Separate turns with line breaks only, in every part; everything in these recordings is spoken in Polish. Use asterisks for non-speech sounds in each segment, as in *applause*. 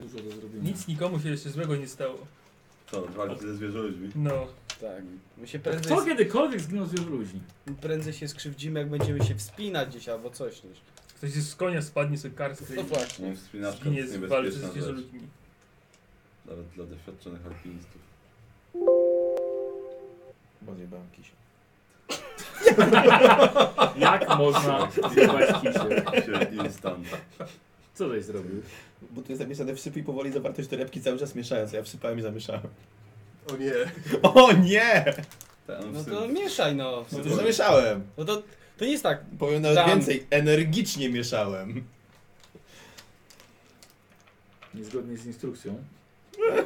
Dużo do zrobienia.
Nic nikomu się jeszcze złego nie stało.
Co, walczy ze zwierzęćmi?
No.
Tak. My się
Tak,
prędzej,
Kto kiedykolwiek zginął z *laughs* ludzi?
prędzej się skrzywdzimy, jak będziemy się wspinać gdzieś albo coś niż.
Ktoś z konia spadnie sobie karstkę
No
i
właśnie.
Wspinaczka to
zginie
jest
z walczy
niebezpieczna
ze
rzecz.
zwierzętami.
Nawet dla doświadczonych alpinistów.
Bo zjebałem kisię.
Jak można zjebać kisie?
Się instant.
Co żeś zrobił?
Bo tu jest napisane wsypuj powoli zawartość torebki cały czas mieszając, a ja wsypałem i zamieszałem.
O nie.
*laughs* O nie!
Ten
No
wsy-
to mieszaj no.
No to zamieszałem.
No to, to nie jest tak.
Powiem nawet
Tam.
więcej, energicznie mieszałem.
Niezgodnie z instrukcją.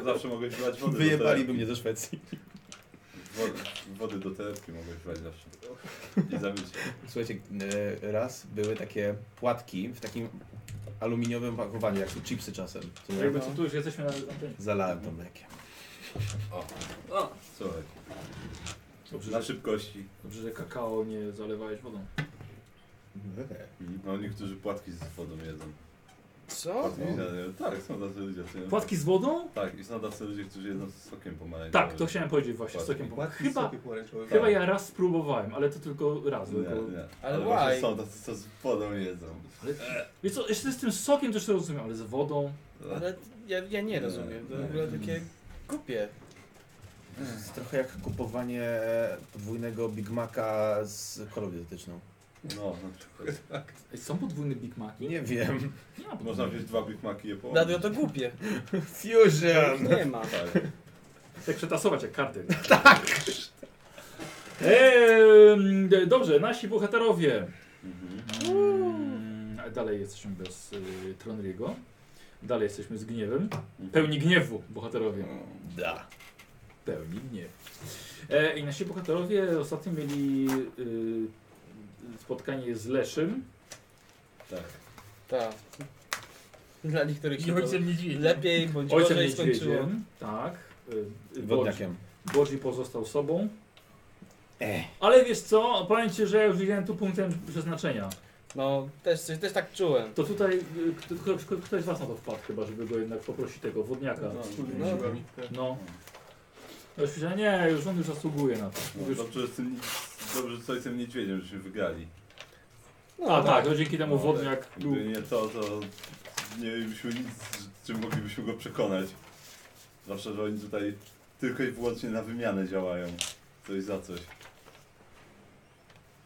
Zawsze mogę
No
wlać wody
tak.
Wyjebaliby
do
mnie ze Szwecji.
torebki. Wody, wody do telepki mogę wlać zawsze. I zabić.
Słuchajcie, e, raz były takie płatki w takim aluminiowym pakowaniu, jak są chipsy czasem. Co ja
Jakby co tu już jesteśmy na antenie.
Zalałem to mlekiem.
O, słuchaj.
Dobrze,
Na
że,
szybkości.
dobrze, że kakao nie zalewałeś wodą.
Eee.
No niektórzy płatki z wodą jedzą.
Co?
Płatki, no. Tak, są tacy ludzie. co nie-
Płatki z wodą?
Tak, i są tacy ludzie, którzy jedzą z sokiem pomarańczowym. Tak.
Tak, to chciałem powiedzieć właśnie. Z sokiem Tak. pomarańczowym.
Płatki
Chyba,
soki pomarańczowe.
chyba ja raz spróbowałem, ale to tylko raz.
No Nie,
Tylko...
nie.
Ale
Ale właśnie
why?
są tacy, co z wodą jedzą.
Wiesz co, jeszcze z tym sokiem też to rozumiem, ale z wodą...
Ale ja, ja nie rozumiem. To w ogóle takie kupie.
To jest trochę jak kupowanie podwójnego Big Maca z kolą dietetyczną.
No, na przykład.
Ej, Są podwójne Big Maci?
Nie wiem.
Nie ma podwójnych.
Można wziąć dwa Big Maci i je połączyć.
Dlatego to głupie.
Fusion!
Nie ma.
Tak.
Tak przetasować jak karty. *laughs* tak! Ehm, d- dobrze, nasi bohaterowie.
Mhm.
Mm, a dalej jesteśmy bez y, Tronriego. Dalej jesteśmy z gniewem. Pełni gniewu bohaterowie.
Da.
Pełni gniew. E, I nasi bohaterowie ostatnio mieli y, spotkanie z Leszym.
Tak.
Tak. Dla niektórych
I
się to
ojcem nie dziwi.
lepiej bądź
Ojcem
gorzej skończyło.
Niedźwiedziem. Tak. Y, y, Bodzi,
Wodniakiem.
Bodzi pozostał sobą.
E.
Ale wiesz co, powiem ci, że ja już widziałem tu punktem przeznaczenia.
No, też, coś- też tak czułem.
To tutaj y, kto- kto- kto- ktoś z was na to wpadł chyba, żeby go jednak poprosić tego wodniaka.
No,
Wspólnymi
No.
siłami. Tak.
No. Ja już myślałem, nie, już on już zasługuje na to.
No,
Już...
dobrze, że z tym, nic- dobrze, że coś z tym niedźwiedziem, żeśmy wygrali.
No,
A tak, to dzięki temu
No,
wodniak był.
Gdyby nie to, to nie mielibyśmy nic, z czym moglibyśmy go przekonać. Zwłaszcza, że oni tutaj tylko i wyłącznie na wymianę działają. Coś za coś.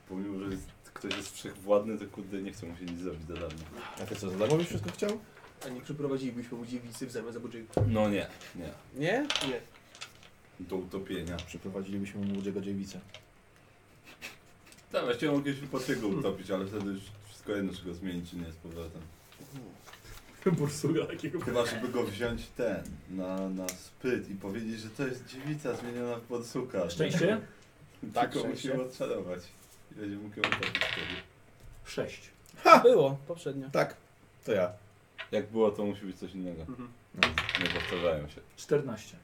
Pomimo, że jest, ktoś jest wszechwładny, to kurde nie chcą mu się nic zrobić za darmo.
A ty co, za darmo byś wszystko chciał?
A nie przeprowadzilibyśmy mu dziewicy w zamian za budżet.
No nie. Nie.
Nie?
Nie.
Do utopienia.
Przeprowadzilibyśmy mu młodziego dziewica.
Tak, właściwie mogliśmy po tego utopić, ale wtedy już wszystko jedno, czy go zmienić, czy nie z powrotem.
*laughs*
Bursuga takiego.
Chyba, żeby go wziąć ten, na, na spyt i powiedzieć, że to jest dziewica zmieniona w podsuka.
Szczęście?
Tak,
Tylko
szczęście.
musimy odczarować. I będzie mógł ją utopić wtedy.
Sześć.
Było, poprzednio.
Tak, to ja.
Jak było, to musi być coś innego.
Mhm.
Nie powtarzają się.
14.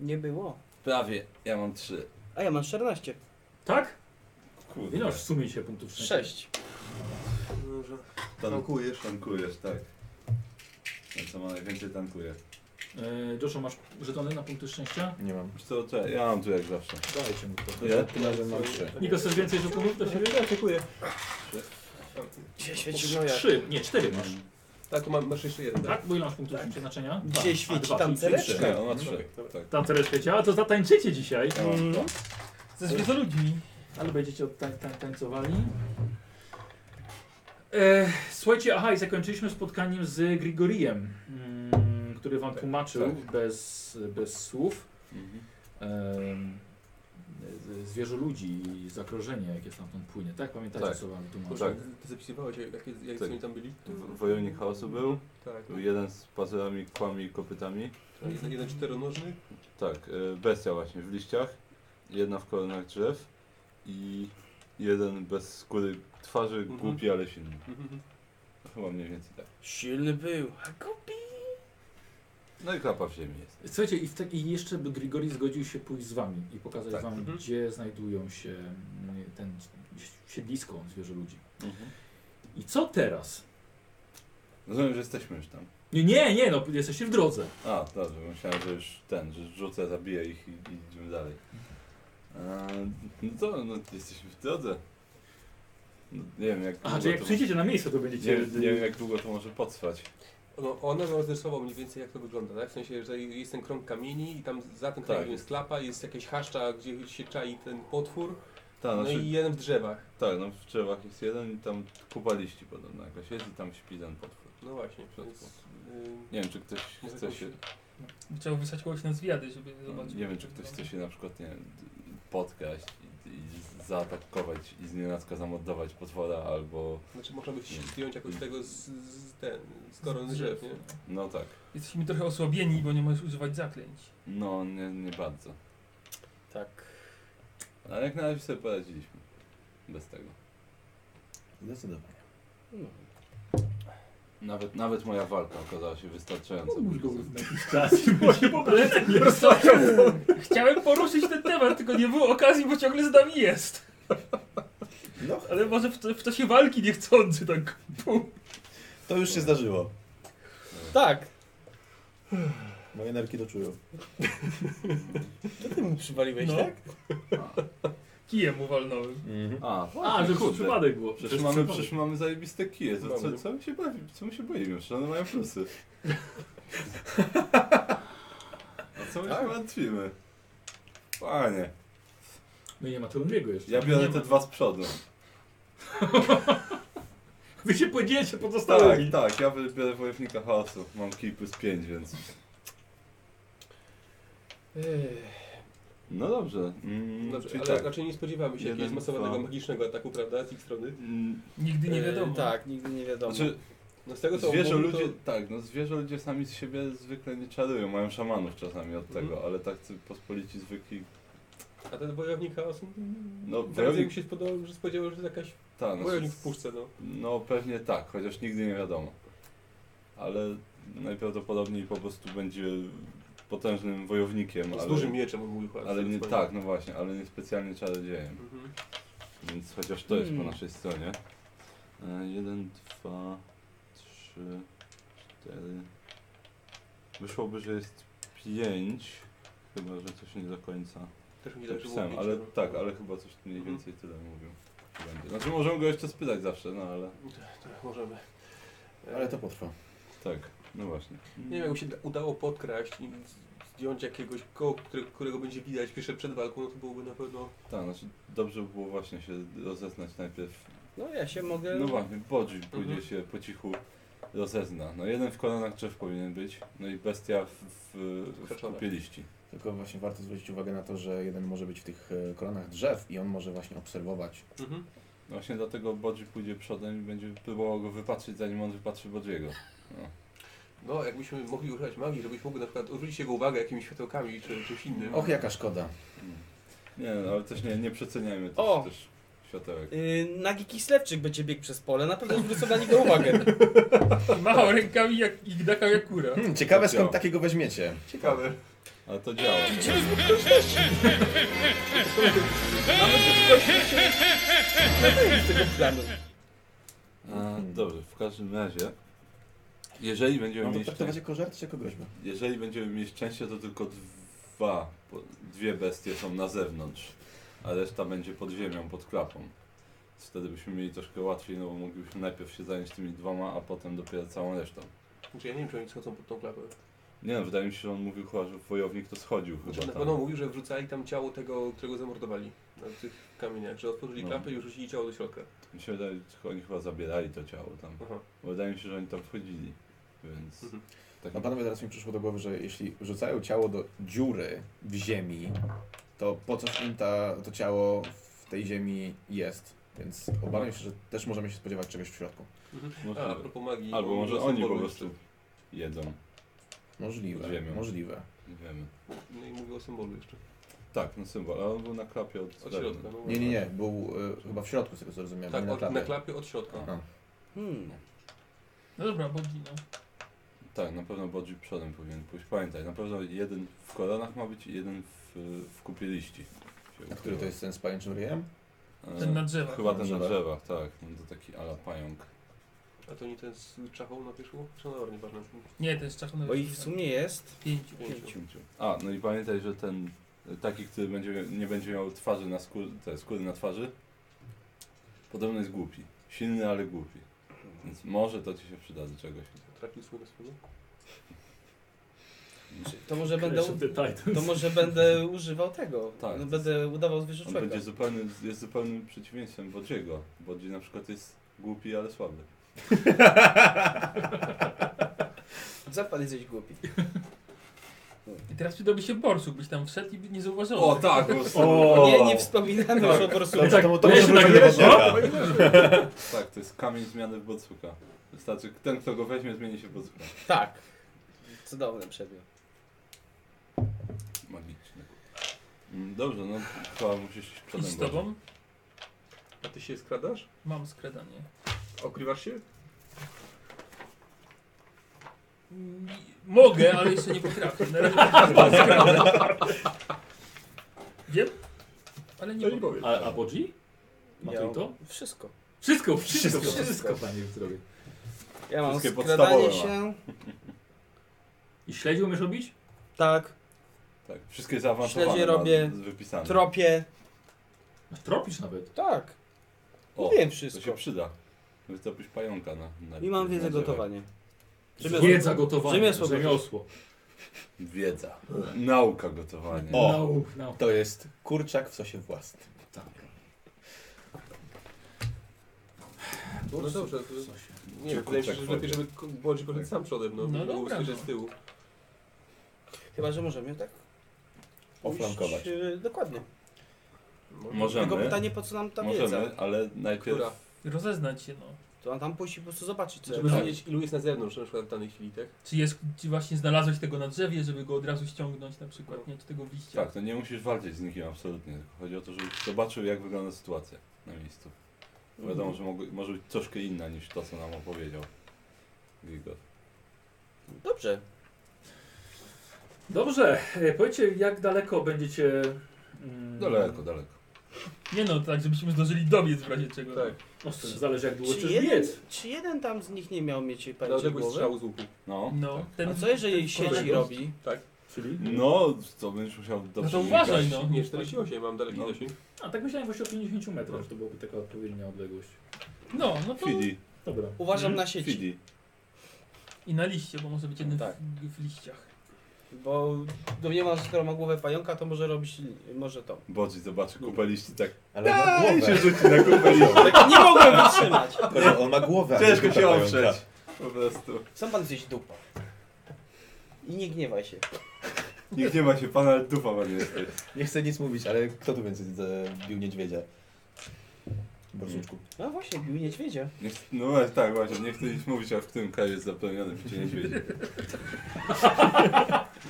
Nie było.
Prawie. Ja mam trzy.
A ja mam 14.
Tak?
Kurde.
Ile masz w sumie się punktów szczęścia?
6.
No, że-
Tankujesz? Tankujesz, tak. Ten, co ma najwięcej, tankuje.
E, Joshua, masz żetony na punkty szczęścia?
Nie mam.
Wiesz co, czekaj, ja mam tu jak zawsze.
Dajcie mu to.
Ile?
Tym razem mam trzy.
Niko, chcesz więcej żetonów do siebie?
Dziękuję.
Gdzie świeci moja?
Trzy, nie, cztery masz.
Tak, mam, masz jeszcze jeden.
Tak? Bo ile masz punktów przeznaczenia? Dwa.
Gdzie
A,
świeci
dwa,
tam
czyli
celeczka?
Nie, ona trzy. Tak.
Tam celeczkę ciała, to zatańczycie dzisiaj.
Ja mam dwa.
Ze zwierzoludźmi.
Ale będziecie od tań, tań, tańcowali. E, słuchajcie, aha, i zakończyliśmy spotkaniem z Grigoriem, mm, który wam tłumaczył
Tak,
Bez, bez słów
Mhm.
em, z- zwierzoludzi i zagrożenie, jakie stamtąd płynie. Tak? Pamiętacie,
Tak.
co wam tłumaczył?
Tak.
Tak. Ty zapisywałeś, jak, jak, jak
Tak.
oni tam byli?
W- Wojownik chaosu był.
Tak.
Był jeden z pazurami, kłami i kopytami.
Jeden, jeden czteronożny?
Tak, y, bestia właśnie w liściach, jedna w koronach drzew i jeden bez skóry twarzy,
Mhm.
głupi, ale silny.
Mhm.
Chyba mniej więcej tak.
Silny był. A głupi.
No i klapa w ziemi jest.
Słuchajcie, i, w tak, i jeszcze by Grigori zgodził się pójść z wami i pokazać
Tak.
wam,
Mhm.
gdzie znajdują się mm, ten siedlisko zwierzoludzi. I co teraz?
Rozumiem, że jesteśmy już tam.
Nie, nie, nie, no jesteście w drodze.
A, dobrze, myślałem, że już ten, że rzucę, zabiję ich i, i idziemy dalej. Eee, no to, no jesteśmy w drodze. No, nie wiem jak
A, czy jak
to...
przyjdziecie na miejsce, to będziecie...
Nie, nie wiem jak długo to może potrwać.
No, ona nam rozrysował mniej więcej jak to wygląda, tak? W sensie, że jest ten krąg kamieni i tam za tym
Tak.
krągiem jest klapa, jest jakieś haszcza, gdzie się czai ten potwór,
Tak,
no
znaczy,
i jeden w drzewach.
tak, no w drzewach jest jeden i tam kupa liści podobno jakaś jest i tam śpi ten potwór.
No właśnie,
W środku.
więc... y,
Nie wiem czy ktoś
Może
chce
jakąś-
się...
Chciał wysłać kogoś na zwiady, żeby
No,
zobaczyć.
nie wiem czy ktoś chce się na przykład nie wiem, podkraść i, i zaatakować i z nienacka zamordować potwora albo...
Znaczy można by zdjąć jakoś tego z, z, ten, z korony
Z
drzew,
drzew.
nie?
No tak,
Jesteśmy trochę osłabieni, bo nie możesz używać zaklęć.
no nie, nie bardzo. No,
Tak.
Ale jak na razie sobie poradziliśmy. Bez tego.
Zdecydowanie.
No.
Nawet, nawet moja walka okazała się wystarczająco.
*laughs* Moje poplece nie Chciałem poruszyć ten temat, tylko nie było okazji, bo ciągle z nami jest.
No,
Ale może w, w czasie walki niechcący tak.
to już się zdarzyło.
Tak,
Moje nerki to czują.
to ty mu przywaliłeś,
No.
tak?
Kijem uwalnąłem.
Mhm.
A,
A, że to
kurde.
przypadek było.
Przecież mamy, przecież mamy zajebiste kije, co, co,
Mamy.
co my się bawi, co my się boimy, przecież one mają
*laughs*
plusy. A co my
Tak.
się martwimy? Panie,
No i nie ma Trumniego jeszcze.
ja biorę
Nie ma.
te dwa z przodu.
Wy się podzielicie
Tak,
pozostałymi.
tak, ja biorę wojownika chaosu, mam kij plus 5, więc... No dobrze, mm,
Dobrze,
czyli
No, ale znaczy-
tak.
raczej nie spodziewamy się
Jeden,
jakiegoś zmasowanego
dwa.
magicznego ataku, prawda, z ich strony.
Mm,
Nigdy nie
E,
wiadomo.
tak, nigdy nie wiadomo.
Znaczy,
No z tego co
Zwierzę
mówił,
ludzie, tak, no zwierzę ludzie sami z siebie zwykle nie czarują, mają szamanów czasami od
Mhm.
tego, ale tak ci pospolici zwykli,
to, A ten wojownik chaosu,
no
teraz jak
wojownik,
mi się spodobał, że spodziewał, że jest jakaś
ta, no,
wojownik w puszce, no.
no pewnie tak, chociaż nigdy nie wiadomo, ale najprawdopodobniej po prostu będzie potężnym wojownikiem,
Z
no, ale,
dużym mieczem on mówił chyba,
ale
z
nie,
tego, co
tak, no właśnie, ale nie specjalnie czarodziejem,
Mhm.
więc chociaż to jest po
Hmm.
naszej stronie. E, jeden, dwa, trzy, cztery, wyszłoby, że jest pięć, chyba, że coś nie do końca.
Też mi się wydaje,
Tak
że było
pisałem,
pięć,
ale
no.
tak, ale chyba coś mniej
Mhm.
więcej tyle mówił. że Będzie. Znaczy możemy go jeszcze spytać zawsze, no ale
Tak, Możemy. E,
Ale to potrwa.
tak, no właśnie.
Nie wiem, jakby się udało podkraść i zdjąć jakiegoś koło, które- którego będzie widać jeszcze przed walką, no to byłoby na pewno
Tak, znaczy dobrze by było właśnie się rozeznać najpierw.
No ja się mogę...
No właśnie, Bodzi pójdzie
Mhm.
się po cichu rozezna. No jeden w kolanach drzew powinien być, no i bestia w, w, w
Krzaczorach.
kupie liści.
Tylko właśnie warto zwrócić uwagę na to, że jeden może być w tych e, koronach drzew i on może właśnie obserwować.
Mhm.
No Właśnie dlatego Bodzi pójdzie przodem i będzie próbował go wypatrzyć zanim on wypatrzy Bodziego.
No, jakbyśmy mogli używać magii, żebyś mógł na przykład odwrócić jego uwagę jakimiś światełkami czy czymś innym.
Och, jaka szkoda.
Nie no, ale też nie, nie przeceniajmy też,
O!
też światełek.
Yy, nagi Kislewczyk będzie biegł przez pole, na pewno zwrócą na niego uwagę.
*laughs*
Machał rękami jak Igdaka Jakura.
Hmm, ciekawe
Zadziała.
skąd takiego weźmiecie.
Ciekawe.
Ale to działa.
Z tego planu.
A, dobrze, w każdym razie, jeżeli będziemy,
Mam to
mieli
traktować
szczęście,
jako żart czy jako groźbę?
jeżeli będziemy mieli szczęście, to tylko dwa, po- dwie bestie są na zewnątrz, a reszta będzie pod ziemią, pod klapą. Więc Wtedy byśmy mieli troszkę łatwiej, no bo moglibyśmy najpierw się zająć tymi dwoma, a potem dopiero całą resztą.
Znaczy, ja nie wiem, czy oni schodzą pod tą klapę.
Nie no, wydaje mi się, że on mówił chyba, że wojownik to schodził
Znaczy,
chyba tak.
na
tam.
pewno mówił, że wrzucali tam ciało tego, którego zamordowali na tych kamieniach, że otworzyli
No.
klapę i wrzucili ciało do środka.
Mi się wydaje, że oni chyba zabierali to ciało tam.
Aha.
Bo wydaje mi się, że oni tam wchodzili, więc...
Mhm.
Tak
No panowie, teraz mi przyszło do głowy, że jeśli rzucają ciało do dziury w ziemi, to po coś im ta, to ciało w tej ziemi jest. Więc obawiam się, że też możemy się spodziewać czegoś w środku.
A,
Możliwe.
a propos magii.
Albo
bo
może
są
oni po
bolą
prostu
jeszcze.
jedzą,
Możliwe,
Pod ziemią.
możliwe.
nie wiemy.
No i mówił o symbolu jeszcze.
Tak, no symbol, ale on był na klapie od,
Od
wewnątrz.
środka. No
Nie, nie, nie, był y, chyba w środku, z tego co rozumiałem,
Tak,
nie na
od, na
klapie.
klapie od środka.
A.
Hmm.
No dobra, Bogino.
Tak, na pewno Bodzi przodem powinien pójść. Pamiętaj, na pewno jeden w kolanach ma być i jeden w, w kupie liści. Się
A który to jest ten z pajęczym ryjem?
ukrywa. E,
Ten na drzewach.
Chyba ten na
Drzewach.
drzewach, tak. No to taki ala pająk.
A A to nie ten z czachą na pierzchu? Czy no dobra, nieważne.
Nie, to jest czachony.
Bo ich w sumie jest.
pięciu.
Pięciu.
A, no i pamiętaj, że ten y, taki, który będzie, nie będzie miał twarzy na skóry, te skóry na twarzy, podobno jest głupi. Silny, ale głupi. Więc może to ci się przyda do czegoś.
Trafił swój na swego?
To może będę,
Clash of the Titans.
to może będę używał tego.
Tak.
No, będę udawał zwierzę
On
człowieka.
będzie zupełnym, jest zupełnym przeciwieństwem Bodziego. Bodzi na przykład jest głupi, ale słaby.
Zapad jesteś głupi.
I teraz przydałby się borsuk, byś tam wszedł i by nie zauważył.
O tak!
No. O!
Nie, nie wspominamy już o borsu.
tak,
to,
ja się tak
tak
Tak, to jest kamień zmiany w Bocuka. Wystarczy, ten kto go weźmie zmieni się w Bocuka.
Tak. Cudowny przedmiot.
Magiczny. Mm, Dobrze, no chyba musisz iść
I
przodem.
z
Bodzie.
tobą?
A ty się skradasz?
Mam skradanie.
Okrywasz się?
Mm, Mogę, ale jeszcze nie potrafię. Na razie skradam. Wiem, ale nie
No nie
mogę.
powiem.
A, a Bodzi? Ma to
Miał
i to?
Wszystko.
Wszystko, wszystko, wszystko,
Wszystko.
panie zrobię.
Ja mam
Wszystkie
skradanie
podstawowe
się.
I śledził umiesz robić?
Tak.
Tak, wszystkie zaawansowane
Śledzie
ma
robię,
z- wypisane.
Tropie.
No, Tropisz nawet.
Tak.
O,
Wiem
to się
wszystko.
przyda. Wytopisz pająka na, na
I mam wiedzę
na drzewach.
gotowanie. Rzemiosło.
Wiedza gotowania.
Rzemiosło.
Rzemiosło.
Wiedza. Nauka gotowania.
O.
No, no.
To jest kurczak w sosie własnym.
No dobrze, to...
Coś.
Nie wiem, wydaje mi się, że
kurczak
lepiej,
wchodzi.
żeby ko- Bodzi poszedł sam przodem, no. No
No dobra,
dobra.
no.
z tyłu.
Chyba, że możemy tak.
Oflankować.
pójść, y, Dokładnie.
Możemy.
Tylko pytanie, po co nam ta wiedza?
Możemy, ale najpierw
Która?
Rozeznać się, no.
To mam tam pójść i po prostu zobaczyć, co Tak.
Żeby
jest.
wiedzieć, ilu jest na zewnątrz, na przykład w danej chwili, tak?
Czy, jest, czy właśnie znalazłeś tego na drzewie, żeby go od razu ściągnąć na przykład, nie? Czy tego liścia?
Tak, no nie musisz walczyć z nikim absolutnie. tylko Chodzi o to, żebyś zobaczył, jak wygląda sytuacja na miejscu. Bo
Mhm.
Wiadomo, że mogły, może być troszkę inna niż to, co nam opowiedział Grigor.
Dobrze.
Dobrze, e, powiedzcie jak daleko będziecie... mm,
Daleko, daleko.
Nie no, tak, żebyśmy zdążyli dobiec w razie czego.
Tak.
No, to zależy jak długo
Czy
chcesz
jeden,
biec.
czy jeden tam z nich nie miał mieć
Na
pędzi
odległość
głowy?
strzału z łuku.
No.
No,
tak.
ten,
A co jeżeli
ten
sieci
kolega-
robi?
Czyli?
No, to będziesz musiał
No
dobrze
to uważaj,
unikać.
no.
Nie, 48, mam daleki
No.
zasięg.
A tak myślałem właśnie o 50 metrach, że to byłaby taka odpowiednia odległość.
No, no to
Fidi,
Dobra.
Uważam
Mhm.
na sieci,
Fidi.
i na liście, bo może być jeden
Tak.
w, w liściach.
bo domniemam, że skoro ma głowę pająka, to może robić, może to.
Bodzi zobaczy kupę liści, tak
Ale ma głowę.
się rzuci na kupę liści.
Tak Nie mogłem wytrzymać!
Tylko On ma głowę. a nie
Ciężko
dupę
się
pająka.
oprzeć. Po prostu.
Sam pan zjeść dupa. I nie gniewaj się.
Nikt nie ma się pana, ale dupa pan jesteś.
Nie chcę nic mówić, ale kto tu więcej bił niedźwiedzia? Borsuczku.
No właśnie, bił niedźwiedzia.
Nie ch- No właśnie, tak, właśnie, nie chcę nic mówić, ale w tym kraju jest zapełniony picie niedźwiedzi.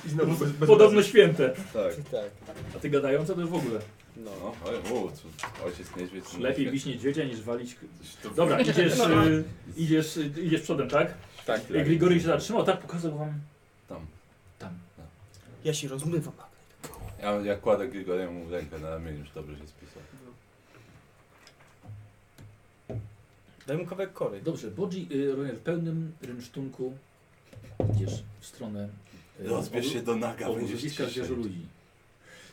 I znowu bez, bez
Podobno święte.
Tak.
Tak.
A ty gadająca to już w ogóle.
No.
No, ale wow, co- ojciec niedźwiedź. to
Lepiej
nie
bić niedźwiedzia niż walić... k-
Coś to-
Dobra,
*laughs*
idziesz,
No, no.
y, idziesz, y, idziesz przodem, tak?
tak.
Y, Grigory się zatrzymał, tak? Pokazał wam...
Tam.
Tam.
Ja się rozmywam.
Ja, ja kładę Grigoriemu rękę na ramieniu, już dobrze się spisał.
Daj mu kawałek kory.
Dobrze, Bodzi y, w pełnym rynsztunku idziesz w stronę... y,
Rozbierz się do naga, będziesz
Obozowiska
ciszej.
zwierzę ludzi.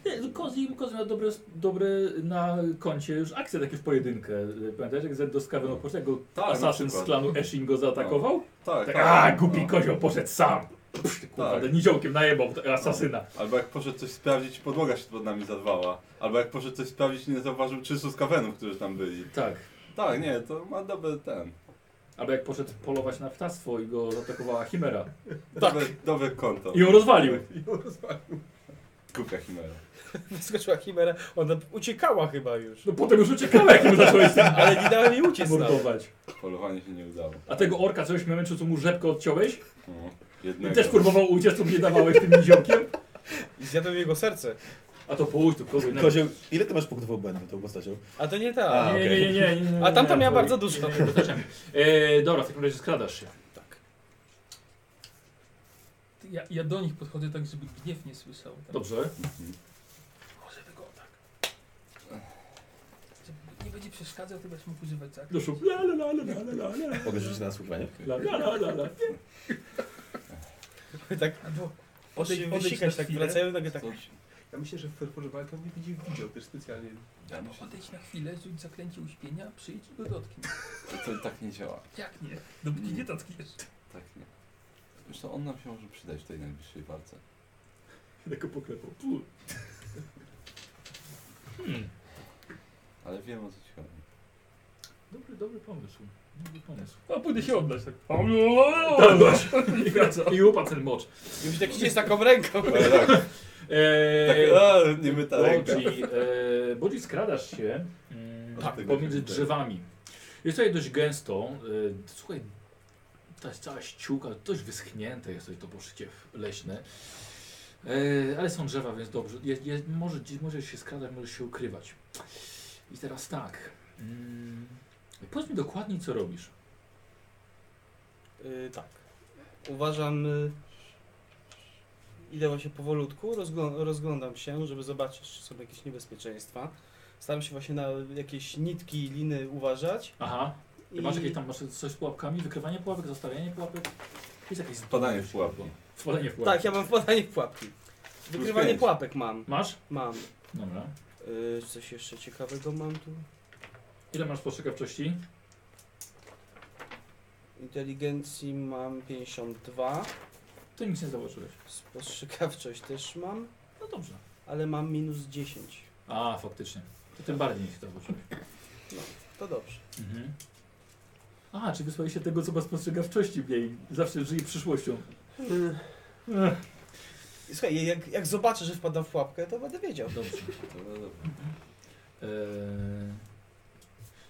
Nie, Kozi, Kozi ma dobre, dobre na koncie już akcje takie w pojedynkę. E, Pamiętasz, jak Zed do Skaven poszedł, jak go
Tak, na
asasyn z
przykład.
klanu Eshin go zaatakował?
Tak,
Tak,
tak.
a głupi
no.
kozioł poszedł sam. Psz, ty kurwa,
Tak.
ten niziołkiem najebał tego asasyna.
Albo jak poszedł coś sprawdzić, podłoga się pod nami zadwała. Albo jak poszedł coś sprawdzić, nie zauważył 300 skawenów, którzy tam byli.
Tak.
Tak, nie, to ma dobry ten.
Albo jak poszedł polować na ptactwo i go zaatakowała Chimera.
Dobre, dobre konto.
Tak. I ją rozwalił.
Kupia Chimera.
*laughs* Wyskoczyła chimera, ona uciekała chyba już.
No potem już uciekała, jak mu zacząłeś
*laughs*
Ale nie dałem jej uciec nawet.
mordować.
Polowanie się nie udało.
A tego orka coś momencie, co mu rzepkę odciąłeś
No,
i
jednego.
też próbował uciec, co mu nie dawałeś tym niziołkiem.
I zjadłem jego serce.
A to połóż tu kogoś.
No.
na-
Kozioł, ile ty masz punktów obłędu tą postacią?
A to nie ta.
A,
Nie, nie,
okej.
nie, nie, nie, nie,
A tamta
nie,
miała
to-
bardzo dużo.
nie, nie, to też nie. E, dobra, w takim razie skradasz się.
Ty, Ja, ja do nich podchodzę tak, żeby gniew nie słyszał. Tak.
Dobrze.
Może tego tak. Żeby nie będzie przeszkadzał, to będziesz mógł używać tak? zakresu.
Doszło. La, la, la, la, la, la, la,
Mogę rzucić na słuchanie.
la, la, la, la, la.
*laughs* Tak,
Albo
odejdź,
odejdź
wysikać,
na
tak
chwilę.
wracają, nagle
*laughs*
tak.
Co?
Ja myślę, że Ferforze Walka mnie będzie widział też specjalnie.
Ja
Albo
myślę,
odejdź No na chwilę, rzuć zaklęcie uśpienia, przyjdź i go dotknij.
że to tak nie działa.
Jak nie? Dopóki nie dotkniesz.
Tak nie. Zresztą on nam się może przydać w tej najbliższej walce.
Tylko poklepał. Pu. Hmm.
Ale wiem o co ci chodzi.
Dobry, dobry pomysł. Dobry pomysł.
A pójdę się oddać tak.
no.
Tak,
I
nie
wraca. I upadł ten mocz.
Już tak idzie z taką ręką.
Ale tak, tak
Eee,
a, nie my ta ręka.
Bodzi, e, Bodzi skradasz się mm,
Tak.
pomiędzy drzewami. Jest tutaj dość gęsto. E, słuchaj, ta jest cała ściółka, dość wyschnięte jest tutaj to poszycie leśne. E, ale są drzewa, więc dobrze. Je, je, może, możesz się skradać, możesz się ukrywać. I teraz tak. Mm, powiedz mi dokładnie, co robisz.
Y, tak. Uważam. Y, idę właśnie powolutku, rozglą rozglądam się, żeby zobaczyć, czy są jakieś niebezpieczeństwa. Staram się właśnie na jakieś nitki i liny uważać.
Aha,
I
masz jakieś tam masz coś z pułapkami, wykrywanie pułapek, zostawianie pułapek. Jest jakieś
Wpadanie w pułapki.
Wpadanie w pułapki.
Tak, ja mam wpadanie w pułapki. Wykrywanie
pięć.
pułapek mam.
Masz?
Mam.
Dobra.
Y, coś jeszcze ciekawego mam tu.
Ile masz postrzegawczości?
Inteligencji mam 52.
To nic nie zobaczyłeś.
Spostrzegawczość *laughs* też mam,
No dobrze.
ale mam minus 10.
A, faktycznie. To tym bardziej nie się zobaczyłeś.
To dobrze.
Mhm. A, czy wysłałeś się tego, co ma spostrzegawczości w jej. Zawsze żyje przyszłością. Ech,
Słuchaj, jak, jak zobaczę, że wpadam w pułapkę, to będę wiedział.
Dobrze.
Dobra, dobra.
Eee,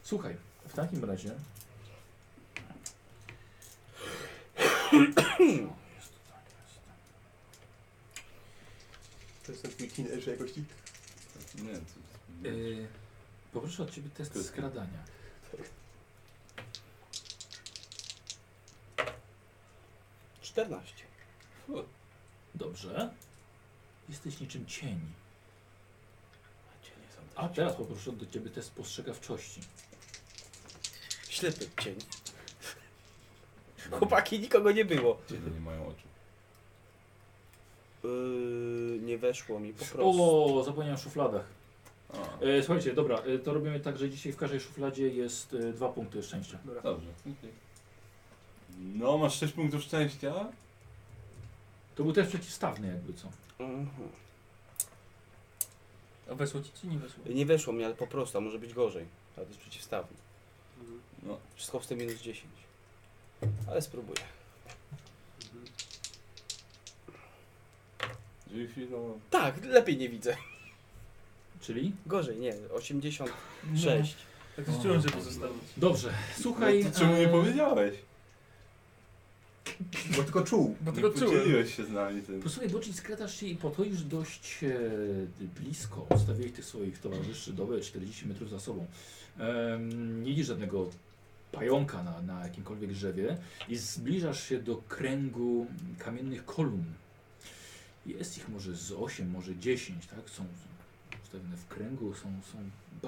słuchaj, w takim razie...
To jest ten twój teenager jakości.
Nie, to,
Eee, poproszę od Ciebie test skradania.
Czternaście.
Dobrze. Jesteś niczym cień. A teraz poproszę do Ciebie test spostrzegawczości.
Ślepy cień. Chłopaki, nikogo nie było.
dzieci nie mają oczu.
Yy, nie weszło mi po prostu.
O, zapomniałem o szufladach.
A,
E, słuchajcie, dobra, e, to robimy tak, że dzisiaj w każdej szufladzie jest e, dwa punkty szczęścia.
dobrze. okej. No, masz 6 punktów szczęścia.
To był też przeciwstawny jakby co.
Mhm.
A wesło ci czy nie wesło?
Nie weszło mi, ale po prostu, a może być gorzej. Ale to jest przeciwstawne.
Mhm.
No,
Wszystko w tym minus 10. Ale spróbuję.
dzieci no...
Tak, lepiej nie widzę.
Czyli?
Gorzej, nie. 86.
Tak to czułem, żeby zostawić.
Dobrze, słuchaj.
No to czemu nie
e,
powiedziałeś?
Bo tylko czuł.
Bo
nie
tego czułem.
podzieliłeś się z nami tym.
Posłuchaj, Boczyń, skradasz się i podchodzisz dość e, blisko. Stawiłeś tych swoich towarzyszy dobre 40 metrów za sobą. Em, nie widzisz żadnego pająka na, na jakimkolwiek drzewie i zbliżasz się do kręgu kamiennych kolumn. Jest ich może z 8, może 10, tak? Są są ustawione w kręgu, są, są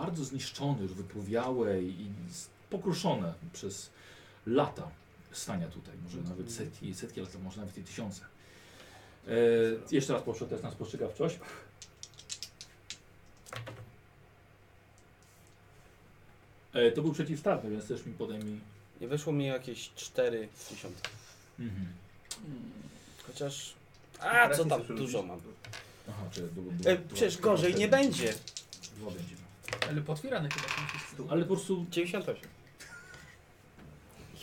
bardzo zniszczone, już wypłowiałe i s- pokruszone przez lata stania tutaj. Może nawet setki, setki lat, a może nawet i tysiące. E, jeszcze raz proszę test na spostrzegawczość. E, to był przeciwstawny, więc też mi podaj mi.
Nie weszło mi jakieś 4 dziesiątki.
Mhm.
Chociaż. A co tam dużo mam.
Aha, czy długo
E, przecież
No,
gorzej nie będzie.
Dwa będzie.
Ale potwierane chyba są wszyscy.
Ale po prostu
98.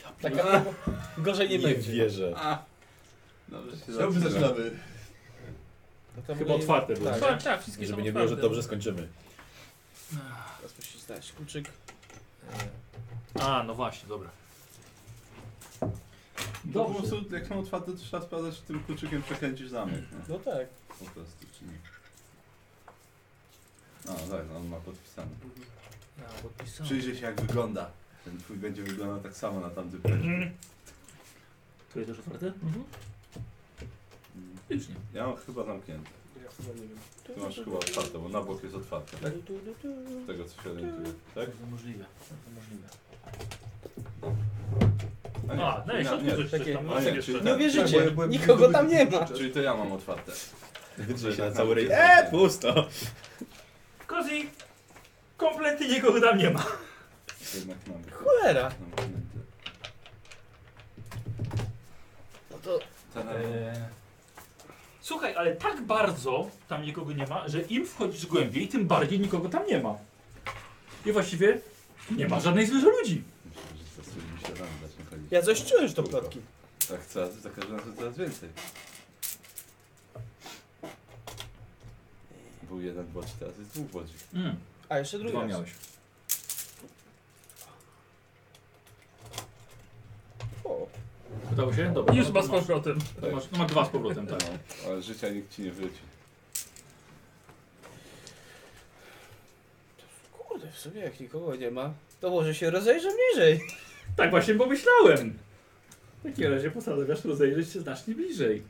ja
Taka Tak, *laughs* gorzej nie, będzie.
wierzę.
A, dobrze się
Dobrze
zaczyna.
zaczynamy.
No to
Chyba otwarte było.
Tak,
Tak, tak, wszystkie
Żeby
są
nie było, że
otwarte.
dobrze skończymy.
teraz musisz znaleźć kluczyk.
E,
A, no właśnie, dobra.
To po
Dobrze.
prostu, jak są otwarte, to trzeba sprawdzać, czy tym kluczykiem przekręcisz zamek. No,
No tak.
po prostu, czy nie. A, tak, no on ma podpisane.
Mhm.
A, podpisane.
Przyjrzyj się, jak wygląda. Ten twój będzie wyglądał tak samo na tamtym
Mhm.
plecie.
To jest też otwarte?
Mhm.
Już nie.
Mm. Ja mam chyba zamknięte.
Ja ja chyba nie wiem.
Tu masz chyba otwarte, bo na bok jest otwarte, tak? Z tego co się orientuję, tak?
Bardzo możliwe. Bardzo możliwe.
A nie,
A, no i
nie,
środku
nie,
coś, coś
takie-
tam
a
masz
nie,
jeszcze.
czyli-
Nie
Tak,
tak, bo
uwierzycie,
ja byłem-
nikogo tam nie ma.
Czyli to ja mam otwarte.
Wytrzyj się na cały ryj. Eee, pusto!
Kozi! Kompletnie nikogo tam nie ma.
Jednak mam.
Cholera.
Mam klienty.
No to Eee.
Ten
E,
Słuchaj, ale tak bardzo tam nikogo nie ma, że im wchodzisz głębiej, tym
Bardziej nikogo tam nie ma. I właściwie nie ma żadnej zwierzę ludzi.
Myślę, że zasłonił mi się rany, zacznie chodzić.
ja coś czułem, że to plotki.
Tak, coraz, za każdym razem coraz więcej. Był jeden bodź, teraz jest dwóch bodzi.
Mm,
A jeszcze drugi
dwa
raz.
miałeś.
O,
Udało się? Dobra.
Już
no
ma
to
z
masz,
powrotem.
to masz, no ma dwa z powrotem,
No,
tak.
ale życia nikt ci nie wróci.
Kurde, w sumie jak nikogo nie ma, to może się rozejrzę niżej.
Tak właśnie pomyślałem. W takim razie postanawiasz rozejrzeć się znacznie bliżej.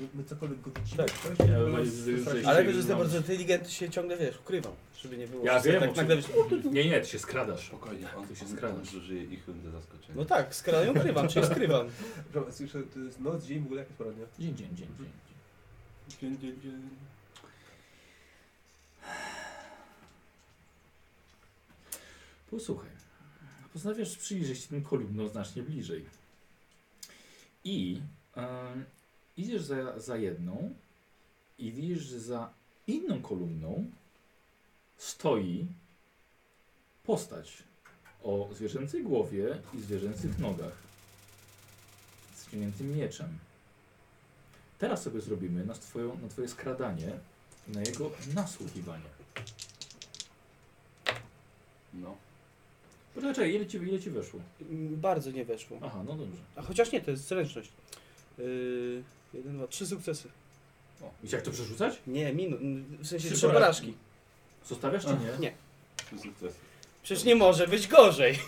My, my cokolwiek go widzimy. Tak, tak.
Ja bym- że-
Ale wiesz,
że
że jestem
mam-
bardzo inteligentny, się ciągle, wiesz, ukrywam, żeby nie było.
Ja
że sobie
wiem,
tak nagle wiesz, o, tu, tu.
Nie, nie, ty się skradasz.
Spokojnie, on,
Tu się
on,
skradasz.
on zużyje ich rundę zaskoczenia.
No tak, skradają, ukrywam, czyli skrywam.
Dobra, słyszę, to jest noc, dzień, w ogóle jakaś pora dnia.
Dzień, dzień, dzień, dzień.
Dzień, dzień, dzień.
Posłuchaj. Postanawiasz przyjrzeć się tym kolumnom znacznie bliżej. I em, idziesz za, za jedną i widzisz, że za inną kolumną stoi postać o zwierzęcej głowie i zwierzęcych nogach z wciągniętym mieczem. Teraz sobie zrobimy na, twoją, na twoje skradanie i na jego nasłuchiwanie.
No.
Poczekaj, ile ci, ile ci weszło?
Mm, Bardzo nie weszło.
Aha, no dobrze.
A chociaż nie, to jest zręczność. Yy, jeden, dwa, trzy sukcesy.
O, widzisz, jak to przerzucać?
Nie, minus, w sensie
Trzy
trzy porażki.
Zostawiasz czy nie?
Nie.
Trzy sukcesy.
Przecież nie może być gorzej.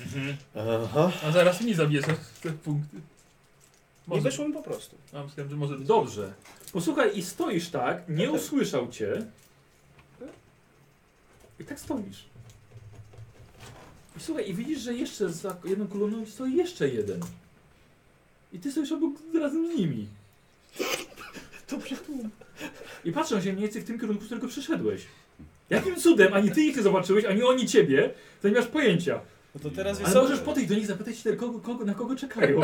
Mhm.
Aha.
A zaraz mi zabierzesz te punkty.
Nie
Może.
weszło mi po prostu.
A myślałem, że może do...
Dobrze. Posłuchaj, i stoisz tak, nie usłyszał cię. I tak stoisz. I słuchaj, i widzisz, że jeszcze za jedną kolumną stoi jeszcze jeden. I ty stoisz obok razem z nimi. Dobrze tu. I patrzą się mniej więcej w tym kierunku, z którego przyszedłeś. Jakim cudem ani ty ich nie zobaczyłeś, ani oni ciebie, to nie masz pojęcia.
No to teraz
Ale
jest.
możesz podejść do nich zapytać się, kogo, kogo, na kogo czekają.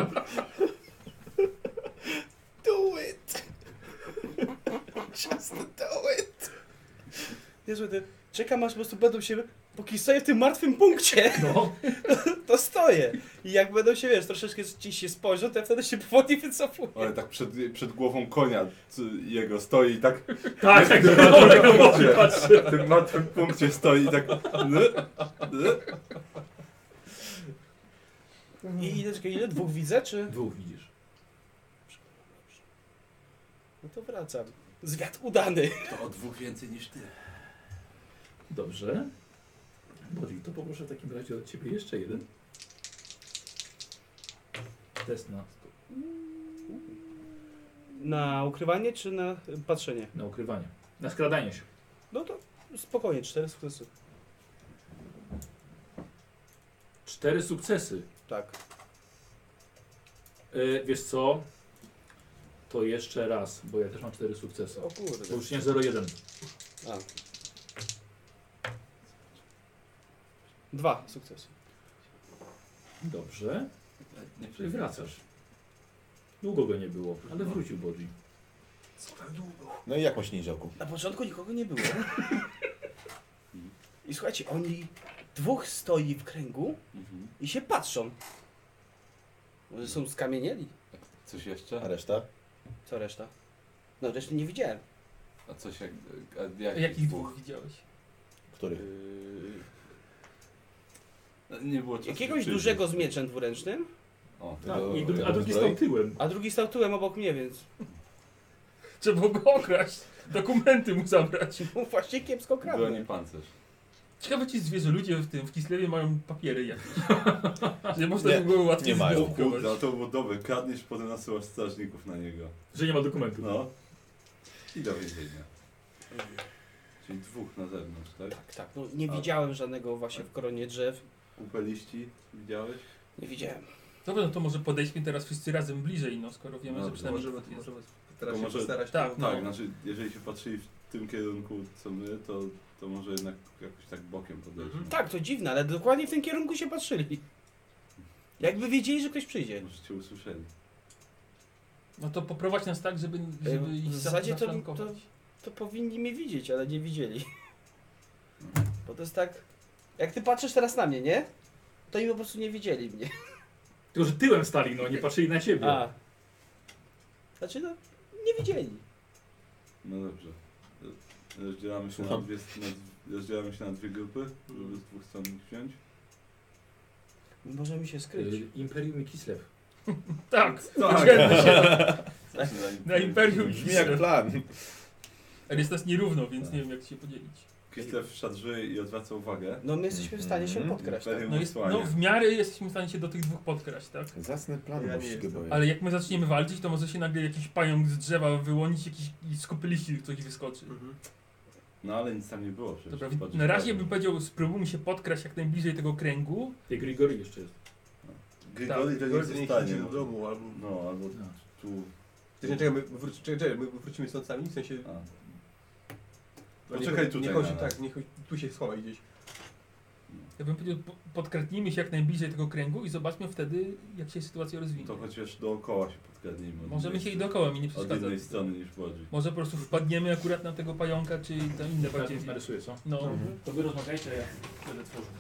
Do it! Just do it!
Jezu, ty czekam aż po prostu będą się. Póki stoję w tym martwym punkcie, *laughs*
No.
to stoję. I jak będą się, wiesz, troszeczkę ci się spojrzą, to ja wtedy się powoli wycofuję.
Ale tak przed, przed głową konia c- jego stoi i *laughs* tak
Tak, tak,
Tym
tak.
martwym punkcie, w tym martwym punkcie stoi i tak "Ny, ny".
I ile, czekaj, ile? Dwóch widzę, czy?
Dwóch widzisz.
No to wracam. Zwiat udany.
To o dwóch więcej niż ty.
Dobrze. Bodzi, to poproszę w takim razie od ciebie jeszcze jeden. Test na,
Na ukrywanie czy na y, patrzenie?
na ukrywanie. Na skradanie się.
No to spokojnie, cztery sukcesy.
Cztery sukcesy.
Tak.
E, wiesz co? To jeszcze raz, bo ja też mam cztery sukcesy.
O
To
kurde.
już nie 0,1.
A. Dwa sukcesy.
Dobrze.
Nie
Czyli wracasz. Długo go nie było, ale wrócił Bodzi.
Co tak długo?
No i jak masz niziołku?
Na początku nikogo nie było. I słuchajcie, oni dwóch stoi w kręgu
Mhm.
i się patrzą. Może są skamienieli?
Coś
A
jeszcze?
reszta?
Co reszta? No reszty nie widziałem.
A coś jak... A jak
Jakich dwóch widziałeś?
Których?
Yy, Nie było czasu
Jakiegoś
przyjrzeć.
dużego z mieczem dwuręcznym,
O,
Tak,
Tego-
i dru- a
tego
drugi
zbroi?
stał tyłem.
a drugi stał tyłem obok mnie, więc *laughs*
Trzeba go okraść. Dokumenty mu zabrać.
no, właśnie kiepsko kradnę.
broni pancerz.
Ciekawe ci zwierzę ludzie w tym, w Kislewie mają
*laughs*
papiery jakieś. Że można by było łatwiej
nie mają.
O
zdedukować.
kurde, to było dobre. Kradniesz, potem nasyłasz strażników na niego.
Że nie ma dokumentu.
No. I do więzienia. Czyli dwóch na zewnątrz, tak?
Tak, tak. No, nie
A-
widziałem żadnego właśnie w koronie drzew.
Kupę liści widziałeś?
Nie widziałem.
Dobra, no to może podejdźmy teraz wszyscy razem bliżej, no skoro wiemy,
No,
że przynajmniej
możemy,
dwóch jest.
możemy teraz
To
się
może-
postarać.
tak,
to-
No.
Tak, znaczy jeżeli się patrzyli w tym kierunku co my, to, to może jednak jakoś tak bokiem podejdźmy.
Tak, to dziwne, ale dokładnie w tym kierunku się patrzyli. Jakby wiedzieli, że ktoś przyjdzie.
Tak. Może cię usłyszeli.
No to poprowadź nas tak, żeby, żeby ich
w zasadzie to-
zaflankować.
to- To powinni mnie widzieć, ale nie widzieli. *laughs* Bo to jest tak... Jak ty patrzysz teraz na mnie, nie? To oni po prostu nie widzieli mnie.
Tylko, że tyłem stali, no nie patrzyli na ciebie.
A. Znaczy no, nie widzieli.
No dobrze. Rozdzielamy się, na
Słucham.
dwie, na, rozdzielamy się na dwie grupy, żeby z dwóch stron ich wziąć.
Możemy się skryć.
Y, Imperium i Kislev.
*laughs*
Tak, podzielmy się. Na Imperium
Brzmi jak
Kislev.
plan.
Ale jest nas nierówno, więc
Tak.
nie wiem jak się podzielić.
Kislev szarżuje i odwraca uwagę.
No my jesteśmy w stanie się
Mhm.
podkraść. Tak?
Imperium
No, jest, no
osłania.
w miarę jesteśmy w stanie się do tych dwóch podkraść, tak?
Zasny plan,
Ja nie
właściwie
jestem.
boję.
Ale jak my zaczniemy walczyć, to może się nagle jakiś pająk z drzewa wyłonić jakiś, i skupyliści coś wyskoczy.
Mhm.
No ale nic tam nie było przecież.
Dobra, wi-
Patrz,
na razie
patrz.
bym powiedział, spróbujmy się podkraść jak najbliżej tego kręgu.
I Grigori jeszcze jest.
tak.
Grigory to nie
Gordy niech idzie
zostanie.
do domu albo...
No albo
No.
tu.
Ty nie, Czekaj, my, wróci, czekaj, czekaj, my wrócimy stąd sami, w sensie...
A.
no
Poczekaj
niech-
tutaj
Niech on
na
się,
nas.
tak, niech on- tu się schowaj gdzieś.
Ja bym powiedział, po- podkradnijmy się jak najbliżej tego kręgu i zobaczmy wtedy, jak się sytuacja rozwinie.
To chociaż dookoła się podkradnijmy. od
Możemy
innej
się i
strony.
dookoła mi nie
Od
przeszkadza.
innej strony niż Bodzi.
Może po prostu wpadniemy akurat na tego pająka, czy tam
Tak,
inne bardziej.
narysuję, co?
No,
Mhm.
To wy rozmawiajcie, a ja będę tworzył.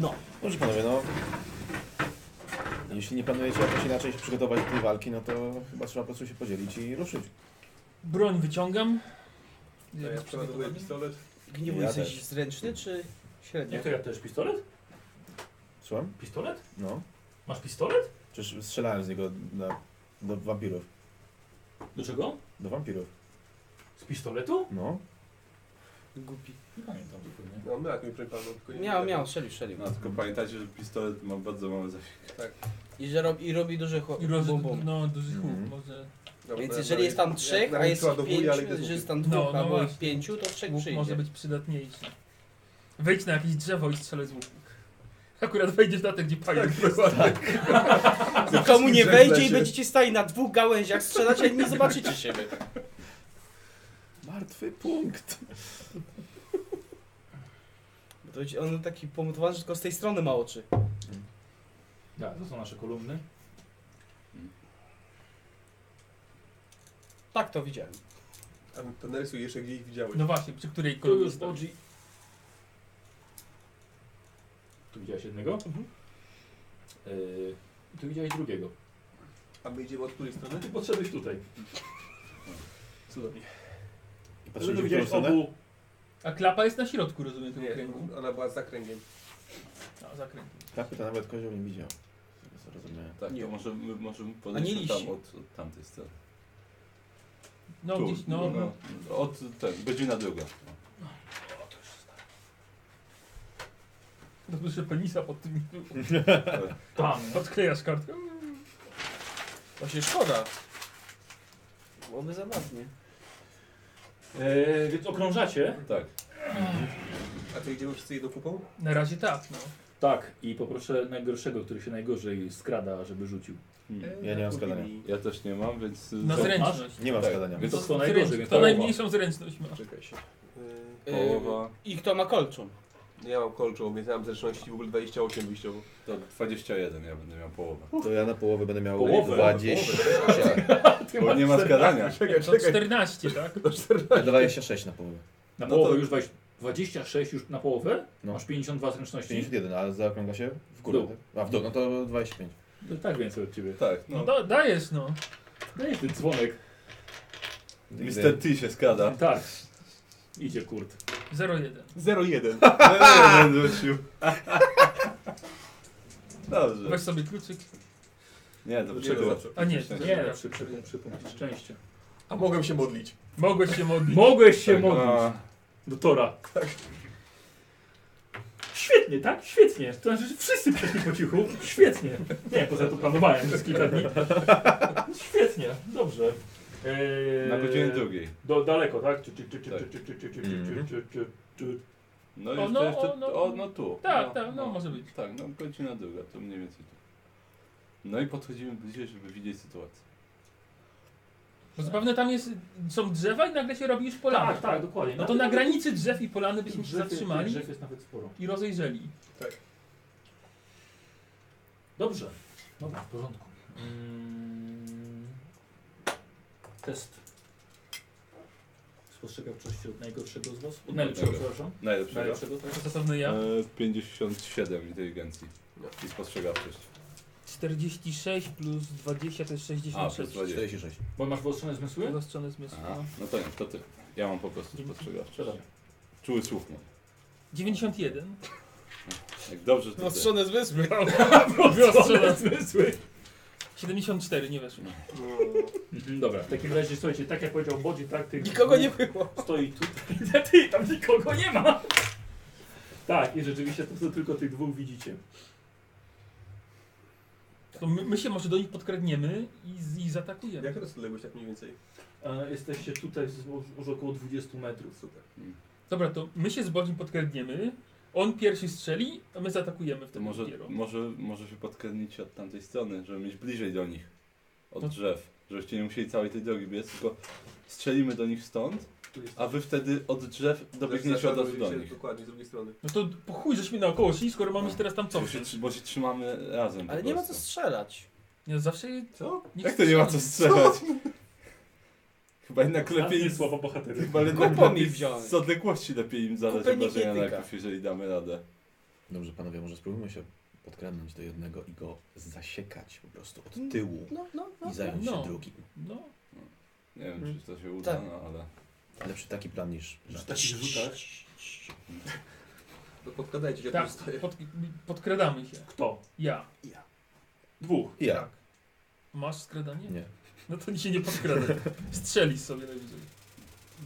No.
Dobrze panowie, no. Jeśli nie planujecie jakoś inaczej się przygotować do tej walki, no to chyba trzeba po prostu się podzielić i ruszyć.
broń wyciągam.
Ja, ja
Jakby
przeładuję
przygotowany.
pistolet.
Gniewu
Ja
jesteś
też.
zręczny czy średnio?
Jak to ja też? Pistolet?
Słucham?
Pistolet?
No.
Masz pistolet?
Przecież strzelałem z niego na, do wampirów.
Do czego?
Do wampirów.
Z pistoletu?
No.
Głupi.
Nie pamiętam zupełnie.
No on miał jakąś broń palną, tylko nie
Miał,
wiem.
miał, strzelił, strzelił.
No tylko pamiętajcie, że pistolet ma bardzo mały zasięg.
I, że robi, I robi duży chłop.
I roz,
bum, bum.
no, dużych chłop,
Mhm.
może,
Dobra,
Więc
to ja
jeżeli jest tam
No, jak-
trzech,
jak
a jest ich
narysował do góry,
pięciu,
ale idę z
że jest
łukiem.
tam
No,
dwóch
no
albo ich
właśnie.
pięciu, to trzech
łuk może
przyjdzie.
być przydatniejszy. Wejdź na jakieś drzewo i strzelaj z łuku. Akurat wejdziesz na te, gdzie
tak.
pająk jest.
Nikomu nie
Wszystkich
wejdzie i
żegnać.
będziecie stali na dwóch gałęziach strzelać, a nie zobaczycie siebie.
Martwy punkt.
Bo No to będzie- On taki pomutowany, że tylko z tej strony ma oczy.
Tak, to są nasze kolumny.
Tak to widziałem.
A to narysuj jeszcze gdzie ich widziałeś.
No właśnie, przy której
Tu
kolumnie
już
stoi.
Bodzi. Tu widziałeś jednego? Yy, tu widziałeś drugiego.
A my idziemy od której strony?
Ty podszedłeś tutaj.
Cudownie.
I
Tu
patrzyliście w którą
widziałeś
stronę?
obu.
A klapa jest na środku, rozumiem, tego
Nie,
kręgu.
ona była za kręgiem.
No, za kręgiem.
Klapy Tak, to nawet kozioł nie widział. Zrozumiałem.
Tak,
Nie.
to może, my możemy
A nie
podejść tam
liści.
od, od tamtej strony.
No,
Tu, No.
gdzieś, no, no.
Od ten, godzina druga.
Dobrze, że penisa pod tym.
Tam.
Odklejasz kartkę.
Właśnie szkoda. Byłoby zabawnie.
Yy, więc okrążacie.
Tak.
A to idziemy wszyscy jedną kupą?
Na razie tak, no.
Tak, i poproszę najgorszego, który się najgorzej skrada, żeby rzucił.
Hmm.
Ja nie mam
Kupili.
składania.
Ja też nie mam, więc...
Na
Co?
zręczność.
Nie mam
Tak.
składania.
Więc to
To
kto najgorzej, więc
To
połowa.
najmniejszą zręczność ma.
Czekaj się. E,
Y,
Połowa.
I kto ma kolczą?
Ja mam kolczą, więc ja mam zręczności w ogóle 28 wyjściowo.
To 21 ja będę miał połowę.
To ja na połowę będę miał
Połowę?
20.
Bo nie ma skadania.
Czekaj,
To 14, No, tak?
*laughs* Ja 26 na połowę.
Na
No
połowę
to-
już weź 26 już na połowę?
No.
Masz 52 zręczności?
51, ale zaokrąga się w górę.
W dół.
tak? A w dół, no to 25.
No, tak więcej od ciebie.
Tak,
No
no.
da, dajesz, no.
Daj ten dzwonek.
Mr. T się skada.
Tak. Idzie kurt.
0,1.
01.
Eee, wrócił. Dobrze.
Weź sobie kluczyk.
Nie, to
Nie,
przegrał.
za co?
A nie,
Nie, przy, przy, przypomnij szczęście.
A mogłem się modlić.
Mogłeś się modlić.
Mogłeś się
Tak,
modlić
a,
do Tora. Świetnie, tak? Świetnie. To znaczy, że wszyscy przeszli po cichu. Świetnie. Nie, poza to planowałem przez kilka dni. Świetnie, dobrze.
Eee,
Na godzinie drugiej.
Do, daleko, tak? Ciu, ciu, ciu, ciu,
Tak.
ciu, ciu, ciu, ciu, ciu,
Mhm.
ciu, ciu, ciu.
No
O,
i jeszcze,
no,
no, jeszcze,
o, no.
o, no tu.
Tak, tak, no, może być.
Tak, no godzina druga, to mniej więcej tu. No i podchodzimy bliżej, żeby widzieć sytuację.
Bo zapewne tam jest, są drzewa i nagle się robi już polana.
Tak, tak, dokładnie.
No to na granicy drzew i polany byśmy się
Drzew-
zatrzymali
Drzew jest nawet sporo.
i rozejrzeli.
Dobrze. Dobra, w porządku. Mm, Test. Spostrzegawczości od najgorszego z was? Od najlepszego,
Najlepszego.
przepraszam.
Najlepszego?
Najlepszego, tak?
To zapewne ja.
E, 57 inteligencji i spostrzegawczość.
46 plus 20 to jest
A, plus
66.
20.
46.
Bo masz wyostrzone zmysły?
Rozstrzony zmysł.
Aha, no to nie, to ty. Ja mam po prostu spostrzegawczość.
Przepraszam.
Czuły słuch mam.
91.
Jak dobrze
No
że to ty.
Ostrzone No, z wyspy.
Wyostrzone zmysły. 74, nie weszło.
Mhm, dobra, w takim razie słuchajcie, tak jak powiedział Bodzi, tak tych
Nikogo nie było.
stoi tutaj. *laughs* Ty, tam nikogo nie ma! Tak, i rzeczywiście to, to tylko tych dwóch widzicie.
To my, my się może do nich podkradniemy i, z- i zaatakujemy.
Jak rozległość tak mniej więcej?
E, jesteście tutaj z- już, już około 20 metrów.
Super.
Dobra, to my się z Bodzim podkradniemy, on pierwszy strzeli, a my zaatakujemy w
To
tym
może, może, może się podkręcić od tamtej strony, żeby mieć bliżej do nich. Od
No.
drzew. Żebyście nie musieli całej tej drogi biec, tylko strzelimy do nich stąd,
Tu jest
a wy wtedy od drzew dobiegniecie od razu do
Zaszarżujecie
nich.
Znaczy, Dokładnie, z drugiej strony.
No to po chuj żeśmy naokoło szli, skoro mamy się teraz tam
Bo się,
cofnąć.
trzy- bo się trzymamy razem. po
Ale nie ma co
prostu.
strzelać.
Ja zawsze
Co?
niech
Jak to nie ma co strzelać? *laughs* Chyba jednak lepiej
ostatnie słowa bohaterów.
Chyba jednak
Kupon
lepiej
ich wziąłem.
z odległości lepiej im zadać
Kupę
obrażenia
Nikityka.
najpierw, jeżeli damy radę.
Dobrze, panowie, może spróbujmy się podkradnąć do jednego i go zasiekać po prostu od tyłu
No, no,
i zająć
no.
się drugim.
No,
Nie wiem,
Mm.
czy to się uda,
Tak.
no ale...
Lepszy taki plan niż...
Przy takich rzutach.
To No podkładajcie, ja
tak,
tu stoję.
pod, podkradamy się.
Kto?
Ja.
Dwóch.
Ja.
Masz skradanie?
Nie.
No to się nie podkradaj. Strzelisz sobie najwyżej.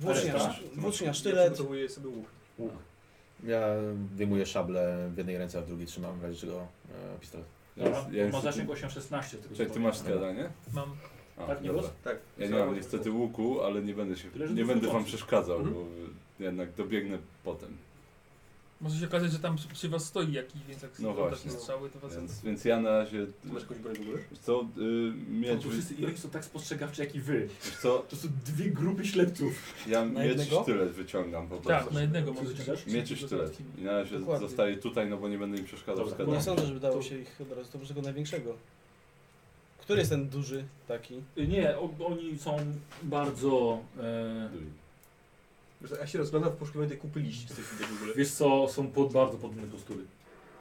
Włócznia,
Reszta?
włócznia,
Ja
sztylet.
przygotowuję sobie łuk.
Ja wyjmuję szablę w jednej ręce, a w drugiej trzymam w razie czego e, pistolet.
Ja,
Dobra,
już- ja
ma
niestety-
zasięg 8-16. tego
Czekaj, ty masz
zupełnie.
skradanie?
Mam.
A,
Tak, nie
dobra.
los?
Tak.
Ja nie mam niestety łuku, ale nie będę się,
Tyle, że
nie
to
będę
są
wam
mocy.
przeszkadzał,
Mhm.
bo jednak dobiegnę potem.
Może się okazać, że tam przy- przy was stoi jakiś, więc jak tak-
No
oddacie
właśnie.
strzały, to was...
Więc, więc ja na razie,
Ty Masz jakąś broń w ogóle?
wiesz co, y,
Bo
miecz,
tu
wy-
wszyscy, I oni są tak spostrzegawczy jak i wy.
wiesz co,
To są dwie grupy ślepców.
ja
Na
miecz i
jednego?
sztylet wyciągam po
Tak,
prostu.
na jednego
Co
może.
zaczynasz?
Miecz i sztylet. I na razie
Dokładnie. No
zostaję tutaj, no bo nie będę im przeszkadzał w
Dobra,
Nie
skradaniu.
sądzę, żeby dało
To-
się ich od razu dobrze tego największego. Który jest ten duży taki?
Y, Nie, o, oni są bardzo... E,
Wiesz co, Ja się rozglądam w poszukiwaniu tej kupy liści z tych widok w ogóle.
wiesz co, są pod bardzo podobne postury.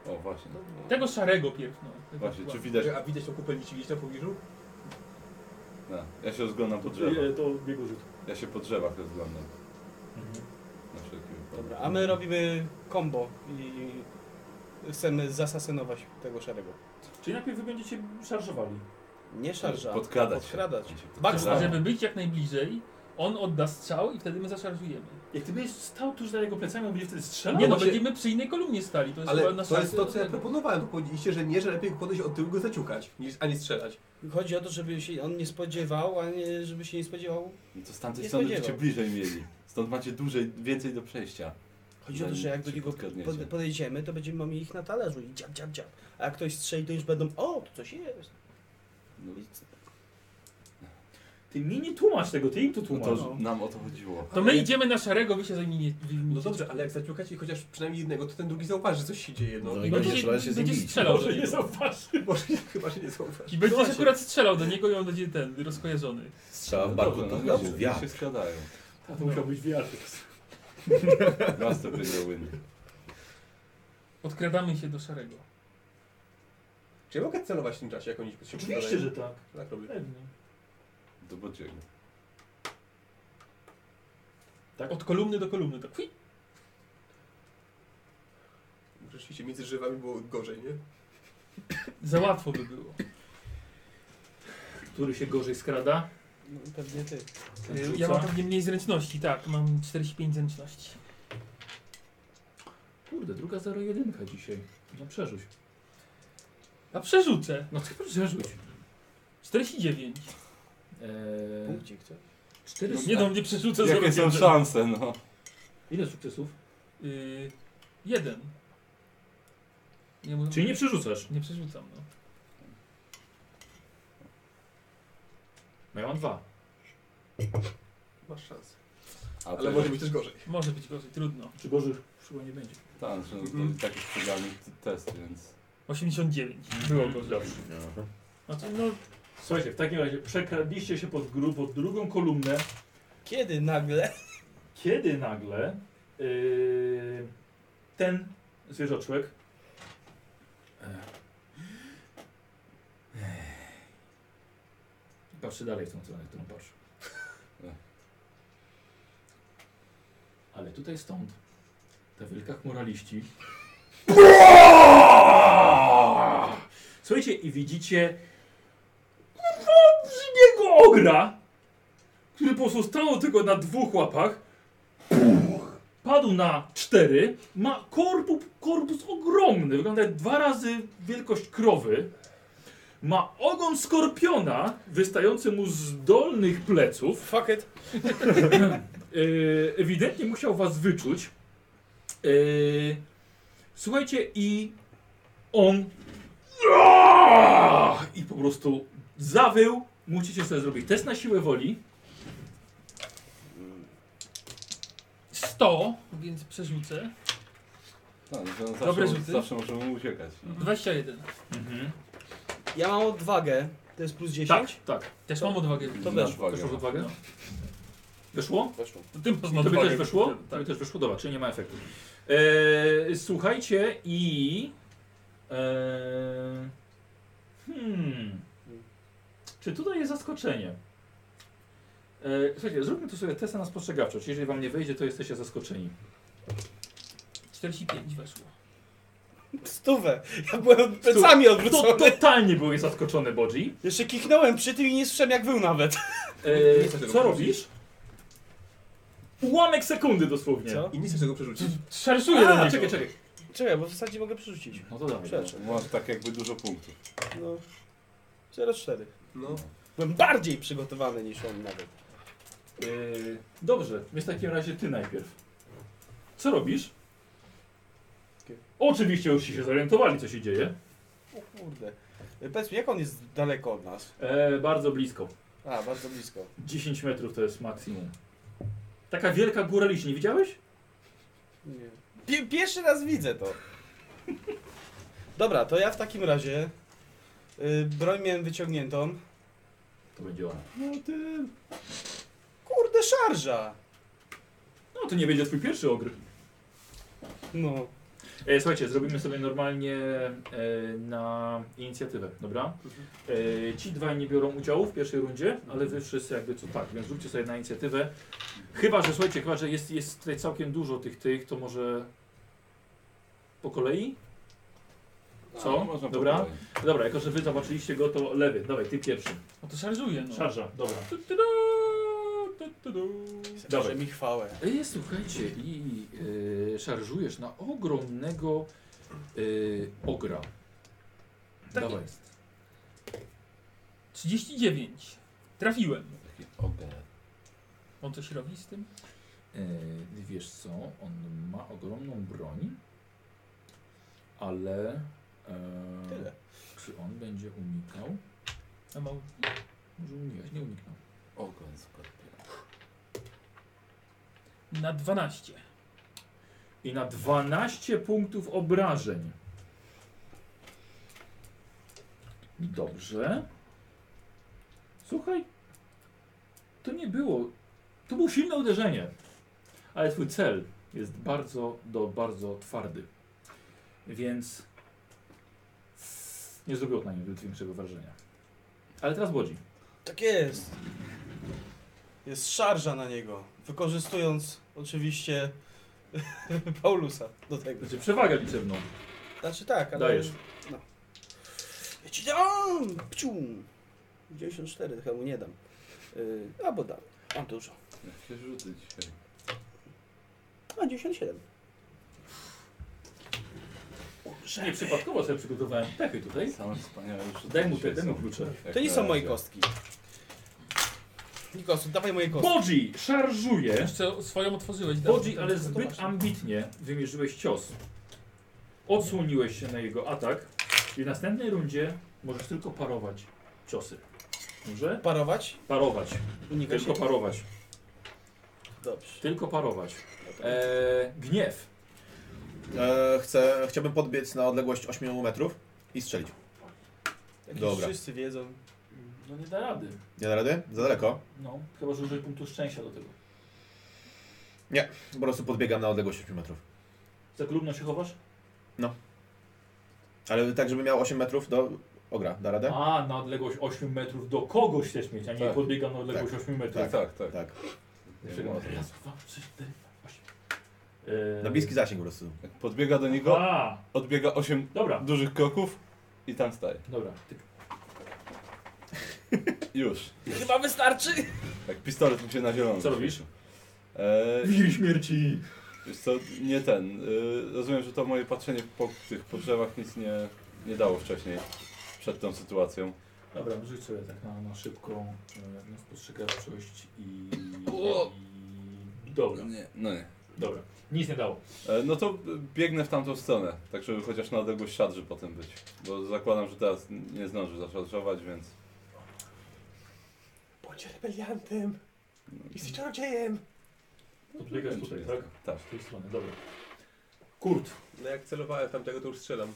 O, właśnie.
Tego szarego pierw, no. Tego
Właśnie, czy
ładnie.
widać...
A widać tą kupę liści gdzieś na pobliżu?
A, ja się rozglądam po
To,
drzewach.
y, to biegu rzut.
Ja się po drzewach rozglądam.
Mhm.
Na wszelki wypadek.
Dobra, a my robimy combo i chcemy zasasynować tego szarego.
Czyli najpierw wy będziecie szarżowali.
Nie szarża.
Podkradać się.
Podkradać.
Będzie
Backstab.
Żeby,
podkradać.
żeby być jak najbliżej, on odda strzał i wtedy my zaszarżujemy.
Jak ty będziesz stał tuż za jego plecami, on będzie wtedy strzelał?
Nie no,
No właśnie-
będziemy przy innej kolumnie stali, to jest chyba
Ale
nasz
to jest to,
szansy-
co ja proponowałem. To Powiedzieliście, że nie, że lepiej podejść od tyłu i go zaciukać, niż, a nie strzelać.
Chodzi o to, żeby się on nie spodziewał, a nie, żeby się nie spodziewał.
No to z tamtej
Nie
strony
spodziewał.
byście bliżej mieli. Stąd macie dłużej, więcej do przejścia.
Chodzi o to,
Zanim
że jak do
No, się
niego
podkradniecie.
pod, podejdziemy, to będziemy mieli ich na talerzu i dziab, dziab, dziab. A jak ktoś strzeli, to już będą, o, tu coś jest.
No,
Ty mi nie tłumacz tego, ty im to
no
tłumacz.
to nam o to chodziło.
To my idziemy na szarego, wy się zajmiecie.
No dobrze, ale jak zaciukacie chociaż przynajmniej jednego, to ten drugi zauważy, że coś się dzieje. No,
No
I
i
będzie,
będzie trzeba się z nim
będzie
bić.
strzelał do
Może No nie
niego.
zauważy.
*laughs* Może chyba, że nie zauważy.
I będziesz
Właśnie.
akurat strzelał do niego i on będzie ten, rozkojarzony.
Strzała w barku,
Dobrze,
to
no
chyba
dobrze,
był
niech
wiatr.
się skradają.
To musiał być wiatr.
Master wygrał win.
Podkradamy się do szarego.
Czy ja mogę celować w tym czasie, jak oni się
Oczywiście,
podkładają?
że tak.
Tak robię.
Pewnie.
Do Bodziego.
Od kolumny do kolumny, tak. Hui.
Rzeczywiście między drzewami było gorzej, nie?
Za łatwo by było.
Który się gorzej skrada?
No, pewnie ty.
Rzuca.
Y, Ja mam pewnie mniej zręczności, tak. Mam 45 zręczności.
Kurde, druga 01 dzisiaj. No przerzuć.
A
*laughs*
przerzucę.
No to przerzuć.
49.
Eee,
Punkcik, co?
No.
Cztery
Nie do mnie przerzucę
Jakie są
zarobięce.
szanse, no?
Ile sukcesów?
Y, jeden. Nie, mu-
Czyli nie przerzucasz.
nie przerzucam, no.
No ja mam dwa.
Masz szansę.
A
Ale
to-
może być też gorzej.
Może być gorzej, trudno.
Czy gorzej chyba nie będzie.
Tak, że to
Mhm.
i tak jest przegrany t- test, więc...
89. Było gorzej. Znaczy, no,
Słuchajcie, w takim razie przekradliście się pod, gru, pod drugą kolumnę,
Kiedy nagle? *laughs*
kiedy nagle yy, ten zwierzoczłek
Patrzę dalej w tą stronę, którą patrzę. Ale tutaj stąd ta wielka chmura liści. Słuchajcie i widzicie olbrzymiego ogra, który po prostu stanął tylko na dwóch łapach. Padł na cztery. Ma korpus, korpus ogromny, wygląda jak dwa razy wielkość krowy. Ma ogon skorpiona wystający mu z dolnych pleców. *laughs*
Fuck it.
Yy, ewidentnie musiał was wyczuć. Yy, Słuchajcie, i on. Aaaa! I po prostu zawył. Musicie sobie zrobić test na siłę woli.
100, więc przerzucę.
Tak, że on zawsze,
Dobre rzuty.
zawsze możemy uciekać. no.
21.
Mhm. Ja mam odwagę. To jest plus 10?
Tak, tak.
Też mam odwagę.
I
To
na
weszło,
odwagę.
Też masz
No.
odwagę? Wyszło?
Weszło.
To tym poznam
Tobie
odwagę.
No też wyszło?
Tak.
Tobie też wyszło? Dobra, czyli nie ma efektu.
E,
Eee, słuchajcie i... Eee, hmm... Czy tutaj jest zaskoczenie? Eee, słuchajcie, zróbmy tu sobie test na spostrzegawczość. Jeżeli wam nie wyjdzie, to jesteście zaskoczeni.
45 weszło.
*laughs* Stówę. Ja byłem plecami
No
To
odwrócony.
totalnie byłeś zaskoczony, Bodzi.
Jeszcze kichnąłem przy tym i nie słyszałem jak był nawet.
Eee,
Nie chcę tego
co
powiedzieć.
robisz? Ułamek sekundy dosłownie.
Co?
I nie chcę tego przerzucić.
Szerszuję do
A,
niego.
czekaj, czekaj.
Czekaj, bo w zasadzie mogę przerzucić.
No to dobrze.
Przeczek.
Masz tak jakby dużo punktów.
No. 0,4.
No.
Byłem bardziej przygotowany niż on nawet.
Yy, dobrze, więc w takim razie ty najpierw. Co robisz? Oczywiście już ci się zorientowali, co się dzieje.
O kurde. Powiedz mi, jak on jest daleko od nas?
E, bardzo blisko.
A, bardzo blisko.
10 metrów to jest maksimum. Taka wielka góra liczy, nie widziałeś?
Nie. Pi- pierwszy raz widzę to. Dobra, to ja w takim razie y, broń miałem wyciągniętą.
To będzie ona.
No ty... Kurde, szarża!
No to nie będzie twój pierwszy ogr.
No.
E, słuchajcie, zrobimy sobie normalnie e, na inicjatywę, dobra? E, ci dwaj nie biorą udziału w pierwszej rundzie, ale wy wszyscy jakby co tak, więc zróbcie sobie na inicjatywę. Chyba, że słuchajcie, chyba, że jest, jest tutaj całkiem dużo tych tych, to może po kolei? Co?
No, można
Dobra.
pogadać.
Dobra, jako że wy zobaczyliście go, to lewy, dawaj, ty pierwszy.
No to szarżuję, no.
Szarża, dobra.
Tu, tu, du, tu, tu, du.
Dawaj.
Że mi chwałę.
E, słuchajcie, i e, szarżujesz na ogromnego e, ogra.
Tak
dawaj.
39. Trafiłem.
Taki ogier.
On coś robi z tym?
Yy, wiesz co, on ma ogromną broń, ale e,
Tyle.
czy on będzie unikał?
A ma...
Może unikać, nie uniknął.
Ogon skorpiona.
Na 12.
I na 12 punktów obrażeń. Dobrze. Słuchaj, to nie było, to było silne uderzenie, ale twój cel jest bardzo, do bardzo twardy, więc nie zrobiło to na nim większego wrażenia. Ale teraz Łodzi.
Tak jest. Jest szarża na niego. Wykorzystując oczywiście *laughs* Paulusa do tego.
Znaczy przewagę liczebną.
Znaczy tak, ale...
Dajesz.
No. Ja ci dam! Pcium! 94, chyba mu nie dam. Yy, albo dam. Mam dużo.
Jak się rzuty dzisiaj.
A, 97.
Nie przypadkowo sobie przygotowałem pechy tutaj.
Same wspaniałe rzuty
Daj mu te,
dzisiaj
daj mu
są.
klucze.
Jak
To nie są
na
moje
razie.
kostki. Nikosu, dawaj moje kostki.
Bodzi szarżuje.
Jeszcze swoją otworzyłeś. tak?
Bodzi, ale
To
zbyt
właśnie.
ambitnie wymierzyłeś cios. Odsłoniłeś się na jego atak i w następnej rundzie możesz tylko parować ciosy. Może?
Parować?
Parować.
Unikaj się.
Tylko parować.
Dobrze.
Tylko parować.
No
Eee, gniew.
E, chcę, chciałbym podbiec na odległość 8 metrów i strzelić.
Jak już
Dobra.
wszyscy wiedzą.
No nie da rady.
Nie da rady? Za daleko?
No, chyba że użyj punktu szczęścia do tego.
Po prostu podbiegam na odległość 8 metrów.
Za grubno się chowasz?
Ale tak, żeby miał 8 metrów do... Ogra, da
Tak.
radę?
A, na odległość 8 metrów do kogoś chcesz mieć, a nie
Tak.
podbiegam na odległość 8 metrów.
Tak, tak, tak.
Tak.
Nie ma o tym.
Raz, dwa, trzy, cztery, osiem. Eee,
Na bliski zasięg po prostu.
Jak Podbiega do niego,
A,
odbiega 8
dobra,
dużych kroków i tam staje.
dobra. Ty
Już.
Chyba wystarczy!
Jak pistolet mi się na zielono.
Co robisz?
Eee,
Willi śmierci.
Wiesz co, nie ten. Y, rozumiem, że to moje patrzenie po tych podrzewach nic nie, nie dało wcześniej przed tą sytuacją.
Dobra, rzuć sobie tak na, na szybką, e, na spostrzegawczość i,
O!
i... Dobra,
Nie. No nie.
dobra. Nic nie dało.
E, no to biegnę w tamtą stronę, tak żeby chociaż na odległość siadrzy potem być. Bo zakładam, że teraz nie zdążę zaszarżować, więc...
Bądź rebeliantem.
No
Jesteś czarodziejem.
podbiegasz tutaj, tak?
Tak.
Z tej strony, dobra. Kurt,
No jak celowałem tamtego, to już strzelam.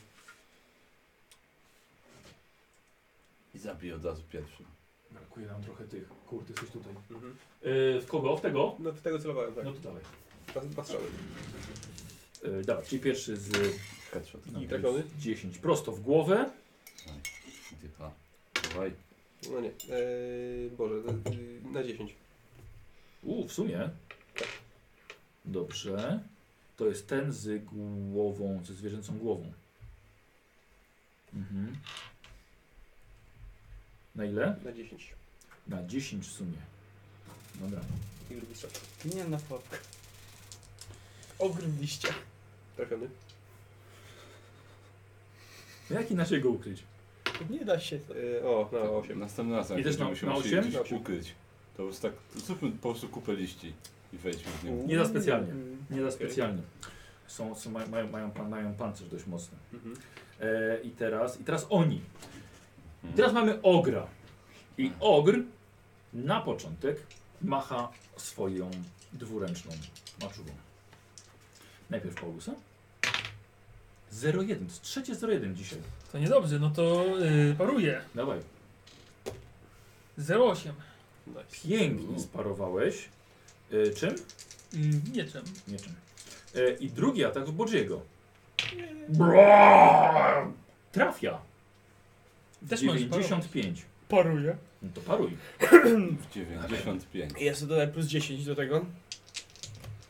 I zabiję od razu pierwszy.
Brakuje nam trochę tych. Kurde, jesteś tutaj. E,
Mhm.
eee, w kogo? W tego?
No w tego celowałem, tak.
No to dawaj.
Dwa, dwa strzały.
E, dobra, czyli pierwszy z
Headshot.
no,
trafiony?
z 10. Prosto w głowę.
Dycha. Dawaj.
No nie. Eee, Boże, yy, na 10.
U, w sumie. Dobrze. To jest ten z głową, ze zwierzęcą głową. Mhm. Na ile?
Na 10.
Na 10 w sumie. Dobra.
I drugi strzał.
Nie na chłopkę. Ogr w liściach.
Trafiony.
No Jak inaczej go ukryć?
Nie da się.
Eee, o, na 8.
tak, Następnym razem
I też na-
będziemy się
na
musieli
osiem?
gdzieś ukryć. To już tak, zróbmy po prostu kupę liści i wejdźmy w nią.
Nie za specjalnie.
Mm.
Nie za specjalnie. Są, są, mają, mają, mają, pan- mają pancerz dość mocny.
Mhm.
E, I teraz, i teraz oni.
Hmm.
I teraz mamy ogra. I ogr na początek macha swoją dwuręczną maczugą. Najpierw Paulusa. 01, trzecie 01 dzisiaj.
To niedobrze, no to yy, paruję.
Dawaj.
0,8.
Nice.
Pięknie sparowałeś. E, czym?
Yy, mieczem.
Mieczem. E, I drugi atak z Bodziego. Trafia.
Też możesz
95.
Paruję.
No to paruj.
W 95.
Ja sobie dodaję plus 10 do tego.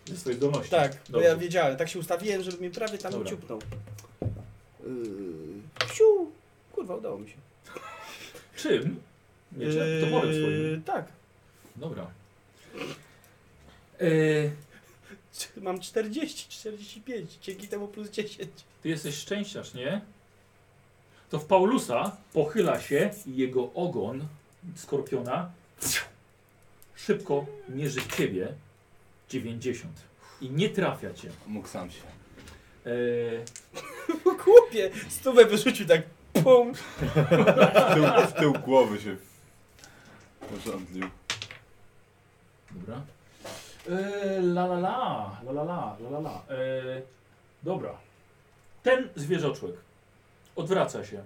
Ze swojej zdolności.
Tak, bo
Dobrze.
ja wiedziałem, tak się ustawiłem, żeby mnie prawie tam
Dobra.
ciupnął. Yy, siu! Kurwa, udało mi się.
Czym? Mieczem?
Yy,
Toporem swoim.
Tak.
Dobra.
Yy. C- Mam 40, 45, dzięki temu plus 10.
Ty jesteś szczęściarz, nie? To w Paulusa pochyla się i jego ogon skorpiona szybko mierzy w ciebie 90 i nie trafia cię.
Mógł sam się.
Eee,
*laughs* Chłopie, stówę wyrzucił tak, pum.
W tył, w tył głowy się urządził.
dobra. Eee, la la la, la la la, la la la. Eee, dobra. Ten zwierzoczłek odwraca się.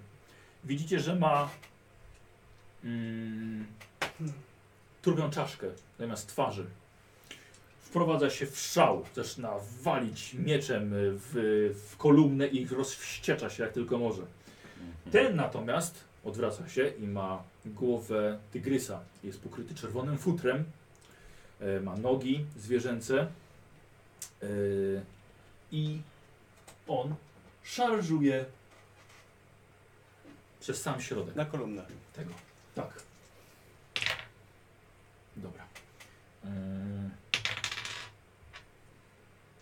Widzicie, że ma mm, trubią czaszkę zamiast twarzy. Wprowadza się w szał, zaczyna walić mieczem y, w, w kolumnę i rozwściecza się jak tylko może.
Mhm.
Ten natomiast odwraca się i ma głowę tygrysa. Jest pokryty czerwonym futrem. E, Ma nogi zwierzęce. E, I on szarżuje przez sam środek
Na kolumnę.
tego. Tak. Dobra. Yy...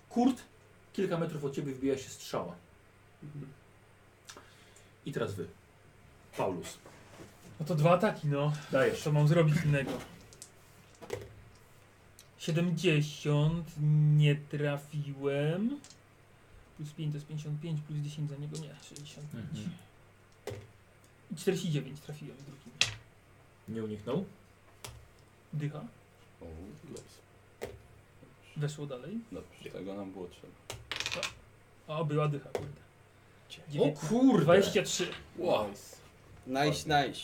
Kurt, kilka metrów od ciebie wbija się strzała. I teraz wy. Paulus.
No to dwa ataki, no.
Dajesz.
Co mam zrobić innego? 70 nie trafiłem. Plus 5 to jest 55, plus 10 za niego nie, 65.
Mhm.
I 49 trafiłem drugim.
Nie uniknął?
Dycha,
O,
weszło dalej.
Dobrze, tego nam było trzeba.
A była dycha, kurde.
O kurwa!
23.
Wow.
Nice, nice.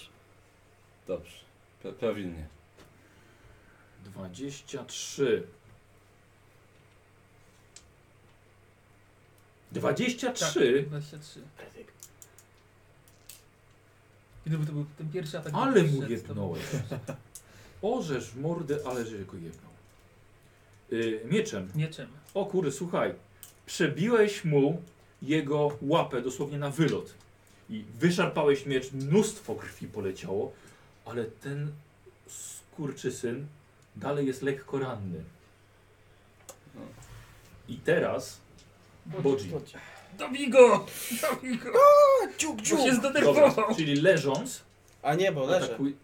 Dobrze, pra- prawidłnie.
23.
Tak,
23?
23. Gdyby to był ten pierwszy atak.
Ale
to
mu no.
by-
jednąłeś. Orzesz w mordę, ale że go jednął. Y, mieczem.
Mieczem.
O kurde, słuchaj. Przebiłeś mu jego łapę dosłownie na wylot. I wyszarpałeś miecz, mnóstwo krwi poleciało, ale ten skurczysyn dalej jest lekko ranny.
No.
I teraz Bodzi.
Dobij go! Dobij go!
Ciuk,
Bo się
Dobra,
zdenerwował.
czyli leżąc,
A nie, bo
tak,
leżę.
atakuj...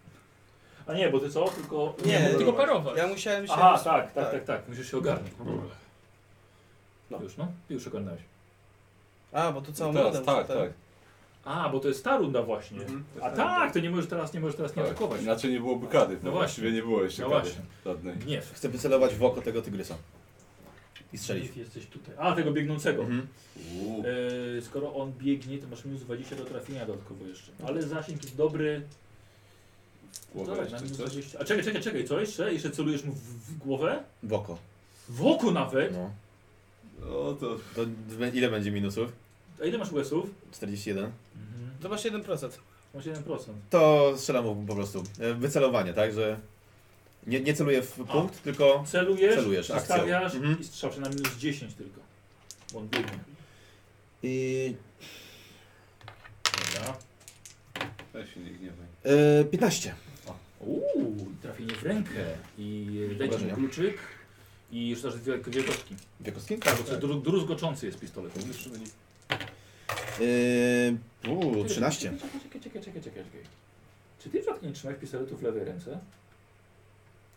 A nie, bo ty co? Tylko...
Nie,
mogę
Tylko
darować.
parować.
Ja musiałem się...
Aha, tak, tak,
tak.
tak, tak.
musisz się ogarnąć.
No.
Już no, już ogarnąłeś.
A, bo tu całą
I teraz,
rundę
tak,
muszę ten-
tak.
A, bo to jest ta runda właśnie. A tak, to nie możesz teraz, nie możesz teraz nie
tak.
atakować.
Inaczej nie byłoby kary.
No właśnie.
No właściwie nie było jeszcze
No
kary
właśnie.
żadnej.
Gniew.
Chcę wycelować w oko tego tygrysa. I strzelić.
Ty Jesteś tutaj. A, tego biegnącego.
Mhm.
Uuu.
Yy, skoro on biegnie, to masz minus 20 do trafienia dodatkowo jeszcze. Ale zasięg jest dobry.
Głowę
Dawaj, na
jeszcze
minus
coś?
20. A czekaj, czekaj, czekaj, co jeszcze? Jeszcze celujesz mu w, w głowę?
W oko.
W oku nawet?
No.
O No to...
To d- ile będzie minusów?
A ile masz łesów?
41.
To masz 1%.
Masz 1%.
To strzelam mu po prostu. E, Wycelowanie, tak? Że nie, nie celuję w punkt, tylko
Celujesz,
Celujesz, akcją.
stawiasz
Mhm.
i strzał się na minus 10 tylko. Bo on biegnie.
I,
Dobra.
Ja się nie gniewaj.
e, 15.
Uuu, i trafienie w rękę. I leci mu
Obrażenia.
kluczyk. I rzucasz dwie dwie kostki.
Dwie kostki?
Tak, bo to dru- druzgoczący jest pistolet.
Yy, uu, 13.
Czekaj, czekaj, czekaj, czekaj, czekaj, czekaj. Czy ty przypadkiem nie trzymasz pistoletu w lewej ręce?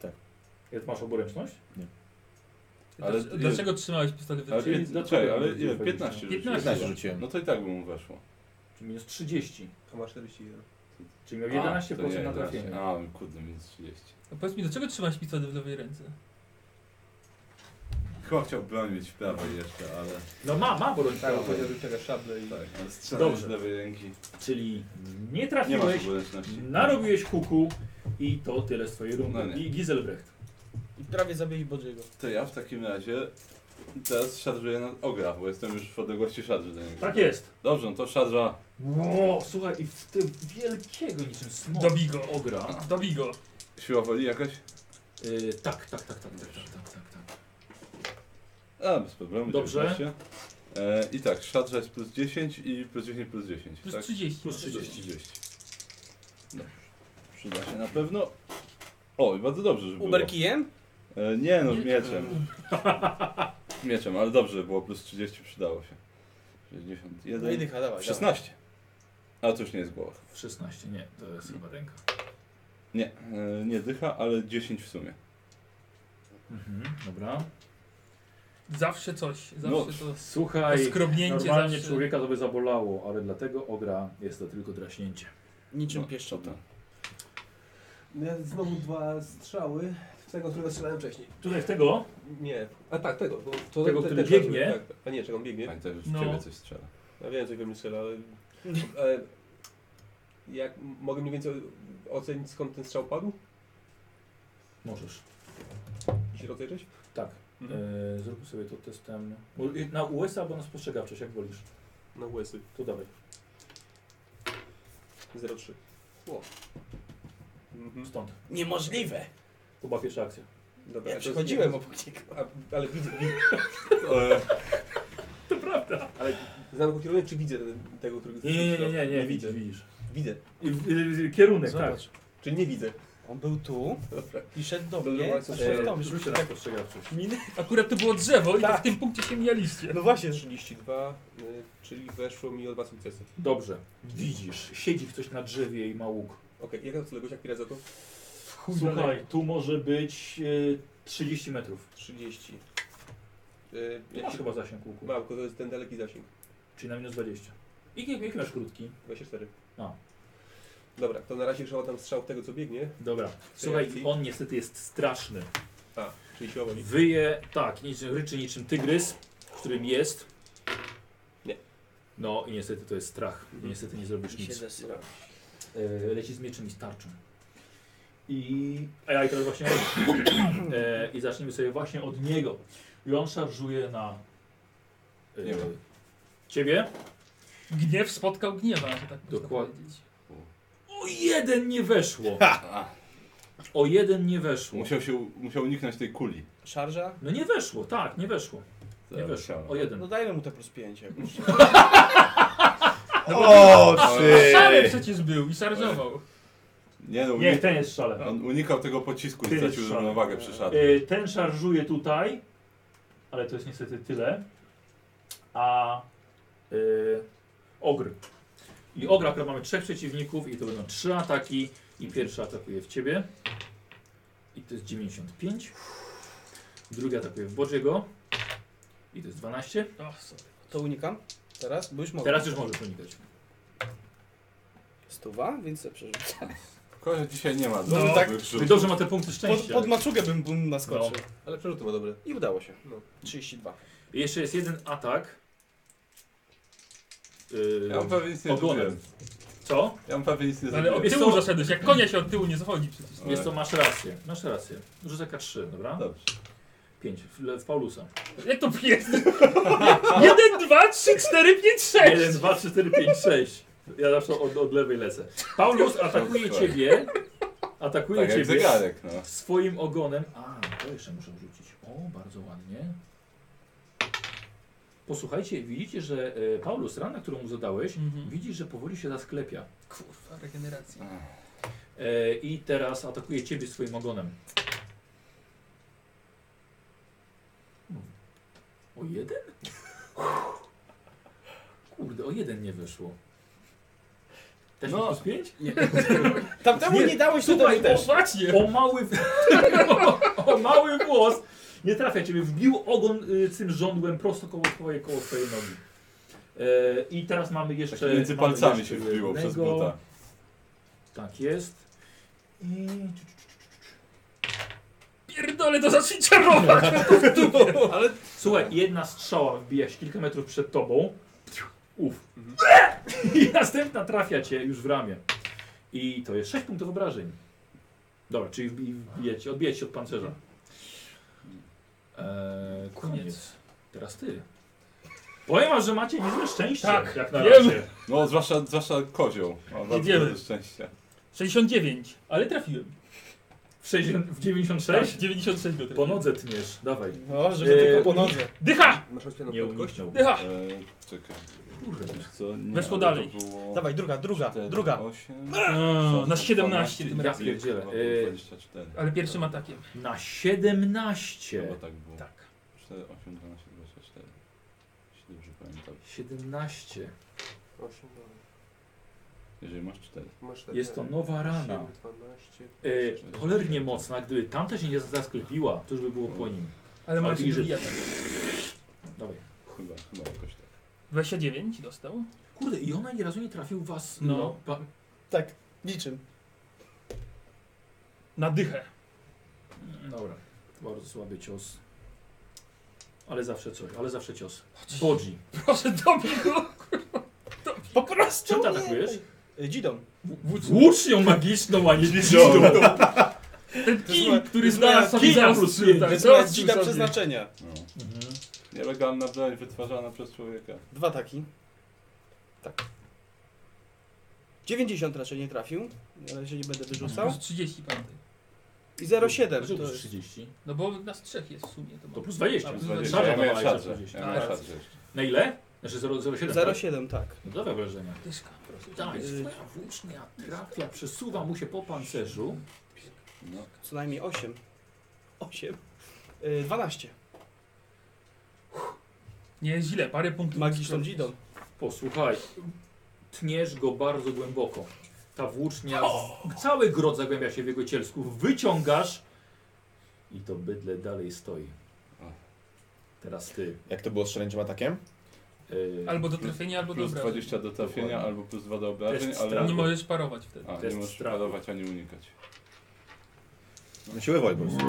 Tak.
Jak masz oboręczność?
Ale-
Dlaczego- Dlaczego trzymałeś pistolet
Ale,
Czyli
pięt...
dlaczego
czekaj, ale
będzie
ile?
20?
15 rzuciłeś?
15.
15 rzuciłem.
No to i tak by mu weszło.
Czyli minus 30.
A ma 41.
Czyli miał
A, to
11%
nie,
na trafienie.
A, no kurde, minus 30.
A powiedz mi, dlaczego trzymałeś pistolet w lewej ręce?
Chyba chciał broń mieć w prawej jeszcze, ale...
No ma, ma broń.
Tak, bo
prawej.
powiedział, że wyciąga szablę i...
Tak, ale strzelałeś
Dobrze.
z lewej ręki.
Czyli nie
Nie masz
trafiłeś,
obręczności.
narobiłeś huku i to tyle z twojej rundy.
No nie.
I Giselbrecht.
I prawie zabili Bodziego.
To ja w takim razie teraz szarżuję na ogra, bo jestem już w odległości szarży do niego.
Tak jest.
Dobrze, no to szarża.
Ło, słuchaj, i w tym wielkiego niczym smoka.
Dobij go.
Ogra.
Dobij go.
Siła woli jakaś?
Y, tak, tak, tak, tak, tak, tak, tak, tak, tak.
A, bez problemu.
Dobrze.
19. E, I tak, szarża jest plus 10 i plus 10 plus 10,
Plus
tak?
30.
Plus 30.
30. Dobrze. Przyda się na pewno. O, i bardzo dobrze, że było.
Uber kijem?
E, nie no, mieczem. mieczem, ale dobrze, że było plus 30 przydało się.
No i
61.
dycha, dawaj,
16. A to już nie jest głowa.
16, nie, to jest chyba ręka.
Nie, e, nie dycha, ale 10 w sumie.
Mhm, dobra.
Zawsze coś. Zawsze
No,
to.
Słuchaj,
To skrobnięcie
normalnie
zawsze-
człowieka to by zabolało, ale dlatego ogra jest to tylko draśnięcie.
dawaj. Niczym
No,
pieszczota.
to-
No ja znowu dwa strzały w tego, którego strzelałem wcześniej.
Tutaj w tego,
Nie. A tak, tego. Bo to
Tego,
te-
który
też-
biegnie?
Tak, tak. A nie, czego on biegnie.
Pamiętaj, że w
No.
ciebie coś strzela.
Ja wiem, że we mnie strzela,
*laughs*
ale... ale jak mogę mniej więcej ocenić skąd ten strzał padł?
możesz.
I się rozejrzeć?
Tak. E, zrób sobie to testem. y, Na US albo na spostrzegawczość, jak wolisz.
Na łysy.
To dawaj.
0,3. Ło. Mhm.
Stąd.
Niemożliwe!
To była pierwsza akcja.
Dobra,
Ja
to-
przychodziłem obok niego.
A, ale widzę, widzę. *laughs*
E,
Ale znam go kierunek, czy widzę ten, tego, który
Nie, nie, nie, nie, nie, widzisz, widzisz.
Widzę.
I, w- i, i, kierunek, tak.
Zobacz.
Czy nie widzę?
On był tu
Dobra.
i szedł do
Dobra,
mnie.
dobra,
a
co
tak.
szedł do
E,
mnie.
Rzućcie na spostrzegawczość.
Miny?
Akurat to było drzewo i to
Tak.
w tym punkcie się mijaliście.
No właśnie, że-
32, y, czyli weszło mi o dwa sukcesy.
Dobrze. Widzisz, siedzi ktoś na drzewie i ma łuk.
Okej, jaka to odległość, jak za to? chuj daleko.
Słuchaj,
no.
tu może być e, 30 metrów.
30. Yy,
Nie
jak
masz
się...
chyba zasięg łuku.
Mam, to jest ten daleki zasięg.
Czyli na minus 20. I jaki jaki masz krótki?
24.
No.
Dobra, to na razie przeładam strzał w tego, co biegnie.
Dobra. Słuchaj,
akcji?
on niestety jest straszny.
A, czyli siłowo nic.
Wyje, tak, niczym, ryczy niczym tygrys, którym jest.
Nie.
No i niestety to jest strach.
Mhm.
Niestety nie zrobisz
I się
nic.
zesrał.
E, leci z mieczem i z tarczą. I... A ja i teraz właśnie... e, I zaczniemy sobie właśnie od niego. I on szarżuje na... E,
Nie ma.
Ciebie?
Gniew spotkał gniewa, że tak można
Dokładnie.
powiedzieć.
O jeden nie weszło! O jeden nie weszło.
Musiał, się, musiał uniknąć tej kuli.
Szarża?
No nie weszło, tak, nie weszło. Nie
Zaraz
weszło,
chciałem.
o
No
jeden.
dajmy mu te plus 5 jakoś.
O, ty!
Szary przecież był i szarżował.
Nie, no,
Nie,
unik...
ten jest szale.
on unikał tego pocisku
Ty
i stracił
jest szalony.
równowagę przy szatni.
Y,
E, ten szarżuje tutaj, ale to jest niestety tyle. A
E, ogr. I ogra, akurat mamy trzech przeciwników i to będą trzy ataki. I pierwszy atakuje w ciebie. I to jest 95. Drugi atakuje w Bodziego. I to jest 12.
Och, sorry.
To unikam? Teraz? Bo już mogę.
Teraz już możesz unikać.
Stuwa, więc se przerzucę.
Tylko, że dzisiaj nie ma
No,
dobrych
tak.
Wy
rzutów.
dobrze ma te punkty
Pod,
szczęścia.
pod maczugę bym, bym naskoczył.
Ale przerzuty ma dobre.
I udało się.
No.
32.
I jeszcze jest jeden atak. E,
Ja mam pewnie nic nie
Ogonem.
zrobiłem.
Co?
Ja mam pewnie nic nie
Ale
zrobiłem.
od
Wiesz
tyłu
co?
zaszedłeś, jak konia się od tyłu nie zachodzi przecież.
Wiesz co, masz rację. Masz rację. Rzucę K3, dobra?
Dobrze. Tak
5. W, w Paulusa.
Jak to
*laughs*
jest? 1, 2, 3, 4, 5, 6!
1, 2, 3, 4, 5, 6. Ja zawsze od, od lewej lecę. Paulus atakuje
Dobra.
ciebie. Atakuje
Tak jak
ciebie
zegarek, no.
swoim ogonem. A, to jeszcze muszę rzucić. O, bardzo ładnie. Posłuchajcie, widzicie, że e, Paulus, rana, którą mu zadałeś,
Mhm.
widzisz, że powoli się zasklepia.
Kurwa, regeneracja.
E, I teraz atakuje ciebie swoim ogonem. Hmm. O jeden? Kurde, o jeden nie wyszło. Też
No.
no. plus pięć?
Tamtemu nie,
Nie,
nie dałeś, to
słuchaj,
temu
O,
też.
właśnie!
O mały, *laughs* o, mały włos! Nie trafia ciebie, wbił ogon y, tym żądłem prosto koło twojej, koło twojej nogi. E, I teraz mamy jeszcze...
Tak między
mamy
palcami
jeszcze
się wbiło przez
jednego.
buta.
Tak jest. I...
Pierdolę, to zacznij czarować!
Ale
Słuchaj, jedna strzała wbija się kilka metrów przed tobą. Uf. *laughs* I następna trafia cię już w ramię. I to jest 6 punktów obrażeń. Dobra, czyli wbi- wbijecie, odbijecie od pancerza. Eee, koniec. Teraz ty. Powiem wam, że macie niezłe szczęście.
Tak,
jak na
wiem.
razie.
No, zwłaszcza, zwłaszcza kozioł. Ma bardzo
Idziemy.
dużo szczęścia.
69, ale trafiłem.
W, 60, w 96?
96 go
Po
trafiłem.
nodze tniesz, dawaj.
No, żeby
Eee,
tylko po nodze.
Dycha!
masz odcianą
Nie
pod kość?
uniknął.
Dycha!
E, czekaj,
Kurde.
wiesz co? Nie,
Weszło
ale
dalej.
To było...
Dawaj, druga, druga,
cztery,
druga.
osiem,
Eee, na
12,
17 tym
Ja
razem.
pierdzielę.
chyba
Eee,
24.
Ale pierwszym atakiem.
Na
Chyba
17.
tak było. 4, 8, 12, 24. Jeśli dobrze pamiętam.
17.
Osiem, dobra.
Jeżeli masz 4.
Masz tak,
Jest to
tak.
nowa rana.
Osiem, 12.
E, cholernie mocna, gdyby tamta się nie zasklepiła, to już by było po nim.
Ale
Ale
masz
bliżej.
drugi atak.
Dawaj.
Chyba, chyba jakoś tak.
29 dostał.
Kurde, i ona nie razu nie trafił was.
No.
pa-
Tak, niczym.
Na dychę.
Dobra, bardzo słaby cios. Ale zawsze coś, ale zawsze cios. Bodzi.
Proszę, dobij go!
Po prostu
Czym ty
nie.
atakujesz?
Y, Dzidą.
Włócznią magiczną, a nie
Ten kij, który
jest moja
znalazł sobie
kija
zaraz
plus
sobie,
jeden.
tak,
To jest moja
zaraz
dzida
sobie.
przeznaczenia.
No.
Mhm.
Nielegalna broń wytwarzana przez człowieka.
Dwa taki. Tak. 90 raczej nie trafił, ale się nie będę wyrzucał.
Plus 30 pamiętaj.
I 07 to
Dlaczego plus
jest.
30?
No bo nas trzech jest w sumie. To,
To
mam.
plus 20.
A, plus
Szarża
20.
Ja miałem
dawałeś, że
szarżę.
20.
Ja miałem
A,
szarżę jeszcze.
Na ile? Znaczy 0,07. tak?
07, tak.
No dobre wrażenie.
Dyszka.
Daj,
Y-
twoja włócznia trafia, przesuwa mu się po pancerzu.
No.
Co najmniej 8. 8. Y, 12.
Nie, źle, parę punktów.
Magiczną dzidą.
Posłuchaj, tniesz go bardzo głęboko. Ta włócznia, z- cały grot zagłębia się w jego cielsku. Wyciągasz i to bydle dalej stoi. Teraz ty.
Jak to było z szaleńczym atakiem?
Yy,
Albo do trafienia, albo do
Plus
obrażeń.
20 do trafienia
Dokładnie.
albo plus 2 do obrażeń,
Test
ale...
strachu.
Nie możesz parować wtedy.
A, nie
Test
możesz
strachu.
parować ani unikać.
Na siłę woli po prostu.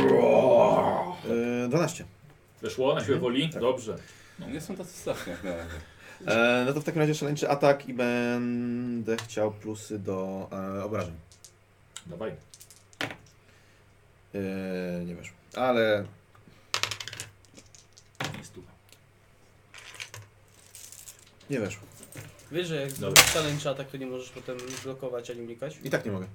Yy, 12.
Weszło na siłę woli?
Tak.
Dobrze.
No nie są tacy straszne jak na razie.
E, no to w takim razie szaleńczy atak i będę chciał plusy do e, obrażeń.
Dawaj.
E, nie wiesz. Ale
Jest tu.
nie wiesz.
Wiesz, że jak
Dobra.
zrobisz szaleńczy atak, to nie możesz potem blokować ani unikać?
I tak nie mogę.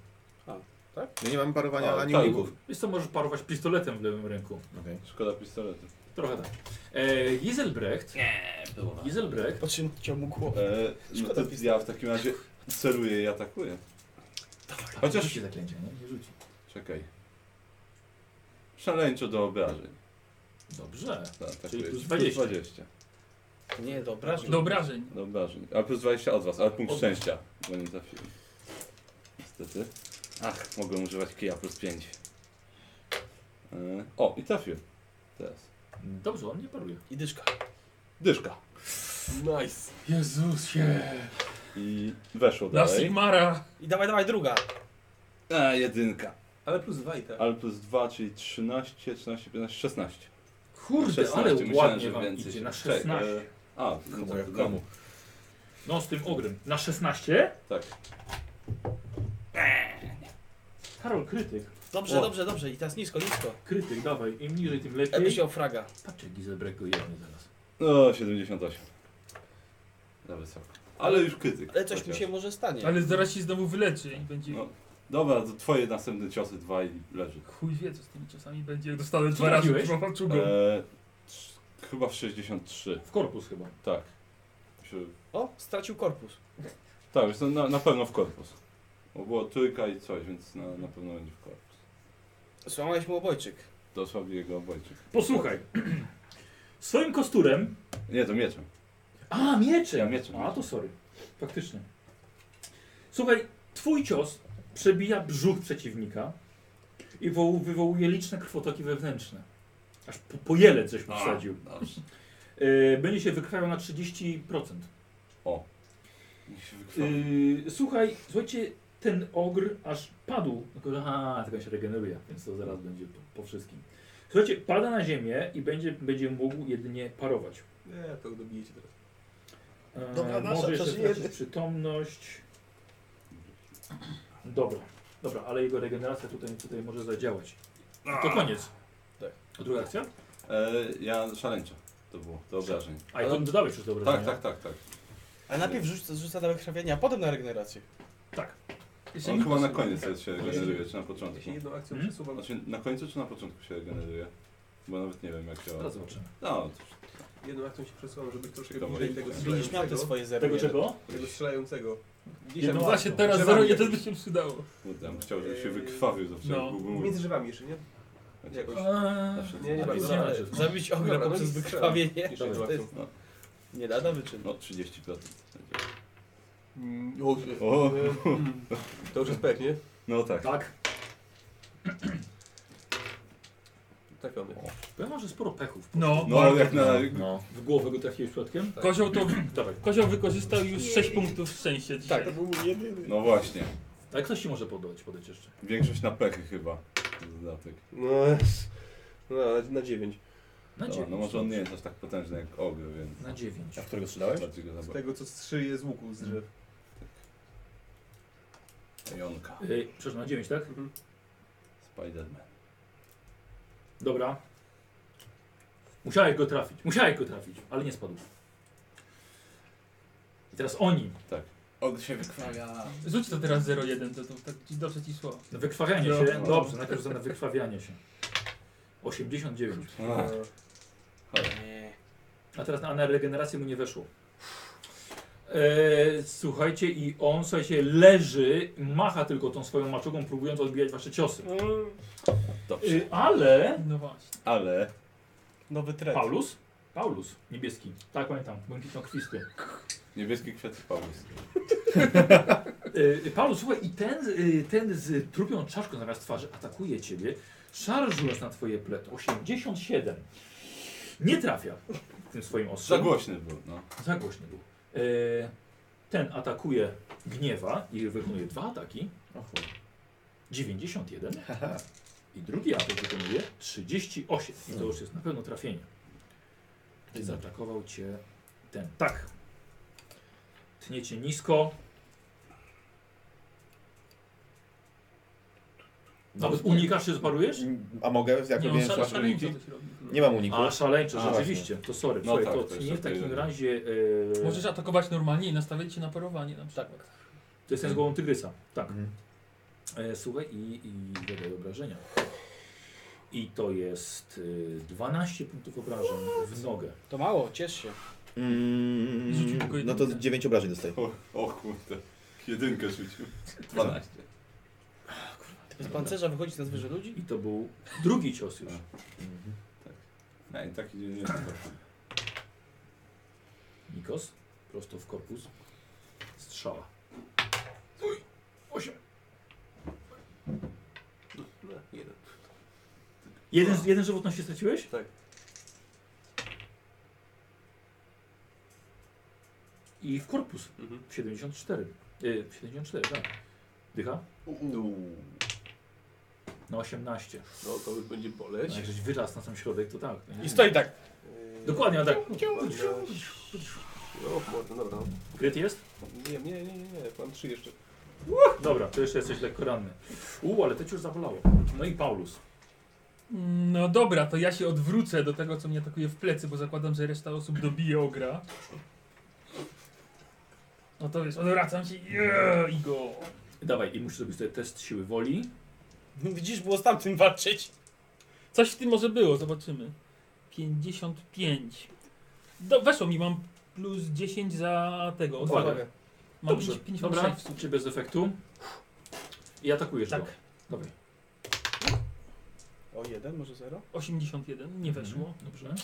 A, tak?
Ja nie mam parowania
A,
ani
tak.
uników.
Wiesz co, możesz parować pistoletem w lewym ręku.
Okej.
Szkoda pistoletu.
Trochę tak. E, Giselbrecht. Nie, było. Giselbrecht.
Po czym chciał mu głowę.
E, no
Szkoda
to
pistoletu.
ja w takim razie celuję i atakuję. Chociaż-
Rzuci zaklęcie, nie? Nie rzuci.
Czekaj. Szaleńczo do obrażeń.
Dobrze.
Tak, tak
Czyli plus
jest.
20.
Plus 20.
E.
Nie, dobra. że-
Do obrażeń.
Do obrażeń. No, A plus 20 od was, ale punkt
Od-
szczęścia, bo nie trafiłem. Niestety. Ach, mogę używać kija plus 5. E, o, i trafiłem. Teraz.
Dobrze, on nie paruje.
I dyszka.
Dyszka.
Nice.
Jezusie.
I weszło
Na
dalej.
Sigmara.
I dawaj, dawaj, druga.
A, jedynka.
Ale plus dwa i tak.
Ale plus 2, czyli 13, 13, 15, 16.
Kurde,
16.
ale
myślałem,
ładnie
że
wam
więcej
idzie
się-
na
Czekaj,
16.
e, A, no
Komu
tak,
jak
to
komu.
No z tym ogrem. Na 16?
Tak.
Karol, krytyk.
Dobrze,
O.
dobrze, dobrze. I teraz nisko, nisko.
Krytyk, dawaj. Im niżej, tym lepiej.
Jakbyś miał fraga.
Patrzcie, Giselbrecht go jedny zaraz.
No, 78. Za wysoko. Ale już krytyk.
Ale coś mu
chociaż.
się może stanie.
Ale zaraz się znowu wyleczy i będzie...
No. Dobra, to twoje następne ciosy, dwa i leży.
Chuj wie, co z tymi czasami będzie, jak dostanę
Co
dwa razy
trafiłeś?
trwafaczugą.
E, trz- chyba w 63,
W korpus chyba.
tak. Się-
O, stracił korpus.
Tak, więc na, na pewno w korpus. Bo było trójka i coś, więc na, na pewno będzie w korpus.
Złamałeś mu obojczyk.
Dosłownie jego obojczyk.
Posłuchaj. *clears throat* Swoim kosturem.
Nie, to mieczem.
A, mieczem.
Ja mieczem,
A,
mieczem.
to sorry. Faktycznie. Słuchaj, twój cios przebija brzuch przeciwnika i wo- wywołuje liczne krwotoki wewnętrzne. Aż po, po jelec coś mu wsadził.
Dobrze.
Yy, będzie się wykrawiał na 30%.
Niech się wykrwawi.
Yy, słuchaj, słuchajcie, ten ogr aż padł. Tylko, że- A, tylko się regeneruje, więc to zaraz będzie po, po wszystkim. Słuchajcie, pada na ziemię i będzie, będzie mógł jedynie parować.
Nie, to dobijecie teraz.
Eee,
Dobra, nasza,
może jeszcze
przeżyjemy.
stracić przytomność. Dobra, dobra, ale jego regeneracja tutaj, tutaj może zadziałać. To koniec.
Tak.
Druga akcja?
E, ja szaleńczo to było, to obrażeń.
A ja to dodałeś już dobre
Tak, tak, tak, tak.
Ale najpierw rzuca, rzuca na wykrwawienie, a potem na regenerację.
Jeszcze
On
nie
chyba na
poszedł.
koniec się regeneruje, czy na początku.
Jeśli jedną akcją
Hmm?
przesuwam...
Znaczy na końcu czy na początku się regeneruje? Bo nawet nie wiem jak działa.
Teraz zobaczymy.
No,
Jedną akcją się przesuwam, żeby troszkę
Dobra,
bliżej
i-
tego
Będziesz miał te
strzelającego.
swoje zero.
Tego czego?
Tego strzelającego. Gdzieś
Jedną
tam
akcją.
no Właśnie teraz
Drzewami
0,1 by
jakoś.
się przydało.
kurde, ja bym chciał, żeby się wykrwawił zawsze.
No.
jak byłby mój.
Między drzewami jeszcze, nie?
Znaczy-
Jakoś.
Eee,
Zawsze
Nie, nie
A,
bardzo.
nie,
Dobra,
ale-
Zabić ogra
Dobra, no
poprzez
i strzelam.
wykrwawienie.
Jeszcze jedną
To
akcją.
jest nie lada wyczyn.
No, 30%.
Mm, O,
O.
mm. *laughs* To już jest pewnie.
No tak.
tak.
Trafiony.
Bo ja mam, że sporo pechów.
No.
No, jak na.
No.
W głowę go trafiłeś środkiem?
Kozioł to...
Dawaj.
Kozioł wykorzystał już 6 punktów szczęścia dzisiaj.
był mój jedyny.
No właśnie.
Tak, ktoś ci może podać, podać jeszcze.
Większość na pechy chyba. Dodatek.
No, no na, na dziewięć.
Na
No,
dziewięć.
no może on nie jest aż tak potężny jak ogry, więc.
Na dziewięć.
A w którego strzelałeś?
Bardziej go
Z
zabra-
tego co strzyje z łuku z drzew.
Jonka.
Eee, przepraszam, na dziewięć,
Mm.
tak?
Mhm.
Spiderman.
Dobra. Musiałeś go trafić, musiałeś go trafić, ale nie spadł. I teraz oni.
Og się wykrwawia.
Rzuć to teraz 0,1, to, to tak ci dobrze ci szło.
No, Wykrwawianie
No.
się. Dobrze, najpierw za wykrwawianie się. 89.
Tak.
Nie.
A teraz na, na regenerację mu nie weszło. Eee, słuchajcie, i on słuchajcie, leży, macha tylko tą swoją maczugą, próbując odbijać wasze ciosy.
Dobrze.
Eee, ale.
No właśnie.
Ale.
Nowy trend.
Paulus? Paulus, niebieski. Tak pamiętam, błękitno krwisty.
Niebieski kwiat Paulus.
E, Paulus, słuchaj, i ten, y, ten z trupią czaszką zamiast twarzy atakuje ciebie, szarżując na twoje pleto. 87. Nie trafia tym swoim
Za
ostrzem.
głośny był, no.
Za głośny był. E, ten atakuje gniewa i wykonuje dwa ataki.
O chuj.
91.
Haha.
I drugi atak wykonuje 38. I to już jest na pewno trafienie. Ty zaatakował cię ten. Tak. Tnie cię nisko.
No,
Nawet
tak.
unikasz się zparujesz?
A mogę? Jak
Nie,
robiłem szła-
on szale- szaleńco to się robi.
Nie mam uniku.
A szaleńczo,
A,
rzeczywiście. To sorry,
No
słuchaj,
tak,
to,
to jest
nie w
okej,
takim
no.
razie. E,
Możesz atakować normalnie i nastawiać się na parowanie na przykład.
Tak.
to jest ten z głową tygrysa. Tak.
Mhm.
E, słuchaj i, i dodaj obrażenia. I to jest e, 12 punktów obrażeń w nogę.
To mało, ciesz się.
Mm,
Rzucił tylko
no
jedynkę.
to 9 obrażeń dostaję.
O, o kurde. Jedynkę rzucił.
12.
Z pancerza wychodzi na zwierzę ludzi? *laughs*
I to był drugi cios już.
Nie, No taki nie jest.
Nikos, prosto w korpus. Strzała. 8.
No, jeden.
Jeden, jeden żywotności straciłeś?
Tak.
I w korpus.
Mhm.
74. Y, 74, tak. Dycha? Na 18.
No to już będzie
No,
boleć.
jak żeś wyrasta na sam środek, to tak.
I stoi tak.
Yy,
Dokładnie, on tak.
dwanaście. O, morda, dobra. no.
Kryt jest?
Nie, nie, nie, nie, nie, mam trzy jeszcze.
Dobra, to jeszcze jesteś lekko ranny. U, ale to ci już zabolało. No i Paulus.
No dobra, to ja się odwrócę do tego, co mnie atakuje w plecy, bo zakładam, że reszta osób dobije ogra. No to wiesz, odwracam się yeah, i go.
Dawaj, i musisz zrobić sobie test siły woli.
No Widzisz, było z tamtym walczyć.
Coś w tym może było, zobaczymy. 55. Do, weszło mi, mam plus 10 za tego.
Odwagę.
odwagę. Mam 5, 5
Dobra, czy bez efektu. I atakujesz
Tak.
go. Dobra.
O jeden, może zero?
81, nie weszło.
Dobrze.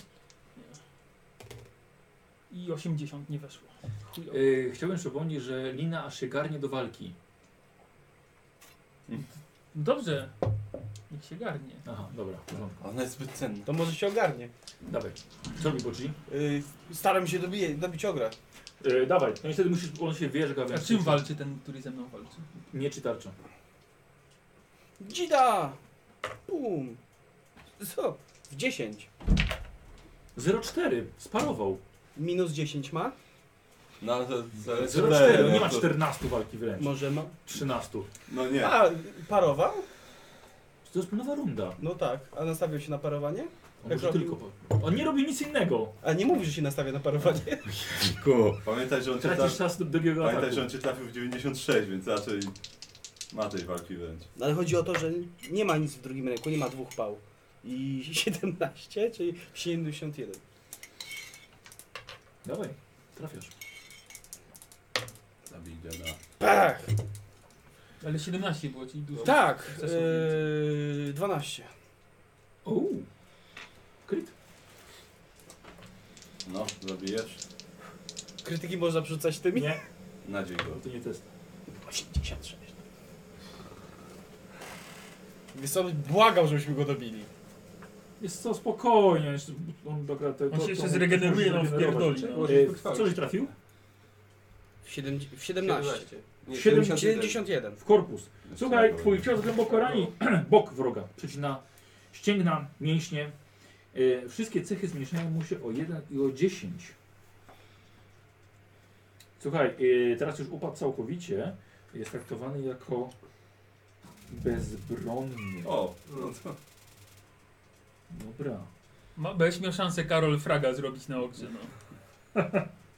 I 80 nie weszło. Chujowo.
Yy, chciałbym przypomnieć, że Lina aż się garnie do walki.
Dobrze. Niech się garnie.
Aha, dobra, w porządku.
Ona jest zbyt cenna.
To może się ogarnie.
Dawaj. Co robi Boci?
Yy, staram się dobije, dobić ogra.
Y,
Yy, dawaj. No niestety musisz, on się wierzga,
A
więc...
czym walczy ten, który ze mną walczy?
Nie czy tarczą.
Dzida! Bum! Co? W 10.
0,4. Sparował.
Minus 10 ma?
No ale to- to jest No
0,4. On no nie ma
to-
14 walki wręcz.
Może ma.
13.
No nie.
A, parował?
To jest nowa runda.
No tak. A nastawiał się na parowanie?
On,
Jak
może
robił?
tylko po... on nie robi nic innego.
No
A nie mówi, że się nastawia na parowanie. *laughs*
Pamiętaj, że on cię
Tracisz
trafił,
czas do drugiego ataku.
tak. pamiętaj, że on cię trafił w 96, więc raczej ma tej walki wręcz.
No ale chodzi o to, że nie ma nic w drugim ręku, nie ma dwóch pał. I *laughs* 17, czyli 71.
Dawaj. Trafiasz.
Zabij dziada.
Pach!
Ale 17 było, czyli dużo.
Tak! Yy, 12.
Uuu. Kryt.
No, zabijesz?
Krytyki można przerzucać tymi?
Nie.
Na dzień go.
To nie test.
86. Wiesz co, błagał, żebyśmy go dobili.
Jest co, spokojnie. jeszcze- On, dogra, to,
On się jeszcze zregeneruje, nam wpierdoli. No.
Może
Yy,
wytrwałeś.
co żeś trafił?
W, siedem, w 17.
Nie,
71.
71.
W korpus. Słuchaj,
Tak, no.
twój cios głęboko rani *clears throat* bok wroga. Przecina ścięgna, mięśnie. E, wszystkie cechy zmniejszają mu się o 1 i o 10. Słuchaj, e, teraz już upadł całkowicie. Jest traktowany jako bezbronny.
O, no to...
Dobra.
Ma, będziesz miał szansę Karol Fraga zrobić na ogrze, no.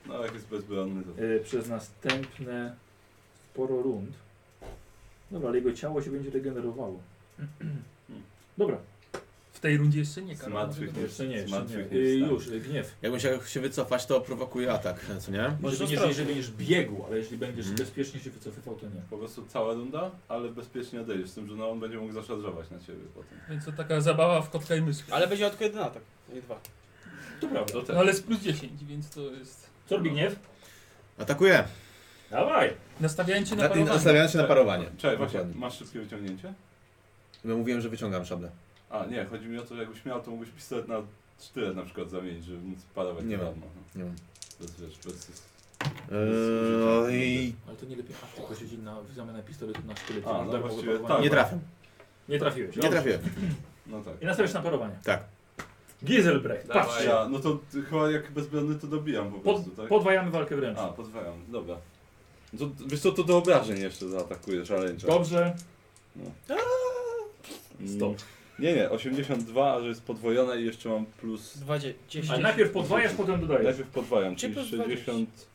No jak jest bezbronny to...
E, przez następne sporo rund. Dobra, ale jego ciało się będzie regenerowało. *clears throat* Dobra,
W tej rundzie jeszcze nie,
Z
Karol.
martwych nie-
jeszcze nie,
z
jeszcze nie.
martwych
E,
nie
już, e, gniew.
Jakbym się, się wycofać, to prowokuje atak, co nie?
Możesz
Jeżeli,
ostrożnie.
jeżeli, jeżeli będziesz biegł, ale jeżeli będziesz
Mhm.
bezpiecznie się wycofywał, to nie.
Po prostu cała runda, ale bezpiecznie odejdziesz, z tym, że no, on będzie mógł zaszarżować na ciebie potem.
Więc to taka zabawa w kotka i myszkę.
Ale będzie tylko jeden atak, nie dwa.
To prawda.
tak. No ale z plus 10, więc to jest...
Co robi gniew?
Atakuje! Tak.
Dawaj.
Nastawiałem cię na
Na-
parowanie.
Nastawiałem się na parowanie.
Czekaj, właśnie,
Dokładnie.
masz szybkie wyciągnięcie?
No mówiłem, że wyciągam szablę.
A, nie, chodzi mi o to, że jakbyś miał, to mógłbyś pistolet na sztylet na przykład zamienić, żeby móc parować
Nie
na
mam.
darmo. no.
Nie mam.
Bez, wiesz, bez...
Eee, no i
Ale to nie lepiej. A tylko chodzi na zamianę pistoletu na sztylet.
A,
masz
no
darmowe
właściwie
parowanie.
tak.
nie trafię.
Nie trafiłeś.
Nie trafiłem.
No tak.
I nastawiasz na parowanie.
Tak.
Gieselbrecht,
Dawaj.
patrz.
Ja, no to ty, chyba jak bezbronny to dobijam po
Pod,
prostu, tak?
podwajamy walkę wręcz.
A, podwajam, dobra. No To, wiesz co, to do obrażeń jeszcze zaatakuje szaleńcza.
Dobrze.
Mm,
Stop.
Nie, nie, 82, a że jest podwojona i jeszcze mam plus...
20.
Ale najpierw podwajasz, potem dodajesz.
Najpierw podwajam,
Czy
czyli
plus
60...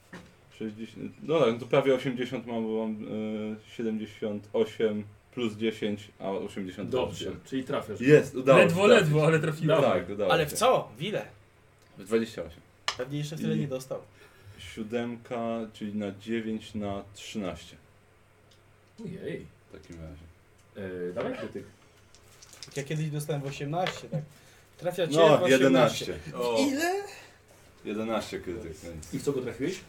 60... No tak, no to prawie 80 mam, bo mam y, 78 plus 10, a 80.
Dobrze, czyli trafiasz.
Jest, udało się,
Ledwo,
tak.
ledwo, ale trafiłem.
Tak, udało
Ale w
się.
co? W ile?
W 28.
Pewnie jeszcze tyle
I-
nie dostał.
Siódemka, czyli na 9 na 13
Ojej.
w takim razie.
E, dawaj krytyk.
Ja Tak kiedyś dostałem w 18, tak. Trafia cię w
No,
18.
11.
O,
Ile?
11 krytyk, więc
I w co go trafiłeś?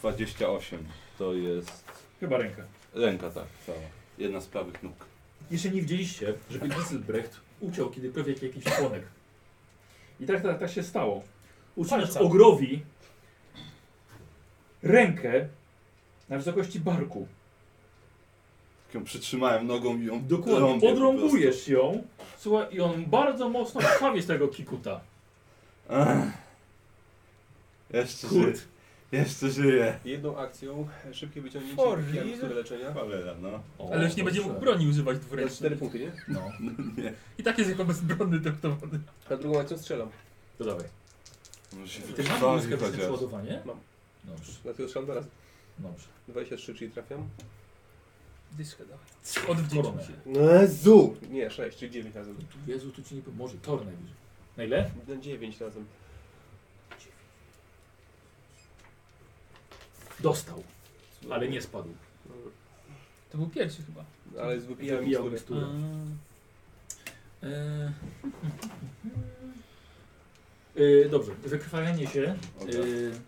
28 to jest
Chyba rękę.
ręka tak cała. Jedna z prawych nóg.
Jeszcze nie widzieliście, żeby Gieselbrecht uciął kiedykolwiek jakiś członek.
I tak, tak, tak się stało. Uczynisz
Palca.
ogrowi rękę na wysokości barku.
Tak ją przytrzymałem nogą i ją
Dokładnie.
rąbię po
Podrąbujesz ją. Słuchaj, i on bardzo mocno krwawi z tego kikuta.
prostu. Ach. Jeszcze żyję.
Kurt.
Jeszcze żyję.
jedną akcją szybkie wyciągnięcie
For
i
real?
które leczenia.
Cholera, no. *laughs*
O,
Ale już nie będzie
dobrze.
mógł broni używać
Na
dwuręcznej.
cztery punkty, nie?
No,
Nie.
I tak jest jako bezbronny traktowany.
Na drugą akcją strzelam.
to dawaj.
Może się
Ty też masz
wykrwawi
błyskawiczne
chociaż.
przeładowanie?
Mam.
Dobrze,
Dlatego strzelam dwa razy.
dobrze.
23, czyli trafiam.
Dyszkę dawaj. Odwdzięczam
Koronę.
się.
Zu! Nie, 6, czyli 9 razem.
Jezu, tu ci nie pomoże. Tor najwyżej. Na ile?
Na 9 razem.
Dostał, ale nie spadł.
To był pierwszy chyba.
Ale wypijałem
Wybijał
miksturę.
miksturę. E, e, dobrze, wykrwawianie się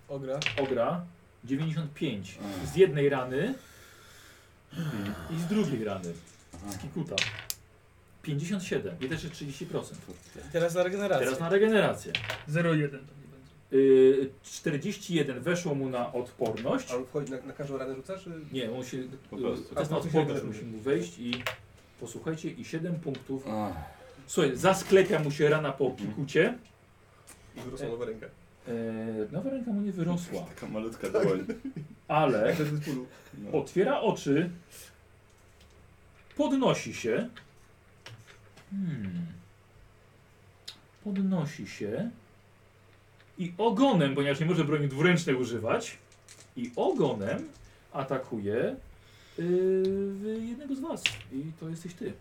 Ogra.
Ogra.
e, ogra 95 z jednej rany i z drugiej rany, z kikuta. 57, i też jest 30%.
I teraz na regenerację.
Teraz na regenerację.
0,1 to nie będzie.
Y, 41 weszło mu na odporność.
A on wchodzi na, na każdą ranę rzuca, czy...
Nie, on się. e,
Po prostu.
Test na
A,
odporność
to się
musi mu wejść i posłuchajcie, i 7 punktów.
Ach.
Słuchaj, zasklepia mu się rana po
Mhm.
kikucie.
I wyrosła nowa ręka.
Yy, nowa ręka mu nie wyrosła,
Taka malutka dłoń.
ale
Bez bólu.
No.
otwiera oczy, podnosi się. Hmm. Podnosi się i ogonem, ponieważ nie może broni dwuręcznej używać, i ogonem atakuje yy, jednego z was. I to jesteś ty.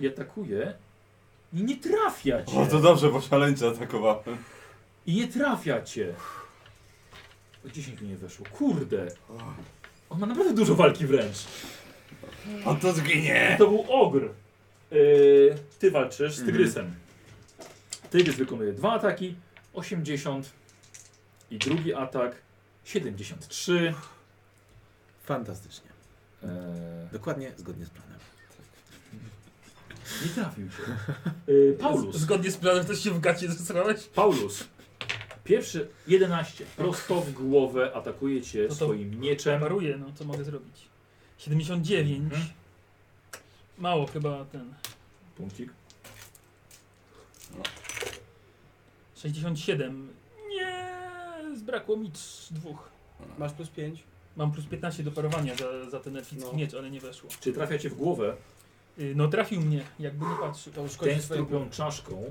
I atakuje. I nie trafia cię.
O, to dobrze, bo szaleńcze atakowałem.
I nie trafia cię. O 10 mi nie weszło. Kurde. On ma naprawdę dużo walki wręcz.
On to zginie!
To był ogr. Yy,
Y, Ty walczysz z tygrysem. Tygrys wykonuje dwa ataki. 80 i drugi atak. 73.
Fantastycznie.
Eee,
Dokładnie zgodnie z planem.
nie trafił się. Eee, Paulus.
Zgodnie z planem też się w gacie zesrałeś?
Paulus. Pierwszy 11. Prosto w głowę atakuje cię
No to-
swoim mieczem.
Maruję, no co mogę zrobić? 79.
Mhm.
Mało chyba ten.
Punkcik.
67. Nie, zbrakło mi trz- dwóch.
Masz plus 5.
Mam plus 15 do parowania za, za ten elficki
No.
miecz, ale nie weszło.
Czy trafia cię w głowę
Y, No trafił mnie, jakby nie patrzył.
To uszkodzi
ten z
swoją...
trupią czaszką?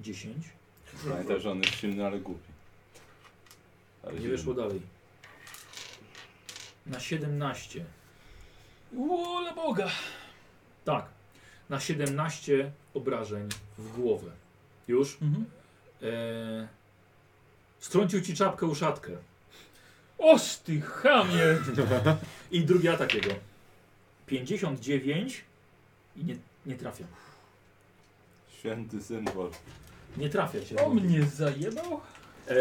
10.
Pamiętaj, że on jest silny, ale głupi. Ale
Nie
silny.
wyszło dalej. Na 17.
Ula Boga!
Tak. Na 17 obrażeń w głowę. Już.
Mhm.
Eee, strącił ci czapkę uszatkę.
Oż ty chamie!
I drugi atak jego. 59 i nie, nie trafia.
Święty symbol.
Nie trafia cię.
O mnie zajebał?
E,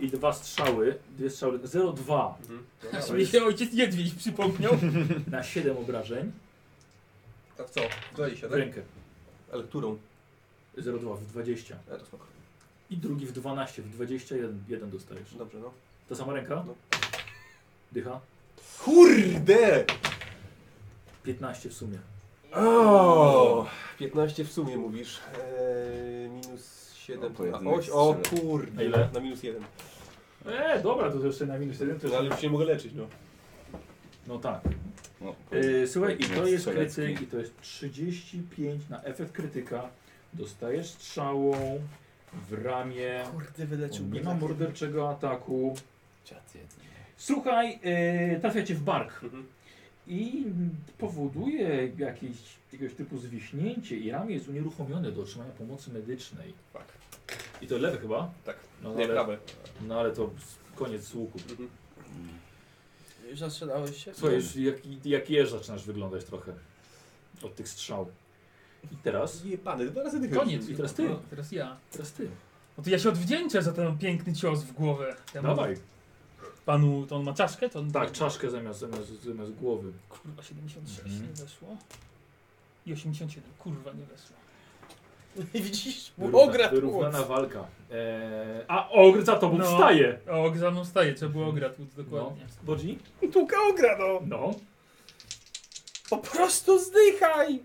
I dwa strzały, dwie strzały, 0,2
Mhm.
Aż mi się ojciec niedźwiedź
*laughs*
przypomniał.
na 7 obrażeń
Tak co? 20,
w
tak?
rękę.
Ale którą?
0,2 w 20.
E, to spoko.
I drugi w 12, w 21 jeden dostajesz.
Dobrze, no.
Ta sama ręka?
No.
Dycha?
Kurde!
15 w sumie.
O, 15 w sumie mówisz. Eee, minus 7
No,
to na
pojedynek
8. O
strzelę.
A
kurde,
ile?
na minus 1.
E, dobra, to jeszcze na minus 1
No, ale już nie mogę leczyć, no.
No tak.
No,
E, słuchaj, i to jest
Strzelecki.
krytyk, i to jest 35 na efekt krytyka. Dostajesz strzałą w ramię.
Kurde,
On
wyleczyłby.
Nie ma
tak.
morderczego ataku. Słuchaj, e, trafia cię w bark
Mhm.
i powoduje jakieś, jakiegoś typu zwiśnięcie i ramię jest unieruchomione do otrzymania pomocy medycznej.
Tak.
I to lewe chyba?
Tak.
No,
Nie,
ale,
prawe.
no ale to koniec łuku.
Mhm.
Już zastrzelałeś się?
Słuchaj, już jak, jak jeż zaczynasz wyglądać trochę od tych strzał. I teraz?
Nie, pany, dwa razy dychę.
Koniec. I teraz ty.
No.
Teraz ja.
Teraz ty.
No to ja się odwdzięczę za ten piękny cios w głowę. Ja mam-
Dawaj.
Panu, to on ma czaszkę? To on
Tak, czaszkę zamiast, zamiast, zamiast głowy.
Kurwa, 76
Mhm.
nie weszło. I 87, kurwa, nie weszło.
*laughs* I widzisz?
Wyrówna,
Ograt
wyrównana walka. Eee, a ogr za tobą
No.
wstaje.
O, za mną staje, trzeba było ograć, dokładnie.
Mhm. No. Bodzi?
Tuka ogra, no!
No.
Po prostu zdychaj!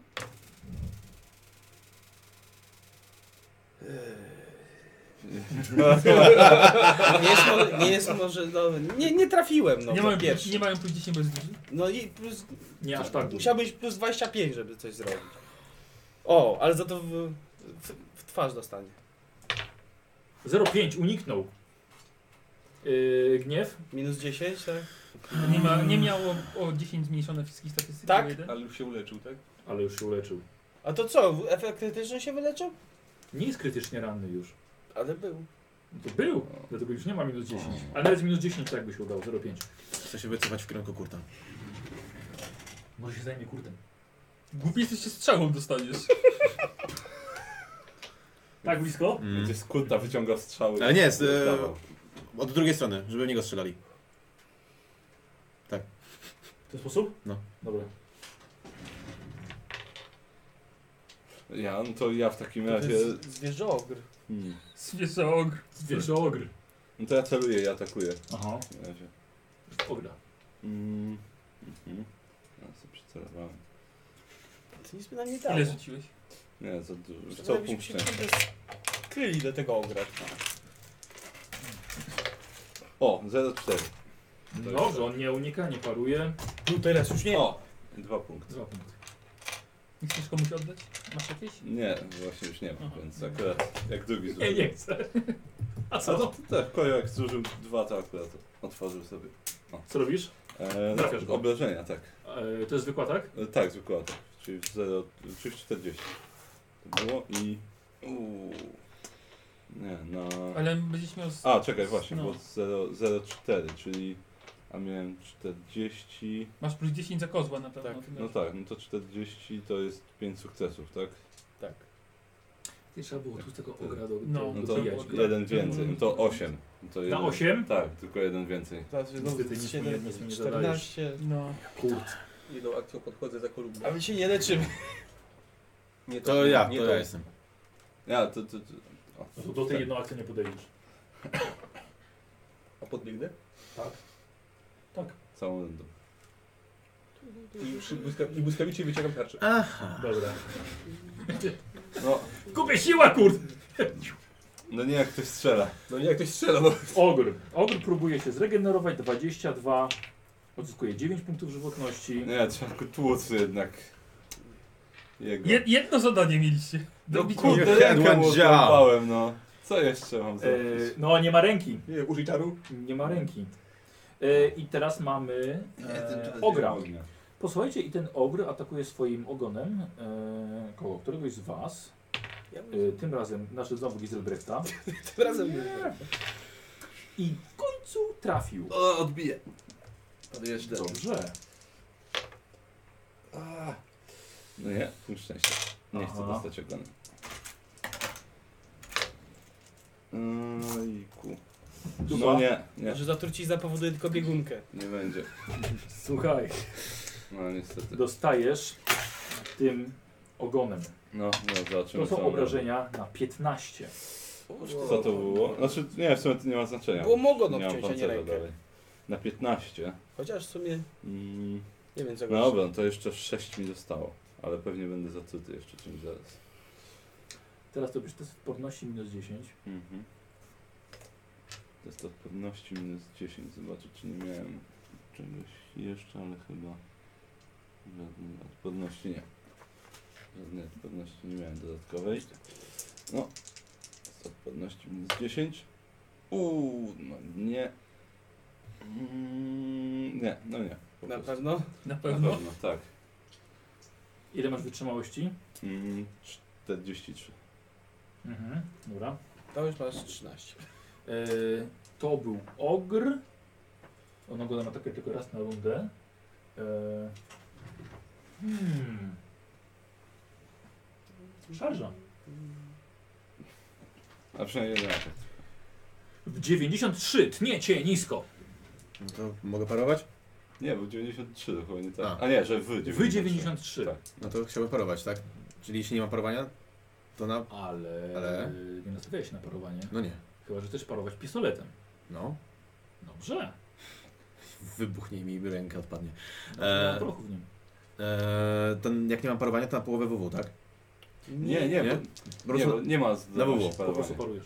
Nie jest, mo- nie jest może, no, nie, nie trafiłem, no,
nie,
to
mają,
pierwszy.
nie mają plus 10 bez duży?
No i plus,
Nie aż tak dużo.
musiałbyś plus 25, żeby coś zrobić. O, ale za to w, w, w twarz dostanie.
0,5 uniknął. Eee, gniew?
Minus 10, tak?
Nie, ma, nie miało o 10 zmniejszone wszystkich statystyk?
Tak,
o jeden?
Ale już się uleczył, tak?
Ale już się uleczył.
A to co, efekt krytyczny się wyleczył?
Nie jest krytycznie ranny już.
Ale był.
No to był, dlatego już nie ma minus 10. Ale nawet z minus 10 tak by się udało, 0,5.
Chcę się wycofać w kierunku kurta.
Może się zajmie kurdem.
Głupi jesteś, się strzałą dostaniesz.
Tak blisko?
Mm.
Będzie z kulta wyciąga strzały.
Ale nie, z, e,
Dawał.
Od drugiej strony, żeby w niego strzelali.
W ten sposób?
No.
Dobra.
Ja, no to ja w takim
To
razie...
jest zwierzę ogr.
Hmm.
Zwierzę ogr.
Zwierzę ogr.
No to ja celuję i atakuję
Aha.
w takim razie.
Ogra.
Mm. Mhm. Ja sobie przycelowałem.
To nic by nam nie dało.
Ile rzuciłeś?
Nie, za dużo. Co
Żebyśmy
punkt
się
szczęścia.
kurde Kryli do tego ogra.
O, 0,4.
No Dobrze, on nie unika, nie paruje.
Tu teraz już nie.
O, dwa punkty.
Dwa punkty.
Nie chcesz komuś oddać? Masz jakieś?
Nie, właśnie już nie mam,
Aha.
więc akurat jak drugi
Nie,
zużył.
nie chcę. A
A to
co?
tak, kojak zużył dwa, to akurat otworzył sobie.
Co robisz?
E,
Trafiasz
no,
go.
obrażenia, tak.
E, to jest zwykła, tak?
E, tak, zwykła atak. Czyli w 0, czyli w 40. To było i... Uuu. Nie, no. na...
Ale będziesz miał... z-
A, czekaj, właśnie,
no.
bo 0,4, czyli... A miałem 40...
Masz plus 10 za kozła na pewno.
Tak,
tym
No
razem.
tak, no to 40 to jest 5 sukcesów, tak?
Tak.
Nie trzeba było tu z tego ogra do,
No.
do,
No
do,
to
Dobijać, tak.
jeden więcej, no to 8. To
Na
jeden-
8?
Tak, tylko jeden więcej.
Teraz
Niestety nic mi- nic mi nie dodajesz.
14.
No.
Kurt.
Jedną akcją podchodzę za
A
kolumnę.
my się nie leczymy.
Nie
To ja,
nie
to ja jestem.
Ja, to... to, to o,
No to do tej jedną akcji nie podejdziesz.
A podbiegnę?
Całą rundą.
I, przy, błyska, I błyskawicznie wyciągam tarczę.
Dobra.
No,
Kupię siła, kurt!
no nie jak ktoś strzela.
No nie, jak ktoś strzela, no.
Ogr. Ogr próbuje się zregenerować. 22. Odzyskuje 9 punktów żywotności.
Nie, No trzeba go tłuc jednak. Jego.
Jed, jedno zadanie mieliście.
no
Dobić
kurde,
Your hand
rękę
went
mu
down.
odrąbałem, no. Co jeszcze mam
E,
zrobić?
no, nie ma ręki.
Nie, użyj czaru.
Nie ma ręki. E, I teraz mamy e, ogra. Posłuchajcie, i ten ogr atakuje swoim ogonem e, koło któregoś z was.
Ja bym
E, tym razem, znaczy znowu Giselbrechta.
*laughs* tym razem nie.
I w końcu trafił.
O, odbiję. Podjeżdżę.
Dobrze.
No nie, punkt szczęścia. Nie chcę
Aha.
dostać ogona. Ojku.
Dupa.
No nie, nie,
Że zatrucizna powoduje tylko biegunkę.
nie będzie.
Słuchaj,
No niestety.
dostajesz tym ogonem.
No, no zobaczymy.
To
co
są
on
obrażenia na 15.
robi. Co to było? Znaczy, nie, w sumie to nie ma znaczenia.
Było mogło
nie mam
obciąć, a nie
pancerza
rękę.
dalej. Na 15.
Chociaż w sumie
Mm,
nie wiem co
no dobra, to jeszcze 6 mi zostało. Ale pewnie będę zatruty jeszcze czymś zaraz.
Teraz to byś to podnosi minus 10.
Mhm. To jest od pewności minus 10. Zobaczę, czy nie miałem czegoś jeszcze, ale chyba żadnej odporności nie. Żadnej odporności nie miałem dodatkowej. No, z odporności minus 10. Uuu, no nie. Mm, nie, no nie. po
Na
prostu.
pewno.
Na
Na
pewno.
pewno, tak.
Ile masz wytrzymałości?
Mm, 43.
Mhm. Dobra.
To już masz 13.
E, to był ogr. Ono go na atakę tylko raz na rundę. E, hmm. Szarża.
A przynajmniej jeden atak.
W 93 tnie cię nisko.
No to mogę parować?
Nie, był 93, chyba nie tak.
A.
A nie, że wy 93.
W 93.
Tak.
No to chciałbym parować, tak? Czyli jeśli nie ma parowania, to na...
Ale,
Ale?
nie nastawiałeś się na parowanie.
No nie.
Chyba, że chcesz parować pistoletem.
No.
Dobrze.
Wybuchnie mi i ręka odpadnie.
Eee.
Eee.
prochu w nim.
Eee, to jak nie mam parowania, to na połowę WW, tak?
Nie, nie,
Nie?
bo-
Po
nie,
prostu...
bo nie ma zdolności
WW,
Po prostu
parowania.
parujesz.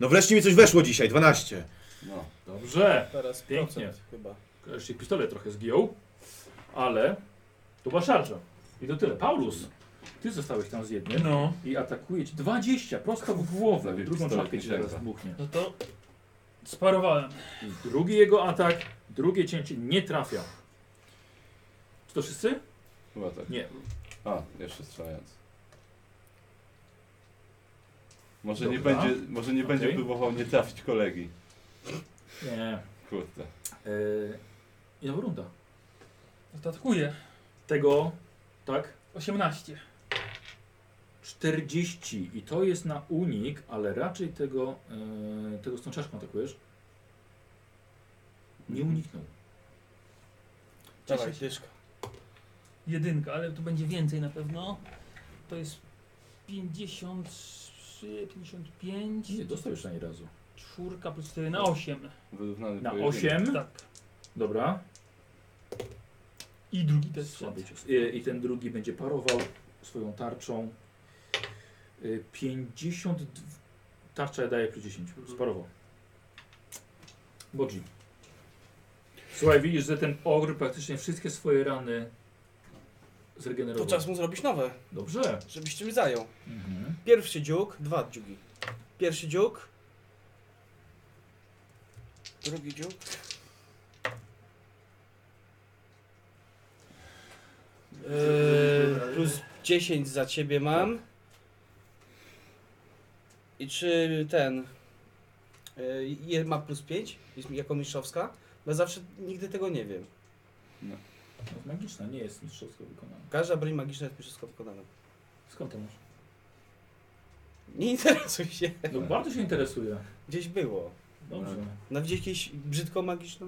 No wreszcie mi coś weszło dzisiaj, 12.
No.
Dobrze.
Teraz
Pięknie.
procent chyba.
Kojarz się pistolet trochę zgiął, ale to była szarża. I to tyle. Paulus, ty zostałeś tam z jednym
No.
i atakuje ci 20 prosto w głowę.
Zabij
Drugą
pistolet
czapkę ci
Miesięca.
zaraz dmuchnie.
No to sparowałem.
I drugi jego atak, drugie cięcie nie trafia. Czy to wszyscy?
Chyba tak.
Nie.
A, jeszcze strzelając. Może nie,
Dobra.
będzie, może nie będzie
Okej.
próbował nie trafić kolegi.
Nie.
Kurde.
Yy, I nowa runda.
No to atakuję.
Tego, tak,
18.
40 i to jest na unik, ale raczej tego, yy, tego z tą czaszką atakujesz. Nie uniknął.
Dawaj,
Cześć.
dyszka.
Jedynka, ale tu będzie więcej na pewno. To jest 53, 55.
Nie, dostał już ani razu.
Czwórka plus 4 na 8.
Wyrównany
Na
pojedynek.
8.
Tak.
Dobra.
I drugi też
Słaby
strzelił.
cios. I, I ten drugi będzie parował swoją tarczą. Y, 50. Tarcza daje plus 10.
Mhm.
Sparował. Bodzi. Słuchaj, widzisz, że ten ogr praktycznie wszystkie swoje rany
To
zregenerował.
czas mu zrobić nowe,
Dobrze.
żebyś czymś zajął.
Mhm.
Pierwszy dziób, dwa dziugi. Pierwszy dziób. Drugi dziób. Eee, plus 10 za ciebie mam. I czy ten eee, je- ma plus 5 jest mi- jako mistrzowska? Bo ja zawsze nigdy tego nie wiem.
To jest Magiczna, nie jest mistrzowsko wykonana.
Każda broń magiczna jest mistrzowsko wykonana.
Skąd to masz?
Nie interesuj się.
No bardzo się interesuje.
Gdzieś było.
Dobrze.
Tak.
Na gdzieś No jakieś brzydko magiczną?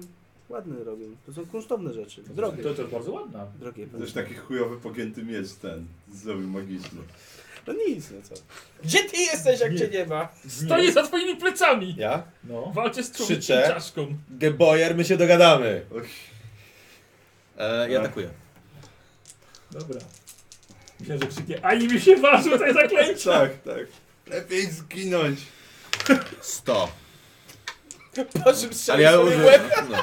Ładne robią. To są kunsztowne rzeczy. Drogie.
To, to jest bardzo ładna.
Drogie.
Też taki chujowy pogięty miecz ten zrobił magiczny.
No nic, no co. Gdzie ty jesteś, jak
Nie.
cię nie ma?
Stoi za twoimi plecami!
Ja?
No.
Walczę z człowiekiem
Krzyczę.
czaszką.
Geboyer, my się dogadamy.
Och.
Eee, ja atakuję.
Dobra. Myślę, że krzyknie, ani mi się ważył tutaj zaklęcie!
Tak, tak. Lepiej zginąć.
100.
Po czym
Ale ja
sobie
użyłem.
łeb?
No.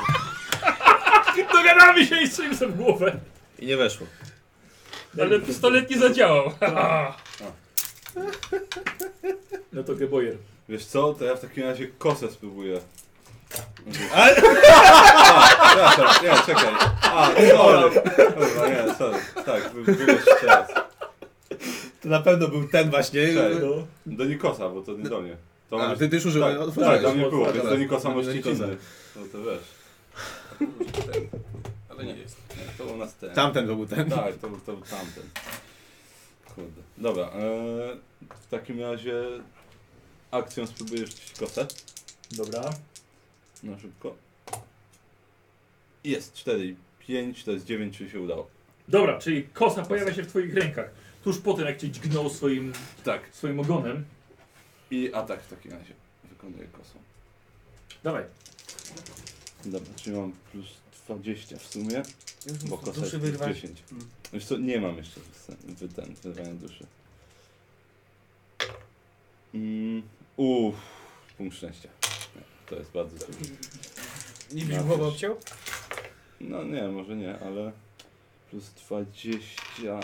Dogadamy się i strzelimy sobie w głowę.
I nie weszło.
Ale pistolet nie zadziałał.
No to Geboyer.
Wiesz co, to ja w takim razie kosę *laughs* spróbuję.
Ale-
A, przepraszam, nie, czekaj. A, sorry. Dobra, nie, sorry. Tak, wy- wybierz jeszcze raz.
To na pewno był ten właśnie.
Cześć. Do Nikosa, bo to nie do mnie. To
A,
może-
ty, ty już użyłeś.
Tak,
otworzyłeś.
tak, do mnie było, więc
Otworzyłeś.
do Nikosa może
Do
iść
Nikosa.
inny. No to wiesz.
Ale nie jest.
To u nas ten.
Tamten to był ten.
Tak, to, był- to był tamten. Kurde. Dobra, e, w takim razie akcją spróbuję rzucić kosę.
Dobra.
Na szybko. Jest 4 i 5, to jest 9, czyli się udało.
Dobra, czyli kosa pojawia się w twoich rękach. Tuż po tym, jak cię dźgnął swoim,
Tak.
swoim ogonem.
I atak w takim razie. Wykonuję kosą.
Dawaj.
Dobra, czyli mam plus 20 w sumie, bo kosa
Duszy
jest plus
wyrwać.
10.
Mm.
Wiesz co, nie mam jeszcze wysen- wy- ten, wyrwania duszy. Mm, uff, punkt szczęścia. To jest bardzo dużo.
Nie byś
Na
głowę
też.
obciął?
No nie, może nie, ale plus 20...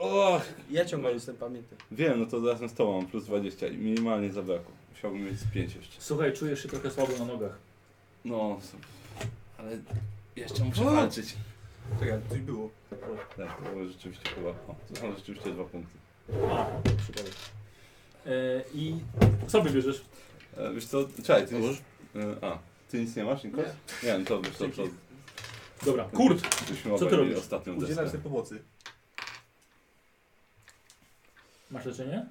Och,
Ja ciągle jestem pamięty.
Wiem, no to razem z tobą mam plus 20 i minimalnie zabrakło. Musiałbym mieć z 5 jeszcze.
Słuchaj, czujesz się trochę słabo na nogach.
No, są- ale jeszcze muszę walczyć.
Czekaj, coś było.
Tak, to było rzeczywiście chyba. O, to są rzeczywiście dwa punkty.
A, przypadek. E, I co wybierzesz?
E, wiesz co, czekaj, ty nic, e, A, ty nic nie masz, Nikos? Nie, no to wiesz co, to...
Dobra, kurt!
Byśmy
Co ty
obejrzeli
robisz?
Ostatnią
Udzielam
deskę.
sobie pomocy.
Masz leczenie?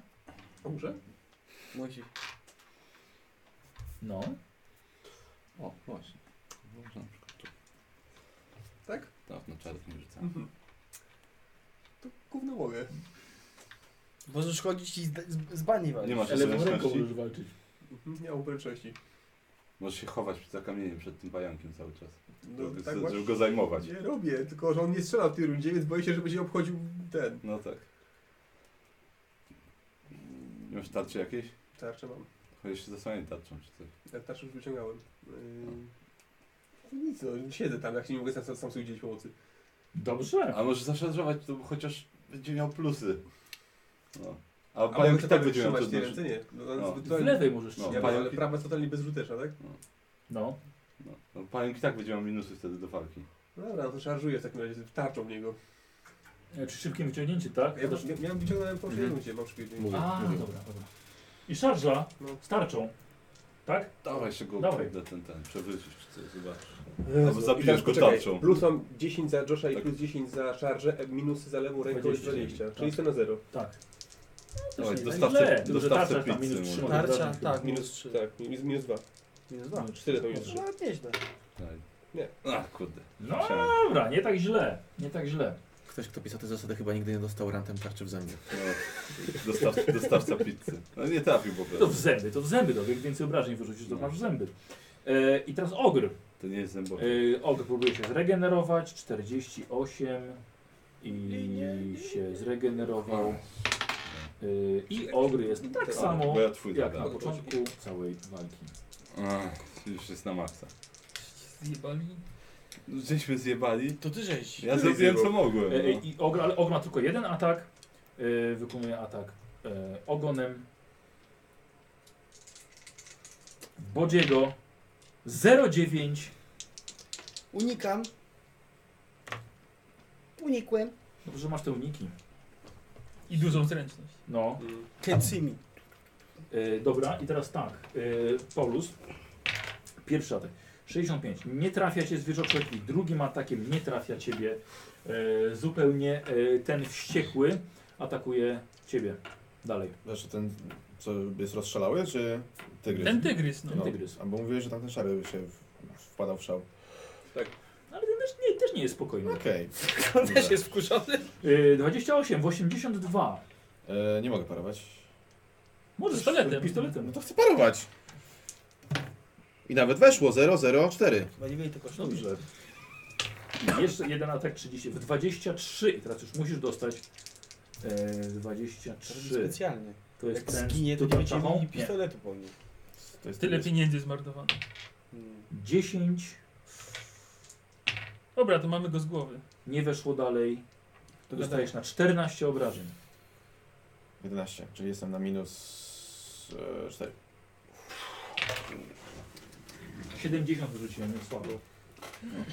Muszę?
Musi.
No.
O, właśnie. Można na przykład tu.
Tak?
Tak, na czarek nie rzucałem.
Mhm. To gówno mogę.
Możesz chodzić i z, z, z bani walić.
Nie masz
Ale lewą ręką
zręczności?
możesz walczyć.
Mhm, Nie mam obręczności.
Możesz się chować przed- za kamieniem, przed tym pająkiem cały czas.
No,
żeby,
tak
żeby
właśnie
go zajmować.
nie robię, tylko że on nie strzela w tej rundzie, więc boję się, że będzie obchodził ten.
No tak. Nie Masz tarczy jakieś?
Tarczę mam.
Chociaż się zasłania tarczą czy coś.
Ja tarczę już wyciągałem. Yy... Nic, no, siedzę tam, jak się nie mogę sam, sam sobie udzielić pomocy.
Dobrze.
A może zaszarżować, to chociaż będzie miał plusy. No. A,
A
pająk
mogę
i tak
prawie
będzie miał
trzymać w tej
trudność.
ręce? Nie. No,
No.
no.
W lewej możesz
No.
Ja
trzymać.
wiem, ale
Pająki-
prawa jest totalnie bezrzuteczna, tak?
No.
No. No, pająk i tak będzie miał minusy wtedy do walki.
No dobra, no to szarżuję w takim razie, tarczą w niego.
E, Czy szybkim wyciągnięcie, tak?
Ja, ja, ja wyciągnąłem po
Mhm.
mhm. rundzie, mam szybkie
Mówię,
A,
mówię.
dobra, dobra. I szarża
No.
z tarczą. Tak?
Dawaj jeszcze go
Dawaj.
kurde, ten, ten, przewrócisz czy coś, zobacz. Albo zabijesz go tarczą.
Plus mam 10 za Josha i
Tak.
plus 10 za szarżę, e, minusy za lewą ręką jest
20.
20, czyli jestem na 0.
Tak.
Dawaj,
Też nie
dostawcę-
tak źle. Tylko, że
dostawcę
tarcza tam
pizzy
minus trzy
może.
może
Tarcza,
dać.
tak, minus
Minus
3.
Tak, minus, minus 2.
Minus 2.
Minus
Tyle to
trzy.
minus
No, nieźle.
Daj.
Nie.
A kurde.
No
Chciałem.
dobra, nie tak źle. Nie tak źle.
Ktoś, kto pisał te zasady, chyba nigdy nie dostał rantem tarczy w zębie.
No. Dostawca, dostawca pizzy. No nie trafił po
To w
prostu.
zęby, to w zęby, no. Jak więcej obrażeń wyrzucisz, to masz w zęby. E, I teraz ogr.
To nie jest zębowy.
Yy, ogr próbuje się zregenerować, 48 i się zregenerował. Yy, I ogr jest tak samo
Bo ja twój
jak na
dodałem.
początku całej walki.
Ach, już jest na maksa. No,
Zjebali.
Żeśmy zjebali.
To ty żeś.
Ja zrobiłem co mogłem.
Yy,
No.
I ogr, ale ogr ma tylko jeden atak, yy, wykonuje atak yy, ogonem. Bodziego 09
Unikam. Unikłem.
Dobrze, że masz te uniki.
I dużą zręczność.
No,
Mm.
Kecimi.
yy, dobra, i teraz tak. Yy, Paulus, pierwszy atak. 65. Nie trafia cię zwierzoczek i drugim atakiem nie trafia ciebie yy, zupełnie. Yy, ten wściekły atakuje ciebie. Dalej.
Znaczy ten, co jest rozszalały, czy tygrys?
Ten tygrys, no.
No,
tygrys.
albo mówiłeś, że tamten szary by się w- wpadał w szał.
Ale ten też nie, też nie jest spokojny.
Okej.
On
Dobra.
też jest wkurzony.
Yy, 28 w 82.
E, Nie mogę parować.
Możesz
Pistoletem.
pistoletem.
No to chcę parować. I nawet weszło 004.
Waliwej to kosztuje.
No Dobrze. I Jeszcze jeden atak 30 w 23 i teraz już musisz dostać e,
To robi
23.
Specjalnie.
To jest
Jak
ten
zginie, to
tu
nie
tarczową?
będzie
Nie.
mieli pistoletu po nim.
To jest
Tyle
tygrys.
pieniędzy zmarnowano.
10
Dobra, to mamy go z głowy.
nie weszło dalej. To
To
dostajesz na 14 obrażeń.
11, czyli jestem na minus e, 4.
70 wyrzuciłem, więc słabo. No.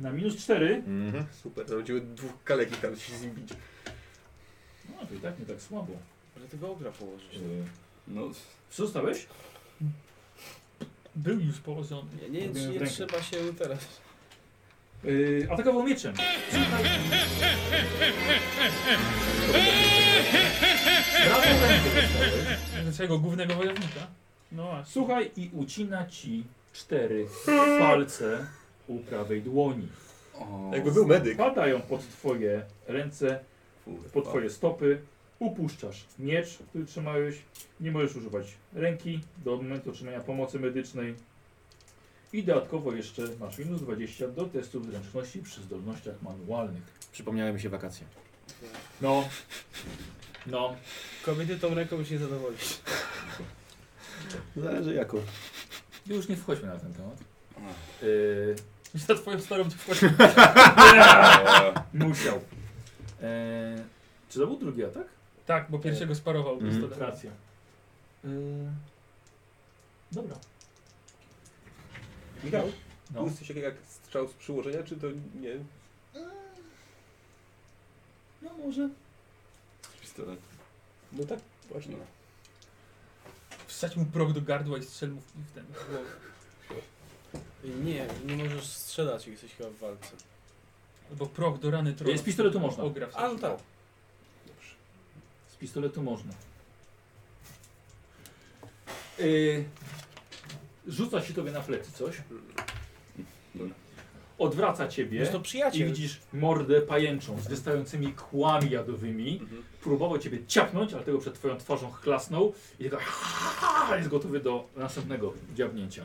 Na minus 4.
Mhm.
Super, to będziemy dwóch kaleki tam się zimbić.
No to i tak nie tak słabo.
Ale tego ogra położyć.
Yy,
No,
Co dostałeś?
Był już położony.
Nie, nie,
Robiłem
nie
w rękę.
trzeba się teraz.
E, atakował mieczem. Prawą rękę dostałeś.
na swojego głównego wojownika. No właśnie.
Słuchaj i ucina ci cztery palce u prawej dłoni.
Jakby był medyk.
Padają pod twoje ręce, pod twoje stopy. Upuszczasz miecz, który trzymałeś. Nie możesz używać ręki do momentu otrzymania pomocy medycznej. I dodatkowo jeszcze masz minus 20 do testów zręczności przy zdolnościach manualnych.
Przypomniały mi się wakacje.
No, no.
Kobiety tą ręką już nie zadowolisz.
Zależy jako.
Już nie wchodźmy na ten temat. Yy,
Za twoją starą dziewczynę.
musiał. Yy, czy to był drugi atak?
Tak, bo pierwszego sparował
Mm.
Mhm.
Hmm.
pistolet.
Racja. Yy, dobra.
Michał,
No.
no. coś jak strzał z przyłożenia, czy to nie?
No może.
Pistolet.
No tak, właśnie.
No.
Wsadź mu proch do gardła i strzel mu w w ten.
No.
Nie, nie możesz strzelać, jak jesteś chyba w walce.
Albo no, proch do rany trochę.
Z pistoletu można.
Ogra w
A no
sensie.
tak.
Z pistoletu można. Yy, rzuca się tobie na plecy coś. Odwraca ciebie
Jest to
i
przyjaciel.
widzisz mordę pajęczą z wystającymi kłami jadowymi.
Mhm.
Próbował ciebie ciapnąć, ale tego przed twoją twarzą chlasnął i tak jest gotowy do następnego dziabnięcia.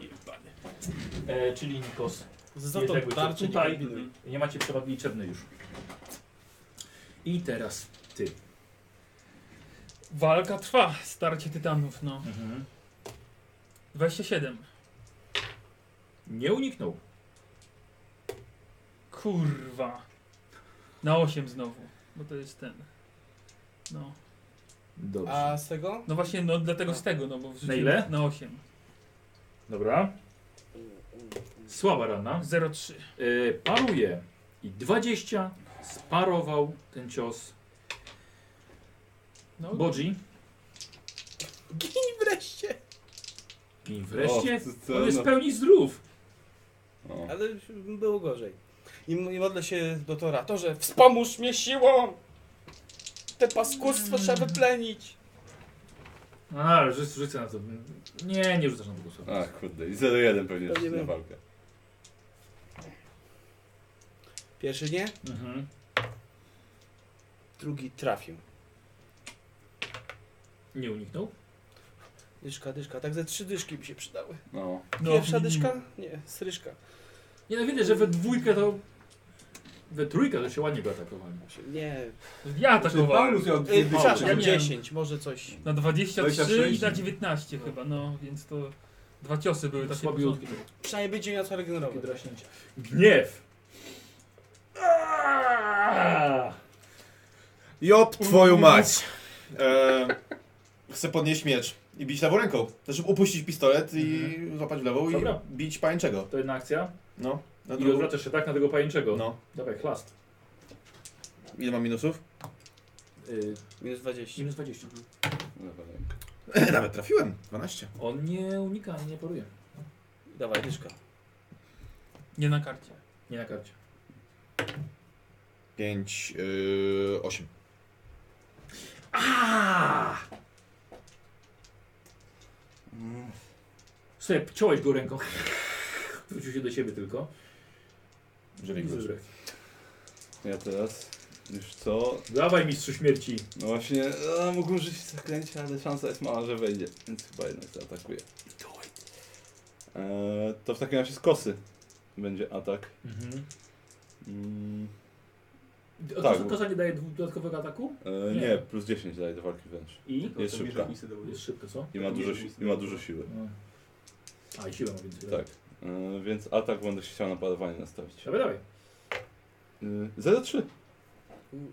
E, czyli Nikos.
Za to
Jednego, co
tarczy nie
tutaj.
kombinuj.
Nie macie przewagi liczebnej już. I teraz ty.
Walka trwa, starcie tytanów, no.
Mhm.
27.
Nie uniknął.
Kurwa. Na 8 znowu, bo to jest ten. No.
Dobrze.
A z tego?
No właśnie, no dlatego z tego, no bo w
Na ile?
Na 8.
Dobra. Słaba rana.
0,3.
E, paruje. I 20 sparował ten cios.
No,
Bodzi.
Gin wreszcie!
I wreszcie
O, co-
on jest w
no.
pełni zdrów.
O.
Ale było gorzej. I, m- i modlę się do Tora. Torze, wspomóż mnie siłą! Te paskudstwo trzeba wyplenić!
A, rzuc, rzucę na to. Nie, nie rzucasz na tego słowa.
A kurde, i 0-1 pewnie
Pewnie
na
był.
walkę.
Pierwszy nie,
Mhm.
drugi trafił.
Nie uniknął.
Dyszka, dyszka, tak ze trzy dyszki mi się przydały.
No.
no,
Pierwsza
minimum.
dyszka? Nie, stryszka.
Nie no widać, że we dwójkę to... We trójkę to się ładnie by atakowali.
Nie,
Ja atakowałem.
Znaczy, Paulus miał
y,
dwie
przepraszam,
Ja miałem.
10, może coś.
Na 23 i
26.
na 19 chyba, no więc to dwa ciosy były takie
Słabiutki.
porządne.
Przynajmniej będzie miał co
Takie
regenerować.
draśnięcie. Gniew! Aaaa!
Job twoją mać! E, chcę podnieść miecz i bić lewą ręką. Znaczy upuścić pistolet i złapać w lewą
Dobra.
i bić pańczego.
To jedna akcja.
No. Na
I odwracasz się tak na tego pajęczego.
No.
Dawaj, chlast.
Ile mam minusów? *clears throat*
Y,
Minus 20.
minus 20.
Lewa ręka.
Nawet trafiłem. 12.
On nie unika, nie paruje.
Dawaj, dyszka.
Nie na karcie.
Nie na karcie.
5, yy, 8.
Sobie pciąłeś go ręką. *laughs* Wrócił się do siebie tylko.
Jeżeli
I
wróci.
zdrów.
Ja teraz. Już co?
Dawaj mistrzu śmierci.
No właśnie, e, mógł użyć zaklęcia, ale szansa jest mała, że wejdzie, więc chyba jednak zaatakuje. E, to w takim razie z kosy będzie atak. Mm,
A
Tak,
Mhm. tak,
bo-
koza nie daje dwu- dodatkowego ataku?
e,
Nie.
nie, plus 10 daje do walki wręcz.
I?
Jest szybka.
Jest szybko, co?
I ma dużo, si- i ma dużo siły.
No. A, i siła ma więcej.
Tak. E, więc atak będę się chciał na parowanie nastawić.
Dawaj, dawaj.
E, 03.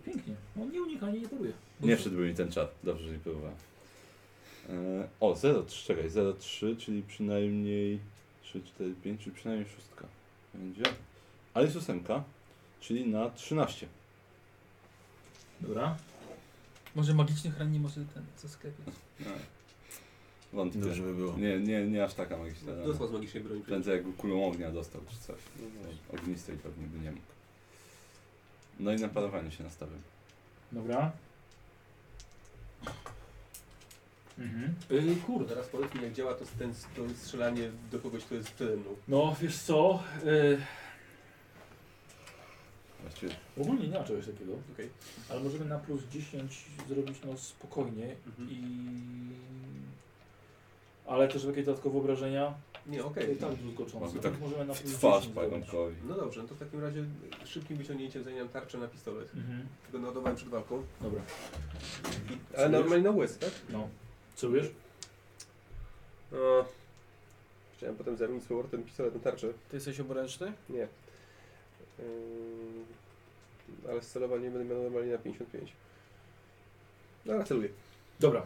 Pięknie. On nie unika, nie, nie paruje.
Nie wszedłby mi ten czat. Dobrze, że nie próbowałem. E, o, 03, czekaj, 03, czyli przynajmniej 3, 4, 5, czyli przynajmniej 6 będzie. Ale jest 8, czyli na 13.
Dobra.
Może magicznych ran nie może ten ze sklepie.
No. Wątpię.
Dobrze by było.
Nie, nie, nie aż taka magiczna. rana.
Dostał z magicznej broni.
Prędzej jakby kulą ognia dostał czy coś. Ognistej pewnie by nie mógł. No i na parowanie się nastawiam.
Dobra. Mhm.
Y, kurde, teraz powiedz mi jak działa to, ten, to strzelanie do kogoś, kto jest przede mną.
No wiesz co, y,
Właściwie
ogólnie nie ma czegoś takiego,
Okej.
ale możemy na plus 10 zrobić no spokojnie
Mhm.
i... Ale też jakieś dodatkowe obrażenia,
Nie,
to
okej.
i tak zaskoczące,
Mamy tak
więc możemy na
w
plus
twarz
10 zrobić.
pająkowi.
No dobrze, no to w takim razie szybkim wyciągnięciem zamieniam tarczę na pistolet.
Mhm.
Tylko naładowałem przed walką.
Dobra,
I, ale normalnie na łez, tak?
no. Co wiesz?
No. Chciałem potem zamienić z powrotem pistolet na tarczę.
Ty jesteś obręczny?
Nie. Ym, ale z celowaniem będę miał normalnie na 55. No ale celuję.
Dobra.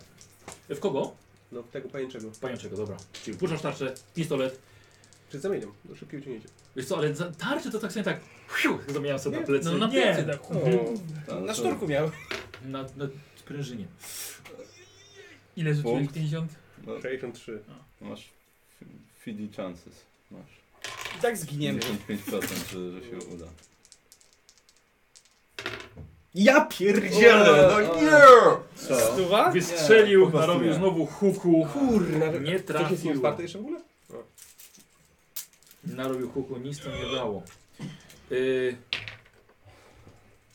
E, W kogo?
No tego pajęczego.
W Pajączego, dobra. Czyli puszczasz tarczę, pistolet.
Czy zamieniam? No szybkie uciągnięcie.
Wiesz co, ale za- tarczę to tak sobie tak fiu, zamieniam sobie na
Nie,
plecy.
No na
Nie, Mhm.
plecy tak.
Tak, to-
Na szturku miał.
Na, na sprężynie.
Ile rzuciłeś?
Punkt.
50?
No,
63.
masz fi- fidi chances. Masz
I tak zginiemy.
95%, że, że się uda.
Ja pierdzielę! No nie!
Co?
Stuwa?
Wystrzelił,
po prostu
narobił
nie.
znowu huku.
Kurna,
Nie
Coś jest
trafił.
nieotwarte jeszcze w ogóle?
Narobił huku, nic to nie dało. Y...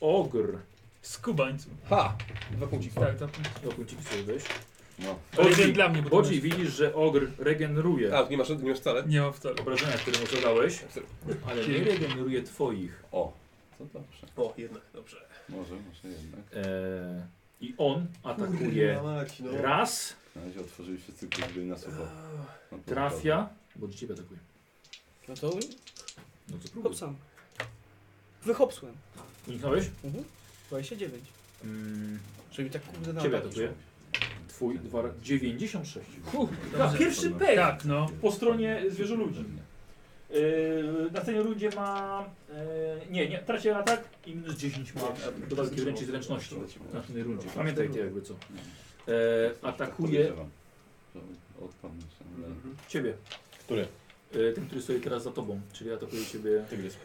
Ogr.
Skubańcu.
Ha! Dwa punkciki.
Tak, tak.
Dobra, ci sobie weź.
No.
Ale
Bodzi.
jeden dla mnie, bo to
Bodzi,
jest-
widzisz, że ogr regeneruje
A, nie masz, nie masz wcale?
Nie ma wcale.
obrażenia, które mu zadałeś, ale nie regeneruje twoich.
O, to dobrze.
O, jednak, dobrze.
Może, może jednak.
E... I on atakuje
Mać, no.
raz,
Na razie otworzyły się cykl gry na sucho. No, to
trafia, Bodzi ciebie atakuje.
No to
No to próbuj.
hopsam. Wyhopsłem.
Uniknąłeś?
Mhm. 29.
Mm,
Żeby mi tak kurde na
ciebie
atak
atakuje. Twój dwa, 96.
Dobrze.
pierwszy pech.
Tak, no.
Po stronie zwierzoludzi. Yy, na scenie ludzie ma. Yy, nie, nie, traci atak i minus 10 ma dodatki wręcz zręczności.
Tak.
Na tej rundzie. Pamiętajcie jakby co. Yy, atakuje
Odpadnę się. ale-
Mhm.
ciebie.
Który?
Yy, ten, który stoi teraz za tobą, czyli atakuje ciebie.
Tygrys.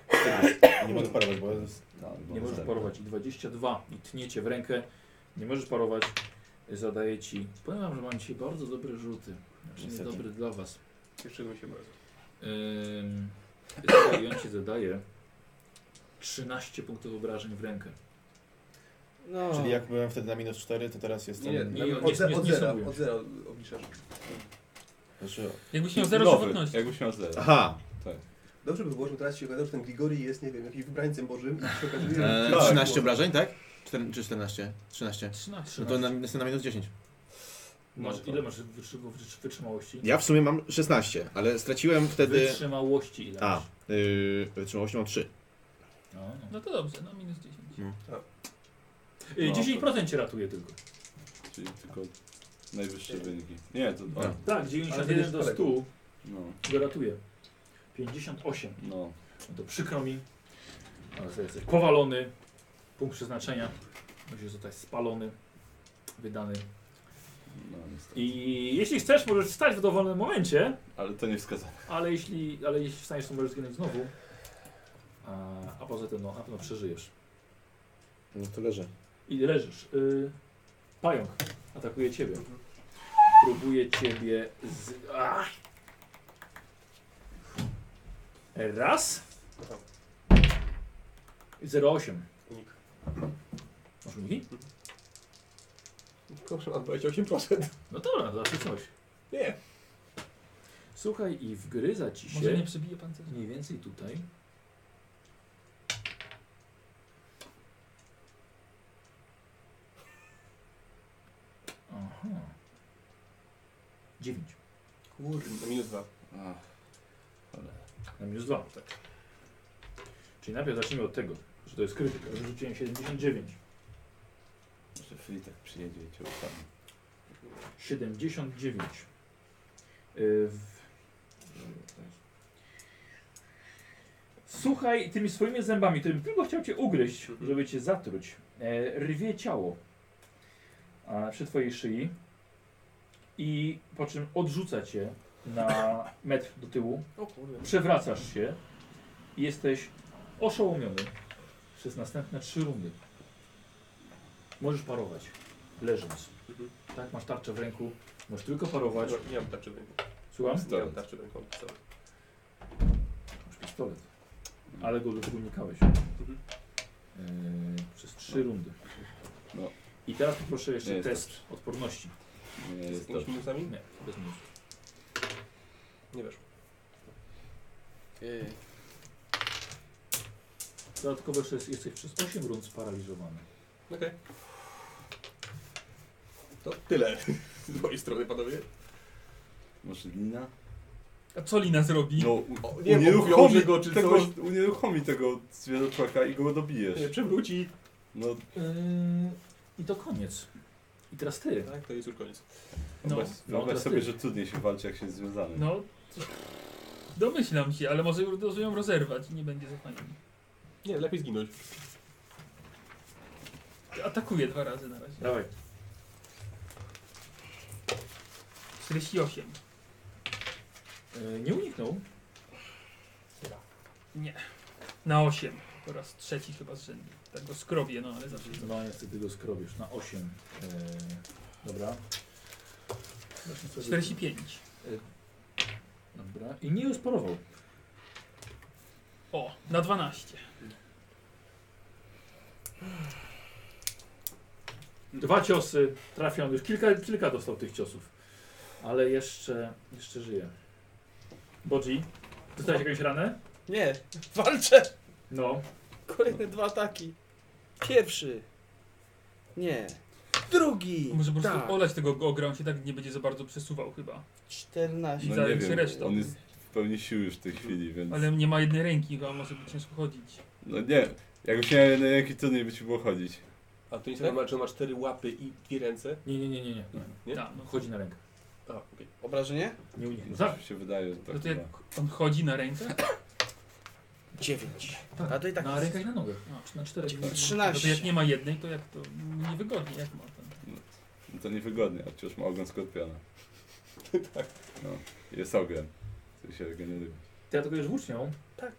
Nie mogę parować, bo jest...
Nie możesz parować. I 22 i tniecie w rękę. Nie możesz parować. Zadaje ci. Powiem wam, że mam dzisiaj bardzo dobre rzuty. Znaczy
Niestety.
dobry dla was.
Cieszymy się bardzo.
Ym, zadaje- on ci zadaje 13 punktów obrażeń w rękę.
No.
Czyli jak byłem wtedy na minus 4, to teraz jestem...
Nie,
nie, nie,
nie,
nie
od, ze- od
sumuję.
zera, od zera obliczasz.
Znaczy...
Jakbyś miał zero
Nowy,
żywotności.
Jakbyś miał zero.
Aha!
Dobrze by było, żeby teraz się okazało, że ten Grigori jest, nie wiem, jakimś wybrańcem bożym i przy okazji...
Eee,
Tak.
13 obrażeń, tak? Czter- czy 14? 13.
13.
No to na, jestem na minus 10.
Masz,
tak.
No to-
ile masz wytrzymał- wytrzy- wytrzymałości?
Ja w sumie mam 16, ale straciłem wtedy...
Wytrzymałości ile
A,
masz?
yy, wytrzymałości mam 3.
No, no.
No to dobrze, no minus 10.
Y,
No.
10% cię ratuje tylko.
Czyli tylko najwyższe wyniki. Nie, to... O,
No.
Tak, 91 do 100
no,
go ratuje. 58.
no.
No to przykro mi, ale sobie jesteś powalony. Punkt przeznaczenia. Musisz zostać spalony, wydany.
no niestety.
I jeśli chcesz, możesz wstać w dowolnym momencie,
Ale to nie wskazane.
ale jeśli, ale jeśli wstaniesz, to możesz zginąć znowu. A, a poza tym, no, na pewno przeżyjesz.
No to leżę.
I leżysz. Y, pająk atakuje ciebie. Próbuje ciebie z... Ach! Raz. 08.
Unik.
Masz uniki?
Proszę, mam 28%.
No dobra, zawsze coś.
*laughs* Nie.
Słuchaj i wgryza ci się
Może nie przebije pan coś?
mniej więcej tutaj. Aha. 9.
Kurde, minus dwa.
Ach,
Na minus 2, tak. Czyli najpierw zacznijmy od tego, że to jest krytyk, ale rzuciłem 79.
może Filip tak przyjedzie i cię ustawi.
79. Yy, w... Słuchaj, tymi swoimi zębami, którym tylko chciał cię ugryźć, żeby cię zatruć, e, rwie ciało a, przy twojej szyi i po czym odrzuca cię na metr do tyłu,
O kurde.
przewracasz się i jesteś oszołomiony przez następne trzy rundy. Możesz parować. leżąc.
Mhm.
Tak, masz tarczę w ręku, możesz tylko parować.
Chyba Nie mam tarczy w ręku.
Słucham?
Nie mam
Pistolet.
tarczy w ręku, mam pistolet.
Masz pistolet. Ale go unikałeś.
Mhm.
Yy, przez trzy rundy.
No.
I teraz poproszę
Nie
jeszcze
jest
test odporności.
Nie
Z
jest
pięć
dobrze.
minusami?
Nie, bez minus.
Nie weszło.
Ej,
Dodatkowo jeszcze jest, jesteś przez 8 rund sparaliżowany.
Okej. To tyle *laughs* z mojej strony, panowie.
Może lina?
A co Lina zrobi?
No, u-
O, nie,
unieruchomi
uruchomi
go
go
czy
czy
tego,
coś.
Unieruchomi tego zwierzoczłaka i go dobijesz.
przewróci.
No,
Yy, I to koniec. I teraz ty.
Tak, to jest już koniec.
No.
wyobraź, wyobraź
teraz
sobie,
ty.
że trudniej się walczy jak się jest związany.
No. co- Domyślam się, ale może już ją rozerwać i nie będzie za fajnie.
Nie, lepiej zginąć.
Atakuje dwa razy na razie.
Dawaj.
48.
Yy, nie uniknął.
Na 8. Po raz trzeci chyba z rzędu. Tak go skrobię, no ale zawsze.
No niestety go skrobisz na 8. Yy, dobra. Zacznij sobie-
45.
Dobra. I nie usporował.
O, na 12.
2 ciosy trafią. Już kilka, kilka dostał tych ciosów. Ale jeszcze, jeszcze żyje. Bodzi, dostałeś jakąś ranę?
Nie, *laughs* walczę!
No.
Kolejne dwa ataki. Pierwszy. Nie. Drugi.
No Może po prostu
tak.
olać tego gogra, on się tak nie będzie za bardzo przesuwał chyba.
14.
I
No
za
nie
jak się
wiem,
resztą.
on jest w pełni sił już w tej chwili, więc...
Ale nie ma jednej ręki, chyba może być ciężko chodzić.
No nie, jakbyś miał jednej ręki, trudniej by ci było chodzić.
A to nie
Tak?
tak? że on ma cztery łapy i dwie ręce.
Nie, nie, nie, nie. nie.
Nie?
Tak, no.
Chodzi na rękę.
A, okej.
Obrażenie?
Nie uniknął.
Tak. się wydaje, że tak
No to jak
chyba.
on chodzi na rękę,
9.
Tak,
A to i tak
Na rękach i na nogach. Na czterech.
no to
13.
jak nie ma jednej, to jak to niewygodnie, jak ma ten.
No to niewygodnie, a przecież ma ogon
*laughs*
skorpiona. No, jest ogon. To się go nie lubi.
Ty atakujesz włócznią
Tak.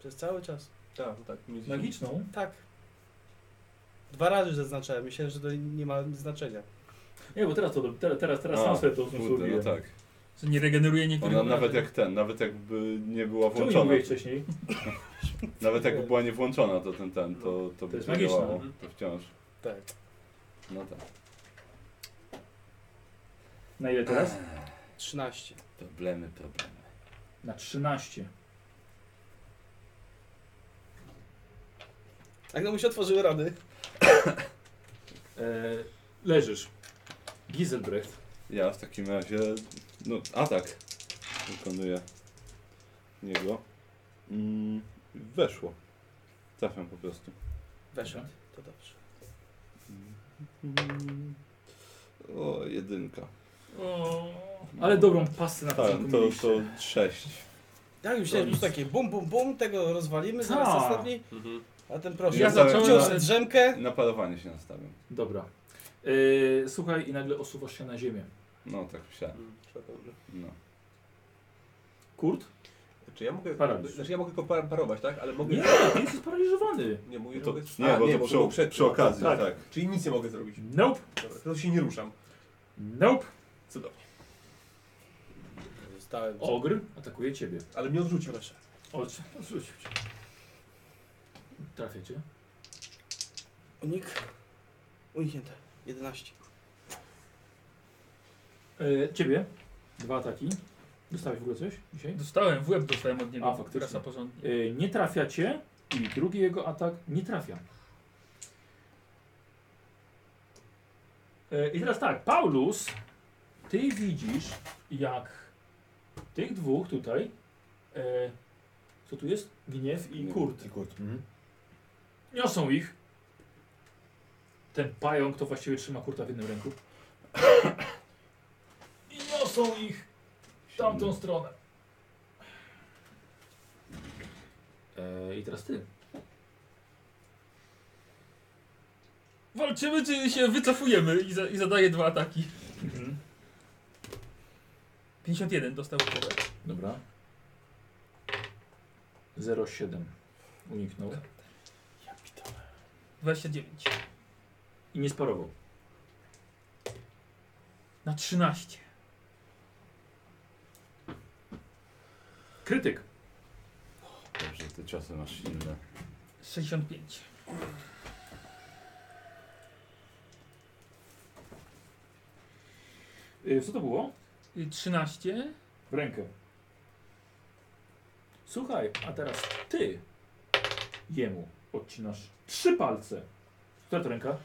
Przez cały czas.
Tak, no tak. mniej dziesięć.
magiczną.
Tak. Dwa razy zaznaczałem. Myślałem, że to nie ma znaczenia.
Nie, bo teraz to do- teraz, teraz, teraz sam
A,
sobie to
Kurde,
zrobię.
no tak.
Że nie regeneruje niektórych.
Ona nawet
obrażeń.
jak ten, nawet jakby nie była
Czemu nie
włączona,
mówiłeś wcześniej?
nawet jakby była nie włączona, to ten ten, to, to, by
jest
działało,
magiczne,
mhm.
to wciąż.
Tak.
No tak.
Na ile teraz?
13.
Problemy, problemy.
Na 13.
Tak, no mu się otworzyły rany.
E, leżysz. Giselbrecht.
Ja w takim razie, no atak wykonuję niego. Mm, weszło. Trafiam po prostu.
Weszło. To dobrze.
O, jedynka.
O,
Ale dobrą pasę na
Tak,
początku
to,
mieliście.
to sześć.
Ja już myślałem, że już takie bum, bum, bum, tego rozwalimy, zaraz
Tak.
ostatni,
Mhm.
a ten proszę.
Ja zacząłem-
Wziął sobie drzemkę.
Na parowanie się nastawiam.
Dobra. E, słuchaj i nagle osuwasz się na ziemię.
No tak myślałem.
Mhm, trzeba to dobrze.
No.
Kurt?
Czy ja mogę.
Paraliż.
Znaczy ja mogę tylko par- parować, tak? Ale mogę.
Nie, ty jesteś sparaliżowany.
Nie, mówię,
To,
mogę...
nie,
A,
bo
nie,
to
bo
przy,
było
przy,
przed-
okazji,
tak.
tak.
Czyli nic nie mogę zrobić.
Nope.
Dobra, to się nie ruszam.
Nope.
Cudownie.
Zostałem.
Ogr atakuje ciebie.
Ale mnie odrzucił.
Proszę.
Odrzuć. Odrzucił cię. Trafia cię.
Unik. Uniknięte. 11.
E, ciebie. Dwa ataki. Dostałeś w ogóle coś dzisiaj?
dostałem, w łeb dostałem od niego.
A, faktycznie.
Rasa porządnie.
E, nie trafia cię i drugi jego atak nie trafia. E, I teraz tak, Paulus, ty widzisz jak tych dwóch tutaj, e, co tu jest? Gniew i Kurt.
I kurt. Mhm.
Niosą ich. Ten pająk to właściwie trzyma Kurta w jednym ręku. I niosą ich w tamtą stronę. E, I teraz ty.
Walczymy czy się wycofujemy i, za, i zadaję dwa ataki. 51 dostał w głowę.
Dobra. 07. Uniknął.
29.
I nie sparował.
Na 13.
Krytyk.
Dobrze, te ciosy masz inne.
65.
Y, Co to było?
Y, 13.
W rękę. Słuchaj, a teraz ty jemu odcinasz trzy palce. Która to ręka?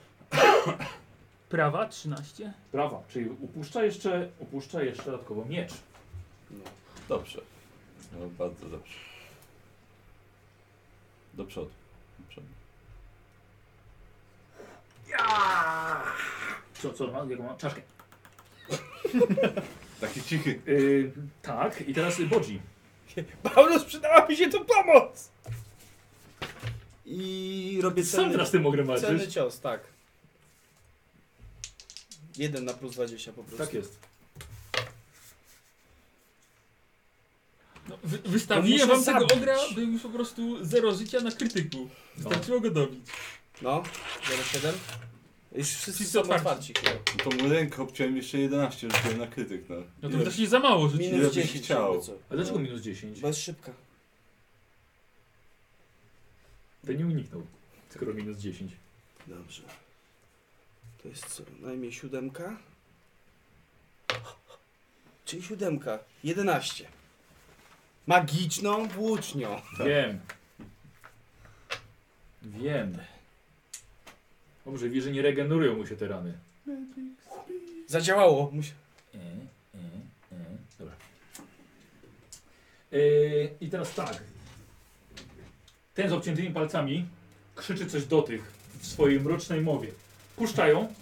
Prawa 13.
Prawa, czyli upuszcza jeszcze, upuszcza jeszcze dodatkowo miecz.
Dobrze. No, bardzo dobrze. Do przodu. Do przodu.
Co, co ma? Jaką ma? Czaszkę.
Taki cichy.
Y, tak, i teraz y, Bodzi.
Paulus, przydała mi się tu pomoc!
I robię
Sam
celny,
teraz tym ogrem
Celny
walczysz.
cios, tak. Jeden na plus 20 po prostu.
Tak jest.
No, wy, wystawiłem
To
wam
muszę
tego
zabić.
ogra, był już po prostu zero życia na krytyku. Wystarczyło go dobić.
No, 07. Już wszyscy
Wszyscy
są
otwarci.
otwarci chyba.
No to mu rękę obciąłem jeszcze 11, rzuciłem na krytyk. No,
No to
Ile-
wreszcie za mało życia.
Ile
Minus
byś
10
chciał?
jakby co.
A dlaczego minus 10?
Bez szybka.
To nie uniknął, skoro minus 10.
Dobrze. To jest co? Najmniej siódemka? Czyli siódemka. 11. Magiczną włócznią.
Wiem. Wiem. Dobrze, wie, że nie regenerują mu się te rany.
Zadziałało. Musi...
E, e, e. Dobra. E, I teraz tak. Ten z obciętymi palcami krzyczy coś do tych w swojej mrocznej mowie. Puszczają.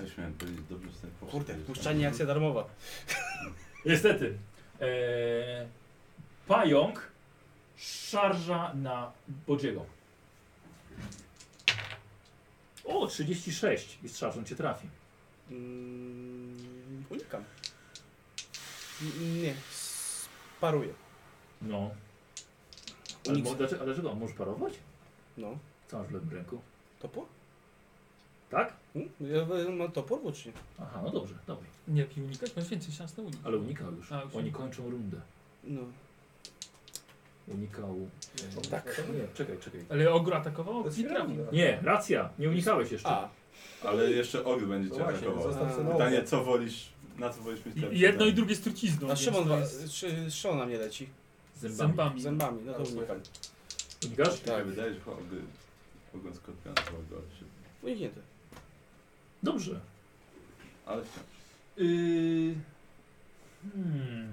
Ja śmiałem powiedzieć, dobrze że sobie poszedł.
Kurde, puszczanie akcja darmowa.
Niestety. E, pająk szarża na Bodziego. O, 36 i szarżą cię trafi.
Mm, unikam. N- nie. Sparuję.
No. Ale,
Unik...
mo, dlaczego, ale dlaczego? Możesz parować?
No.
Co masz w lewym ręku?
Topór?
Tak?
Hmm? Ja mam topór włócznie.
Aha, no dobrze, dawaj.
Nie, jak unikać? Masz więcej szans na unik.
Ale unikał już.
A, już
Oni
unikał.
kończą rundę.
No.
Unikał. e,
tak.
Nie, czekaj, czekaj.
Ale ogro atakowało?
jest
Nie trafił.
Nie, racja, nie unikałeś jeszcze.
A.
Ale jeszcze ogry będzie
No
cię
właśnie,
atakował.
zostaw sobie na
Pytanie, co wolisz, na co wolisz mieć
I-
lepsze
I jedno i
zdanie?
drugie z trucizną.
A
No, więc
Szymon,
to
wa-
jest
czy Szymon na mnie leci?
z
Zębami.
zębami.
Zębami, no to
Dobrze.
unikam.
Unikasz?
Tak.
Tak.
wydaje, że chyba ogry... Ogon skorpiona to ogry.
Uniknięte.
Dobrze.
Ale wciąż.
Yy... Hmm.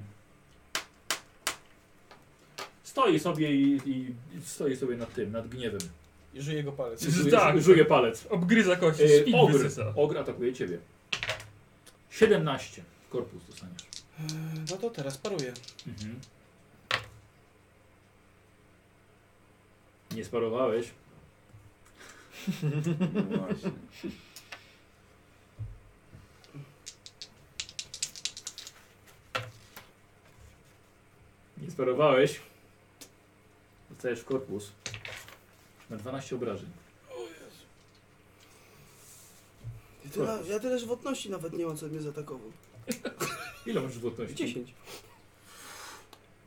Stoi sobie i, i i stoi sobie nad tym, nad gniewem.
I żyje go palec.
Żuje,
Tak.
żuje palec.
Obgryza kości,
Yy,
szpik
ogr.
wysysa.
Ogr atakuje ciebie. 17. W korpus dostaniesz.
Eee, No to teraz paruję.
Mhm. Nie sparowałeś.
No właśnie.
Nie sparowałeś. Dostajesz w korpus. Na 12 obrażeń.
Ja tyle, ja tyle żywotności nawet nie mam, co mnie zaatakował.
Ile masz żywotności?
10.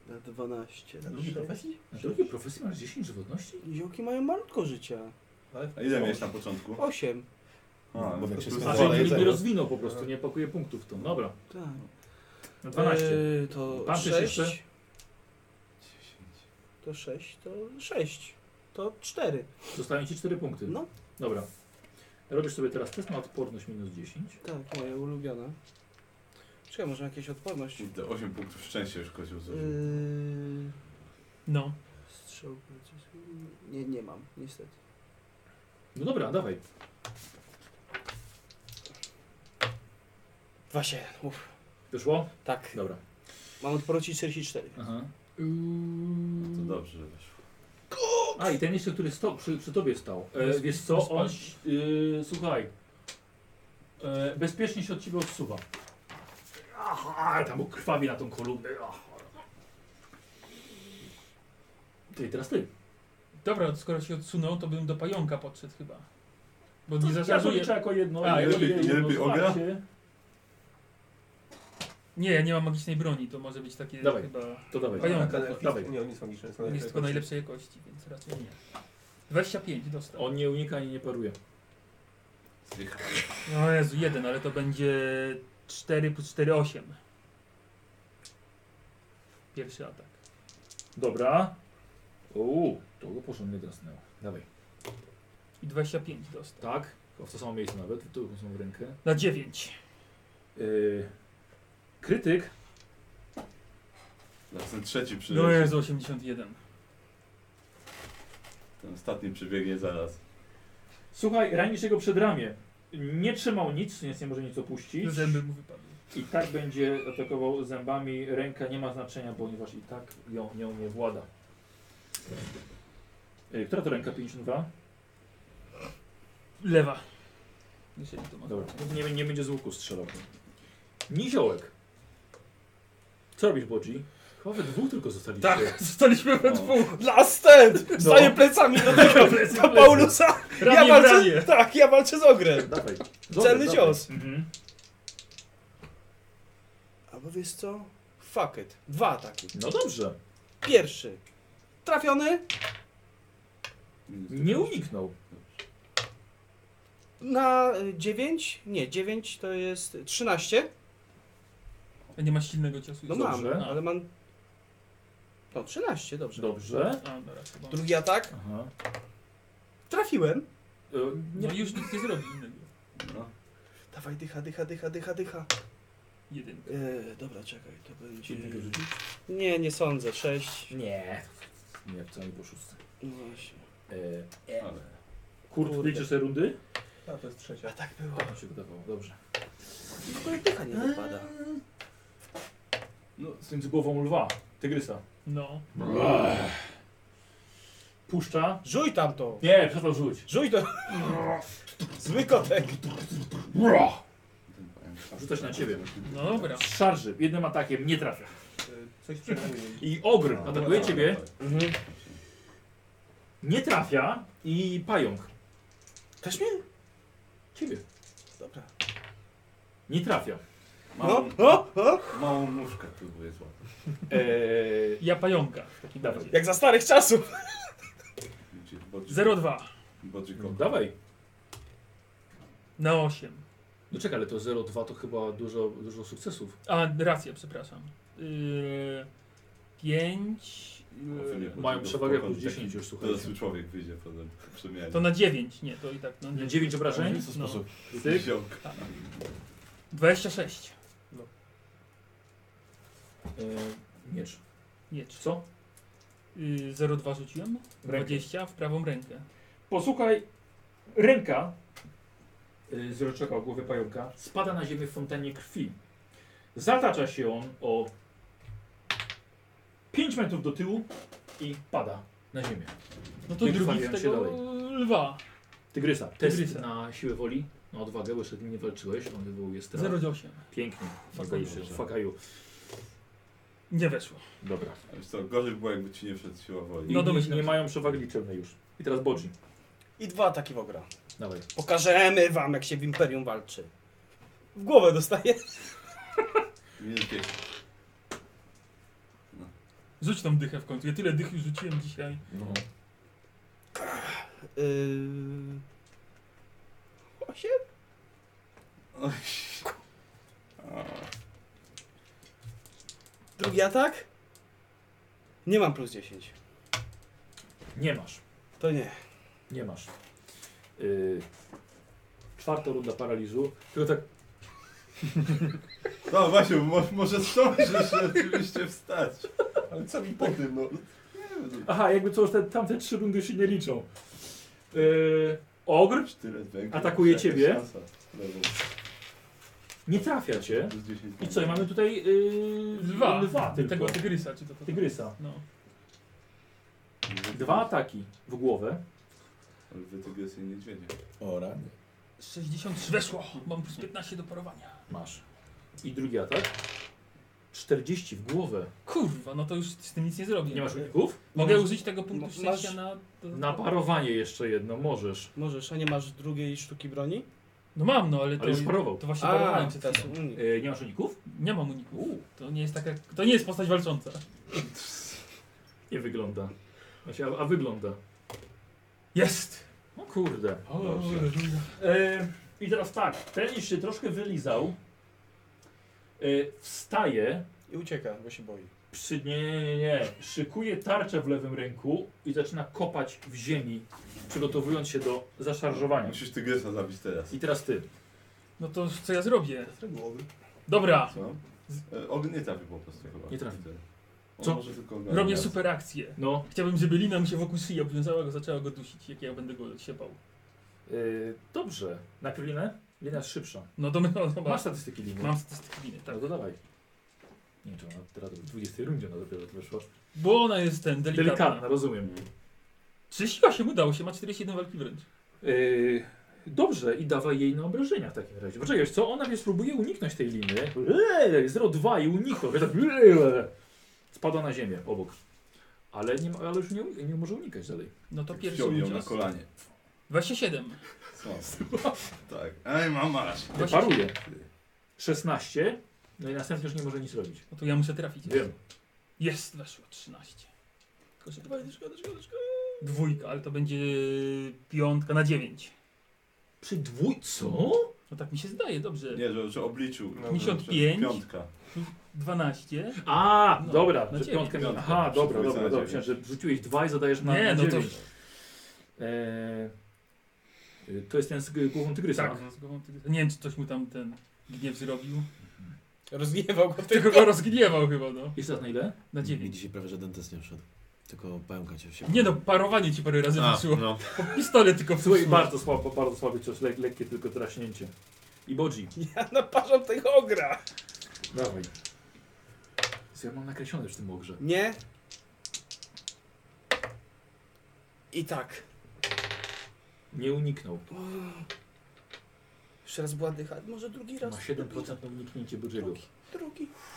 Na 12.
Na drugiej profesji? Na drugiej profesji masz 10 żywotności?
Niziołki mają malutko życia.
A ile miałeś na początku?
8.
A,
Bo
no
jak
to
się
plus
skończy-
A,
dwa.
Wolę
czyli nie
jedzenie.
rozwinął po prostu, nie pakuje punktów w tą. Dobra, E,
Tak.
na 12.
Eee, to
Pan też
6.
jeszcze?
To 6, to 6. To 4.
Zostają ci 4 punkty.
No.
Dobra. Robisz sobie teraz test na odporność minus 10.
Tak, moje ulubione. Czekaj, może jakieś odporność? Yy,
Kurde, 8 punktów szczęścia już kozioł
Yy.
zużył.
Eee,
No.
strzał. przecież- Nie, nie mam, niestety.
No dobra, dawaj.
27. Uff.
Wyszło?
Tak.
Dobra.
Mam odporności 44.
Aha.
No to dobrze, że weszło.
A i ten jeszcze, który sto, przy, przy tobie stał. E, wiesz co, on. Y, słuchaj. E, bezpiecznie się od ciebie odsuwa. Aha, tam krwawi na tą kolumnę. Aha. Ty, teraz ty.
Dobra, skoro się odsunął, to bym do pająka podszedł chyba. Bo nie
Ja to
zaszarżuje.
liczę jako jedno.
A,
jedno-
nie lepiej- nie
jedno
lepiej ogra?
wsparcie.
Nie, ja nie mam magicznej broni, to może być takie
Dawaj.
chyba...
To dawaj.
Pająka.
Dawaj.
Nie, on jest magiczny. jest
On
najlepszy.
jest tylko najlepszej jakości, więc raczej nie. 25 dostał.
On nie unika ani nie paruje.
No Jezu, jeden, ale to będzie 4 plus 4, 8. Pierwszy atak.
Dobra. Uuu, to go porządnie drasnęło. Dawaj.
I 25 dostał.
Tak, w to samo miejsce nawet, tu są w rękę.
Na 9.
Yy, krytyk.
Na ten trzeci przybiegnie.
No Jezu, 81.
Ten ostatni przybiegnie zaraz.
Słuchaj, ranisz jego przedramię. Nie trzymał nic, więc nie może nic opuścić.
Zęby mu wypadły.
I tak będzie atakował zębami. Ręka nie ma znaczenia, ponieważ i tak ją, nią nie włada. Yy, która to ręka? 52?
Lewa. Jeżeli to ma.
Dobra, nie, nie będzie z łuku strzelał. Niziołek. Co robisz, Bodzi? Chyba we dwóch tylko zostaliście.
Tak, zostaliśmy we
No.
dwóch.
Last stand! Staję plecami do tego, do Paulusa. Ja
Ramię w ramię.
walczę, tak, ja walczę z ogrem.
No Dawaj.
Celny
dawaj.
cios.
Mhm.
A bo wiesz co? Fuck it. Dwa ataki.
No dobrze.
Pierwszy. Trafiony
Nie uniknął.
na y, 9. Nie, 9 to jest 13.
A nie masz silnego ciosu.
No
Dobrze.
mam,
Dobrze.
ale mam. No, 13, dobrze.
Dobrze.
A, dobra, chyba.
Drugi atak.
Aha.
*laughs* Trafiłem.
E, Nie,
No już nikt nie zrobi innego.
No.
Dawaj, dycha, dycha, dycha, dycha, dycha.
Jeden.
Yy, dobra, czekaj, to będzie.
Jednego rzucić?
Nie, nie sądzę. 6.
nie. Nie, co nie po szóstce.
No właśnie.
E,
Ale.
Kurt,
Kurde.
liczysz te rundy?
A to jest trzecia.
A tak było.
To się wydawało, dobrze.
Tylko jak dycha nie wypada.
No, z tym z głową lwa, tygrysa.
No.
Puszcza.
Żuj tam to!
Nie, przepraszam, rzuć.
Żuj to! Zły kotek!
Rzucać na ciebie.
No dobra.
Z szarży, jednym atakiem nie trafia.
Y, Coś przejmuje.
I ogr
No.
atakuje ciebie,
Mhm.
nie trafia i pająk
Też mnie?
ciebie
Dobra.
nie *laughs* trafia.
No,
Małą,
o, o!
małą muszkę próbuję złapać.
Eee,
Ja pająka. W takim
Dawaj.
razie.
Jak za starych czasów!
Widzisz, bodzi-
0,2
bodzi
no,
koko.
dawaj.
na 8.
No czekaj, ale to 0,2 to chyba dużo, dużo sukcesów.
A, racja, przepraszam. Yy, 5.
Ofiary
Yy,
podzi-
Mają
do-
przewagę
do-
plus
do-
10 już, tak słuchajcie.
Dorosły człowiek wyjdzie potem przemianie.
to na 9, nie, to i tak. No,
Na 9 obrażeń?
No.
Tyk.
Ziołk.
26.
Eee, miecz.
Miecz.
Co?
Yy, 0,2 rzuciłem.
W rękę.
20 w prawą rękę.
Posłuchaj, ręka y, z roczeka o głowie pająka spada na ziemię w fontanie krwi. Zatacza się on o 5 metrów do tyłu i pada na ziemię.
No to
Nie
drugi
krwawiam
z
się
tego
dalej. Tak.
lwa.
Tygrysa, test
Tygrysa.
na siłę woli, na odwagę, bo jeszcze nie walczyłeś, on wywołuje strach.
0,8.
Pięknie,
Fakaju.
fakaju.
Nie weszło.
Dobra.
A Wiesz co, gorzej było jakby ci nie wszedł siła woli.
I
No
no
domyślam
nie, nie
się.
mają przewagi liczebnej już. I teraz boczy.
I dwa ataki w ogra.
Dawaj.
Pokażemy wam, jak się w Imperium walczy. W głowę dostaję.
Minus 5.
Rzuć tą dychę w końcu. Ja tyle dych już rzuciłem dzisiaj.
No.
Yy... Osiem? Drugi atak? Nie mam plus 10.
Nie masz.
To nie.
Nie masz. Yy, czwarta runda paraliżu. Tylko tak
No właśnie, mo może zdążysz rzeczywiście wstać.
Ale co mi po tym, no?
Aha, jakby co, już te, tamte trzy rundy się nie liczą. Yy, ogr
Cztery, węgiel,
Atakuje
jakaś
ciebie.
szansa. Lewą.
nie trafia cię.
Plus 10.
I co, i mamy tutaj yy,
Lwa.
lwa tylko.
Tego tygrysa, czy to to?
Tygrysa.
No.
Dwa ataki w głowę.
Ale wy tego jest niedźwiedzie.
O, rany.
63 weszło. Mam plus 15 do parowania.
Masz. I drugi atak. 40 w głowę.
Kurwa, no to już z tym nic nie zrobię.
Nie masz uników?
Mogę użyć tego punktu
Masz-
szczęścia na...
Na parowanie jeszcze jedno, możesz.
Możesz, a nie masz drugiej sztuki broni?
No mam, no ale to...
Ale już parował.
To właśnie parowałem się
teraz
teraz.
unik.
Yy, nie masz uników?
Nie mam uniku. To nie jest taka. To nie jest postać walcząca.
Nie wygląda. Znaczy, a, a wygląda.
Jest!
No kurde.
Dobrze.
E, I teraz tak, ten już się troszkę wylizał. E, wstaje,
I ucieka, bo się boi.
przy, nie, nie, nie, nie, szykuje tarczę w lewym ręku i zaczyna kopać w ziemi, przygotowując się do zaszarżowania.
Musisz tygrysa zabić teraz.
I teraz ty.
No to co ja zrobię? Dobra,
Co? E, og- nie trafi po prostu chyba.
Nie trafi.
On
Co?
Może tylko ogarnia.
robię super akcję.
No,
Chciałbym, żeby lina mi się wokół szyi obwiązała, go zaczęła go dusić, jak ja będę go siepał.
e, dobrze. Najpierw linę? Lina jest szybsza.
No to my, no, dobra.
Masz statystyki liny?
Mam statystyki liny, tak.
Tak, dodawaj. Nie, czy ona teraz w 20 rundzie ona dopiero to wyszła.
Bo ona jest ten, delikatna.
Delikatna, rozumiem.
Czy siła się udało się, ma 41 walki wręcz.
Yy, dobrze, i dawaj jej na obrażenia w takim razie. Poczekaj, wiesz co? Ona mnie spróbuje uniknąć tej liny. Eee, 0,2 i unikła. Ja tak, eee, Spada na ziemię obok. Ale, nie, ma- ale już nie, nie może unikać dalej.
No to pierwszy
Wziął ją Tak na
udział.
kolanie.
27.
Co? tak. Ej, mama!
Właśnie-
Paruje. 16. No i następnie już nie może nic robić.
No to ja muszę trafić.
Wiem.
Jest, weszło 13. Tylko, że dwa, szkoda, szkoda, szkoda. Dwójka, ale to będzie piątka na 9.
Przy dwój... Co?
No tak mi się zdaje, dobrze.
Nie, że, że obliczył.
No,
55.
Piątka.
12.
A,
No,
dobra,
na
że
dziewięć.
piątkę miał.
Piątka.
Aha, dobra,
Rzucaj
dobra,
na
dobra.
dziewięć.
Myślałem, że rzuciłeś dwa i zadajesz na
Nie,
na
no to-
dziewięć. Eee, y, to jest ten z g- głową tygrysa.
Tak. Z głową tygrysa. Nie wiem, czy coś mu tam ten gniew zrobił.
Rozgniewał go
Tylko go rozgniewał chyba, no.
Jeszcze raz na ile?
Na
Mi
9.
dzisiaj prawie żaden test nie wszedł. Tylko pająka cię się.
Nie no, parowanie ci parę razy
A,
wyszło.
no.
Pistolet tylko
Słuchaj, no.
wsłuchaj.
bardzo słabo, bardzo słaby cios, lek, lekkie tylko traśnięcie. I Bodzi.
Ja naparzam tego ogra.
Dawaj. Co ja mam nakreślone w tym ogrze?
Nie. I tak.
Nie uniknął.
Jeszcze raz była dycha. Może drugi raz.
Ma 7% na uniknięcie Bodziego.
Drugi, drugi,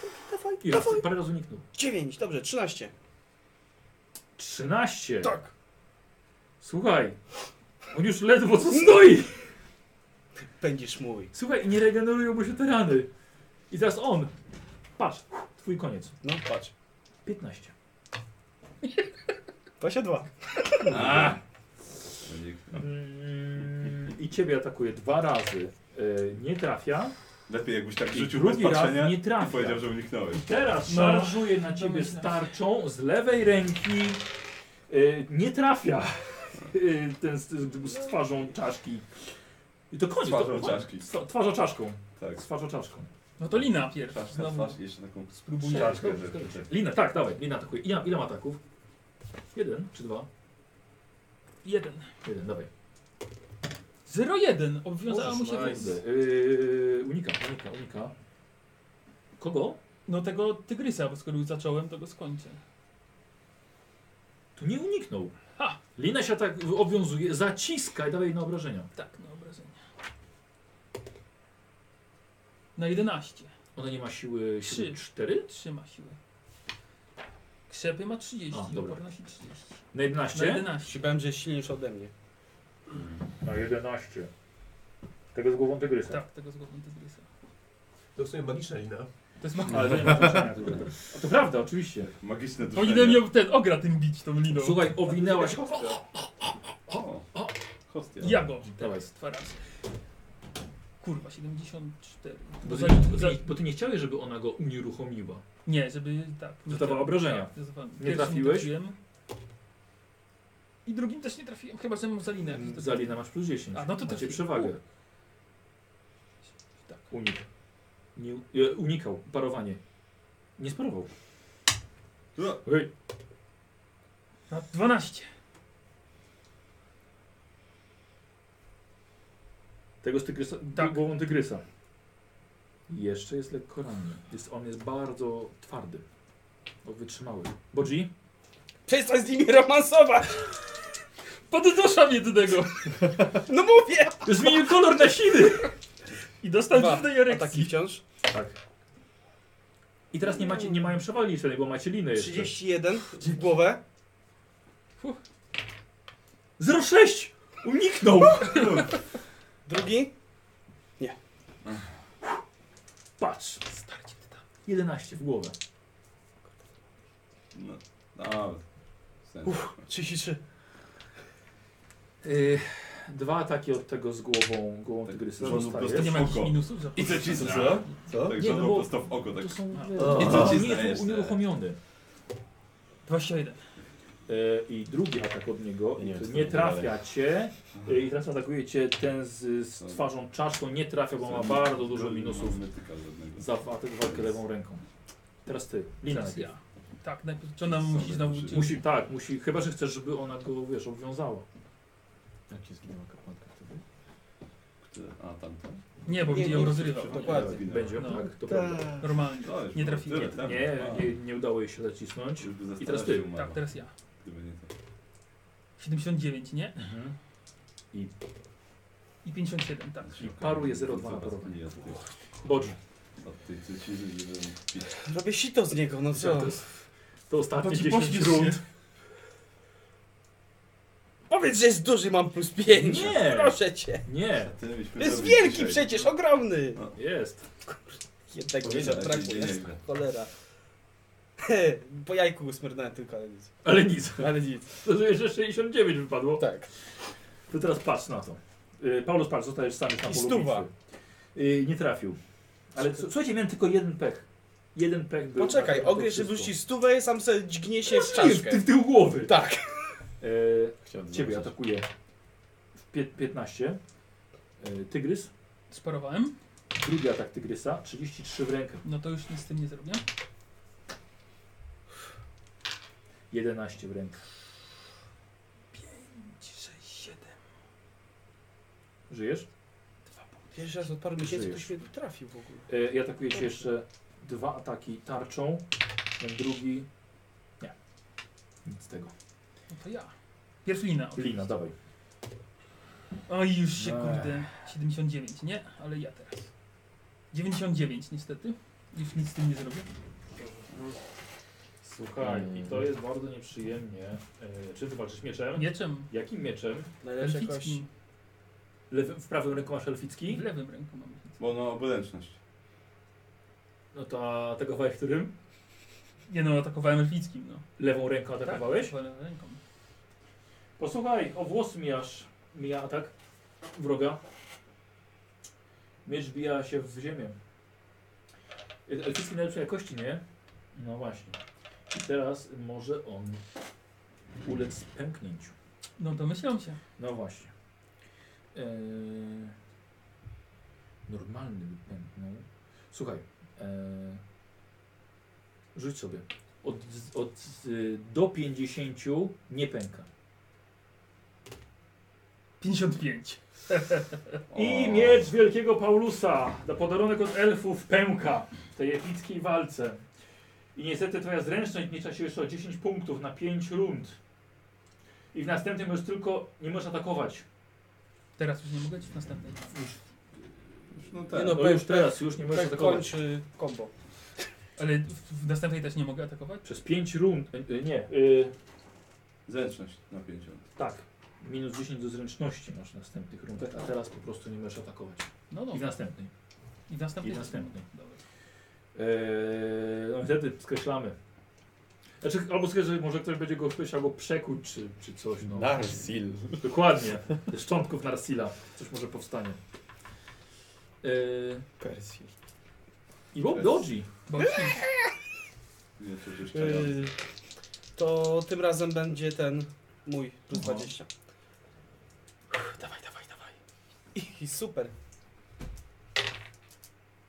drugi, dawaj,
I raz,
dawaj.
parę razy uniknął.
9, dobrze, 13.
13! Tak! Słuchaj, on już ledwo co stoi!
Będziesz mój.
Słuchaj, nie regenerują mu się te rany. I teraz on. Patrz, twój koniec.
No, patrz.
15.
22.
A!
Mm, I ciebie atakuje dwa razy. E, nie trafia.
Lepiej jakbyś tak
I
rzucił bez
drugi
patrzenia
raz nie
i
trafia.
powiedział, że uniknąłeś.
Teraz
No.
szarżuje na ciebie
Domyślam się.
starczą z lewej ręki. Y, nie trafia *laughs* y, ten z, z, z twarzą czaszki. I to tak. koniec.
Twarzą
to,
czaszki.
Twa- Twarzą czaszką.
Tak.
Z twarzą czaszką.
No to lina pierwsza.
Czaszka,
Znowu.
twarz i jeszcze taką
Spróbuję.
czaszkę. że- że-
Lina, tak, dawaj. Lina atakuje. Ile, ile ma ataków? Jeden czy dwa?
Jeden.
Jeden, dawaj.
0-1. Obwiązała mu się
Kurde,
wóz.
y, unika, unika, unika. Kogo?
No tego tygrysa, bo skoro już zacząłem, to go skończę.
Tu nie uniknął.
Ha!
Lina się tak obwiązuje, zaciska i dawaj na obrażenia.
Tak, na obrażenia. Na 11.
Ona nie ma siły
Trzy.
4?
Trzyma siłę. Krzepy ma 30,
A, dobra.
odporności 30.
Na 11?
Na 11.
Myślałem, że jest silniejszy ode mnie.
Na 11. Tego z głową tygrysa.
Tak, tego z głową tygrysa.
To w sumie magiczna lina.
To jest ma...
Ale to nie ma znaczenia. w ogóle. A to prawda, oczywiście.
Magiczne
Powinienem
duszenie.
ją ten ogra tym bić, tą liną.
No. Słuchaj, owinęła
No,
się.
O! Hostia.
Ja go.
Dawaj.
Teraz dwa razy. Kurwa, 74.
Bo
Bo
ty,
za,
nie,
za,
bo ty- bo ty nie chciałeś, żeby ona go unieruchomiła.
nie, żeby tak. nie
Zadawała
chciałem.
obrażenia.
Tak, zadawałem.
Nie
Pierwszym
trafiłeś?
trafiłem. I drugim też nie trafiłem, chyba że mam zalinę. jakąś do-
Zalina masz plus 10.
A, no to
Macie
trafi-
przewagę.
Tak.
Unik. Nie, e, unikał. Parowanie. Nie sparował.
No,
Ej,
Na 12.
Tego z tygrysa,
Tak.
głową tygrysa. Jeszcze jest lekko ranny. Jest, on jest bardzo twardy. O, Wytrzymały. Bodzi?
Przestań z nimi romansować!
Podduszam jednego
No mówię!
Zmienił kolor na siny!
i dostał
Dwa.
dziwnej erekcji.
Ataki wciąż?
Tak. I teraz nie, macie, nie mają przewagi licznej, bo macie liny jeszcze.
31 w głowę.
06! Uniknął!
Drugi.
Patrz.
Starcie ty tam.
11 w głowę.
No, nawet. W sensie.
33.
Y, dwa ataki od tego z głową, głową
Tak,
tygrysa.
to są po
Zostaje.
prostu-
Nie ma jakichś
Spoko.
minusów za
I co ci co?
Co?
Tak
Nie, no
żadną
bo-
prosto w oko, tak.
To są...
O.
I
I
co ci
nie
znajesz,
jest unieruchomiony.
21.
E, I drugi atak od niego.
Nie,
Nie,
to
nie
to
trafia cię. E, I teraz atakuje cię ten z, z twarzą czaszką. Nie trafia, bo ma bardzo dużo minusów
Nie tyka żadnego.
za wa- tę walkę lewą ręką. Teraz ty, Lina
Teraz
najpierw.
ja. Tak, najpierw, czy ona musi znowu...
Musi-
Musi, tak, musi, chyba że chcesz, żeby ona go, wiesz, obwiązała.
Jak się zginęła kapłatka wtedy?
Ty- A tamten?
Nie, bo
Nie,
będzie ją
nie,
rozrywał.
dokładnie.
Będzie,
No.
tak, to prawda.
Normalnie.
To już
Nie
było.
trafiłem.
Tyle, tak? temu.
Nie,
A,
nie, nie udało jej się zacisnąć.
już by zastanawiał
teraz ty.
się umarła,
Tak, teraz ja.
Gdyby nie to.
79, nie?
Mhm. I
I 57, tak.
I paruje 0,2 na
Coraz
parowanie.
mniej Od tych-
Bodzi.
od tej cyciny, nie wiem, pić.
Robię sito z niego, no co?
To ostatnie
Bodzi,
10
pośpiesz
rund.
się.
Powiedz, że jest duży, mam plus 5.
Nie.
Proszę cię.
Nie,
Ty byśmy
Jest
zrobili
wielki
dzisiaj.
przecież, ogromny.
jest.
Jednak nie
Powiedziałem,
zabrakło,
nie, nie,
jest
nie.
cholera. *laughs* He, Po jajku usmyrnąłem tylko, ale nic.
Ale nic. *laughs*
Ale nic.
To jeszcze 69 wypadło.
Tak.
To teraz patrz na to. Y, Paulus, patrz, zostajesz sam już na
I
polu
stuwa.
bitwy. Y, Nie trafił. Ale s- słuchajcie, miałem tylko jeden pech. Jeden pech był.
Poczekaj,
na to
ogry się
wszystko. No,
wrzuci stówę, sam se dźgnie się w
Ty, ty
czaszkę.
w tył głowy.
Tak.
Y,
Chciałem
Ciebie
zobaczyć.
atakuje w pie- 15. Y, Tygrys.
Sparowałem.
Drugi atak tygrysa. 33 w rękę.
No to już nic z tym nie zrobię.
11 w rękę.
5, 6, 7,
Żyjesz?
2 punkty.
Pierwszy raz od paru miesięcy
Żyjesz.
ktoś mnie trafił w ogóle.
Y, I atakuje cię jeszcze dwa ataki tarczą. Ten drugi. Nie. Nic z tego.
No to ja. Pierw lina.
Lina, dawaj.
Oj, już się
Ech.
kurde. 79, nie? Ale ja teraz. 99 niestety. Już nic z tym nie zrobię.
Słuchaj,
Mm.
i to jest bardzo nieprzyjemnie. E, czy ty walczysz mieczem?
Mieczem
Jakim mieczem?
Najlepsza kość.
elfickim.
Lewy, w prawym ręku masz elficki?
W lewym ręku mam elficki.
Bo no, obręczność.
No to atakowałeś którym?
Nie no, atakowałem elfickim, no.
Lewą ręką atakowałeś?
Tak, lewą ręką.
Posłuchaj, o włos mijasz, mija atak wroga. Miecz bija się w ziemię. E, Elficki najlepszej jakości, nie? No właśnie. I teraz może on ulec pęknięciu.
No domyślam się.
No właśnie. Eee, normalny by pęknął. Słuchaj. Eee, rzuć sobie. Od, z- od z- do 50 nie pęka.
55.
I
O.
miecz wielkiego Paulusa, na podarunek od elfów, pęka w tej epickiej walce. I niestety twoja zręczność licza się jeszcze o 10 punktów na 5 rund. I w następnym już tylko nie możesz atakować.
Teraz już nie mogę ci w następnej.
Już no tak.
Nie no,
No już
pęk-
teraz, już nie możesz
Tak
atakować.
kończy kombo.
Ale w, w następnej też nie mogę atakować?
Przez 5 rund, e, e, nie, e,
Zręczność na 50.
tak, minus 10 do zręczności masz w następnych rundach, a teraz po prostu nie możesz atakować.
No
I w
dobra.
następnej.
I w następnej.
i
No
w następnej.
Dobra.
Eee, no i wtedy skreślamy. Znaczy, albo skreślę, że może ktoś będzie go ktoś albo przekuć, czy, czy coś. No.
Narsil.
Dokładnie. Ze szczątków Narsila. Coś może powstanie. Eee,
Persil.
I Bob Dodgy.
Bo
Nie, przecież
Yy, to tym razem będzie ten mój plus 20. Uff, No. Dawaj, dawaj, dawaj. I, i super.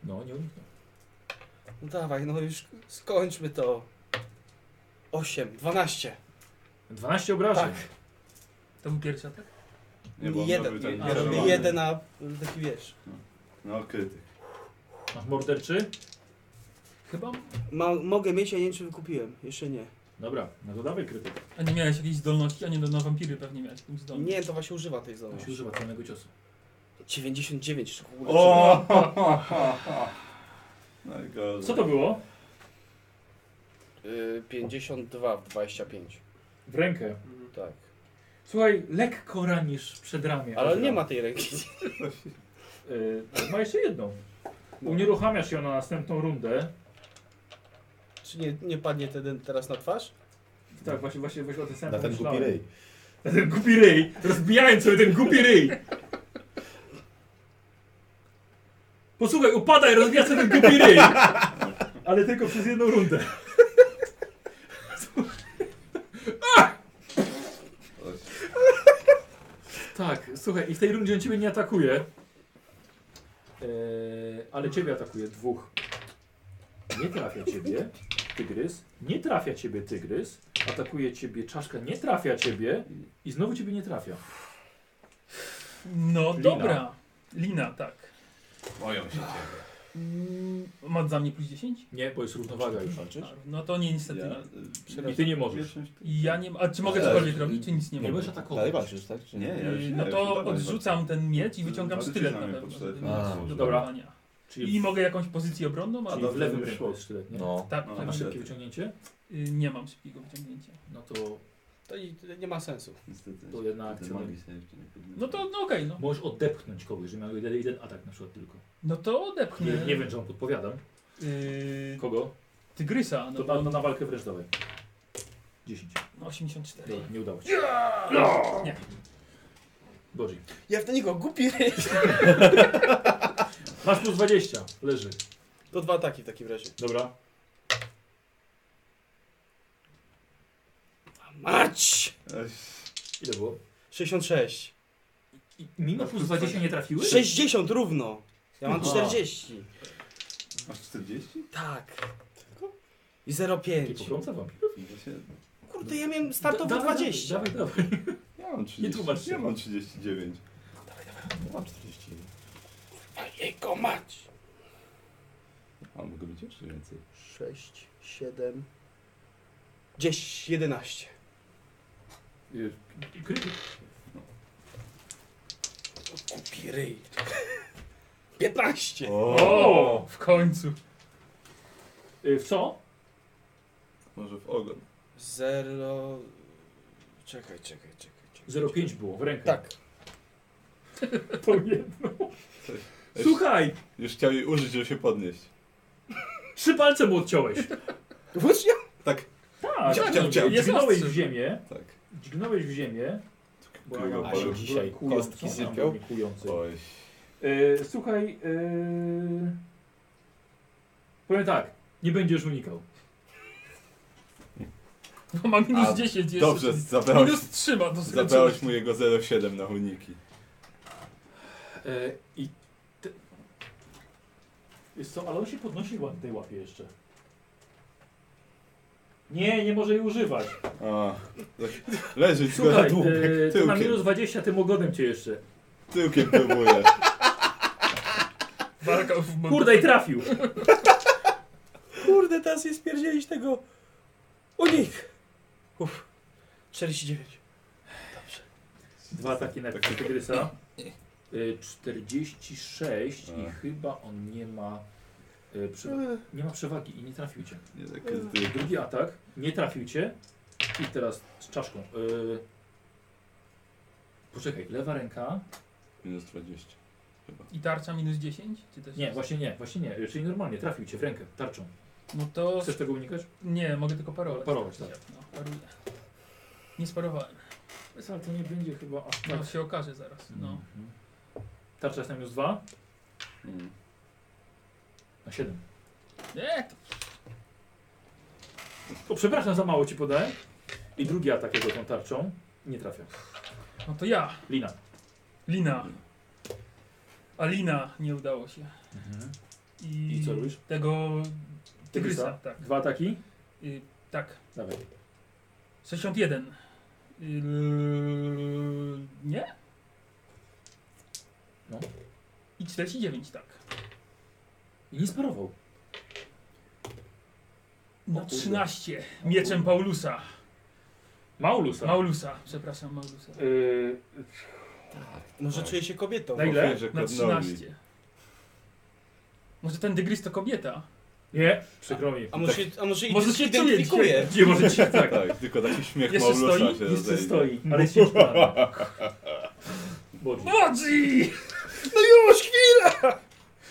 No, nie uniknął.
No dawaj, no już skończmy to. 8, 12.
12 obrażeń.
Tak. To był pierwszy atak?
Nie, bo on
jeden,
robił tak
nie,
Ja robię
wyrobany.
jeden na taki wiesz.
No, krytyk.
Masz morderczy?
Chyba.
Ma, mogę mieć, a nie wiem czy wykupiłem. Jeszcze nie.
Dobra, no to dawaj krytyk.
A nie miałeś jakiejś zdolności? A nie no, na wampiry pewnie miałeś jakąś zdolność.
Nie, to właśnie używa tej
On się
zdolności.
używa celnego ciosu.
No. 99 jeszcze w ogóle.
*laughs* No i go.
Co to było?
Y, 52 w 25.
W rękę.
Tak.
Słuchaj, lekko ranisz przed ramię. Y,
Ale nie ma tej ręki.
Eee, ale ma jeszcze jedną. Unieruchamiasz ją na następną rundę.
*laughs* Czy nie, nie padnie ten teraz na twarz? No.
Tak, właśnie, właśnie, właśnie o tym samym
Na ten głupi
pomyślałem.
ryj.
Na ten głupi ryj. Rozbijałem sobie ten głupi ryj. Posłuchaj, upadaj, rozbija sobie ten głupi ryj. Ale tylko przez jedną rundę. Tak, słuchaj, i w tej rundzie on ciebie nie atakuje. Eee, ale ciebie atakuje dwóch. Nie trafia ciebie tygrys, nie trafia ciebie tygrys, atakuje ciebie czaszka, nie trafia ciebie i znowu ciebie nie trafia.
No
Lina.
dobra. Lina, tak.
Boją się ciebie.
Mm, Masz za mnie plus 10?
Nie, bo jest równowaga już.
A, No to nie niestety.
Ja,
nie.
y,
I ty nie możesz.
pierwszą-
I ja nie. A czy mogę
Ale-
cokolwiek robić, czy nic nie
Nie
mogę?
możesz atakować.
Dalej walczysz, tak? Czy
Nie,
nie?
ja już nie,
No
ja już
to
nie
odrzucam ten miecz i wyciągam
Walczycie
tylet
na
na
mnie
pewno. No
po
żeby
czterech.
A,
mieć do
dobra.
polowania.
Czyli
I
w,
mogę jakąś pozycję obronną?
A
Ale...
do-
czyli w lewym
Już.
ręku jest sztylet, nie?
No.
no Tak,
No,
tak.
A
niestety.
szybkie wyciągnięcie?
Y, nie mam szybkiego wyciągnięcia.
No to,
To i- nie ma sensu.
Niestety.
to jedna akcja.
Magii sobie jeszcze nie podniosę.
No to no okej, no.
Możesz odepchnąć kogoś, że miał jeden, jeden atak na przykład tylko.
No to
Nie,
odepchnę.
nie wiem, czy on podpowiadam.
Y,
Kogo?
tygrysa, no
To na,
bo no,
na, na walkę wręcz dawaj. 10.
84.
Dobra, nie udało ci się.
Nie.
Boże.
Ja w do niego głupi ryj.
Masz plus 20. Leży.
To dwa ataki w takim razie.
Dobra.
Mać!
Ej,
Ile było?
66.
I, mimo plus 20 nie trafiły?
60 równo. Ja mam
Aha.
40.
Masz 40?
Tak.
Jakie
0,5.
pogromca wam?
Ja, No się...
Kurde, ja miałem startowo
Da- dawaj,
20.
Dawaj, dawaj.
ja mam 30.
tłumacz się.
Ja mam 39.
Ja mam 40.
Jego mać!
A mogę być jeszcze więcej.
6, 7, 10, 11.
Krytyk.
Głupi ryj. *laughs* 15.
O! W końcu.
Y, W co?
Może w ogon.
Zero. Czekaj, czekaj, czekaj. czekaj.
0,5 było w rękę.
Tak.
To jedno.
Ej,
Słuchaj,
Już chciał jej użyć, żeby się podnieść.
trzy palce mu odciąłeś.
Właśnie?
Tak,
Tak,
Ciap, ciap, ciap.
dźgnąłeś w
Jest
ziemię.
tak.
Dźgnąłeś w ziemię. Bo
Kują
ona-
A się
paru.
dzisiaj
była kująca,
kostki
ona
sypią?
była kująca.
Oj.
E, słuchaj, e, powiem tak, nie będziesz unikał.
No ma minus
A,
10 jest.
Dobrze, zabrałeś,
Minus 3 ma do
zabrałeś mu jego 0,7 na uniki.
E, I te... Wiesz co, ale on się podnosi ła- tej łapie jeszcze. Nie, nie może jej używać.
A, tak. leżeć go na
Słuchaj,
dół.
e, to na
Tyłkiem.
minus 20 tym ogonem cię jeszcze.
Tyłkiem próbuję.
Warka w
Kurde, i trafił.
Kurde, teraz jest pierdzielić tego. Unik! Uff. 49.
Dwa ataki na Tygrysa. E, 46 i
A.
chyba on nie ma, e, prze... nie ma przewagi i nie trafił cię.
Nie tak jest tyłkiem.
Drugi atak, nie trafił cię. I teraz z czaszką. Yy... Poczekaj, lewa ręka.
Minus 20. Chyba.
I tarcza minus 10? Czy też
Nie, właśnie nie, właśnie nie. Yy, Czyli normalnie, trafił cię w rękę, tarczą.
No to.
Chcesz tego unikać?
Nie, mogę tylko parować.
Parować, tak.
No, paruję. Nie sparowałem.
Ale to nie będzie chyba aż tak.
No się okaże zaraz. No.
Mhm. Tarcza jest na minus 2,
Mm.
na 7.
Nie,
O, przepraszam, za mało ci podałem. I drugi atak jego tą tarczą. Nie trafia.
no to ja.
Lina.
Lina. A Lina nie udało się. I,
I co robisz?
Tego
Tygrysa?
tygrysa, tak.
Dwa ataki.
Y, tak.
Dawaj.
61. Yy, nie?
No.
I 49, tak.
I nie sparował.
No
kurde.
13. Mieczem Paulusa.
Maulus. a?
Maulusa, przepraszam, Maulusa.
Yy,
Może
Tak.
No, czuję się kobietą.
Na ile?
Ofierze
Na
kodnowi.
13. Może ten dygrys to kobieta?
nie, przykro mi.
A może, a może i
Może się czuje
identyfikuje?
Nie może ci *laughs* tak.
Tak, tylko taki śmiech
Jeszcze
Maurusa
stoi?
się
Jeszcze
rozejdzie.
stoi, ale jest nieśmiertelny. Bodzi.
Bodzi! No już chwila!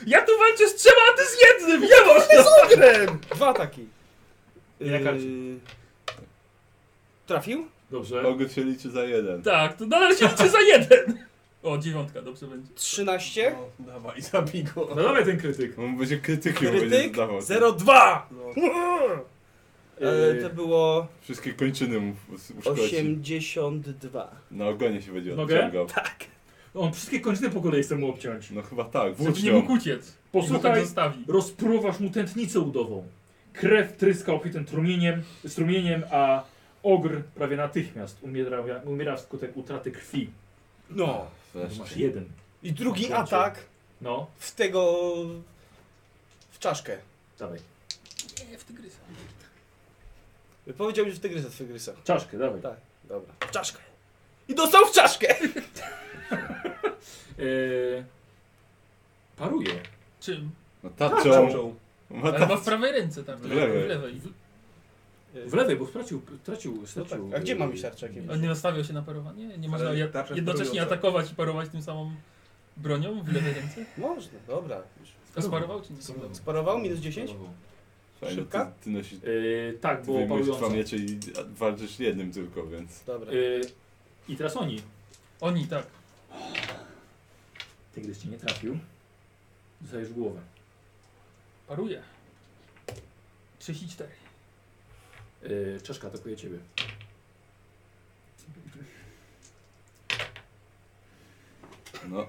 Ja tu walczę z trzema, a ty z jednym! Nie można!
Dwa ataki.
Na karcie.
Yy, Trafił?
Dobrze.
Kogut się liczy za jeden.
Tak, to nadal się liczy za jeden. O, dziewiątka, dobrze będzie.
13,
No,
*laughs*
dawaj, zabij go.
No dawaj ten krytyk.
On będzie krytykiem, będzie
krytyk,
zdawał.
02!
No.
E, to było
Wszystkie kończyny mu uszkodzi.
82.
Na ogonie się będzie
Nogę?
odciągał.
On wszystkie kończyny po kolei chce mu obciąć.
No chyba tak,
Żeby nie mógł
włócznią.
uciec.
Posłuchaj.
I go tak
no-
zostawi.
Rozpruwasz mu tętnicę udową. Krew tryska opitym trumieniem, strumieniem, a ogr prawie natychmiast umiera, umiera wskutek utraty krwi.
No.
Masz
Wreszcie.
jeden.
I drugi
Dobrze.
atak
No,
w tego... w czaszkę.
dawaj.
Nie, w tygrysa.
Powiedział mi, że w tygrysa, w tygrysa.
Czaszkę, dawaj.
Tak. Dobra. W czaszkę. I dostał w czaszkę!
Eee, paruje.
Czym?
No
Tak,
tarczą. Ma
Ale ma w
tarczę.
prawej ręce tam,
No tak. W
w
lewej.
lewej. W lewej.
W lewej, bo stracił, stracił,
No tak.
stracił. e,
A gdzie mam iść tarczakiem?
On nie nastawiał się na parowanie? Nie można
Ale
je-
tarcza jest
jednocześnie
parująca.
atakować i parować tym samą bronią w lewej ręce?
Można, dobra.
Sparował czy nie?
e,
Sparował minus 10?
Fajnie,
Szybka?
Ty, ty nosisz
Eee, tak, było
wyjmujesz dwa
parujące.
miecze i walczysz jednym tylko, więc...
Dobra.
Eee, I teraz oni.
Oni, tak.
Tygrys cię nie trafił. Dostajesz w głowę.
Paruje. 34.
Eee, czaszka atakuje ciebie.
No,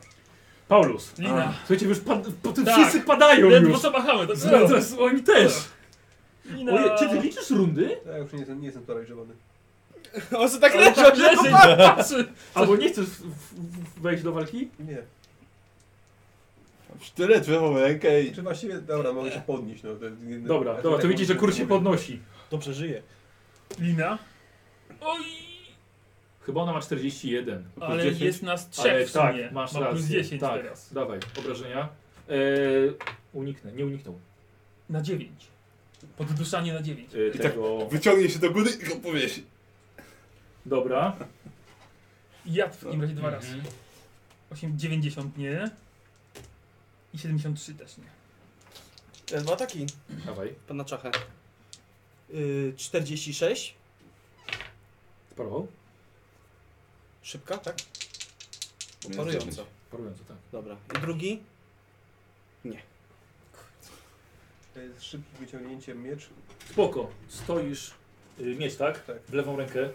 Paulus.
Lina.
Słuchajcie, już pad- po tym
Tak.
wszyscy padają
Ledwo
już.
co machamy, to No.
Zaraz, zaraz oni też.
Lina.
Oje, czy ty liczysz rundy?
Ja już nie jestem, nie jestem paraliżowany.
*laughs* On se tak
Ale
leży,
tak
że
leży,
to
patrzy.
Albo nie chcesz w- w- wejść do walki?
Nie.
w sztylet wychową rękę i...
Czy właściwie, dobra, mogę się podnieść. No, to, nie-
Dobra,
tak
dobra, to
jak
widzisz, że
mówię,
kurs się
mówię.
podnosi.
Dobrze żyje.
Lina. Oj,
Chyba ona ma 41.
Plus
ale
10?
jest nas
Ale
trzech w
tak,
sumie.
masz
Ma plus
rację,
10
tak.
teraz.
Dawaj, obrażenia. Eee, uniknę, nie uniknął.
Na 9. Podduszanie na 9.
Eee,
I tak-
tego.
Wyciągnie się do góry i go powiesi.
Dobra.
Ja w takim razie dwa razy.
Mhm.
8, 90 nie. I 73 też nie.
E, Dwa ataki.
Dawaj,
Pan na czachę. Y, 46.
sparował?
Szybka, tak?
Nie,
Parująca.
Parująco, tak.
Dobra. I drugi?
To jest szybkie wyciągnięcie miecz.
Spoko, stoisz, y, mieć tak?
Tak.
W lewą rękę,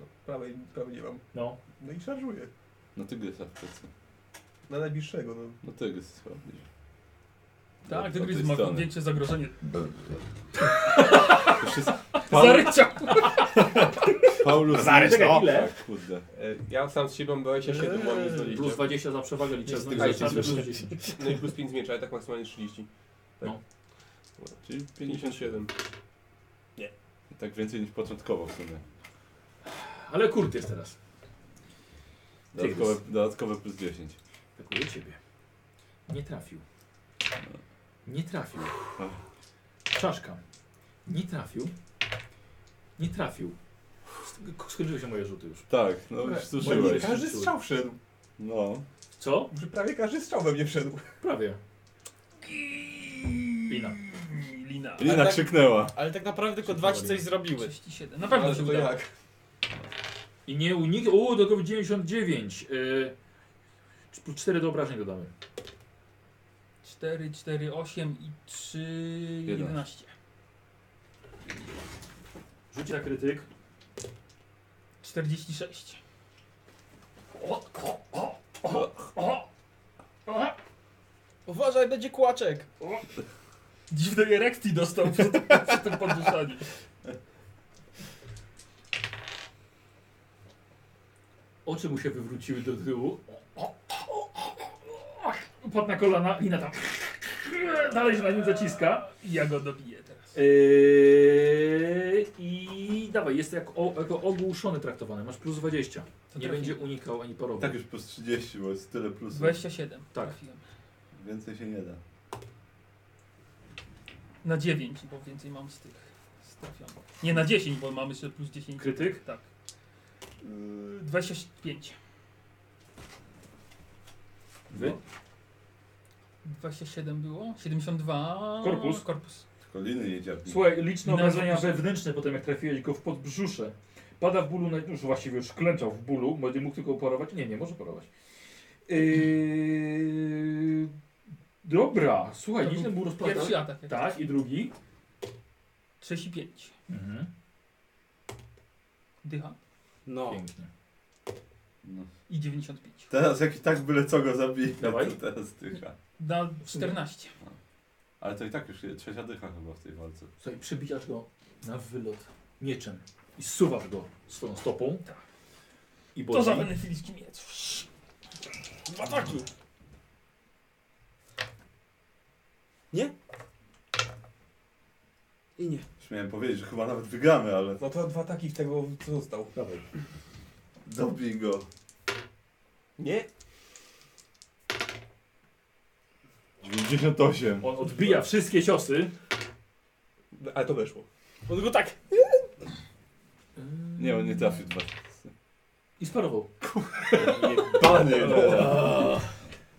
No, prawej, prawej nie mam.
no.
No i szarżuję.
No tygrysa w plecy.
Na najbliższego, no.
No tygrys jest chyba bliżej.
Tak,
Od
gdyby
tej
jest ma
strony.
większe zagrożenie. *laughs*
To się z-
Zaryczał!
Paulus...
Zarys,
Czekaj,
no.
ile? Tak, kurde.
E, Ja sam z siebie mam 27, mam minus 20.
Plus 20 za przewagę liczebną.
A,
za
i
czarny
plus
plus 10.
No i plus 5 z miecza, ale tak maksymalnie 30.
Czyli
57.
Tak więcej niż początkowo w sumie.
Ale kurt jest teraz.
Dodatkowe, dodatkowe plus 10.
Atakuje ciebie. Nie trafił. Nie trafił. Czaszka. Nie trafił. Nie trafił. Sk- Skończyły się moje rzuty już.
Tak, no już słyszałeś.
Moje-
Każdy strzał wszedł.
No.
Co?
Że Prawie każdy strzał we mnie wszedł.
Prawie. Lina.
Lina.
Lina
tak-
krzyknęła.
Ale tak naprawdę tylko dwa ci coś zrobiły.
37. Na pewno
*laughs* Ale
się
to
udało.
jak?
I nie unikł. Uuu, tylko 99. Yy, 4 do obrażeń dodamy.
4, 4, 8 i 3, 11.
Rzuć na krytyk.
46.
Uważaj, będzie kłaczek.
Dziwnej erekcji dostał przy tym, przy tym podduszaniu.
Oczy mu się wywróciły do tyłu. Upadł na kolana. Lina tam. Dalej się na nim zaciska.
Ja go dobiję teraz.
Eee, I dawaj, jest jak o, jako ogłuszony traktowany. Masz plus 20.
To
nie
trafiłem.
będzie unikał ani parował.
Tak już plus 30, bo jest tyle plusów.
27.
Tak.
Trafiłem.
Więcej się nie da.
Na 9, bo więcej mam z tych strafionych. Nie na 10, bo mamy jeszcze plus 10.
Krytyk?
Tak. Yy, 25.
Wy?
No,
27 było? 72.
Korpus.
Korpus.
Koliny jedziarki.
Słuchaj, liczne
Na
obrażenia
zamiast-
wewnętrzne potem jak trafiłeś go w podbrzusze. Pada w bólu, naj- już właściwie już klęczał w bólu, będzie mógł tylko oporować. Nie, nie może porować. Yy... Dobra, słuchaj,
To
nieźle
był
mu rozplatał.
Pierwszy atak. jak
Tak, i drugi.
6 i 5.
Mhm.
Dycha.
No.
Pięknie.
No.
I 95.
Teraz jak i tak byle co go zabije,
Dawaj.
to teraz dycha.
Na 14.
Ale to i tak już trzecia dycha chyba w tej walce.
Słuchaj, przebijasz go na wylot mieczem i suwasz go swoją stopą. I
Tak. To za
boli.
benefilicki miecz. Dwa ataki.
I nie.
Śmiałem powiedzieć, że chyba nawet wygramy, ale
No to dwa takich tego, co został.
Dawaj.
dobij go.
Nie?
98.
On odbija wszystkie ciosy.
Ale to weszło.
Bo tylko tak.
Nie, on nie trafił dwa.
I sparował.
Panie! no.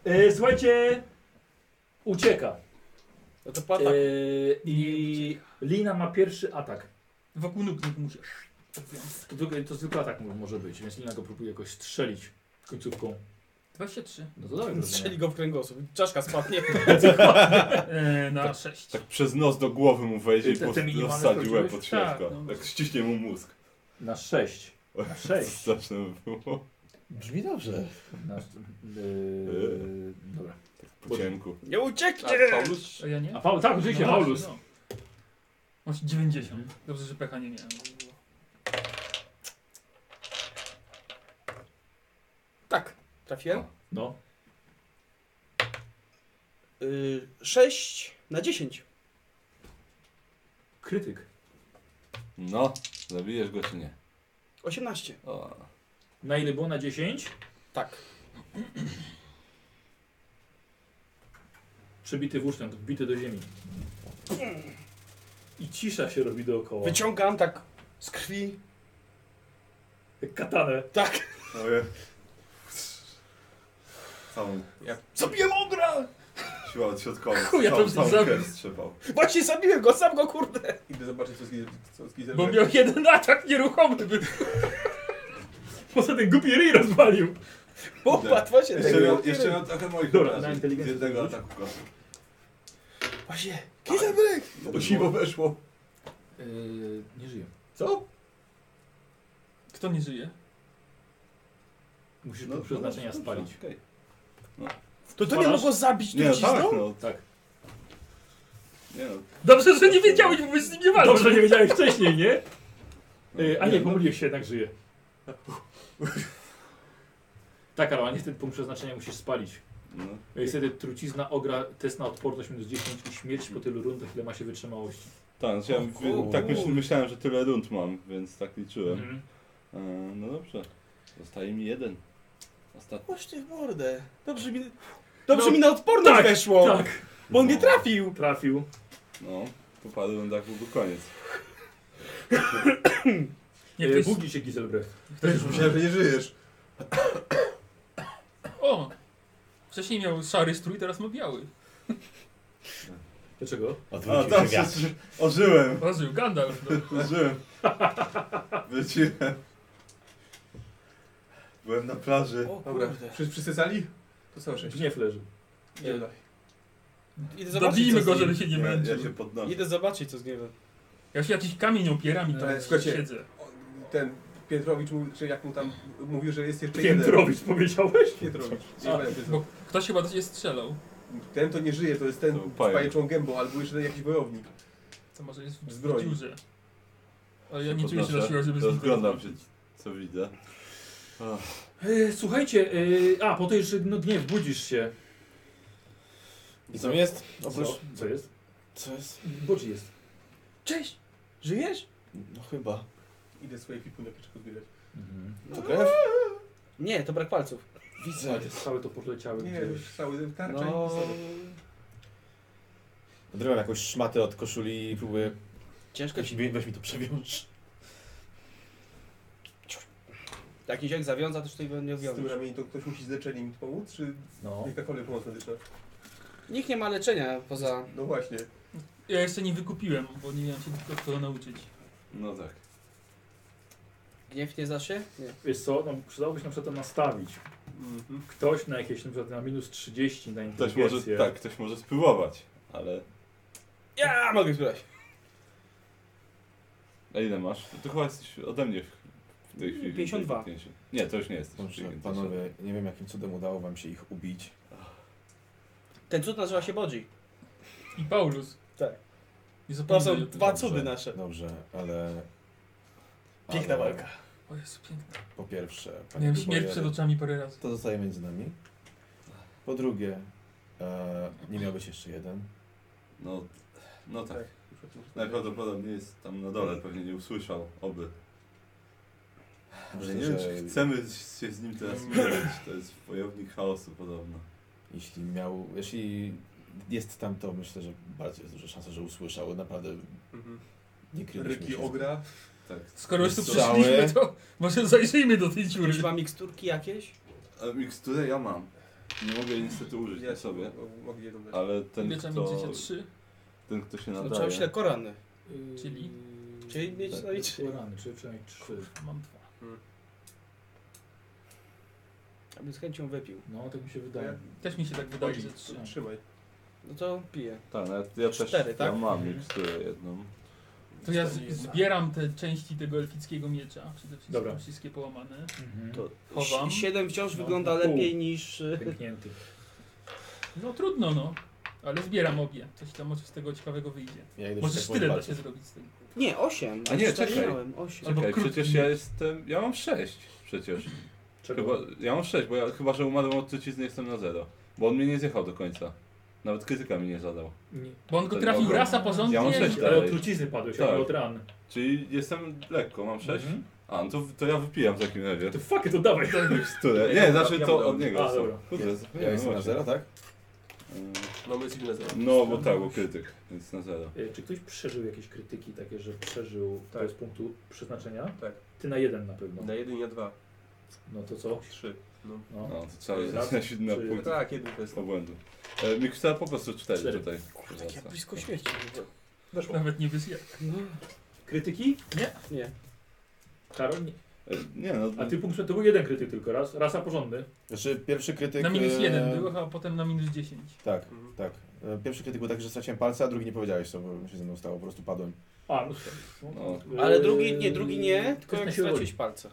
E, słuchajcie, ucieka.
No to po
tak.
E,
ataku.
I Lina ma pierwszy atak.
Wokół nóg nie musisz.
To, tylko- to zwykły atak mo- może być, więc Lina go próbuje jakoś strzelić końcówką.
23.
*laughs* No to dawaj.
*laughs* Strzeli go w kręgosłup. Czaszka spadnie.
E, na 6.
Tak przez nos do głowy mu wejdzie i
Te-
po
te
prostu
minimalne
rozsadził łeb
sprawdziłeś?
pod środka.
Tak, no.
Tak ściśnie mu mózg.
Na 6. Na 6.
Straszne by było.
Brzmi dobrze.
Na, *laughs* yy, dobra.
Po cienku.
Nie
A
ucieknie!
Paulus?
A ja nie?
A Paul, tak, oczywiście,
No
Paulus.
właśnie, no. Masz 90. Dobrze, że pecha nie miałem.
Tak. Trafiłem?
No.
Y, 6 na 10.
Krytyk.
No, zabijesz go czy nie?
18.
O.
Na ile było? Na 10?
Tak.
Przebity włóczniak, wbity do ziemi. I cisza się robi dookoła.
Wyciągam tak z krwi.
Jak Katanę.
Tak.
Ojej. No Całą
Zabiłem ogra!
siłę odśrodkową.
Chuj, ja to
całą,
bym
całą
zabił.
krew strzepał.
Właśnie zabiłem go, sam go kurde!
Idę zobaczyć, co z Giz- co z
Bo
Gizem.
miał jeden atak nieruchomy. *laughs* By...
Poza tym głupi ryj rozwalił.
Popatrz, właśnie
Jeszcze
tego.
miał, jeszcze miał trochę moich
Dobra, na
obrażeń z
inteligencję
jednego
rzuć.
ataku kosza.
Właśnie.
Bo siwo weszło.
Yy, nie żyje.
Co?
Kto nie żyje?
Musisz no, przeznaczenia spalić.
okej.
To to nie
Wpadasz?
mogło zabić,
Nie,
to
no, tak,
wcisnął?
no.
Tak.
Nie, no.
Dobrze, że nie wiedziałeś, bo byś z nim nie walczył.
Dobrze, nie wiedziałeś wcześniej, nie? Yy, a no. nie,
No,
pomyliłeś się, jednak żyje. *laughs* Tak, Karol, a niestety punkt przeznaczenia musisz spalić.
no.
Yy, Niestety trucizna ogra, test na odporność minus 10 i śmierć po tylu rundach, ile ma się wytrzymałości.
Tak, znaczy ja wy- tak myśl, myślałem, że tyle rund mam, więc tak liczyłem.
Mhm.
E, no dobrze. Zostaje mi jeden. Ostatni.
Chodź ty w mordę. Dobrze mi, dobrze mi na odporność
tak,
weszło,
Tak,
bo on mnie trafił.
trafił.
No, po paru rundach byłby koniec.
Nie,
Yy,
ktoś...
budzi się Giselbrecht.
Też myślałem, że nie żyjesz.
O! Wcześniej miał szary strój, teraz ma biały.
Dlaczego?
A,
Odwrócił
tam
tak.
się
się
wiatr.
ożyłem.
Razył, Gandalf. No.
Ożyłem. *laughs* Wróciłem. Byłem na plaży.
O
Dobra,
kurde.
Wszyscy przysysali? To całe sześć.
Gniew leży.
Idziemy dalej.
Idę zobaczyć,
Dobijmy
co
go,
z nim.
żeby się nie
Ja,
męczył.
ja się podnoszę.
Idę zobaczyć, co z niego.
Ja się jakiś kamień opieram i tam
Ale słuchajcie,
siedzę.
Ten Pietrowicz, mówił, czy jak mu tam mówił, że jest jeszcze jeden.
Piętrowicz powiedziałeś?
Pietrowicz.
A,
Nie pamiętam,
Bo ktoś chyba do ciebie strzelał.
Ten to nie żyje, to jest ten
To
z
pająk.
pajęczą gębą, albo jeszcze jakiś wojownik.
To może jest w, w
Zbroi.
dziurze. Ale ja
Się
nie czuję się na
podnoszę.
siłach, żeby z nim
Rozglądam
teraz-
się, co widzę. Ach,
Yy, słuchajcie, yy, a po to już no, gniew, budzisz się.
I co jest? Oprócz...
Co, No co jest?
Co jest?
Budzi jest.
Cześć! Żyjesz?
No chyba.
Idę swoje klipunek jeszcze podbierać.
Mhm.
To krew?
Nie, to brak palców.
Widzę.
Słuchajcie, całe to poleciały
No, Nie,
gdzieś.
już cały tarcza i
No...
pistolet.
Odrywam jakąś szmatę od koszuli i próbuję...
Ciężko
Weź
ci.
mi, weź mi to przewiąż.
Jak niziołek zawiąza, to już tego nie
Z tym
obwiąże.
ramieniem to ktoś musi z leczeniem pomóc, czy
No.
jakakolwiek pomoc medyczna?
Nikt nie ma leczenia poza...
No właśnie.
Ja jeszcze nie wykupiłem, bo nie miałem się tylko tego nauczyć.
No tak.
Gniew nie zasie? Nie.
Wiesz co, no, przydałoby się na przykład to nastawić.
Mhm.
Ktoś na jakieś, na przykład na minus 30 na
Ktoś
inteligencję.
może, tak, ktoś może spróbować, ale...
Ja mogę spróbować.
A ile masz? Ty chyba jesteś ode mnie w w tej chwili.
52.
Nie, to już nie jesteś.
Dobrze,
inteligentniejszy.
panowie, nie wiem jakim cudem udało wam się ich ubić.
Ten cud nazywa się Bodzi.
I Paulus.
Tak.
Nie
To
zapomnij.
są dwa
Dobrze.
cudy nasze.
Dobrze, ale...
Tak. Piękna
ale
walka.
O Jezu, piękne.
Po pierwsze, panie
Miałem śmierć
Dubojery,
przed oczami parę razy.
to zostaje między nami. Po drugie, e, nie miał być jeszcze jeden.
No, no tak. Najprawdopodobniej jest tam na dole, pewnie nie usłyszał, oby. Ale
Myślę,
nie wiem,
że-
czy chcemy się z nim teraz mierzyć, to jest wojownik chaosu podobno.
Jeśli miał, jeśli jest tam, to myślę, że bardziej jest duża szansa, że usłyszał. Naprawdę nie kryliśmy
Mhm. Ryki
się.
ogra.
Tak.
Skoro już tu
Strzały.
przyszliśmy, to może zajrzyjmy do tej dziury.
Już ma miksturki jakieś?
A miksturę ja mam. Nie mogę jej niestety użyć na
Ja
sobie,
sobie. Mogę jedną dać.
ale ten
Wieczami kto...
kto,
życia 3,
ten, kto się
No, trzeba się na
nadaje.
korany.
E,
czyli...
Czyli mieć na liczy.
Rany, tak, czy przynajmniej trzy.
Mam dwa.
Aby z chęcią wypił.
No, tak mi się wydaje.
Też mi się tak wydaje, że trzy.
Trzymaj.
No to piję.
Tak, no ja, ja też
Cztery, tak?
ja mam
Mhm.
miksturę jedną.
To ja z- zbieram te części tego elfickiego miecza, przede wszystkim
Dobra.
wszystkie połamane.
Mhm. *laughs*
To
Chowam.
si- siedem wciąż
No,
wygląda
na pół.
lepiej niż... y,
Pęknięty.
No trudno no, ale zbieram obie. Coś tam może z tego ciekawego wyjdzie.
Ja idę
Może
szukać
tyle da
walki.
się zrobić z tym.
Nie, osiem.
A nie,
Cztery
czekaj.
miałem, Osiem.
Albo
Czekaj,
krótki.
przecież ja jestem, ja mam sześć przecież. Chyba, ja mam 6, bo ja chyba, że umarłem od trucizny jestem na 0. Bo on mnie nie zjechał do końca. Nawet krytyka mi nie zadał.
Nie.
Bo on go
To
trafił
dobra.
raz, a porządnie.
Ja mam sześć
Ale
dalej.
od trucizny padłeś,
Tak.
tak. ale od ran.
Czyli jestem lekko, mam 6?
Mhm.
A, no to, to ja wypijam w takim razie.
To
*laughs*
fuck, it, to dawaj.
Które? Nie, znaczy to od niego.
A,
są.
dobra.
Kurde,
Ja
zapomniałem,
jestem na
właśnie.
zero, tak?
Mm,
No my jesteśmy na zero.
No, bo tak, bo krytyk, więc na 0.
E, Czy ktoś przeżył jakieś krytyki takie, że przeżył
Tak.
to z punktu przeznaczenia?
Tak.
Ty na jeden na pewno.
Na jeden i na dwa.
No to co?
Trzy. No.
No.
No, to trzeba
Raz,
wziąć na 7
trzy.
punkt
Tak, jeden to jest.
obłędu. E, Miksera po prostu 4
Cztery.
tutaj.
Tak ja
wraca.
blisko śmierci.
Nawet nie wyzjadł.
No,
Krytyki?
nie.
Karol? Nie.
E, Nie no,
A ty punkt to był jeden krytyk tylko raz. Rasa porządny.
Znaczy pierwszy krytyk...
Na minus
e,
jeden było, a potem na minus 10.
Tak,
Mhm.
tak. E, Pierwszy krytyk był tak, że straciłem palce, a drugi nie powiedziałeś, co bo się ze mną stało, po prostu padłem.
A, no, Yy,
no,
Ale drugi, nie, drugi nie, tylko
Ktoś na
jak
siłę
straciłeś palce.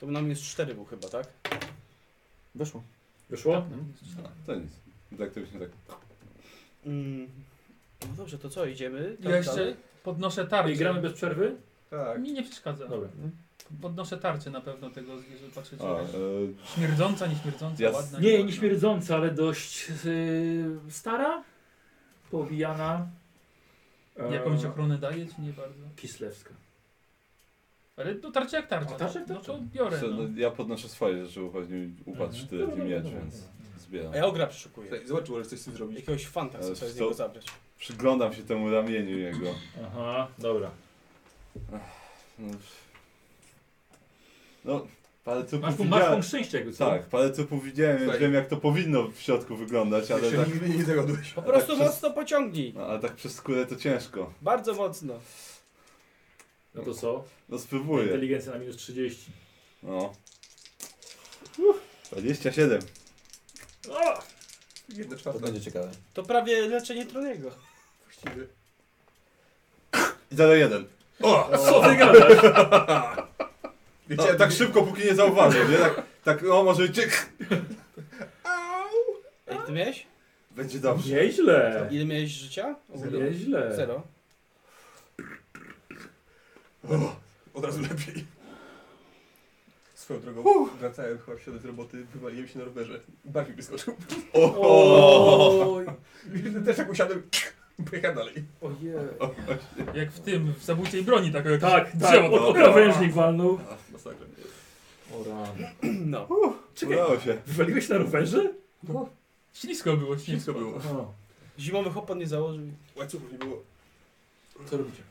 To nam jest cztery był chyba, tak?
Weszło.
Wyszło?
no, to nic. Tak to byśmy tak...
Mm. No dobrze, to co, idziemy? Tak,
Ja jeszcze podnoszę tarczę.
I gramy bez przerwy?
Tak.
Mi nie przeszkadza.
Dobra.
Podnoszę tarczę na pewno tego zwierzę patrzycie.
A, e,
Śmierdząca, nieśmierdząca,
Ja-
ładna.
Nie,
nieładna.
nie śmierdząca, ale dość yy, stara, powijana. E,
Jakąś ochronę daje, czy nie bardzo?
Kislewska.
Ale no tarcza jak tarcza.
A, tarcza jak
no
tarcza.
to biorę.
co,
No.
no, ja podnoszę swoje, żeby upewnił upadł
Mhm.
4
Dobra,
miecz,
dobra,
więc
dobra.
zbieram.
A ja ogra przeszukuję.
Zobacz, może coś z tym zrobić.
Jakiegoś fanta
Ale
chcę sobie z
co?
niego zabrać.
Przyglądam się temu ramieniu jego.
Aha, dobra.
No, no parę
Masz,
trupów
punkt- masz
widziałem.
punkt szczęścia, jakby co?
Tak, parę trupów widziałem, więc
Słuchaj.
wiem jak to powinno w środku wyglądać, ale
Jeszcze
tak,
nigdy nie zagadłeś.
Po prostu
przez-
mocno pociągnij.
no, ale tak przez skórę to ciężko.
Bardzo mocno.
No to co?
No spróbuję.
Inteligencja na minus 30.
No. 27.
O!
Jedna
To
czwarta.
będzie ciekawe.
To prawie leczenie trudnego.
Właściwie.
I 01. O!
Co ty gadasz?
No, tak szybko, póki nie zauważył, nie? Tak, tak no może ciek.
Ej, ty miałeś?
Będzie dobrze.
Nieźle.
Ile miałeś życia? Ogólnie?
Nieźle.
Zero.
Od razu lepiej. Swoją drogą, wracałem chyba w środę z roboty, wywaliłem się na rowerze. Bark mi wyskoczył.
Oj,
*laughs* Też tak usiadłem, *laughs* pojechałem dalej.
ojej.
Jak w tym, w zabójczej broni, tak jak
Tak, tak,
drzewo.
od krawężnik walnął.
Masakra.
O rany.
No.
Czekaj,
Udało się.
wywaliłeś na rowerze?
Ślisko było,
Wszystko
ślisko.
było.
O,
Zimowych opon nie założył.
Łańcuchów nie było.
co robicie?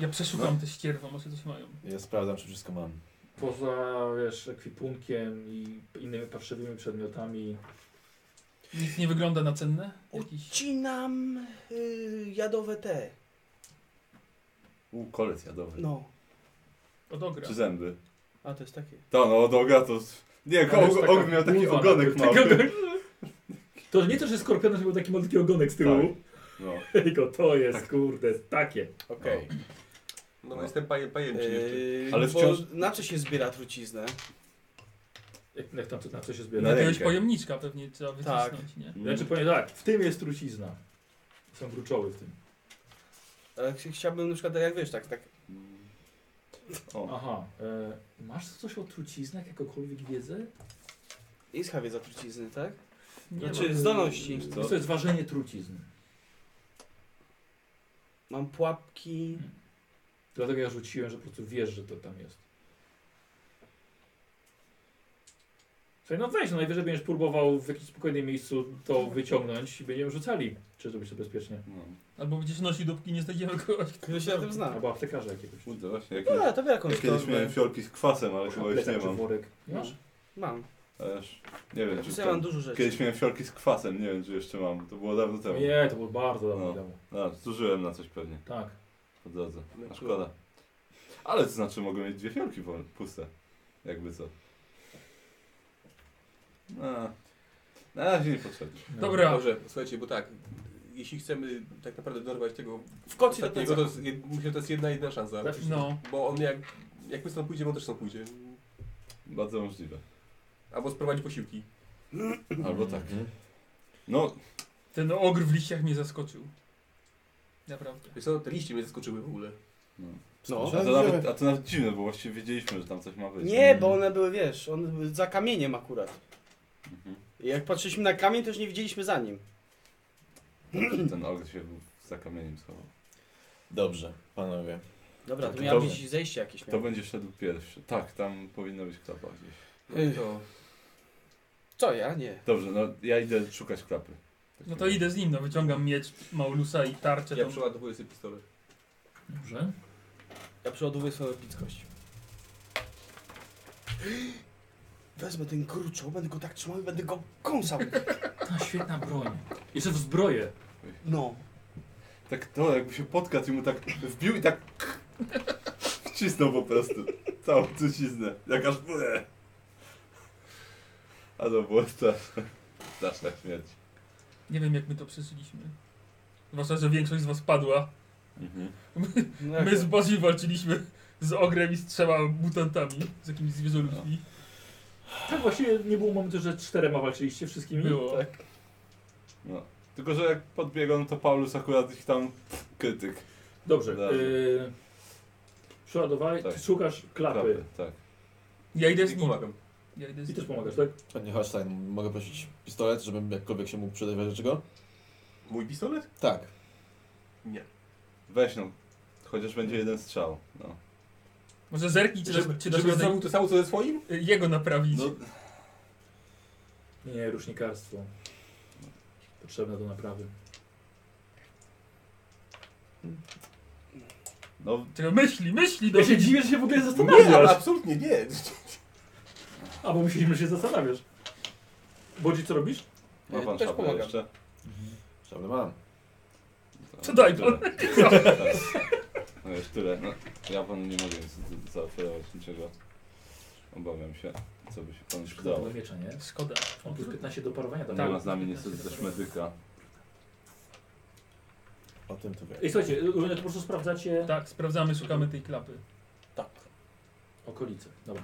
Ja
No.
przeszukam te ścierwa, może coś mają.
Ja sprawdzam, czy wszystko mam.
Poza, wiesz, ekwipunkiem i innymi parszywymi przedmiotami.
Nic nie wygląda na cenne? Jakiś...
Ucinam y, jadowe te.
U, kolec jadowy.
No.
Odogra.
Czy zęby?
A to jest takie.
Ta, no od oga to... Nie,
Ale jest
og,
taka
og miał taki
bulwa
ogonek
na- takiego-
mały.
To nie to, że skorpion miał taki malutki ogonek z tyłu,
No.
*laughs* tylko to jest,
Tak.
kurde, takie.
Okej.
No, no. jestem paję, pajęczy jeszcze.
Y,
Ale
Ale
wciąż-
Na co się zbiera truciznę?
Jak, jak tam to, na co się
Na
zbiera?
Jakiegoś
rękę.
pojemniczka pewnie trzeba
Tak.
wycisnąć, nie?
No.
Znaczy powiem tak, w tym jest trucizna. Są gruczoły w tym.
Ale ch- Chciałbym na przykład, jak wiesz, tak, tak
O,
Aha, e, masz coś o truciznach, jakąkolwiek wiedzę?
Iska wiedza trucizny, tak?
Nie
Znaczy
ma.
zdolności.
Wiesz co?
To jest ważenie trucizn.
Mam pułapki.
Dlatego ja rzuciłem, że po prostu wiesz, że to tam jest. Słuchaj, no weź, no najwyżej będziesz próbował w jakimś spokojnym miejscu to wyciągnąć i będziemy rzucali, czy zrobić to bezpiecznie.
No.
Albo będziesz nosił, dopóki nie znajdziemy kogoś.
Kto się na tym zna?
Albo aptekarza jakiegoś.
Kurde, właśnie, jak,
No, to biorę jakąś
jak kiedyś
torbę.
miałem fiolki z kwasem, ale chyba już nie
Plecak czy
mam. No.
worek. Nie masz?
Masz? Mam. Znaczy,
Ależ, nie wiem, czy
Ja mam
ten...
dużo rzeczy.
Znaczy, Kiedyś miałem fiolki z kwasem, nie wiem, czy jeszcze mam. To było dawno temu.
Nie, to było bardzo dawno
No.
temu.
A, zużyłem na coś pewnie.
Tak.
Po drodze.
No,
A szkoda. Ale to znaczy mogę mieć dwie fiolki wol- puste. Jakby co. No. Na razie nie potrzebne.
No.
Dobra,
Dobrze, słuchajcie, bo tak, jeśli chcemy tak naprawdę dorwać tego
W kocie do
ostatniego, to
tego.
jest, jed, myślę, że to jest jedna jedna szansa.
Znaczy,
no.
Bo on jak, jak my stąd pójdziemy, on też stąd pójdzie.
Bardzo możliwe.
Albo sprowadzi posiłki.
Albo tak. No,
Ten ogr w liściach mnie zaskoczył. Naprawdę.
Wiesz co, te liście mnie zaskoczyły w ogóle.
No.
a to, nawet, a to nawet dziwne, bo właściwie wiedzieliśmy, że tam coś ma być.
Nie, bo one były, wiesz, one były za kamieniem akurat.
Mhm.
I Jak patrzyliśmy na kamień, to już nie widzieliśmy za nim.
Ten ogr się był za kamieniem schował.
Dobrze, panowie.
Dobra, to
To
miało
Tak, dobrze.
być zejście jakieś.
To
Miało.
będzie szedł pierwszy. Tak, tam powinna być klapa gdzieś.
No i to...
Co ja? Nie.
Dobrze, no ja idę szukać klapy. Tak
No to idę z nim, no wyciągam miecz Maulusa i tarczę.
Ja
tą-
przeładowuję sobie pistolet.
Dobrze.
Ja przeładowuję swoją epickość. Wezmę ten gruczoł, będę go tak trzymał i będę go kąsał.
Ta świetna broń. Jeszcze w zbroję.
No.
Tak to, jakby się podkradł i mu tak wbił i tak wcisnął po prostu. Całą truciznę. Jak aż byle. A to było straszne. Straszna śmierć.
Nie wiem jak my to przeżyliśmy. Zwłaszcza, że większość z was padła.
Mhm.
no jak
My z Bozim walczyliśmy z ogrem i z trzema mutantami. Z jakimiś zwierzoludźmi.
Tak właściwie nie było momentu, że czterema walczyliście wszystkimi.
Było.
No. Tylko, że jak podbiegł, no to Paulus akurat ich tam krytyk.
Dobrze.
Dobrze.
Yy, przeładowałeś,
Tak.
szukasz klapy.
Klapy, tak.
Ja idę z
I
nim.
pomagam.
Ja idę z
I
nim.
też pomagasz, tak?
Panie Holstein, mogę prosić pistolet, żebym jakkolwiek się mógł przydać w razie czego?
Mój pistolet?
Tak.
Weź no. Chociaż będzie jeden strzał. No.
Może zerknij, czy,
Żeby,
da- czy da
żeby
się
on zrobił to samo co ze swoim?
zdej- jego naprawić.
no
Nie, rusznikarstwo. Potrzebne do naprawy.
No,
Czego myśli, myśli no. do
Ja się dziwię, że się w ogóle
Nie, ale
zastanawiasz.
absolutnie nie.
A bo myśleliśmy, że się zastanawiasz. Bodzi, co robisz?
ma
Ja
pan
też
szablę
pomagam.
jeszcze?
Szablę mam.
To daj
tyle.
*laughs*
pan.
Tak. No już tyle. No, ja panu nie mogę z- zaoferować niczego. Obawiam się, co by się panu przydało.
Do miecza, nie?
Szkoda.
On plus 15 do parowania
Tak.
tam
Nie ma
miał.
z nami niestety też medyka.
O tym to wiem.
Ej, słuchajcie, y, y, po prostu sprawdzacie
Tak, sprawdzamy, szukamy tej klapy.
okolice. Dobra.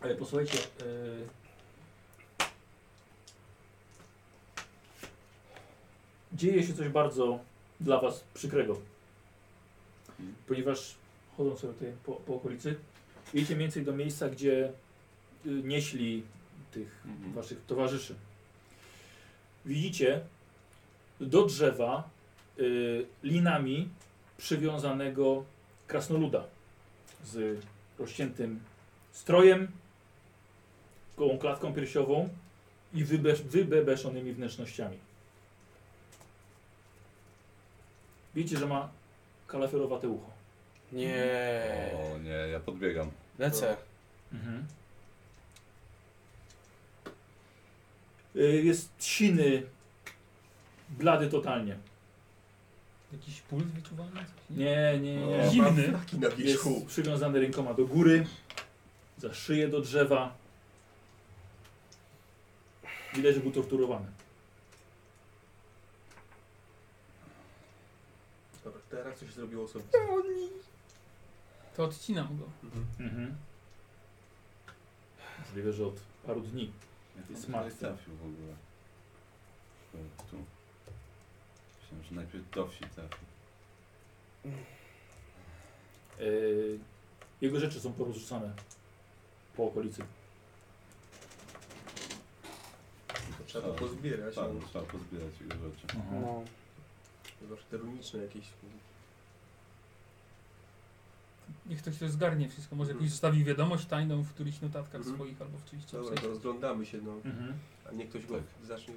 Ale posłuchajcie. y, Dzieje się coś bardzo dla Was przykrego. Ponieważ chodzą sobie tutaj po, po okolicy, idziecie mniej więcej do miejsca, gdzie y, nieśli tych
Mhm.
waszych towarzyszy. Widzicie do drzewa y, linami przywiązanego krasnoluda z rozciętym strojem, gołą klatką piersiową i wybesz, wybebeszonymi wnętrznościami. Widzicie, że ma kalafiorowate ucho.
Nie.
O nie, ja podbiegam.
Lecę.
Mhm. E, Jest siny, blady totalnie.
Jakiś puls wyczuwalny?
Nie, nie, nie.
Zimny.
Taki na
Jest
wierzchu.
przywiązany rękoma do góry, za szyję do drzewa. Widać, że był torturowany.
Dobra, teraz coś zrobiło osobiste.
To odcinam go.
Mhm.
Mhm. Możliwe, że od paru dni.
Jak
Jest
jest
martwy.
trafił w ogóle? Szkoda, Tu. Myślałem, że najpierw do wsi trafił.
E, jego rzeczy są porozrzucane po okolicy.
To Trzeba to pozbierać.
Tak,
no.
trzeba pozbierać jego rzeczy.
No.
Zwłaszcza No, te runiczne jakieś.
Niech to się zgarnie wszystko. Może jakoś zostawił wiadomość tajną w którychś notatkach
Mhm.
swoich albo w czymś.
Dobra, to rozglądamy się, no.
Mhm.
A nie ktoś go
Tak.
zacznie.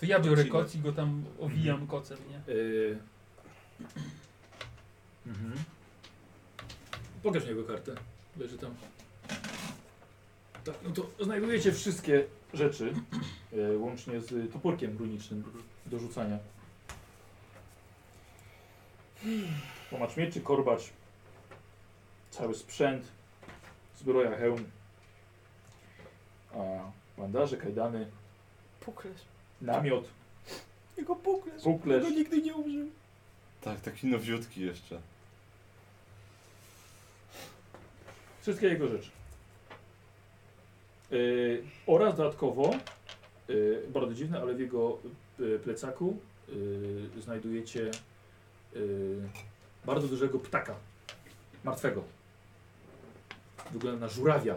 To ja biorę
Odcinam.
koc i go tam owijam kocem, nie?
Y... Mhm. Pokaż mi jego kartę. Leży tam. Tak, no to znajdujecie wszystkie rzeczy, y, łącznie z toporkiem runicznym do rzucania. Pomacz mieczy, korbacz, cały sprzęt, zbroja, hełm, a bandaże, kajdany,
Puklesz.
namiot,
Jego puklesz.
puklerz.
Go nigdy nie użył.
Tak, taki nowiutki jeszcze.
Wszystkie jego rzeczy. Yy, oraz dodatkowo, yy, bardzo dziwne, ale w jego yy, plecaku yy, znajdujecie yy, bardzo dużego ptaka. Martwego. Wygląda na żurawia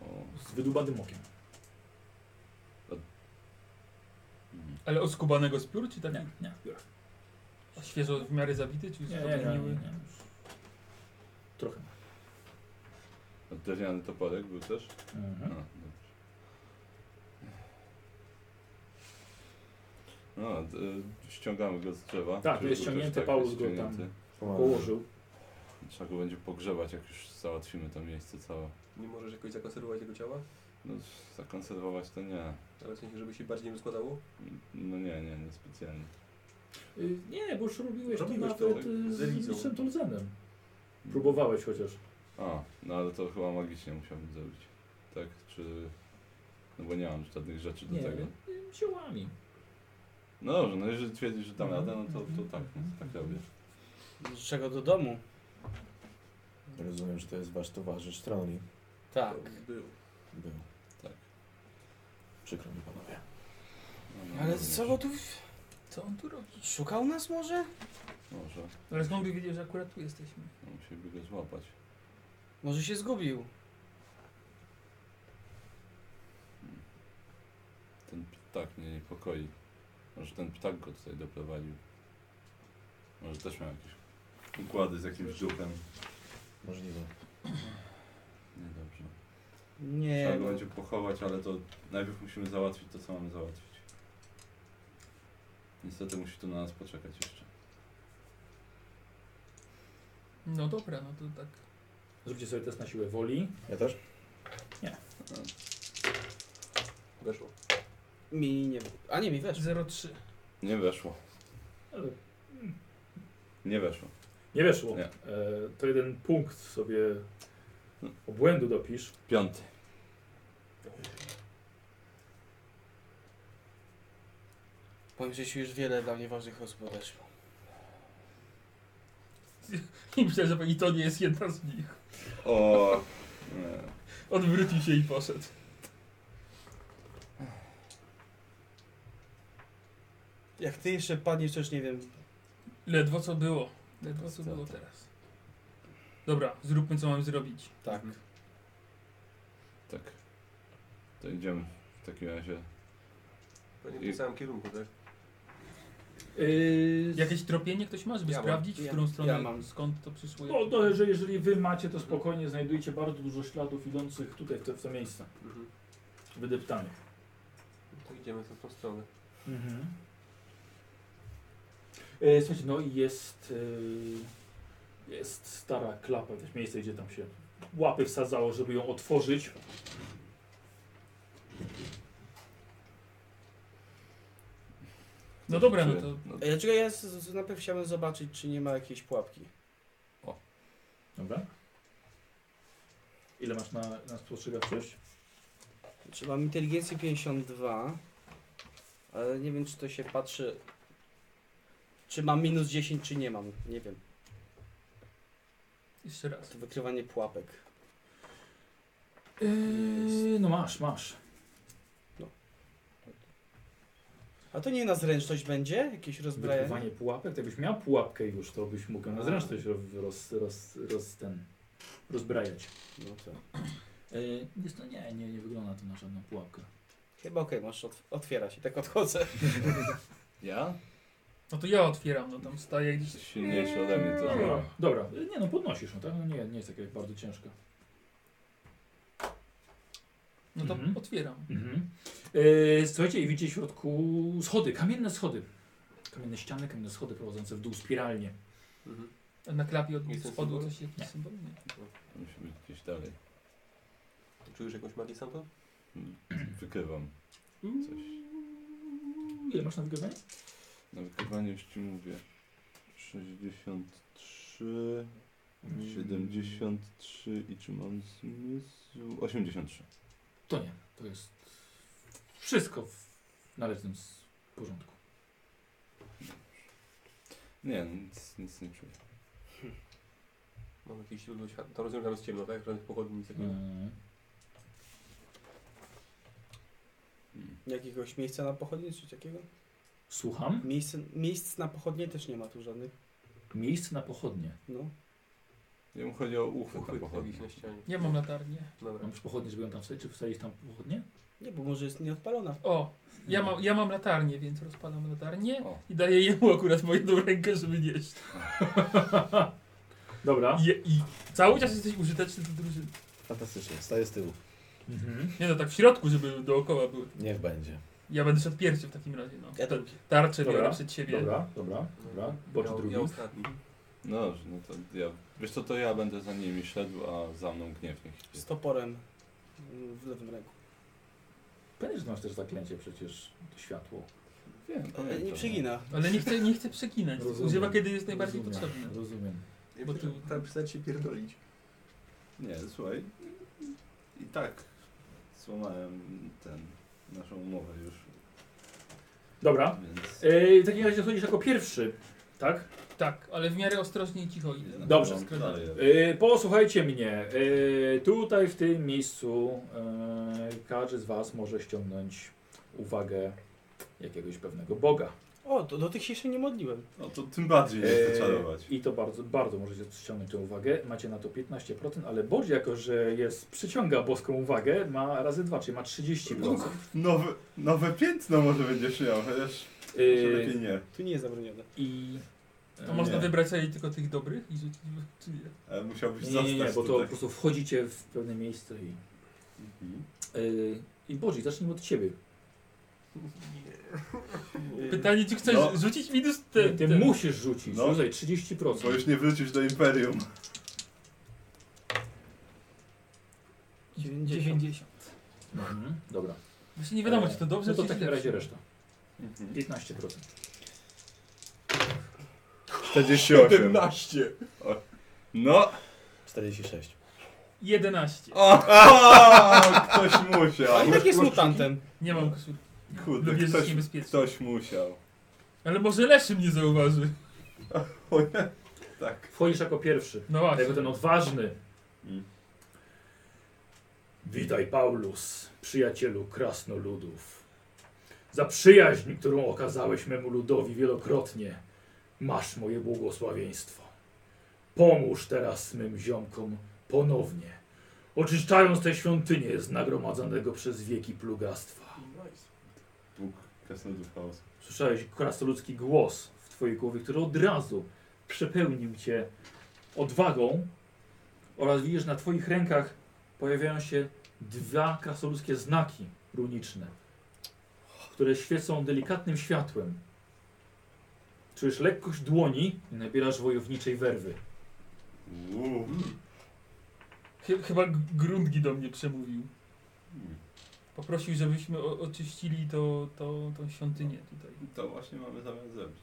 O.
z wydubanym okiem.
Mm.
Ale oskubanego z piór, czy tak?
Nie, nie, biorę.
Świeżo w miarę zabity, czy już
nie, nie, nie,
odmieniły?
nie. Trochę.
A Drewniany toporek był też? A,
Mhm.
dobrze. No, d- y, ściągamy go z drzewa.
Tak,
Czy
jest
był
ściągnięty,
też
Paulus go tam-
ściągnięty?
Położył.
Trzeba go będzie pogrzebać, jak już załatwimy to miejsce całe.
Nie możesz jakoś zakonserwować jego ciała?
No, z- zakonserwować to nie.
Ale w sensie, żeby się bardziej nie rozkładało?
No nie, nie, nie specjalnie.
Yy, nie, bo już robiłeś to
Robiłeś
nawet
to,
tak?
yy,
Z Elizą.
z z Szentolzenem. Próbowałeś chociaż.
A, no ale to chyba magicznie musiałbym zrobić. Tak? Czy... No bo nie mam żadnych rzeczy do
Nie,
tego.
yy, ziołami.
No dobrze, no jeżeli twierdzisz, że dam
Mhm.
radę, no to, to tak, no, tak robię.
Czego do domu?
Rozumiem, że to jest wasz towarzysz Troni.
Tak.
To był.
Był.
Tak.
Przykro mi panowie.
No, no,
Ale
dobrze.
co go tu...
Co on tu robi?
Szukał nas może?
Może,
Ale skąd by wiedział, że akurat tu jesteśmy?
no, musieliby go złapać.
Może się zgubił.
Ten ptak mnie niepokoi. Może ten ptak go tutaj doprowadził. Może też miał jakieś układy z jakimś duchem.
Możliwe.
Niedobrze. Trzeba
Nie,
go
no.
będzie pochować, ale to najpierw musimy załatwić to, co mamy załatwić. Niestety musi tu na nas poczekać jeszcze.
No dobra, no to tak.
Zróbcie sobie test na siłę woli.
Ja też?
Weszło.
mi nie... A nie, mi wiesz.
0,3.
Nie weszło.
Ale-
Nie weszło.
Nie weszło.
Nie.
E, to jeden punkt sobie obłędu dopisz.
Piąty.
W moim życiu już wiele dla mnie ważnych osób odeszło.
*laughs* I myślę, że i to nie jest jedna z nich.
O. Nie.
Odwrócił się i poszedł.
Jak ty jeszcze padniesz, to już nie wiem.
Ledwo co było. Ledwo co było teraz. Dobra, zróbmy co mam zrobić.
Tak.
Mhm.
Tak. To idziemy w takim razie.
Pewnie
I-
w tym samym kierunku, tak?
Jakieś tropienie ktoś ma, żeby
Ja mam.
sprawdzić, w
Ja-
którą stronę,
ja mam.
skąd to przyszło?
No, no że jeżeli wy macie, to spokojnie znajdujecie bardzo dużo śladów idących tutaj w to, w to miejsce.
Mhm.
Wydeptanych.
To idziemy w tą stronę.
Mhm. E, słuchajcie, no i jest, e, jest stara klapa, też miejsce, gdzie tam się łapy wsadzało, żeby ją otworzyć.
No dobra, no to
No,
Ja, E, czekaj, ja z, z, najpierw chciałbym zobaczyć, czy nie ma jakiejś pułapki.
Dobra. Ile masz na, na spostrzegawczość?
Czy mam inteligencję 52, ale nie wiem, czy to się patrzy... Czy mam minus 10, czy nie mam. Nie wiem.
jeszcze raz.
To wykrywanie pułapek.
Yy, no masz, masz.
A to nie na zręczność będzie? Jakieś rozbrajanie?
Wykrywanie pułapek, to jakbyś miał pułapkę już, to byś mógł ją na zręczność roz, roz, roz, roz, ten, rozbrajać.
No to.
Yy, jest to nie, nie, nie wygląda to na żadną pułapkę.
Chyba okej, możesz otw otwierać. I tak odchodzę.
Ja?
No to ja otwieram, no tam staje gdzieś.
Jesteś silniejszy ode mnie, to
Dobra,
znam.
dobra. Yy, nie no, podnosisz, no tak? No nie, nie jest taka bardzo ciężka.
No to
Mhm.
otwieram.
Mhm. E, słuchajcie, i widzicie w środku schody, kamienne schody. Kamienne ściany, kamienne schody prowadzące w dół spiralnie.
A Na klapie od
Jest to
spadło
symbol?
coś jakiś symbol? Nie.
Musi być gdzieś dalej.
Czujesz jakąś magię sam to?
Wykrywam coś.
Ile masz na wygrywanie?
Na wykrywanie już ci mówię. 63,
Mm.
73 i czy mam zmysł? 83.
To nie, to jest wszystko w należnym s- porządku.
Nie, nic, nic nie czuję.
Mam jakieś źródło światła. To rozumiem, że tam jest ciemno, tak? Żadnych pochodni, nic takiego.
E,
Mm.
Jakiegoś miejsca na pochodnie, czy takiego?
słucham?
Miejsce, miejsc na pochodnie też nie ma tu żadnych.
Miejsce na pochodnie.
No.
Ja mu chodzi o uchwyt na
Uchwyt jakiś na
pochodnie.
ścianie.
Ja mam latarnię.
Dobra.
Mam pochodnie, żeby ją tam wstać, czy wstawić tam pochodnie?
Nie, bo może jest nieodpalona.
O, ja mam, ja mam latarnię, więc rozpalam latarnię
O.
i daję jemu akurat moją jedną rękę, żeby nieść.
*laughs* Dobra.
I, I cały czas jesteś użyteczny do drużyny.
Fantastycznie, staję z tyłu.
Mhm.
Nie no, tak w środku, żeby dookoła były.
Niech będzie.
Ja będę szedł pierwszy w takim razie, no.
Ja to
Tarczę
Dobra,
biorę przed siebie.
Dobra, dobra, dobra. Bocz
ja,
drugi.
ja ostatni.
No dobrze, no to ja. Wiesz co, to ja będę za nimi szedł, a za mną gniewnik.
z toporem mm, w lewym ręku.
Pewnie, że masz też zaklęcie przecież, to światło.
E,
Wiem,
Ale
pamiętam.
E,
no.
nie przegina.
No, Ale nie chcę, nie chcę przekinać.
Rozumiem.
Używa kiedy jest najbardziej
Rozumiem,
potrzebny.
Rozumiem.
Ja
Bo
bo
ty-
tu tam przestać się pierdolić.
Nie, słuchaj. I tak złamałem ten, naszą umowę już,
Dobra.
więc...
E, w takim razie chodzisz jako pierwszy, tak?
Tak, ale w miarę ostrożnie i cicho idę.
Dobrze.
Dalej.
E, posłuchajcie mnie. E, tutaj w tym miejscu e, każdy z Was może ściągnąć uwagę jakiegoś pewnego Boga.
O, to do tych się jeszcze nie modliłem.
No to tym bardziej
E,
jest czarować.
I to bardzo, bardzo możecie ściągnąć tę uwagę. Macie na to 15%, ale Bodzi jako, że jest, przyciąga boską uwagę, ma razy dwa, czyli ma 30%.
Nowe, nowe piętno może będziesz miał, chociaż
E,
No. może lepiej nie.
Tu nie jest zabronione.
I
To
Nie.
można wybrać sobie tylko tych dobrych i rzucić w- czy nie?
Ale E, musiałbyś
nie, nie, nie,
zostać
bo to po
tutaj.
prostu wchodzicie w pewne miejsce i...
Mhm.
E, I Bodzi, zacznijmy od Ciebie.
Y,
Pytanie, czy chcesz
No.
rzucić minus
Ty,
ten, ten.
musisz rzucić.
No.
Rzucaj 30%.
Bo już nie wrócisz do Imperium.
90.
Mhm. Dobra.
Właśnie nie wiadomo, czy to dobrze,
No to
czy
w takim
źle.
razie reszta. Mhm. 15%.
48. No!
46.
11.
O, o, ktoś musiał.
A i tak jest mutantem.
Nie mam koszulki.
Kurde,
Lubię
No, ktoś,
żyć niebezpieczne.
ktoś musiał.
Ale może Leszy mnie zauważy.
O nie. Tak.
Wchodzisz jako pierwszy.
No właśnie.
Jako ten odważny.
Mm.
Witaj, Paulus, przyjacielu krasnoludów. Za przyjaźń, którą okazałeś memu ludowi wielokrotnie, masz moje błogosławieństwo. Pomóż teraz mym ziomkom ponownie, oczyszczając te świątynie z nagromadzonego przez wieki plugastwa.
Bóg Krasnodów Chaos.
Słyszałeś krasnoludzki głos w twojej głowie, który od razu przepełnił cię odwagą oraz widzisz, na twoich rękach pojawiają się dwa krasnoludzkie znaki runiczne, które świecą delikatnym światłem. Czujesz lekkość dłoni i nabierasz wojowniczej werwy.
Uuu.
Chy- Chyba Grundgi do mnie przemówił. Poprosił, żebyśmy o, oczyścili to, to, tą świątynię tutaj.
To właśnie mamy zamiar zrobić.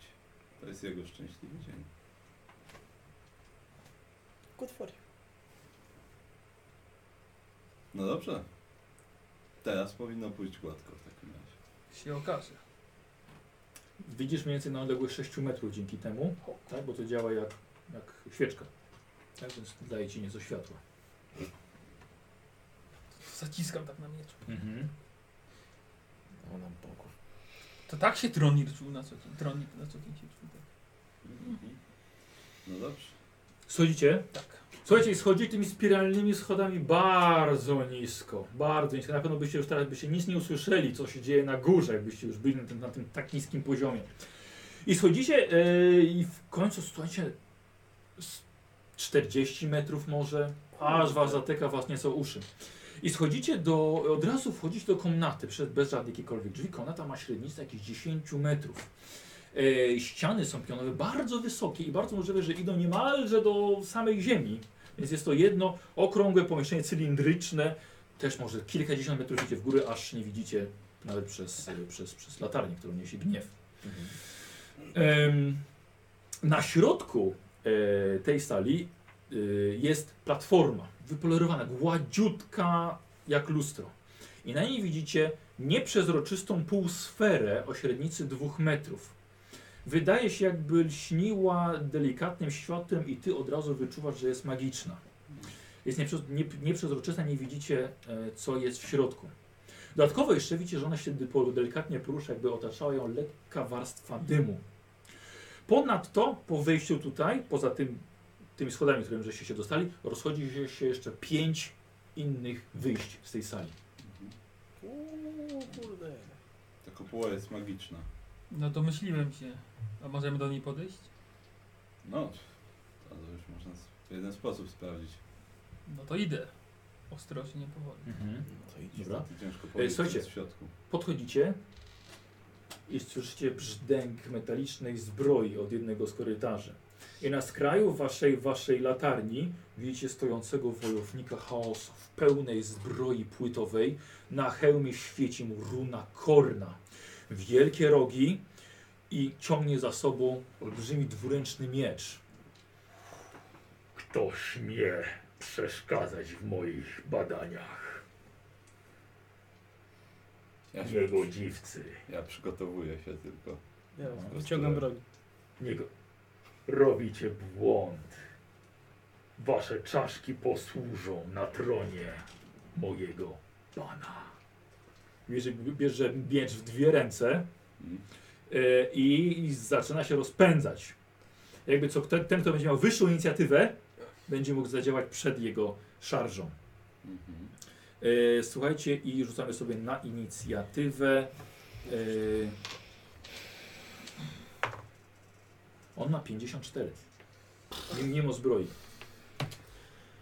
To jest jego szczęśliwy dzień.
Good for you.
No dobrze. Teraz powinno pójść gładko w takim razie.
Się okaże.
Widzisz mniej więcej na odległość 6 metrów dzięki temu, tak? bo to działa jak, jak świeczka. Tak, więc daje ci nieco światła.
Zaciskam tak na mieczu.
Mhm.
O nam pokój.
To tak się tronir czuł na co dzień. Tronir na co dzień się czuł. tak.
No dobrze.
Schodzicie?
Tak.
Słuchajcie, i schodzicie tymi spiralnymi schodami bardzo nisko. Bardzo nisko. Na pewno byście już teraz byście nic nie usłyszeli, co się dzieje na górze, jakbyście już byli na tym, na tym tak niskim poziomie. I schodzicie e, i w końcu słuchajcie z 40 metrów może, aż was zatyka was nieco uszy. I schodzicie do, od razu wchodzić do komnaty, przed, bez żadnych jakichkolwiek drzwi. Komnata ma średnicę jakichś 10 metrów. E, ściany są pionowe, bardzo wysokie i bardzo możliwe, że idą niemalże do samej ziemi. Więc jest to jedno okrągłe pomieszczenie cylindryczne, też może kilkadziesiąt metrów idzie w górę, aż nie widzicie nawet przez, e, przez, przez latarnię, którą niesie gniew. Em, na środku e, tej sali e, jest platforma wypolerowana, gładziutka jak lustro. I na niej widzicie nieprzezroczystą półsferę o średnicy dwóch metrów. Wydaje się, jakby lśniła delikatnym światłem i ty od razu wyczuwasz, że jest magiczna. Jest nieprze- nie- nieprzezroczysta, nie widzicie, e, co jest w środku. Dodatkowo jeszcze widzicie, że ona się dypo- delikatnie porusza, jakby otaczała ją lekka warstwa dymu. Ponadto, po wejściu tutaj, poza tym, tymi schodami, którym żeście się dostali, rozchodzi się- się jeszcze pięć innych wyjść z tej sali.
Uuu, kurde.
Ta kopuła jest magiczna.
No domyśliłem się. A możemy do niej podejść?
No, to już można s- w jeden sposób sprawdzić.
No to idę. Ostrożnie, powoli.
To idź.
Dobra.
Niestety Ciężko powiedzieć, co
słuchajcie.
jest w środku.
Podchodzicie i słyszycie brzdęk metalicznej zbroi od jednego z korytarzy. I na skraju waszej, waszej latarni widzicie stojącego wojownika chaosu w pełnej zbroi płytowej. Na hełmie świeci mu runa korna. Wielkie rogi i ciągnie za sobą olbrzymi dwuręczny miecz. Kto śmie przeszkadzać w moich badaniach?
Ja, się,
Niegodziwcy.
ja przygotowuję się tylko.
Ja wyciągam broń.
Nie go. Robicie błąd. Wasze czaszki posłużą na tronie mojego pana. Bierze, bierze miecz w dwie ręce
Mm.
e, i, i zaczyna się rozpędzać. Jakby co, ten, ten, kto będzie miał wyższą inicjatywę, będzie mógł zadziałać przed jego szarżą.
Mhm.
E, słuchajcie, i rzucamy sobie na inicjatywę. E, on ma 54. Nie, nie ma zbroi.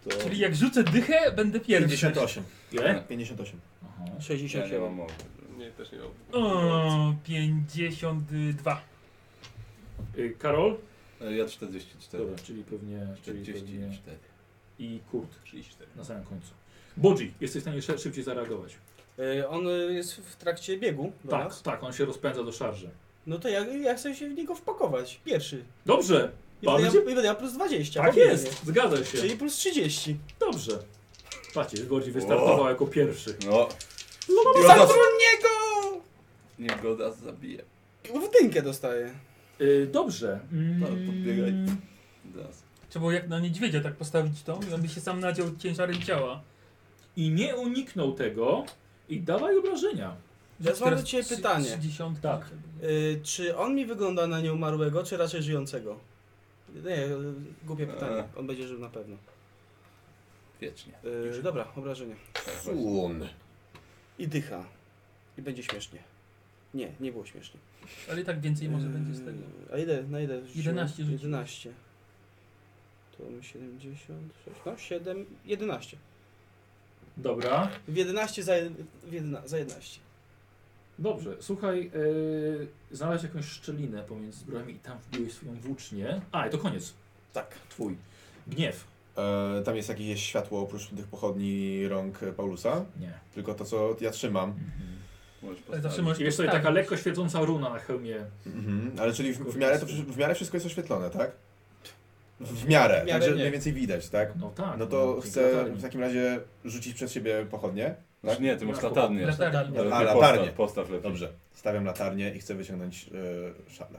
To
Czyli jak rzucę dychę, będę pierwszy.
58.
Ile?
58.
Aha.
Ja nie
67.
mam mowy.
Nie, też nie mam.
O, 52.
E, Karol?
E, Ja 44.
Dobra, czyli pewnie, czyli pewnie.
44.
I Kurt
34.
na samym końcu. Bodzi, jesteś w stanie sze- szybciej zareagować.
Y, On y, jest w trakcie biegu do
tak,
nas.
tak, on się rozpędza do szarży.
No to ja, ja chcę się w niego wpakować. Pierwszy.
Dobrze,
I będę ja,
Bardzo-
i będę ja plus 20.
tak
bo biegnie.
jest, zgadza się.
Czyli plus 30.
Dobrze. Patrzcie, Bodzi wystartował jako pierwszy.
No,
Zatrudnię go!
niegoda zabije.
Wdynkę dostaję.
E, dobrze. Mm.
Tak, podbiegaj. Teraz.
Trzeba było jak na niedźwiedzia tak postawić to i on by się sam nadział ciężarem ciała.
I nie uniknął tego i dawaj obrażenia.
Ja mam do ciebie
trzy-
pytanie.
30.
Tak.
Y, czy on mi wygląda na nieumarłego, czy raczej żyjącego? Nie, y, głupie
E.
pytanie. On będzie żył na pewno.
Wiecznie.
Y, dobra, obrażenie.
Tak właśnie.
Słon.
I dycha. I będzie śmiesznie. Nie, nie było śmiesznie.
Ale i tak więcej
Eee.
może będzie z
Y,
tego.
A ile? Na ile? rzuciłem?
11 rzuciłem.
11. To mamy 76. No, 7, 11.
Dobra.
W 11 za, jed- w jedna, za 11.
Dobrze, słuchaj, yy, znalazłeś jakąś szczelinę pomiędzy zbrojami i tam wbiłeś swoją włócznię. A, i to koniec,
Tak.
twój. Gniew.
E, tam jest jakieś światło oprócz tych pochodni rąk Paulusa.
Nie.
Tylko to, co ja trzymam.
Możesz
Ale
postawić.
zawsze możesz
I jest tutaj
postawić.
taka lekko świecąca runa na hełmie.
Mhm. Ale czyli w, w, miarę to, w miarę wszystko jest oświetlone, tak? W miarę,
No. W miarę
także
nie.
mniej więcej widać, tak?
No tak.
No to
dzięki
chcę
latarni.
w takim razie rzucić przez siebie pochodnie.
Znaczy nie, ty masz
Latarnię.
latarnię.
Latarnię.
Ale
A,
ty
latarnię.
Postaw, postaw lepiej.
Dobrze. Stawiam latarnię i chcę wyciągnąć yy, szablę.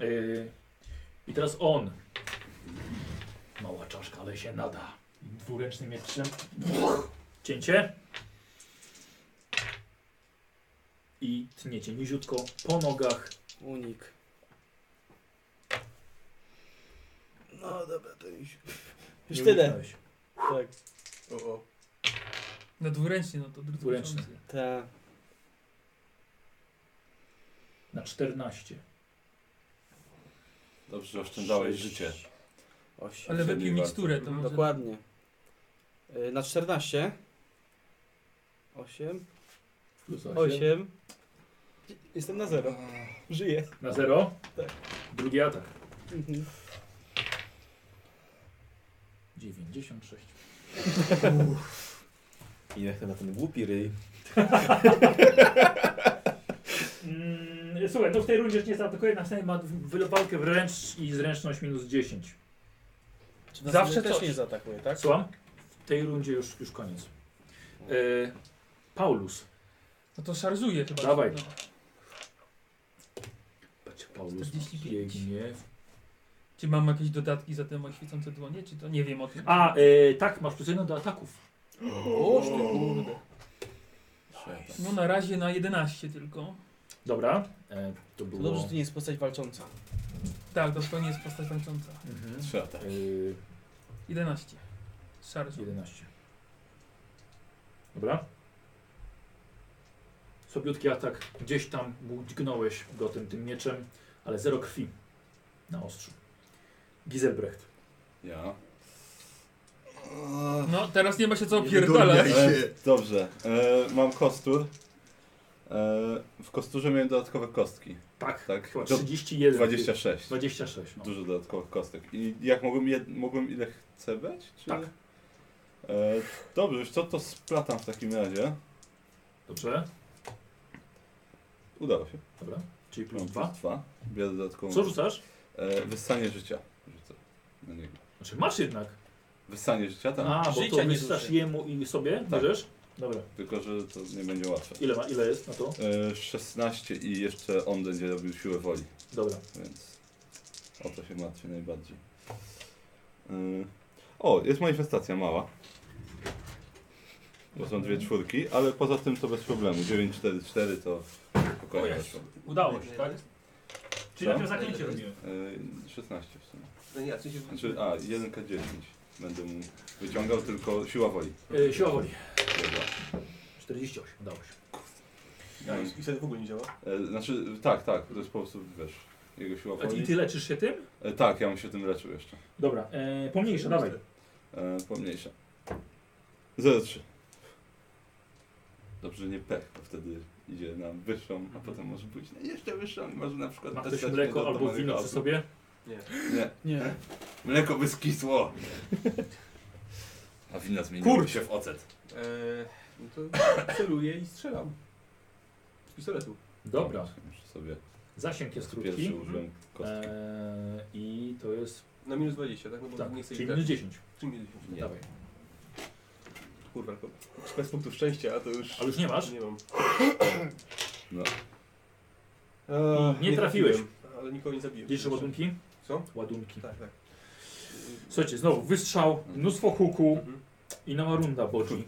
Y, I teraz on. Mała czaszka, ale się nada. Dwuręcznym mieczem. Buch! Cięcie. I tniecie niziutko po nogach.
Unik.
No dobra, to już.
Już
Nie
tyle.
uniknąłeś.
Tak.
O, o.
Na dwuręcznie, no to drugi
Dwuręczny.
porządek.
Ta.
Na 14.
Dobrze, że oszczędzałeś życie.
Osiem.
Ale wypił
Siedmiu
miksturę, to
Mhm.
może...
Dokładnie. Y, Na 14. 8.
Plus
8. Jestem na 0. Żyję.
Na 0.
Tak.
Drugi atak.
Mhm.
96.
I jak na ten głupi ryj.
Mm, słuchaj, no w tej rundzie już nie zaatakuje, następny ma wy- walkę wręcz i zręczność minus 10.
Czy nas
Zawsze
też
coś.
nie zaatakuje, tak?
Słucham? W tej rundzie już, już koniec. Y, Paulus.
No to szarzuje chyba.
Dawaj.
No.
Patrz, Paulus
45.
biegnie.
Czy mam jakieś dodatki za te moje świecące dłonie, czy to nie wiem o tym?
A,
e,
y, tak, masz plus jedno do ataków.
o, ty kurde.
Szatan.
No na razie na 11 tylko.
Dobra. E, to
To
było...
dobrze, że to nie jest postać walcząca.
Tak, to zupełnie jest postać tańcząca.
Mhm.
Trzy ataki.
Y,
11. Szarżu.
11. Dobra. Sobiutki atak. Gdzieś tam mu dźgnąłeś go tym, tym mieczem, ale zero krwi na ostrzu. Giselbrecht.
Ja.
No teraz nie ma się co
Nie
opierdalać.
wydurniaj.
E,
się.
dobrze. E, mam kostur. E, w kosturze miałem dodatkowe kostki.
Tak.
Tak?
Chyba
Do
31.
26.
26. No.
Dużo dodatkowych kostek. I jak mogłem, jed, mogłem ile chcę brać? Czy...
Tak.
E, dobrze, już co to splatam w takim razie?
Dobrze.
Udało się.
Dobra. Czyli plus
Mam
2.
dwa. Biorę dodatkową.
Co rzucasz?
E, wyssanie życia. Rzucę. Na niego.
Znaczy masz jednak.
Wyssanie życia, tak?
A, bo
Życia
to
nie
wystasz
zużyj.
jemu i sobie,
Tak.
bierzesz? Dobra.
Tylko, że to nie będzie łatwe.
Ile, ma, ile jest na to?
E, 16 i jeszcze on będzie robił siłę woli,
Dobra.
więc o to się martwię najbardziej. Y, O, jest manifestacja mała. Bo są dwie czwórki, ale poza tym to bez problemu. 9, 4, 4 to
O
spokojnie
Jezu.
weszło.
Udało się, tak? Czyli
Co?
najpierw zaklęcie robimy.
Y, 16 w sumie.
No nie, a co się...
Znaczy, a, 1K10. Będę mu wyciągał tylko siła woli.
E, siła woli.
Dobra.
48. Udało się.
A, I i wtedy w ogóle nie działa?
E, Znaczy, tak, tak, to jest po prostu, wiesz, jego siła
A ty- I
woli.
ty leczysz się tym?
E, Tak, ja mu się tym leczył jeszcze.
Dobra. E, pomniejsza, dawaj.
E, pomniejsza. 0,3. Dobrze, że nie pech, bo wtedy idzie na wyższą, a potem może pójść na jeszcze wyższą i może na przykład...
Mhm. Ma ktoś
dostać
mleko
do- do
albo wino
Marygasu.
przy sobie?
Nie,
Nie.
mleko by skisło. A wina zmieniło się w ocet.
Eee, no to *coughs* celuję i strzelam. Z pistoletu.
Dobra.
Muszę sobie
Zasięg jest
pierwszy
krótki. Mhm.
użyłem kostki.
E, I to jest...
Na minus 20, tak? No bo
Tak,
nie chcę
czyli
ich
minus
trafić.
10.
Czy minus 10?
Nie.
Dawaj.
Kurwa, tylko bez punktów szczęścia, a to już...
Ale już nie masz?
Nie mam.
No.
E,
I nie trafiłeś.
trafiłem, Ale nikogo nie zabiłem.
Liczysz ładunki?
Co?
Ładunki.
Tak, tak.
Słuchajcie, znowu wystrzał, mnóstwo huku
Mhm.
i nowa runda
*laughs*
bodzi.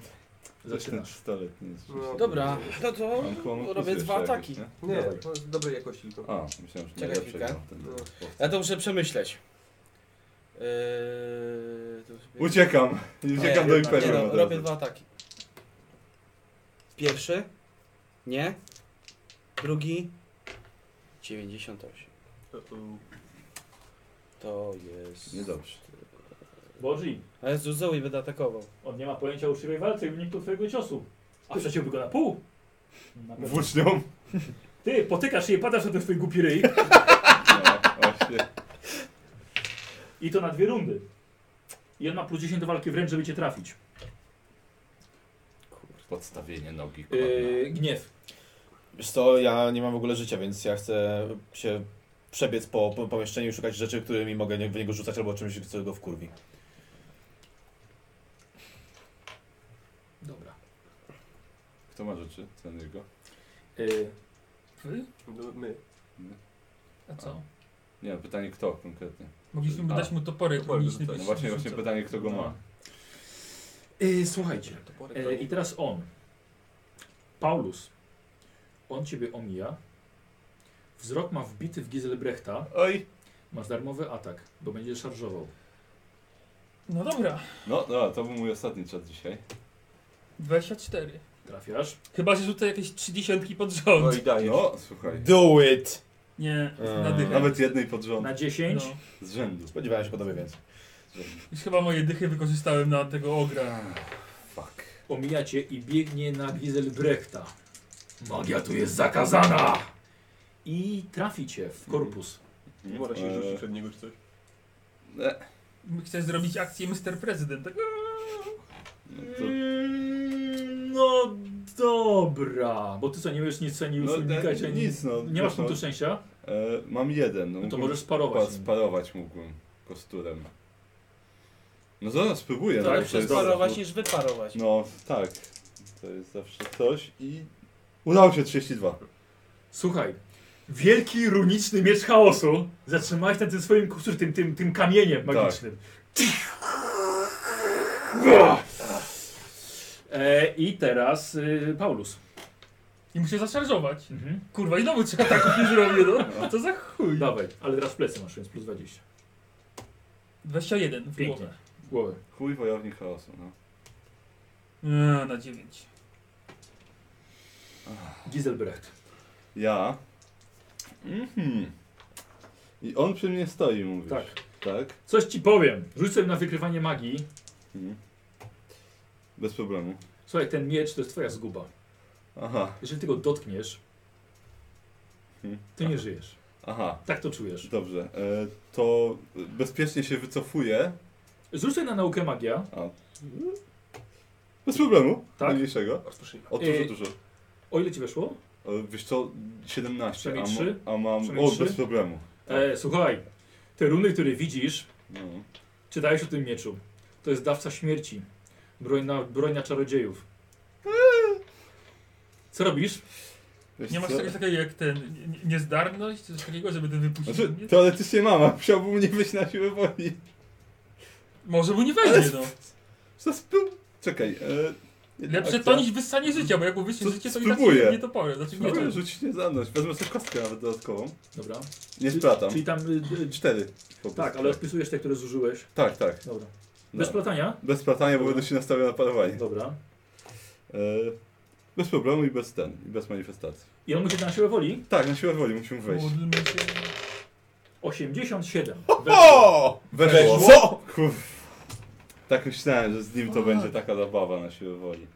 Zaczynasz.
Pistolet nie jest
No.
rzeczywiście-
Dobra, no to
Mam chyba
robię
motywację
dwa
jakieś,
ataki.
nie?
Nie,
Dawaj.
to jest dobrej jakości tylko.
A, myślałem, że
Czekaj
najlepszy
chwilkę.
miał ten
No.
chłopca.
Ja to muszę przemyśleć. Yy, to sobie-
Uciekam! *laughs* I Uciekam do
Nie, Nie,
Imperium.
no,
od
robię
razu.
dwa ataki. Pierwszy. Nie. Drugi. 98.
To, to,
To jest...
Niedobrze.
Boży,
Ale z Zoe będę atakował.
on nie ma pojęcia o uczciwej walce i uniknął twojego ciosu. A przeciąłby go na pół. Na pewno.
Włócznią?
Ty, potykasz się i padasz na ten twój głupi ryj.
No, właśnie.
I to na dwie rundy.
I on ma plus 10 do walki wręcz, żeby cię trafić.
Podstawienie nogi. kurwa.
Yy, gniew.
Wiesz co, ja nie mam w ogóle życia, więc ja chcę się przebiec po, po pomieszczeniu i szukać rzeczy, którymi mogę nie- w niego rzucać albo czymś, co go wkurwi.
Dobra.
Kto ma rzeczy? Ten jego?
Yy,
Wy?
No, my.
A co?
Nie, pytanie kto konkretnie.
Mogliśmy
A.
dać mu topory
Topory
kliniczne.
rzucać.
No właśnie, właśnie pytanie kto go ma.
yy, słuchajcie.
Toporek,
E, I teraz on. Paulus. On ciebie omija. Wzrok ma wbity w Giselbrechta.
Oj!
Masz darmowy atak, bo będzie szarżował.
No dobra,
No, no, to był mój ostatni czas dzisiaj.
24.
Trafiasz.
Chyba, że rzucę jakieś 30 pod
No
rząd.
i dajesz.
No, słuchaj.
Do it!
Nie,
Eee,
nadycham.
Nawet jednej pod rząd.
Na 10.
No.
Z rzędu.
Spodziewałem się po tobie więcej.
Już chyba moje dychy wykorzystałem na tego ogra.
Fuck.
Omija cię i biegnie na Giselbrechta. Magia tu jest zakazana! I trafi cię w korpus.
Nie można się
Eee,
rzucić przed niego czy coś.
e,
Chcesz zrobić akcję Mr. President. Tak?
No, to,
Mm, No dobra. Bo ty co, nie wiesz nic, co nie
no,
unikać,
e,
ani
nic, no.
Nie masz
no,
punktu szczęścia?
e, Mam jeden. No,
No to
mógłbym
możesz sparować.
spa- Sparować mógłbym kosturem. No zaraz spróbuję.
Tak,
no, to
przez
jest-
Sparować niż wyparować.
No tak, to jest zawsze coś i udało się 32.
Słuchaj, wielki runiczny miecz chaosu zatrzymałeś na tym swoim kusur, tym, tym, tym kamieniem
Tak.
magicznym. Ua! E, I teraz y, Paulus.
I muszę zaszarżować.
Mhm.
Kurwa, i znowu trzeba ataków nie zrobię, no. Co za chuj.
Dawaj, ale teraz w plecy masz, więc plus 20.
21 w
Pięknie.
głowę.
Głowę.
Chuj wojownik chaosu, no.
A, na 9.
Giselbrecht.
Ja. Mhm. I on przy mnie stoi, mówisz.
Tak.
Tak?
Coś ci powiem. Rzuć sobie na wykrywanie magii.
Mhm. Bez problemu.
Słuchaj, ten miecz to jest twoja zguba.
Aha,
Jeżeli ty go dotkniesz,
Mhm.
to nie żyjesz.
aha.
Tak to czujesz.
Dobrze, e, to bezpiecznie się wycofuję.
Zrzuć sobie na naukę magia.
Bez problemu,
Tak.
najmniejszego. O dużo,
E,
dużo.
O ile ci weszło?
E, wiesz co, 17, a,
przynajmniej
mo-
trzy?
a mam...
Przynajmniej
O,
trzy?
bez problemu.
E, słuchaj, te runy, które widzisz,
No.
czytałeś o tym mieczu. To jest dawca śmierci. Broń na, broń na czarodziejów. Co robisz?
Wiesz
Nie masz
co?
czegoś takiego jak ten, nie- nie- niezdarność, coś takiego, żeby ten wypuścić?
Znaczy,
Nie?
teoretycznie mam, a musiałbym nie być na siłę woli.
Może mu nie wejdzie,
*laughs*
no.
Zaspył... Czekaj, e, jedna
Lepsze
akcja.
to niż wyssanie życia, bo jak mu
To
wyssać życie, to i tak
spróbuję.
się nie to powiem. Znaczy, nie
Spróbuję
to.
rzucić niezdarność, wezmę sobie kostkę nawet dodatkową.
Dobra.
Nie splatam.
Czyli tam. Y, y,
Cztery. po prostu.
tak, ale odpisujesz te, które zużyłeś.
Tak, tak.
Dobra. Bez
Bez,
platania?
bez splatania, bo
Dobra.
będę się nastawiał na parowanie.
Dobra.
E, bez problemu i bez ten, i bez manifestacji.
I on musi na siłę woli?
Tak, na siłę woli musimy wejść.
Módlmy się.
87.
O!
Weszło.
Co?
Uff. Tak myślałem, że z nim to będzie taka zabawa na siłę woli.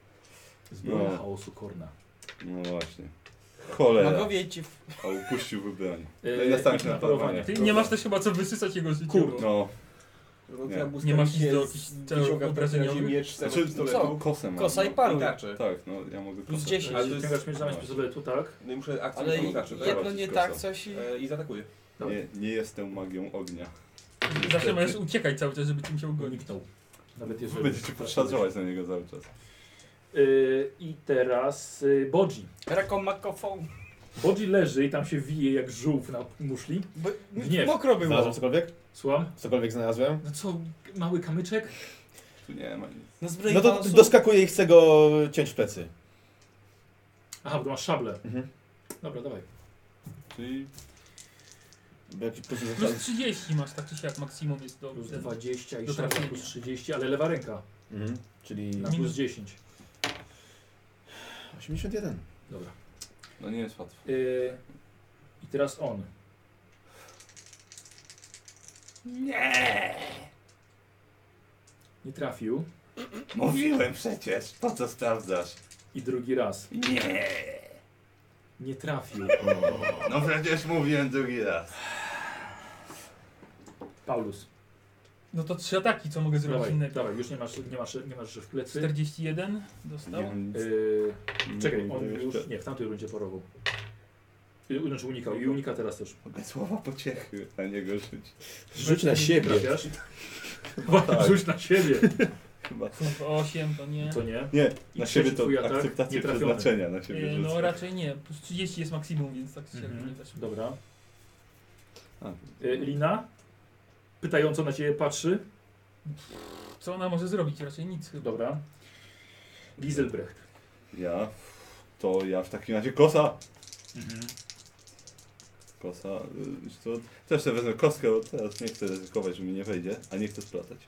Zbroja
No.
chaosu korna.
No właśnie. Cholera.
Magowie No, ci w...
A upuścił wybranie.
E,
No i nastałem
i
się na
na parowanie.
parowanie.
Ty nie masz też chyba co wysysać jego życia.
Kurde.
bo-
No.
No,
Nie.
trzeba było
Nie masz
stawić
nic do
się
jakichś
z-
celów
dziurą
obrażeniowych?
obrażeniowych? miecz, z
Znaczy,
pistoletu
kosę mam.
Kosa i
no.
i
paru.
tarczę.
Tak, no ja mogę
Plus
kosę.
10.
Ale
Ale
to
ty
jest-
ciągasz miecz zamiast przy sobie tu, tak?
No i muszę akcję
Ale
i-
i tarczę, tak?
jedno nie
Kosa.
tak, coś i...
E, I zaatakuje.
Nie, nie jestem magią ognia.
Zawsze możesz uciekać cały czas, żeby ci musiał gonić.
Uniknął. Nawet jeżeli.
Będziecie podszarżować na niego cały czas.
Y, I teraz y, Bodzi.
Rakomakofon.
Bodzi leży i tam się wije jak żółw na muszli.
Bo-
Gniew.
Mokro było.
Znalazłem cokolwiek?
Słucham?
Cokolwiek znalazłem?
No co, mały kamyczek?
Tu nie ma nic.
No, zbroi
No to
palców.
doskakuję i chcę go ciąć w plecy.
Aha, bo masz szablę.
Mhm.
Dobra, dawaj.
Czyli
Bo jakiś plus jest-
Plus 30 masz tak czy siak, maksimum jest do...
Plus
ten-
20 i
Do
szabla
trafienia.
plus 30, ale lewa ręka
Mhm. Czyli
na
Minus.
plus 10.
81.
Dobra.
no nie jest łatwo.
Y, I teraz on. Nie! Nie trafił.
Mówiłem przecież, po co sprawdzasz?
I drugi raz.
Nie!
Nie trafił.
No przecież mówiłem drugi raz.
Paulus.
No to trzy ataki, co mogę zrobić
Dawaj,
innego.
dawaj, już nie masz, nie masz, nie masz w plecy.
41 dostał.
Yy,
Nie,
No, czekaj,
nie,
on
jeszcze.
już nie, w tamtej rundzie parował. Yy, Znaczy unikał i unika teraz też.
Mogę słowa pociechy na niego żyć.
Rzuć na
*laughs*
siebie.
Trafiasz? Właśnie, Rzuć na siebie.
Chyba.
8 to nie.
To nie.
Tak. Nie,
I
na
trzeci
siebie to
twój atak
akceptacja
nietrafiony.
przeznaczenia na siebie
E,
rzucę.
No raczej nie. Plus 30 jest maksimum, więc tak się
Mhm.
nie też.
Dobra.
A.
Yy, Lina? Pytająco na ciebie patrzy.
Co ona może zrobić? Raczej nic chyba.
Dobra. Gieselbrecht.
Ja? To ja w takim razie kosa!
Mhm.
Kosa, y, wiesz co, też sobie wezmę kostkę, bo teraz nie chcę ryzykować, że mi nie wejdzie, a nie chcę splatać.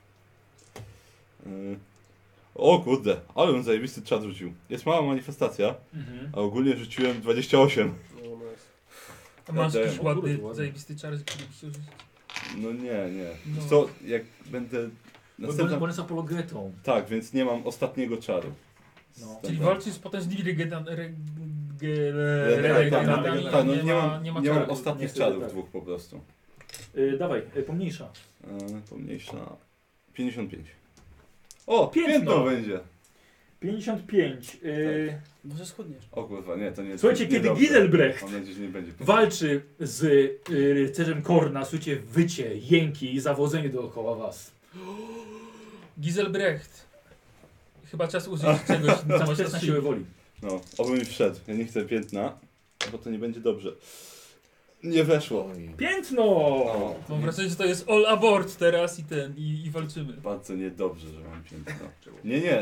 Y, O kurde, ale bym zajebisty czad rzucił. Jest mała manifestacja,
Mhm.
a ogólnie rzuciłem 28.
No, nice.
A masz
Ja
jakiś
daję.
O kurde,
ładny,
ładny.
zajebisty czar, który byś użył.
No nie, nie.
No.
Wiesz co, jak będę...
Bo, bo,
Następna...
bo on jest apologetą.
Tak, więc nie mam ostatniego czaru.
No.
Czyli
Dobra.
walczysz z potężnymi regenetami.
Tak, tak, tak,
regenetami,
tak, no nie mam,
nie
nie
ma
mam
czaru.
ostatnich
niestety
czarów
tak.
dwóch po prostu.
Yy, dawaj, yy, pomniejsza.
E, Pomniejsza 55. O,
Piętno!
piętno, będzie!
55.
E,
Yy,
Może schudniesz.
O kurwa, nie, to nie
Słuchajcie,
nie
kiedy
dobrze.
Gidelbrecht
Mam nadzieję, że nie będzie.
walczy z yy, rycerzem Korna, słuchajcie wycie, jęki i zawodzenie dookoła was.
Giselbrecht. Chyba
*laughs*
czas użyć czegoś, co
Masz
masz
test na siłę woli.
No, oby mi wszedł. Ja nie chcę piętna, bo to nie będzie dobrze. Nie weszło.
Piętno! No.
O,
Mam wrażenie, że to jest all abort teraz i ten, i, i walczymy.
bardzo niedobrze, że mam piętno. Nie, nie, nie,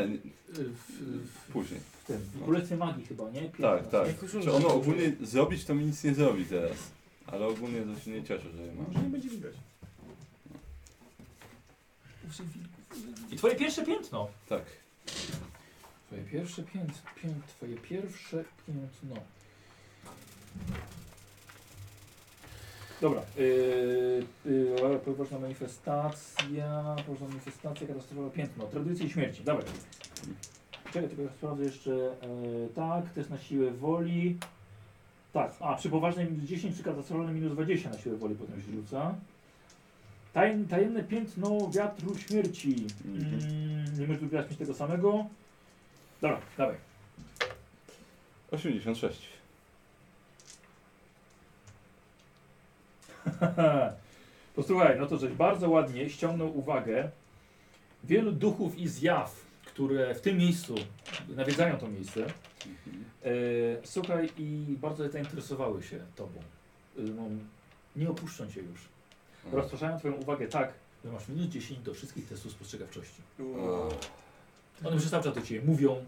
Yy, w- w-
później.
w tym, no. w Królestwie Magii chyba, nie? Piętno.
Tak, tak.
Jak użyłem,
Czy ono ogólnie zrobić, to mi nic nie zrobi teraz. Ale ogólnie to się nie cieszę, że je mam.
Może nie będzie widać.
I twoje pierwsze piętno.
Tak.
Twoje pierwsze piętno. Pięt, twoje pierwsze piętno. Dobra. Yy, yy, poważna manifestacja. Poważna manifestacja, katastrofa, piętno. Tradycje i śmierci. Dawaj. Czekaj, tylko ja sprawdzę jeszcze. Yy, tak, test na siłę woli. Tak, a przy poważnej minus 10, przy katastrofalnej minus 20 na siłę woli potem się rzuca. Tajem, tajemne piętno wiatru śmierci.
Mhm.
Mm, nie możesz wybrać mieć tego samego. Dobra, dawaj.
86.
*laughs* Posłuchaj, no to żeś bardzo ładnie ściągnął uwagę wielu duchów i zjaw, które w tym miejscu nawiedzają to miejsce.
Mhm.
E, słuchaj, i bardzo zainteresowały się tobą. E, no, nie opuszczą cię już.
Mm.
Rozpraszają twoją uwagę tak, że masz minus 10 do wszystkich testów spostrzegawczości.
O,
One przez cały czas do ciebie mówią,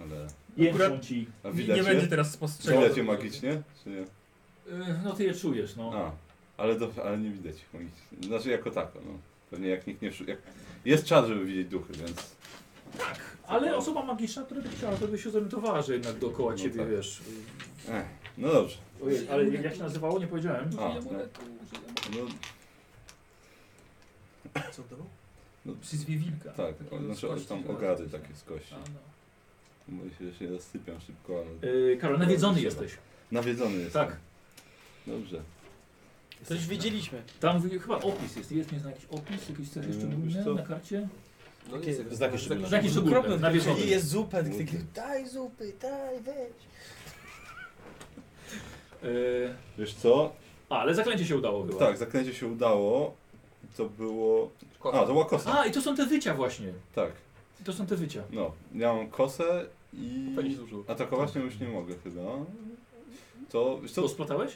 ale...
jęczą
Akurat-
ci.
A
Nie,
widać
nie
je?
będzie teraz spostrzegał.
Widać je magicznie? Czy nie?
E, no ty je czujesz, no.
A, ale, do, ale nie widać ich magicznie. Znaczy jako tako, no. Pewnie jak nikt nie... wszy- Jak... Jest czas, żeby widzieć duchy, więc...
Tak, Ale osoba magiczna, która by chciała, żeby się zorientowała, że jednak dookoła
No
ciebie,
tak.
wiesz.
Ech, no dobrze.
Ojej, ale jak się nazywało, nie powiedziałem.
A, no, no
Co to?
Przyzwie wilka.
tak,
Takiego
o, znaczy
z
aż
kości
tam
chyba.
ogady takie z kości.
A, no.
Bo się, że się rozsypiam szybko, ale...
Yy, Karol, nawiedzony jesteś.
Nawiedzony jest.
Tak.
Dobrze.
To już wiedzieliśmy.
Tam w- chyba opis jest. Jest, nie znam, jakiś opis, jakieś coś
Yy,
jeszcze
wiesz
szczególne na
co?
karcie?
No
Takie
nic,
znaki
jak-
szczególne.
Znaki szczególne, nawiedzony.
I jest zupę, taki,
Kurde.
daj zupy, daj, weź.
Yy,
Wiesz co?
a, ale zaklęcie się udało chyba.
Tak, zaklęcie się udało. To było... A, to była kosa.
A, i to są te wycia właśnie.
Tak.
To są te wycia.
No, ja mam kosę i...
Fajnie się zużyło.
Atakować nią już nie mogę chyba. To... Wiesz
Co,
co?
splatałeś?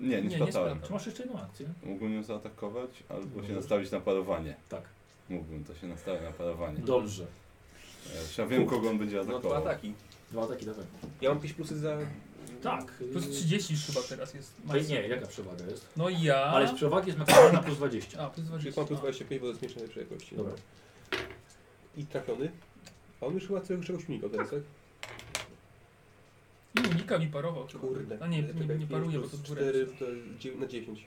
Nie,
Nie,
nie
nie
splatałem.
splatałem.
Czy masz jeszcze jedną akcję?
Mógłbym ją zaatakować, albo się
Możesz.
nastawić na parowanie.
Tak.
Mógłbym, to się nastawię na parowanie.
Dobrze.
Przecież Ja wiem, kogo on będzie
No dwa
atakował.
ataki.
Dwa ataki, dawaj.
Ja mam 5 plusy za...
Tak. yy,
Plus 30 już chyba teraz jest.
Ale nie, jaka przewaga jest?
No i ja.
Ale z przewagi jest maksymalna plus 20.
A, plus
Czyli
20.
mam plus 25, bo to jest mieszane przy jakości.
Dobra.
I trafiony. A on już chyba czegoś, czegoś unikał teraz, tak?
I unika mi parował.
Kurde.
A No nie, nie-
Czekaj,
nie
pięć
paruje, bo
plus
to w górę
cztery
jest.
to dzie- na 9.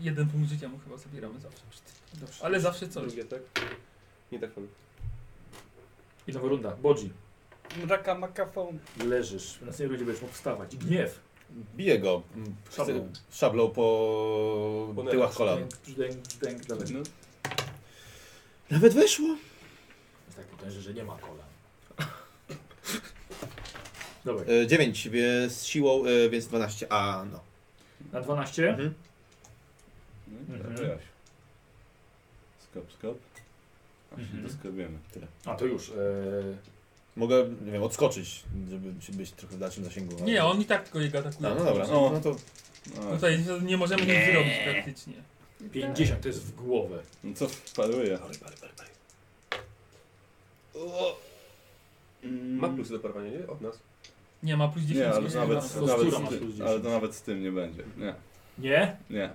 Jeden punkt życia mu chyba zabieramy zawsze.
Dobrze.
Ale zawsze coś.
Drugie, tak? Nie trafiony.
I nowa runda. Bodzi.
Mraka makafon.
Leżysz. W następnym rundzie będziesz mógł wstawać. Gniew.
Bije go mm,
Szablą.
szablą po
Po
tyłach kolan.
Dęk, dęk, dawaj.
No,
Nawet weszło.
Jest tak potężny, że nie ma kolan. *laughs* Dobra,
9 z siłą, e, więc 12. A no.
na 12.
Mhm.
No i
Mhm.
trafiłaś. Skop, skop. Aż
Mhm.
się doskobiemy.
A to już. E,
Mogę, nie wiem, odskoczyć, żeby się być trochę w dalszym zasięgu. ale-
Nie, on i tak tylko jego atakuje.
No, no dobra, no,
O.
no to
No,
Tutaj nie możemy nic zrobić praktycznie.
50 to jest w głowę.
no co paruje?
Ma plusy do parowania, nie? Od nas.
Nie, ma plus 10.
Nie, ale
plus
nawet,
11.
Kostura
nawet,
ma
z
plus
ty,
10.
ale to nawet z tym nie będzie. Nie,
Nie?
nie.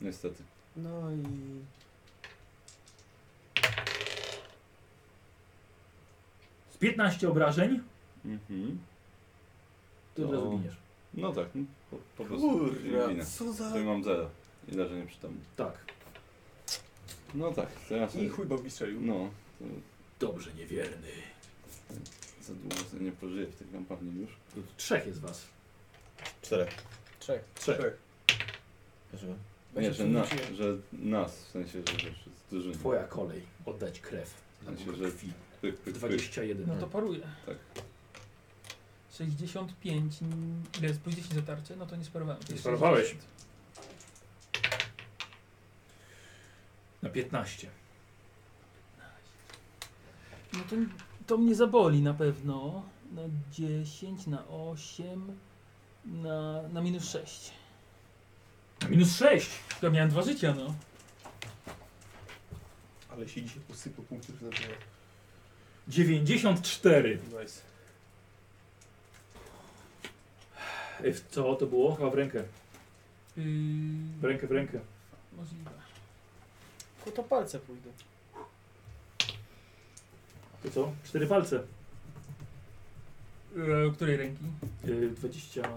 Niestety.
No i...
Z 15 obrażeń,
Mhm.
to od
To-
razu giniesz.
No tak, no, po, po prostu.
Kurwa,
winę.
co za...
Tutaj mam zero. I leżę nieprzytomny.
Tak.
No tak, to ja
I
sobie...
chuj Bobby strzelił.
No, to
Dobrze, niewierny.
za długo sobie nie pożyję w tej kampanii już.
Tu trzech jest was.
4.
Trzech.
Trzech.
Nie, że, na, że nas, w sensie, że, że wszyscy duży.
Twoja kolej. Oddać krew. Na
Znaczy,
Bóg
że-
krwi.
Pyk, pyk, pyk.
21.
No to paruje.
Tak.
65, mm, ile jest plus 10 zatarcie? No to nie sparowałem.
Nie sparowałeś. Na 15.
No to, to mnie zaboli na pewno. Na 10, na 8, na, na minus 6.
Na minus 6.
Ja miałem dwa życia, no.
Ale się dzisiaj posypał punktów znaczenia.
94.
Nice.
E, w- Co to było? Chyba w rękę.
Yy,
W rękę, w rękę.
Możliwe.
No to palce pójdę.
To co? Cztery palce.
Yy, której ręki?
E, 21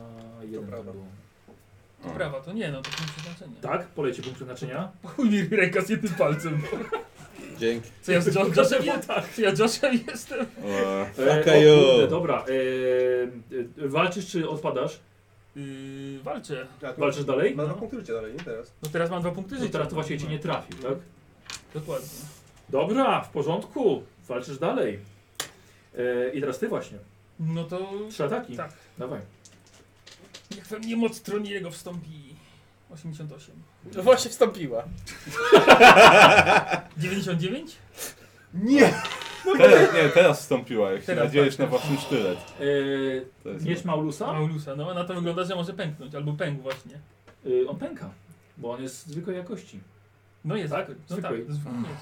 To
to
prawa.
było.
To prawa, to nie, no to nie ma znaczenia.
Tak? Polecie punkt przeznaczenia.
Chuj mi ręka z jednym palcem.
Dzięki.
Co
*laughs*
ja z Jo- Joshem jestem? Co ja Joshem jestem?
Eee,
Fuck
Tak. o
you.
kurde, dobra. E, e, walczysz czy odpadasz?
Yy, walczę.
A, tu-
Walczysz dalej?
Ma dwa
No.
punkty życia dalej, nie teraz.
No teraz mam dwa punkty
No
życia.
teraz to właśnie cię nie trafił, tak?
Dokładnie.
Dobra, w porządku. Walczysz dalej. E, I teraz ty właśnie.
No to
Trzy ataki.
Tak.
Dawaj.
jak we mnie moc Troniego wstąpi 88.
No właśnie wstąpiła.
99?
teraz, nie, teraz wstąpiła, jak się
Teraz
nadziejesz
tak.
na własny sztylet.
E,
To jest
miecz Maulusa?
Maulusa, no na to wygląda, że może pęknąć, albo pękł właśnie.
E, on pęka, bo on jest zwykłej jakości.
No jest,
Tak?
no tak,
Zwykły.
zwykły miecz.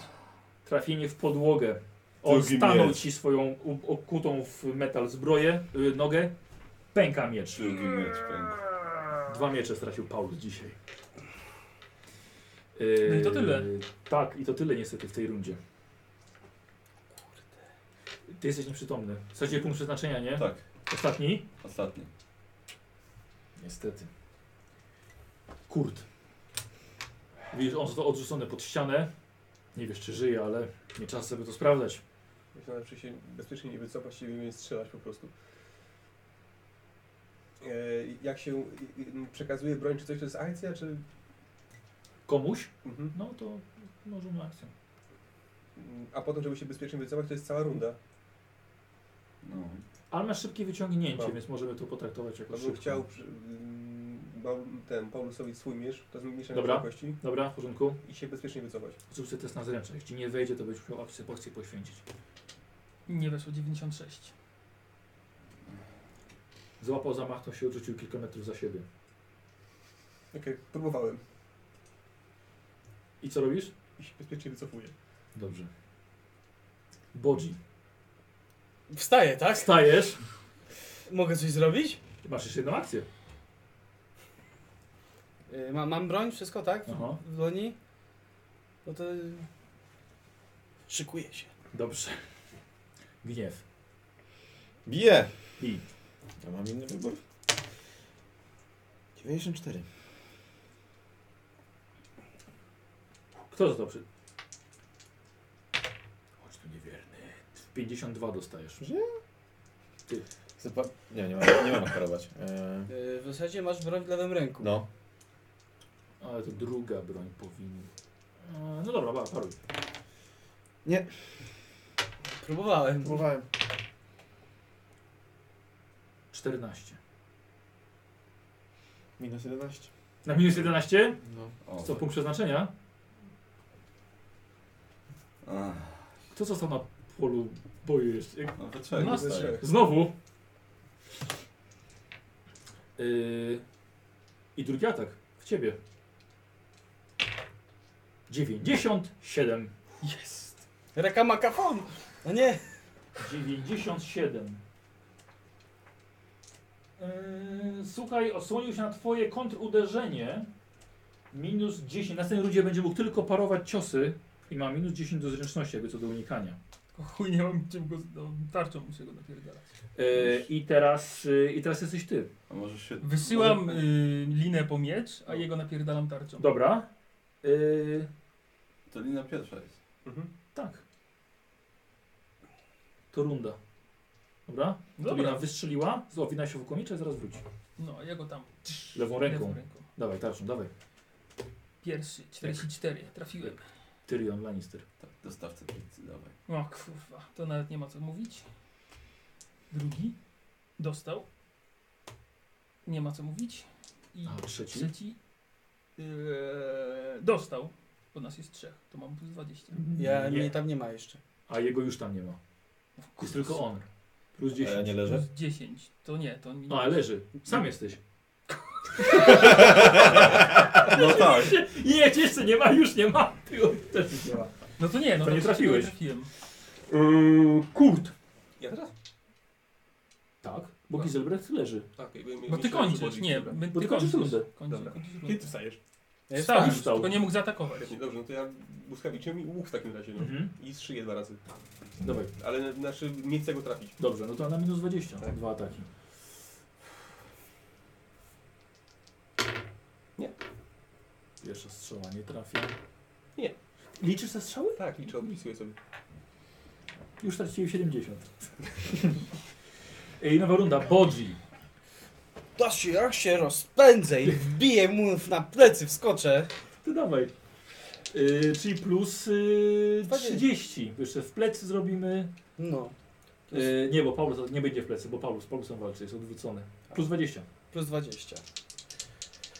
Trafienie w podłogę. On
Drugi
stanął
miecz.
ci swoją u- okutą w metal zbroję, y, nogę. Pęka miecz.
drugi miecz. pęk.
Dwa miecze stracił Paulus dzisiaj.
No i to tyle.
Yy, tak, i to tyle niestety w tej rundzie. Ty jesteś nieprzytomny. Straciłeś punkt przeznaczenia, nie?
Tak,
Ostatni?
ostatni.
Niestety. Kurt. Widzisz, on został odrzucony pod ścianę. Nie wiesz, czy żyje, ale nie czas sobie to sprawdzać.
Myślałem, że się bezpiecznie nie wycofać i nie strzelać po prostu. E, jak się y, y, przekazuje broń, czy coś to jest akcja, czy...
Komuś?
Mhm.
No to może na akcję.
A potem, żeby się bezpiecznie wycofać, to jest cała runda.
No.
Ale masz szybkie wyciągnięcie,
Mam.
więc możemy to potraktować jako
No bym
szybko.
chciał przy- ym, Paul- ten Paulusowi swój miecz, to jest miecz na
Dobra.
wysokości
Dobra, w porządku.
i się bezpiecznie wycofać.
Zrób sobie test na zręczność. Jeśli nie wejdzie, to będziesz musiał akcję, akcję poświęcić.
Nie weszło 96.
Złapał zamach, to się odrzucił kilka metrów za siebie.
Okej, Tak próbowałem
I co robisz?
i się bezpiecznie wycofuję.
Dobrze. Bodzi.
Wstaję, tak?
Stajesz.
Mogę coś zrobić?
Masz jeszcze jedną akcję.
Y, ma, mam broń, wszystko, tak? W,
Aha.
w dłoni? No to... y, Szykuję się.
Dobrze. Gniew.
Bije.
I.
Ja mam inny wybór. 94.
Kto został przy... Chodź tu niewierny. 52 dostajesz.
Zapa... Nie, nie mam, nie mam jak parować. E,
Y, w zasadzie masz broń w lewym ręku.
No.
Ale to druga broń powinna... E, No dobra, ba- paruj.
Nie.
Próbowałem.
Próbowałem.
14.
Minus 11.
Na minus 11?
No.
O,
Co, punkt przeznaczenia?
Ach,
Kto został na polu boju jeszcze? Jak-
No wyczerpie.
No,
staje.
wyczerpie.
Znowu. Yy, I drugi atak w ciebie. 97.
Jest. Rekama kafon! No nie.
97. Yy, słuchaj, osłonił się na twoje kontruderzenie. Minus 10. Na tej rundzie będzie mógł tylko parować ciosy i ma minus 10 do zręczności, jakby co do unikania.
Tylko Chuj, nie mam czym go, no, tarczą muszę go napierdalać.
Yy, I teraz yy, i teraz jesteś ty.
A może się...
No.
Wysyłam y, linę po miecz, a jego napierdalam tarczą.
Dobra. Yy,
To lina pierwsza jest.
Mhm.
tak. To runda. Dobra? Dobra.
Dobra.
wystrzeliła, zowina się w komicze, zaraz wróci.
No, ja go tam.
Lewą ręką.
Lewą ręką.
Dawaj, tarczą, dawaj.
Pierwszy, 44, trafiłem.
Tyrion Lannister.
Tak, dostawcę pizzy, dawaj.
O kurwa, to nawet nie ma co mówić. Drugi. Dostał. Nie ma co mówić. I
A trzeci?
trzeci. Eee, dostał. Bo nas jest trzech, to mam plus 20.
Ja
Nie.
mnie tam nie ma jeszcze.
A jego już tam nie ma.
No,
Jest tylko on. Plus
A ja
10.
nie leżę?
Plus 10, to nie, to mi nie.
No, ale leży. Sam jesteś.
*laughs* No tak.
*laughs* Nie, jeszcze nie ma, już nie ma. *laughs* Ty on też nie ma.
No to nie, no
To nie
przecież
trafiłeś.
Nie trafiłem.
Kurt.
Ja teraz?
Tak, bo Giselbrecht leży.
Okej, bo ja
Bo
myślałem,
ty
że
kończysz,
podbić,
nie,
dobra.
my,
Bo
ty
ty kończysz
kończysz.
rundę.
Kończysz,
Dobra.
kończysz
Kiedy
rundę.
ty wstajesz?
Ja
Wstałem,
Już wstał.
tylko nie mógł zaatakować.
Właśnie, Dobrze, no to ja błyskawiczem i łuk w takim razie, no.
Mhm.
I strzyję dwa razy.
Dawaj.
Ale znaczy, nie chcę go trafić.
Dobrze, no to na minus 20.
Tak.
Dwa ataki.
Nie.
Pierwsza strzała nie trafia.
Nie.
Liczysz te strzały?
Tak, liczę, odpisuję sobie.
Już straciłem 70. *laughs* Ej, nowa runda. Bodzi.
To się jak się rozpędzę i wbiję mu na plecy, wskoczę.
Ty dawaj. Yy, czyli plus yy,
20.
30. Jeszcze w plecy zrobimy.
No. Plus,
Yy, nie, bo Paulus nie będzie w plecy, bo Paulus, Paulusem walczy, jest odwrócony. Plus 20.
plus 20.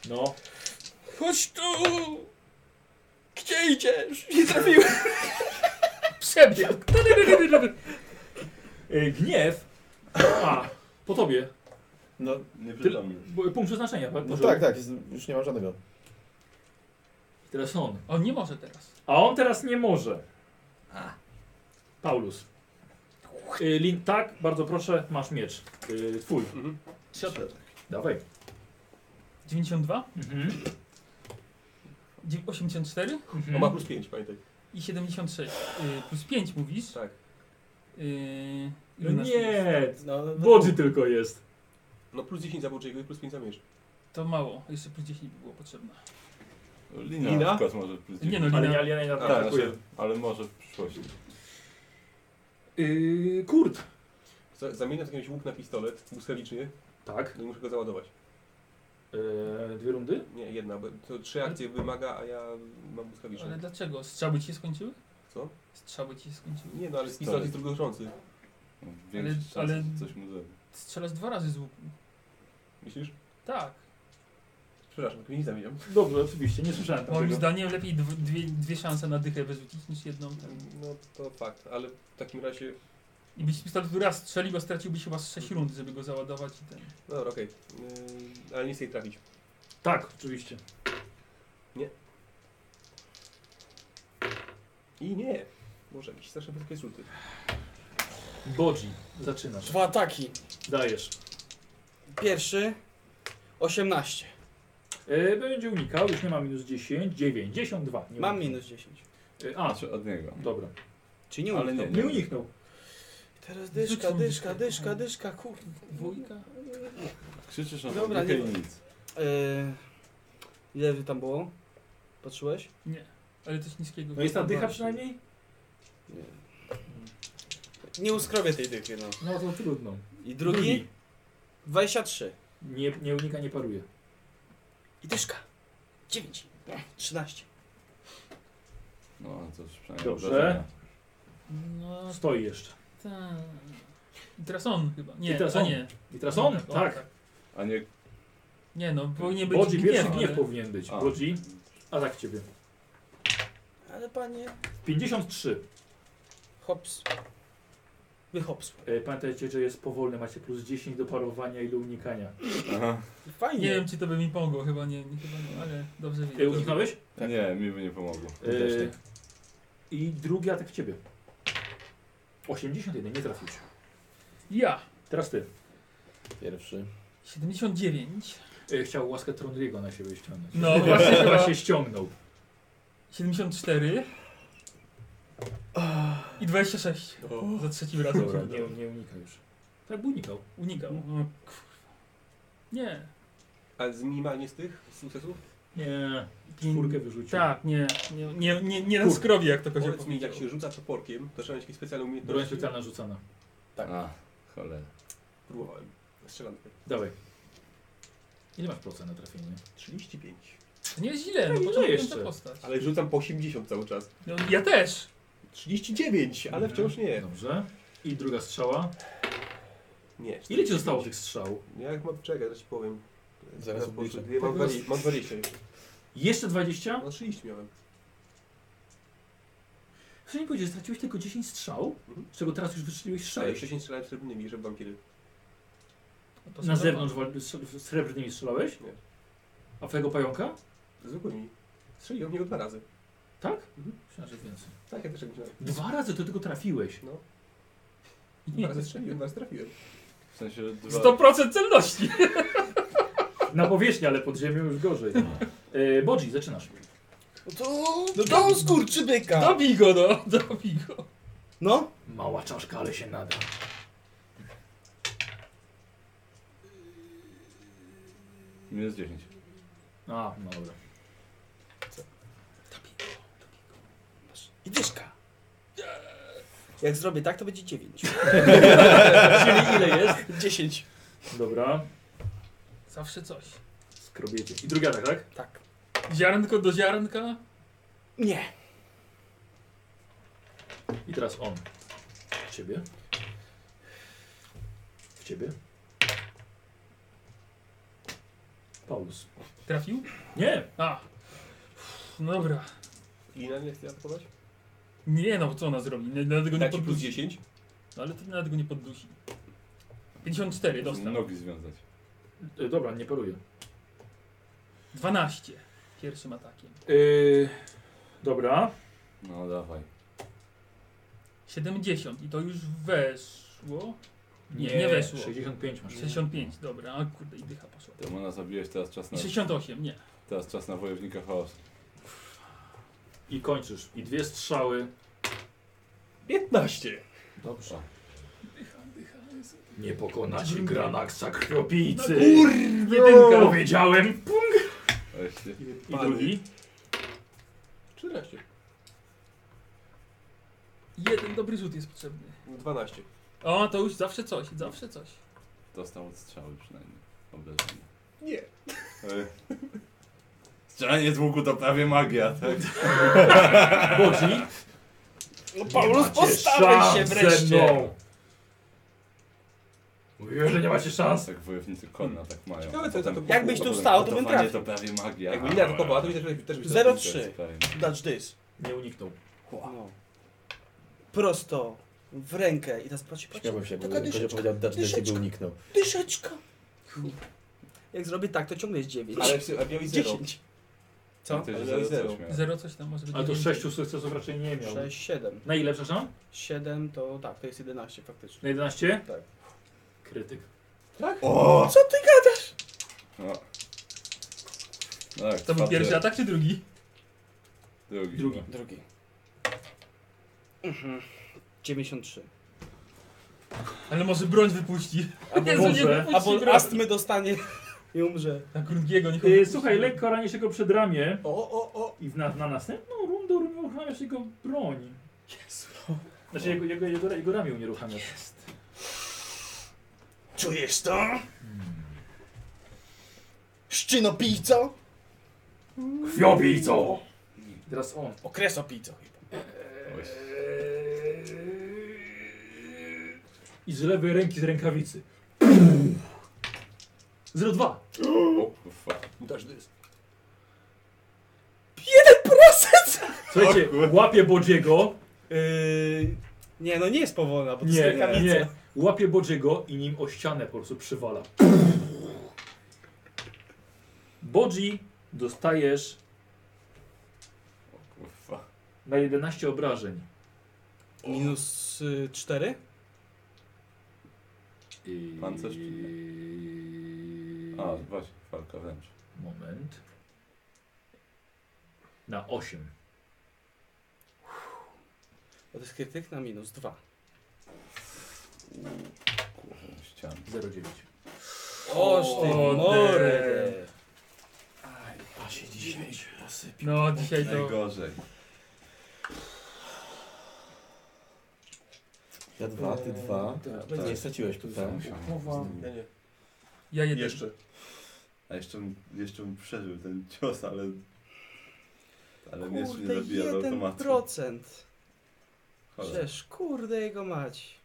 No.
Chodź tu! Gdzie idziesz? Nie trafiłem.
Przebieg!
Yy, gniew. A, po tobie.
No,
Nie przytomny.
Bo- Punkt przeznaczenia.
no
może-
tak, tak, jest, już nie mam żadnego.
Teraz on.
On nie może teraz.
A on teraz nie może. Paulus. Yy, lin, tak, bardzo proszę, masz miecz. Yy, twój.
Mhm. Siadę.
Dawaj.
92,
Mhm.
84
On ma plus 5, pamiętaj.
i 76. Y, plus 5 mówisz.
Tak.
Y, ile
No
nas jest?
Nie,
No, no,
Bodzi tylko jest.
No plus 10 za Bołczejego i plus 5 za mierz.
To mało, jeszcze plus 10 by było potrzebne.
Lina,
Lina?
na przykład może plus
Nie no,
dziewięć.
lina.
Ale nie, ale nie
A,
Tak,
atakuje.
znaczy, ale może w przyszłości.
Yy, Kurt.
Za- Zamieniam jakiegoś łuk na pistolet, błyskawicznie,
Tak.
no i muszę go załadować.
Yy, dwie rundy?
Nie, jedna, bo to trzy akcje wymaga, a ja mam błyskawiczne.
tak.
Ale dlaczego? Strzały ci się skończyły?
Co?
Strzały ci się skończyły.
Nie no, ale
Pistolet.
pistolet jest drugotrzący.
No, Większy ale,
Ale- ale-
coś mu zrobi.
Strzelasz dwa razy z łuku.
Myślisz?
Tak.
Przepraszam, nie zamieniam.
Dobrze, oczywiście, nie słyszałem
Moim
tego.
zdaniem lepiej dw- dwie, dwie szanse na dychę wyrzucić niż jedną. Tam.
No to fakt, ale w takim razie...
I byś pistolet raz strzelił, a straciłbyś chyba z 6 rund, żeby go załadować i ten.
No dobra, okej. Yy, ale nie chcę jej trafić.
Tak, oczywiście.
I nie! Może jakieś straszne wysokie rzuty.
Bodzi, zaczynasz.
Dwa ataki.
Dajesz.
Pierwszy. 18.
Yy, będzie unikał, już nie ma minus 10, 9, 10, 2. Nie
Mam
ma.
minus 10.
Yy, a,
Znaczy od niego.
dobra.
Czyli nie
Ale
uniknął.
nie,
Nie uniknął.
Teraz
Rzuć
dyszka,
mu
dyszka,
dyszkę,
dyszka,
kochanie.
dyszka, kurde.
Dwójka?
Krzyczysz na
Dobra,
Dobra,
nie
i
ma.
nic.
Yy, ile tam było? Patrzyłeś?
Nie. Ale coś niskiego.
No jest ta dycha przynajmniej?
Nie. Nie uskrobię tej dychy, no.
No to trudno.
I drugi? 23.
Nie, nie unika, nie paruje.
I dyszka. 9. 13.
No, to już przynajmniej
Dobrze.
obrażenia.
No,
Stoi jeszcze.
tak. I teraz on chyba. Nie,
I teraz
a
on.
nie.
I teraz on?
O,
Tak.
A nie
Nie no, powinien być
Bodzi, pierwszy
gniew,
gniew
ale...
powinien być.
A.
Bodzi, atak ciebie.
Ale panie,
53.
hops. Wyhops.
E, Pamiętajcie, że jest powolny, macie plus 10 do parowania i do unikania.
Aha.
Fajnie.
Nie wiem, czy to by mi pomogło, chyba nie, nie chyba nie, ale dobrze
E,
widzę.
uniknąłeś?
Tak.
Nie, mi by nie pomogło.
E, I drugi atak w ciebie. 81, nie trafił cię.
Ja,
Teraz ty.
Pierwszy.
79.
E, chciał łaskę Trondriego na siebie ściągnąć. *laughs*
No właśnie chyba
Chyba się ściągnął.
74. I 26. Za trzecim razem.
Dobra, nie, nie unika już. Tak, by unikał.
Unikał. No, kurwa. Nie.
A z minimalnie z tych sukcesów?
Nie, czwórkę wyrzucił.
Tak, nie. Nie, nie, nie, nie na
Kurwa.
skrobie, jak to kozioł
Powiedz mi,
powiedział.
jak się rzuca toporkiem, to trzeba mieć jakieś specjalne
Broń
umiejętności.
specjalna rzucana.
Tak.
A, cholera.
Próbowałem. Strzelam.
Dawaj. Ile masz procent na trafienie?
35.
To nie jest źle, no
nie
może
jeszcze.
jeszcze postać.
Ale rzucam po 80 cały czas.
No, ja też.
39, ale
Mhm.
wciąż nie.
Dobrze. I druga strzała.
Nie.
Ile ci zostało tych strzał?
Jak mam czekać, zaraz ci powiem.
Zaraz
Ja po prostu-
obliczę.
Tak,
Mam
no.
20, mam 20 już.
Jeszcze 20?
No 30 miałem.
Chcesz mi powiedzieć, że straciłeś tylko 10 strzał? Z czego teraz już wystrzeliłeś
Ale
6.
10 strzelałem srebrnymi, żeby wampiry.
No to
Na
są
zewnątrz wal- z- z srebrnymi strzelałeś?
Nie.
A twojego pająka?
Zwykłymi. Strzeliłem w niego dwa razy.
Tak? Myślałem, że więcej.
Tak, ja też jak myślałem.
Dwa razy to tylko trafiłeś.
No. Dwa
normalne.
razy strzeliłem, dwa razy trafiłem.
W sensie że dwa...
100% celności.
Na powierzchni, ale pod ziemią już gorzej. E, Bodzi, zaczynasz.
No to... No to skurczybyka.
Dobij go, no. Dobij go.
No.
Mała czaszka, ale się nada.
Minus 10.
A, no dobra.
I dyszka. Jak zrobię tak, to będzie 9.
*laughs* Czyli ile jest?
10.
Dobra.
Zawsze coś.
Skrobiecie. I drugi atak, tak?
Tak.
Ziarnko do ziarnka.
Nie.
I teraz on. W ciebie. W ciebie. Paulus.
Trafił?
Nie!
A. Uff, No dobra.
Lina nie chce atakować?
Nie no, co ona zrobi? Nie- Dlatego nie
Tak, plus
poddusi.
10.
No, ale to dlatego nie poddusi. 54 dostał.
Nogi związać.
E, dobra, nie paruję.
12. Pierwszym atakiem.
Yy, dobra.
No dawaj.
70 i to już weszło. Nie, nie weszło.
65 masz.
65, dobra. A kurde, i dycha poszła.
Demona zabiłeś, teraz czas
I
na...
68, nie.
Teraz czas na wojownika chaosu.
I kończysz. I dwie strzały.
15.
Dobrze.
Dycha, dycha. jest-
Nie pokonać Granaksa krwiopijcy.
Jedynka.
Powiedziałem.
Weźcie.
I drugi.
14.
Jeden dobry rzut jest potrzebny.
12.
O, to już zawsze coś, zawsze coś.
Dostał od strzały przynajmniej. Obrażenie.
Nie.
Ej. Strzelanie z łuku to prawie magia,
*laughs*
tak?
Bodzi.
No
Nie
Paulus,
macie
postaraj się
szans ze
wreszcie.
mną. Mówiłem, że nie macie szans.
Tak wojownicy konna tak mają.
Ciekawe, co jest na to-
Jakbyś tu
Potem
stał, to bym
gotowanie
trafił.
to prawie magia.
Jakby Lina atakowała, to mi też, też by się-
Zero trzy.
Prawie.
Dutch this.
Nie uniknął.
No. Prosto. W rękę. I teraz patrzcie, patrzcie.
Śmiałbym się, bo
Taka
gdybym ktoś
dyszeczka.
powiedział Dutch Dance i by
Dyszeczka.
uniknął.
Dyszeczka. Jak zrobię tak, to ciągle jest 9. *laughs*
Ale, psy- a miałeś 0.
10.
Ja
Co?
też
Ale
zero
zero.
coś miałem.
Zero coś tam może być.
Ale to
więcej.
sześciu sukcesów raczej nie miał.
6, 7.
Na ile, przepraszam?
7 to tak, to jest 11 faktycznie.
Na 11?
Tak.
Krytyk.
Co ty gadasz?
No. Tak,
To był
facet,
pierwszy atak czy drugi?
Drugi. no.
Drugi.
Drugi. Mhm. 93.
Ale może broń wypuści.
Albo
Jezu,
może.
*laughs* nie wypuści
Albo
broń.
astmy dostanie *laughs* i umrze.
Na Grungiego niech on
Yy,
wypuści.
słuchaj, lekko ranisz jego przedramię
O, o, o.
i w na, na następną rundę uruchamiasz jego broń. Znaczy jego, jego, jego, jego ramię unieruchamiasz.
Czujesz to? Szczynopijco?
Krwiopijco! Teraz on.
Okresopijco chyba.
Oj.
Eee, I z lewej ręki z rękawicy. 0,2.
O kurwa.
Dasz dys. 1%! Słuchajcie, łapie Bodziego,
Yy, nie, no nie jest powolna, bo to jest
nie,
rękawica.
nie, łapie Bodziego i nim o ścianę po prostu przywala. Bodzi dostajesz
O kurwa.
na 11 obrażeń.
Minus y, 4?
I...
Pancerz czy A, właśnie, walka wręcz.
Moment. Na 8.
Bo to jest krytyk na minus 2.
Kurwa, ściany.
0,9.
Oż ty
O,
mordy.
A się dzisiaj posypie.
No, dzisiaj to...
Najgorzej.
Ja dwa, ty dwa.
będzie-
Nie straciłeś tutaj.
Ja nie.
Ja jeden.
Jeszcze.
A jeszcze, bym- jeszcze bym przeżył ten cios, ale... Ale mnie nie
Kurde,
zabija z automatu.
1%.
Cholera.
Przecież, kurde jego mać.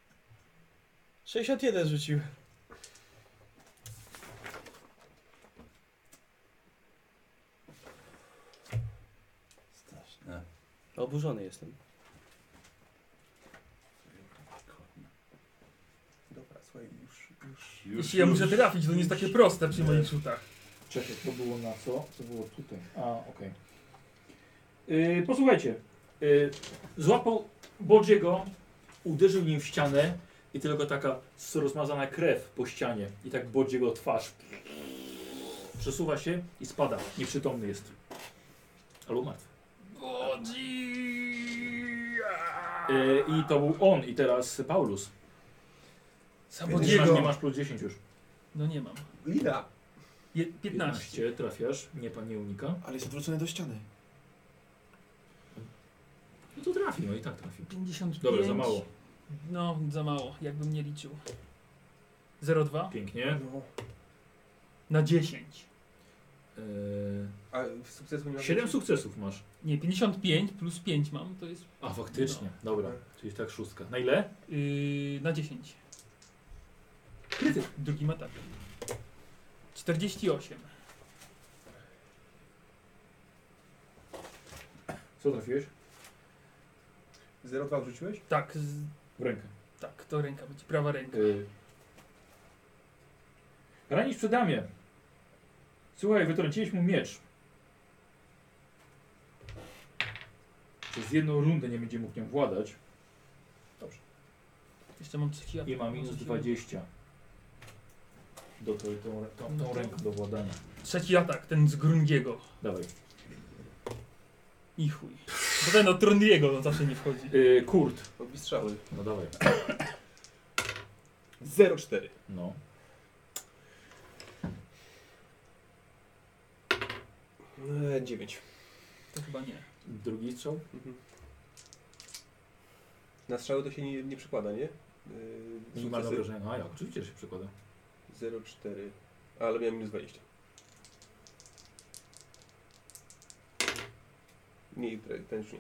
61 rzucił.
Straszne.
Oburzony jestem.
Dobra, słuchaj, już, już.
Jeśli ja muszę trafić, to nie jest takie proste przy moich rzutach.
Czekaj, to było na co? To było tutaj. A, okej. Yy, posłuchajcie. Yy, złapał Bodziego, uderzył nim w ścianę i tylko taka s- rozmazana krew po ścianie. I tak Bodziego twarz przesuwa się i spada. Nieprzytomny jest. Albo martwy. Yy, I to był on i teraz Paulus. Nie masz, nie
Sabodziego.
masz plus 10 już.
No nie mam.
Lina!
Je, 15.
trafiasz, nie pan nie unika.
Ale jest odwrócony do ściany.
No to trafi, no i tak trafi.
55.
Dobra, za mało.
No, za mało, jakbym nie liczył. 0,2
Pięknie.
No.
na 10.
Yy,
A sukcesu nie ma.
7 sukcesów masz.
Nie, 55 plus 5 mam, to jest
A faktycznie, dobra. Czyli tak szóstka. Na ile?
yy, na 10. Krytyk. tak. Drugim atakiem. 48.
Co trafiłeś?
0,2 wrzuciłeś?
Tak, z,
W rękę.
tak, to ręka będzie, prawa ręka.
Yy. Ranisz przedamię. Słuchaj, wytrąciłeś mu miecz. Przez jedną rundę nie będzie mógł nią władać.
Jeszcze mam trzeci atak.
I ma minus
Trzeci-
20. Do tą, tą, tą, tą ręką do władania.
Trzeci atak, ten z Grungiego.
Dawaj.
I chuj. Bo ten od Trundiego no, zawsze nie wchodzi.
Yy, kurt.
Robi strzały.
No dawaj.
0,4.
No.
E, 9.
To chyba nie.
Drugi strzał?
Mhm. Na strzały to się nie, nie przekłada, nie? Yy,
Minimalne
sukcesy.
obrażenia. No, A ja, oczywiście, że się przekłada.
0,4. Ale miałem minus 20. Nie, ten już nie.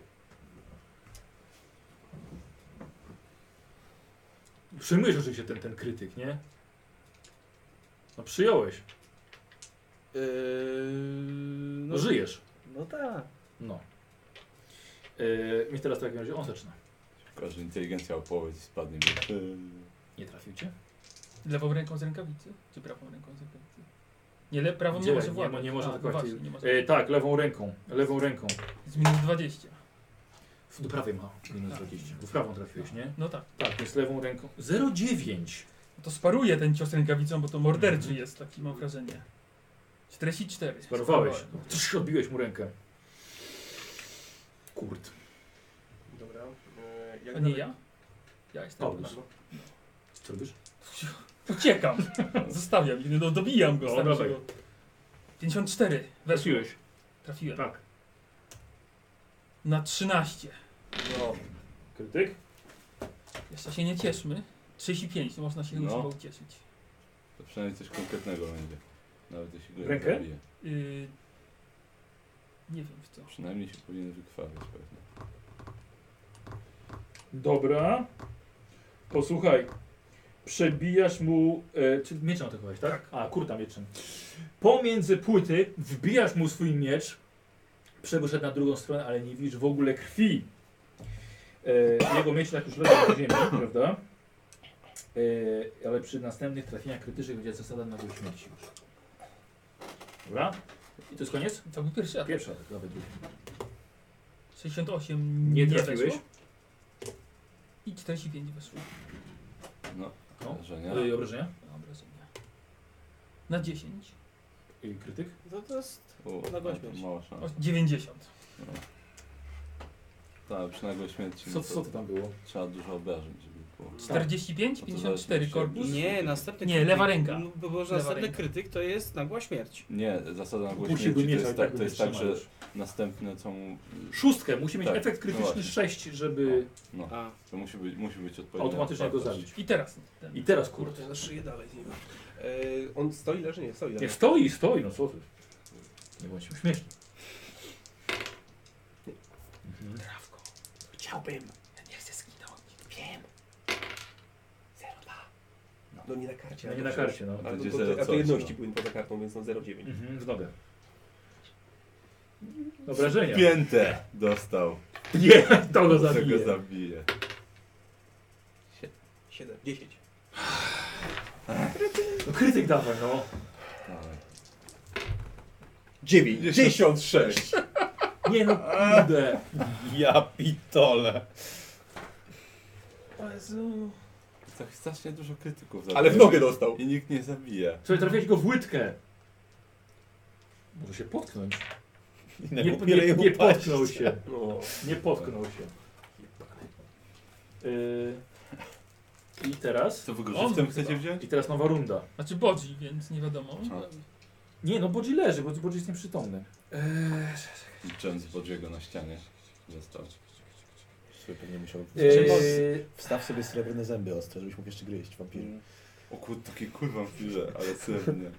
Przyjmujesz oczywiście ten, ten krytyk, nie? No przyjąłeś.
Yy,
No żyjesz.
No tak.
No. Yy, I teraz w takim razie on zaczyna.
Tylko, że inteligencja o połowę ci spadnie.
Eee.
mi.
Nie trafił cię?
Lewą ręką z rękawicy? Czy prawą ręką z rękawicy? Nie, le, prawą nie,
Gdzie?
może
Nie
władać.
ma- nie może
A, no
atakować.
właśnie, nie może.
E, tak, lewą ręką. Lewą ręką.
Z minus 20.
W- Do prawej ma minus
Tak.
20. Bo w prawą trafiłeś, nie?
No tak.
Tak, więc lewą ręką. 0,9.
To sparuje ten cios rękawicą, bo to morderczy
Mhm.
jest, taki mam wrażenie. 44.
Sparowałeś. Trzy, odbiłeś mu rękę. Kurt.
Dobra. E, jak
A nie
dalej-
ja? Ja jestem.
Paulus.
No.
Co robisz? *laughs*
Uciekam. Zostawiam. ich, No, dobijam go.
No,
staram się
dawaj.
go. 54. Weszło.
Trafiłeś.
Trafiłem.
Tak.
Na 13.
No.
Krytyk?
Jeszcze się nie cieszmy. 35. No można się już
No.
chyba ucieszyć.
To przynajmniej coś konkretnego będzie. Nawet jeśli go nie
Rękę?
zabije.
Yy, nie wiem w co.
Przynajmniej się powinien wykrwawiać pewnie.
Dobra. Posłuchaj. Przebijasz mu. E, czy mieczem atakowałeś, tak? A, kurta mieczem. Pomiędzy płyty wbijasz mu swój miecz. Przeszedł na drugą stronę, ale nie widzisz w ogóle krwi. E, jego miecz tak już leży na *coughs* ziemi, prawda? E, ale przy następnych trafieniach krytycznych będzie zasada na śmierci już. Dobra? I to jest koniec?
To był pierwszy atak.
Pierwsza, tak, nawet drugi.
68
Nie
weszło.
trafiłeś?
I 45 weszło.
No,
No.
że nie.
E, obrażenia?
Dobra, sobie. Na 10.
I E, krytyk?
To, no to jest...
U,
Na
no,
śmierć.
mała
O,
szansa.
90.
Tak, przy nagłej śmierci
Co,
no to
co to tam było?
trzeba dużo obrażeń, żeby było.
45,
No
to
54
zależy,
korpus.
Nie, następny
Nie,
krytyk-
lewa ręka.
No, Bo może
Lewa
następny
ręka.
krytyk to jest nagła śmierć.
Nie, zasada nagłej
Musi
śmierci
go
to
mieć,
jest
ale
tak,
tak
to jest tak, że
wytrzymałeś.
następne co mu...
Szóstkę, musi mieć
Tak,
efekt
no
krytyczny
właśnie.
6, żeby
No,
A,
to musi być, musi być odpowiednia
automatycznie go
wartość.
zabić.
I teraz. Ten.
I teraz kurde.
Ja na no, szyję dalej z niego. E, on stoi, leży? Nie, stoi.
Nie,
leży.
stoi, stoi, no co ty. Nie bądźmy śmieszni. Mhm.
Trawko. Chciałbym. Ja nie chcę zginąć. Wiem. Zero dwa.
No nie na karcie.
No nie
ale
na
dobrze.
karcie, no.
A
To
to,
będzie
to, to, a
0,coś,
to jedności
no.
płyn poza kartą, więc no 0,9.
Mhm, w nogę. Obrażenia.
Piętę dostał,
*laughs* Nie, to go
co go
zabije.
zabije.
7, 10.
No krytyk dawaj, no.
Dawaj.
96!
Nie no, kurde.
Ja pitole.
Tak strasznie dużo krytyków
Ale w nogę dostał.
I nikt nie zabija.
Słuchaj, trafiłeś go w łydkę. Może się potknąć.
Nie,
Nie, nie, nie potknął się.
No.
Nie potknął się. Y, I teraz?
Co wy go
On
żywcem
chyba.
chcecie wziąć?
I teraz nowa runda.
Znaczy bodzi, więc nie wiadomo.
Co?
Nie, no Bodzi leży, bo Bodzi jest nieprzytomny.
I James Bodziego na ścianie został.
Sobie pewnie musiał...
Eee,
Wstaw sobie srebrne zęby ostre, żebyś mógł jeszcze gryźć wampir.
O kur, takie kurwa chwile, ale srebrne.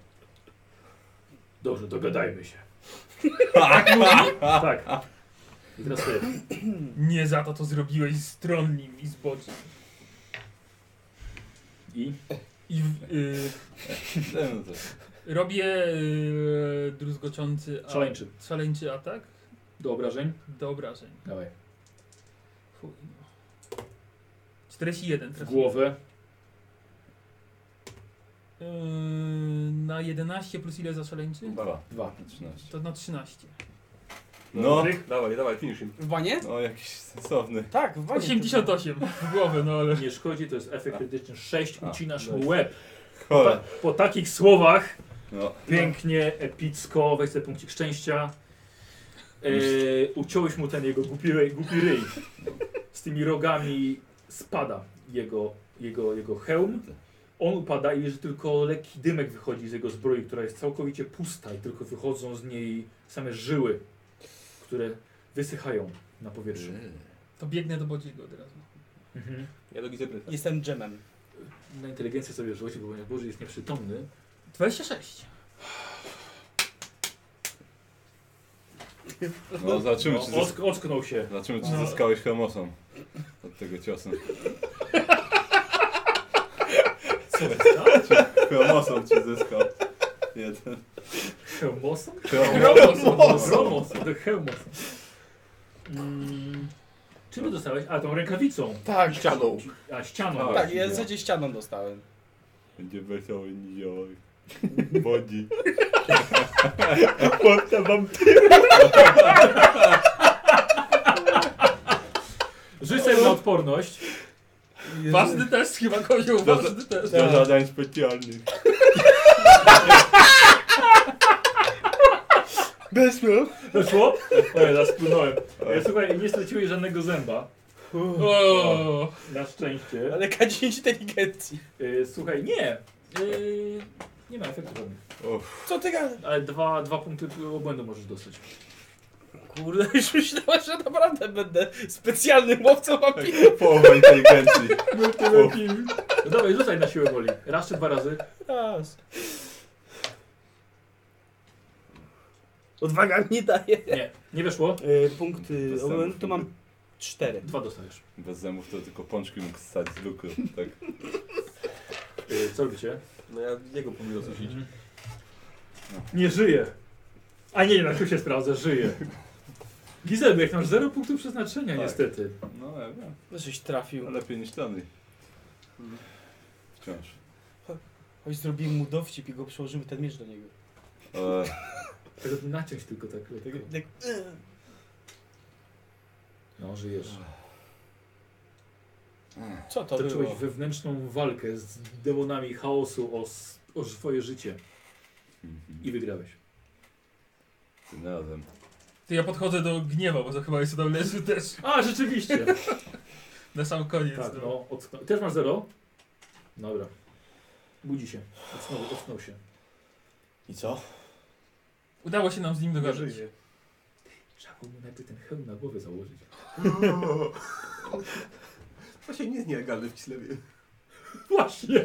dobrze, dogadajmy się. tak. I teraz ty.
Nie za to, co zrobiłeś z stronnim i z bodzi.
I?
I w, y,
No, no to
robię y, druzgoczący... a-
Szaleńczy.
Szaleńczy atak
Do obrażeń?
do obrażeń.
Dawaj.
Chuj, no. 41
W
trafiłem.
głowę.
Yy, na 11 plus ile za szaleńczy?
Dwa.
Dwa.
13.
To na 13.
No,
*laughs* Dawaj, dawaj, finish him.
w banie?
no jakiś sensowny.
Tak, w banie.
88 w głowę, no ale...
Nie szkodzi, to jest efekt krytyczny. Sześć,
A,
ucinasz
dobra.
łeb.
Chore.
Po takich słowach,
No,
pięknie, epicko, weź sobie punkcik szczęścia. Eee, uciąłeś mu ten jego głupi, ryj- głupi ryj. Z tymi rogami spada jego, jego, jego hełm. On upada i że tylko lekki dymek wychodzi z jego zbroi, która jest całkowicie pusta i tylko wychodzą z niej same żyły, które wysychają na powietrzu.
To biegnę do Bodziego od razu.
Mhm.
Ja do Gizebryta.
Jestem dżemem.
Na inteligencję sobie rzuci, bo ponieważ Boże jest nieprzytomny.
26.
no zobaczymy,
No,
czy, zys-
ock- ocknął się.
zobaczymy, czy
No.
zyskałeś chromosom od tego ciosu.
tak?
Czy chromosom ci zyskał. Jeden.
Hełmosom?
Chromo.
Hełmosom. Hełmosom. To hełmosom. Mm, czym to dostałeś? A, tą rękawicą.
Tak, ścianą.
A, ścianą.
Tak.
Tak, ja
nie.
za ścianą dostałem.
Będzie wesoły niziołek. Bodzi.
Rzuć sobie na odporność.
Ważny test chyba, kozioł,
Do-
ważny test.
Do zadań specjalnych.
Weszło.
Weszło? Ojej, ja splunąłem. Ja, słuchaj, nie straciłeś żadnego zęba.
O,
Na szczęście.
Ale K10 inteligencji.
Y, słuchaj, nie. Y, nie ma efektu żadnych.
Co ty gadasz?
Ale dwa, dwa punkty obłędu możesz dostać.
Kurde, już myślałem, że naprawdę będę specjalnym łowcą wampirów.
Połowa inteligencji.
No dawaj, rzucaj na siłę woli. Raz czy dwa razy?
Raz. Odwaga mi daje.
Nie. Nie weszło?
E, punkty.
To samo.
Tu mam Cztery.
Dwa dostajesz.
Bez zębów to tylko pączki mógł ssać z luku. Tak.
E, co robicie?
No ja jego próbuję osusić.
Nie żyje. A nie, na tu się sprawdza, żyje. Gizelbrecht, masz 0 punktów przeznaczenia
Tak.
niestety.
No ja wiem.
No żeś trafił.
No, Lepiej niż Tony. Wciąż.
Choć zrobimy mu dowcip i go przełożymy ten miecz do niego.
E,
Tylko Naciąć tylko tak
Tak,
lekko.
tak,
No, żyjesz.
co to
Toczyłeś
było?
wewnętrzną walkę z demonami chaosu o, s- o swoje życie i
mhm.
wygrałeś.
Tym razem.
To ja podchodzę do gniewa, bo to chyba jest tam leży też
A, *laughs* rzeczywiście!
na sam koniec.
tak,
no.
no, ocknął. Też masz 0? Dobra. Budzi się. Ocknął, ocknął się.
I co?
Udało się nam z nim dogadać.
Trzeba było mu najpierw ten hełm na głowę założyć.
Właśnie nie jest nielegalne w Kislewie.
Właśnie!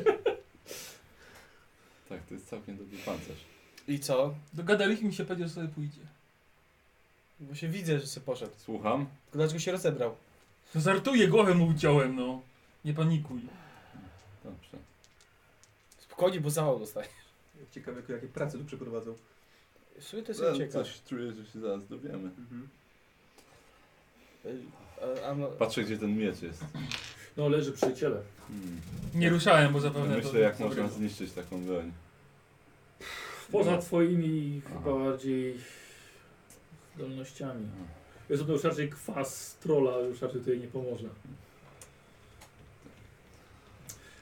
Tak, to jest całkiem dobry pancerz.
I co?
Dogadaliśmy się, powiedział, że sobie pójdzie.
Bo się widzę, że sobie poszedł.
Słucham?
Tylko Dlaczego się rozebrał?
No żartuję, głowę mu uciąłem, no. Nie panikuj.
Dobrze.
Spokojnie, bo zawał dostaje.
Ciekawe, jakie prace tu przeprowadzą.
W sumie to jest
No,
ciekawe.
coś czuję, że się zaraz dowiemy.
Y, A, a, no-
Patrzę gdzie ten miecz jest.
No, leży przy ciele.
Hmm.
No Nie ruszałem, bo zapewne to...
No Myślę jak
to
można
wrywa.
zniszczyć taką broń.
Poza twoimi
Aha.
chyba bardziej zdolnościami.
Mhm.
Jest to już raczej kwas trola, już raczej tutaj nie pomoże.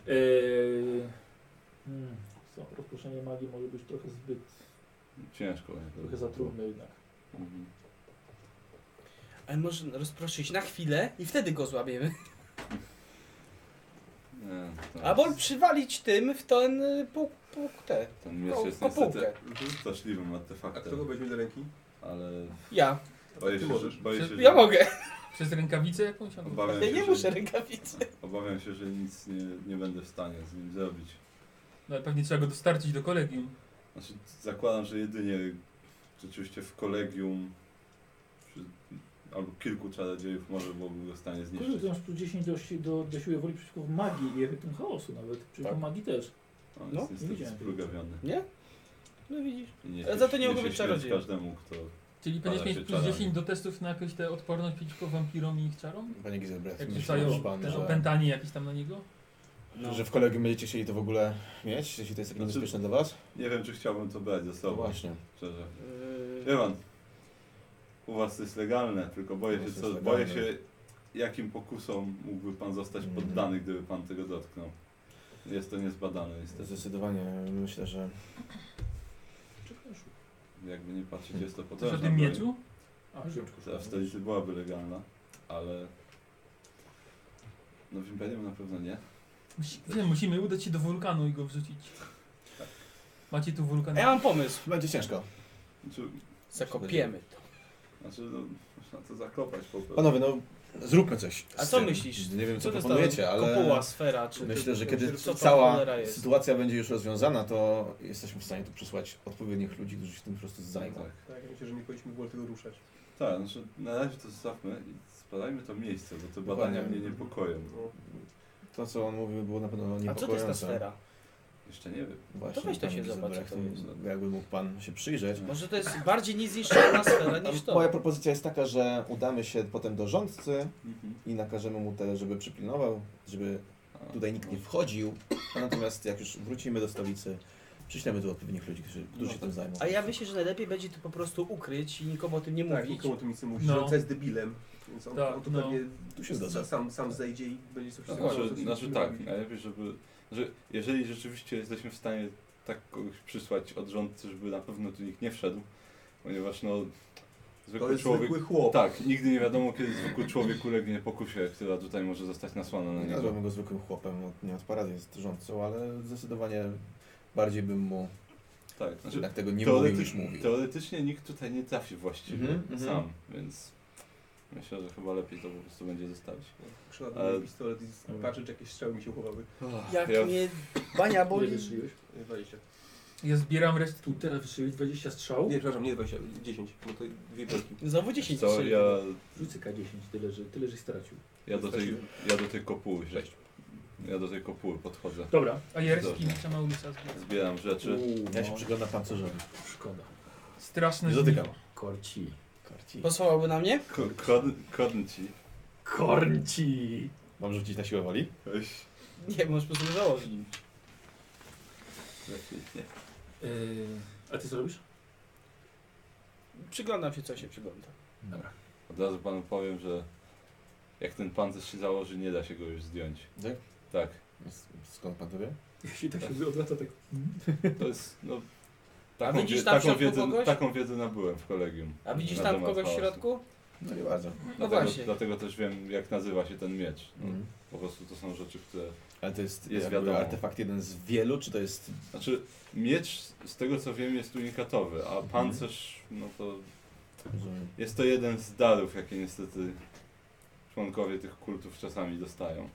Eee, hmm, co, rozproszenie magii może być trochę zbyt,
Ciężko.
trochę za trudne jednak.
Mhm.
ale może rozproszyć na chwilę i wtedy go złapiemy.
Nie, to-
Albo przywalić tym w ten y, pół, pół te.
Ten miecz
Po-
jest
po
niestety
półkę.
straszliwym
Mhm. A kto go
artefaktem,
weźmie do ręki?
ale
Ja.
boję się, że,
możesz.
boję się, że,
Ja mogę.
Przez rękawicę jakąś? albo-
Obawiam
Ja
się,
nie
że,
muszę rękawicy.
Obawiam się, że nic nie, nie będę w stanie z nim zrobić.
No ale pewnie trzeba go dostarczyć do kolegium.
Znaczy, zakładam, że jedynie rzeczywiście w kolegium przy, albo kilku czarodziejów może byłoby go w stanie
Kurde,
zniszczyć.
ty masz plus 10 do, si- do, do siły woli przeciwko magii i efektom chaosu nawet, przeciwko
Tak.
magii też.
On
No,
jest
nie
niestety
widziałem.
sprugawiony.
Nie? No widzisz.
I Nie
Ale
się-
za to nie mogę
się
być
śmiać
czarodziejem.
każdemu, kto...
Czyli
Pada
będziesz
się
mieć plus
czarami.
10 do testów na jakąś tę odporność przeciwko wampirom i ich czarom?
Panie
Tak,
Gizelbrecht,
Jak
myślał
rzucają
pan,
też
że,
opętanie jakieś tam na niego?
No.
że w kolegium będziecie chcieli to w ogóle mieć, jeśli to jest takie
Znaczy-
niebezpieczne dla was?
Nie wiem, czy chciałbym to brać ze
No
sobą,
właśnie.
szczerze.
Yy,
Wie pan, u was to jest legalne, tylko
U
boję
nas
się,
jest
co,
legalne.
boję się jakim pokusom mógłby pan zostać
Mhm.
poddany, gdyby pan tego dotknął. Jest to niezbadane niestety.
Zdecydowanie myślę, że
Jakby nie patrzeć, jest to
Coś o
potężna
tym
broń,
mieczu?
A, no. żyłem tylko
która w stolicy byłaby legalna, ale... No w Imperium na pewno nie.
Musi, wiem, musimy udać się do wulkanu i go wrzucić. Macie tu wulkan?
a ja mam pomysł.
będzie ciężko.
Znaczy,
Zakopiemy to.
znaczy no, można to zakopać po prostu.
Panowie, no zróbmy coś.
A
z
co
tym.
myślisz?
Nie wiem, co,
to
proponujecie,
jest ta
ale
Kopuła, sfera, czy...
myślę, że kiedy
co ta
cała
cholera jest?
sytuacja będzie już rozwiązana, to jesteśmy w stanie tu przysłać odpowiednich ludzi, którzy się tym po prostu zajmą.
Tak,
Tak, myślę, że nie powinniśmy było tego ruszać.
tak znaczy, na razie to zostawmy i spadajmy to miejsce, bo te badania
Dokładnie.
mnie niepokoją.
No.
To, co on mówił, było na pewno niepokojące.
A co to jest ta sfera?
Jeszcze nie wiem.
Właśnie,
To weź to
panie
się zobacz,
Gizelbrecht,
co to jest.
no, Jakby mógł pan się przyjrzeć.
Może to jest bardziej niezniszczalna sfera niż to.
Moja propozycja jest taka, że udamy się potem do rządcy
Mhm.
i nakażemy mu te, żeby przypilnował, żeby
A, no.
tutaj nikt nie wchodził. A natomiast jak już wrócimy do stolicy, przyślemy tu odpowiednich ludzi, którzy, którzy
No
się
to-
tym zajmą.
tak. A ja myślę, że najlepiej będzie to po prostu ukryć i nikomu o tym nie
Tak,
mówić.
nikomu o tym nic nie mówić.
No.
Rządca jest debilem, więc on,
Tak,
on to
no.
pewnie
Tu się zgadza.
sam, sam zejdzie i będzie sobie
Znaczy,
wszystko
znaczy,
robił,
znaczy
co
tak,
robi.
najlepiej, żeby. Że jeżeli rzeczywiście jesteśmy w stanie tak kogoś przysłać od rządcy, żeby na pewno tu nikt nie wszedł, ponieważ no.
To
Zwykły
jest
człowiek.
zwykły chłop.
Tak, nigdy nie wiadomo, kiedy zwykły człowiek ulegnie pokusie, która tutaj może zostać nasłana na
Nie
niego.
nazwałbym go zwykłym chłopem, od- nie od parady jest rządcą, ale zdecydowanie bardziej bym mu
Tak, znaczy,
jednak tego nie
teorety-
mówił niż mówił.
teoretycznie nikt tutaj nie trafi właściwie
Mhm, mhm.
sam, więc myślę, że chyba lepiej to po prostu będzie zostawić.
Przypadł
Ale-
mi pistolet i patrzę, czy jakieś strzały mi się uchowały.
Jak
Ja-
mnie bania
Ile
boli.
E,
wyszliłeś?
20.
Ja zbieram resztę.
Tu teraz wystrzeliłeś 20 strzał.
Nie, przepraszam, nie 20, 10, bo to dwie belki.
Znowu 10
Co,
strzeli.
ja,
Rzucę K10, tyle że, tyle, że stracił.
ja, do tej, ja do tej kopuły się- Ja do tej kopuły podchodzę.
Dobra.
A Jerski
Dobrze.
mi sama ulica zbiera.
Zbieram rzeczy.
Znaczy, Ja
no,
się przyglądam pancerzowi.
Szkoda.
Straszne
Nie
dni.
dotykam.
Korci.
Korci.
Posłałby na mnie?
Ko- Kon, konci.
Korci!
Mam rzucić
tak
na siłę woli?
Weź.
Nie, możesz po prostu założyć.
Lepiej nie.
E,
Yy, a ty co robisz?
Przyglądam się, co się przygląda.
Dobra.
Od razu panu powiem, że jak ten pancerz się założy, nie da się go już zdjąć.
Tak?
Tak.
S- Skąd pan to wie?
Jeśli tak się odwraca, tak.
To jest, no...
A
Taką,
widzisz
wie,
tam w
taką,
środku
wiedzę,
kogoś?
taką wiedzę nabyłem w kolegium.
A widzisz
Na
tam
temat
kogoś w
chaosu.
środku?
No nie bardzo.
No
dlatego,
właśnie.
dlatego też wiem, jak nazywa się ten miecz. No,
Mhm.
Po prostu to są rzeczy, które...
Ale to jest,
Jest
jest
wiadomo.
artefakt jeden z wielu, czy to jest...
Znaczy, miecz, z tego co wiem, jest unikatowy, a
Mhm.
pancerz, no to...
Rozumiem.
Jest to jeden z darów, jakie niestety członkowie tych kultów czasami dostają.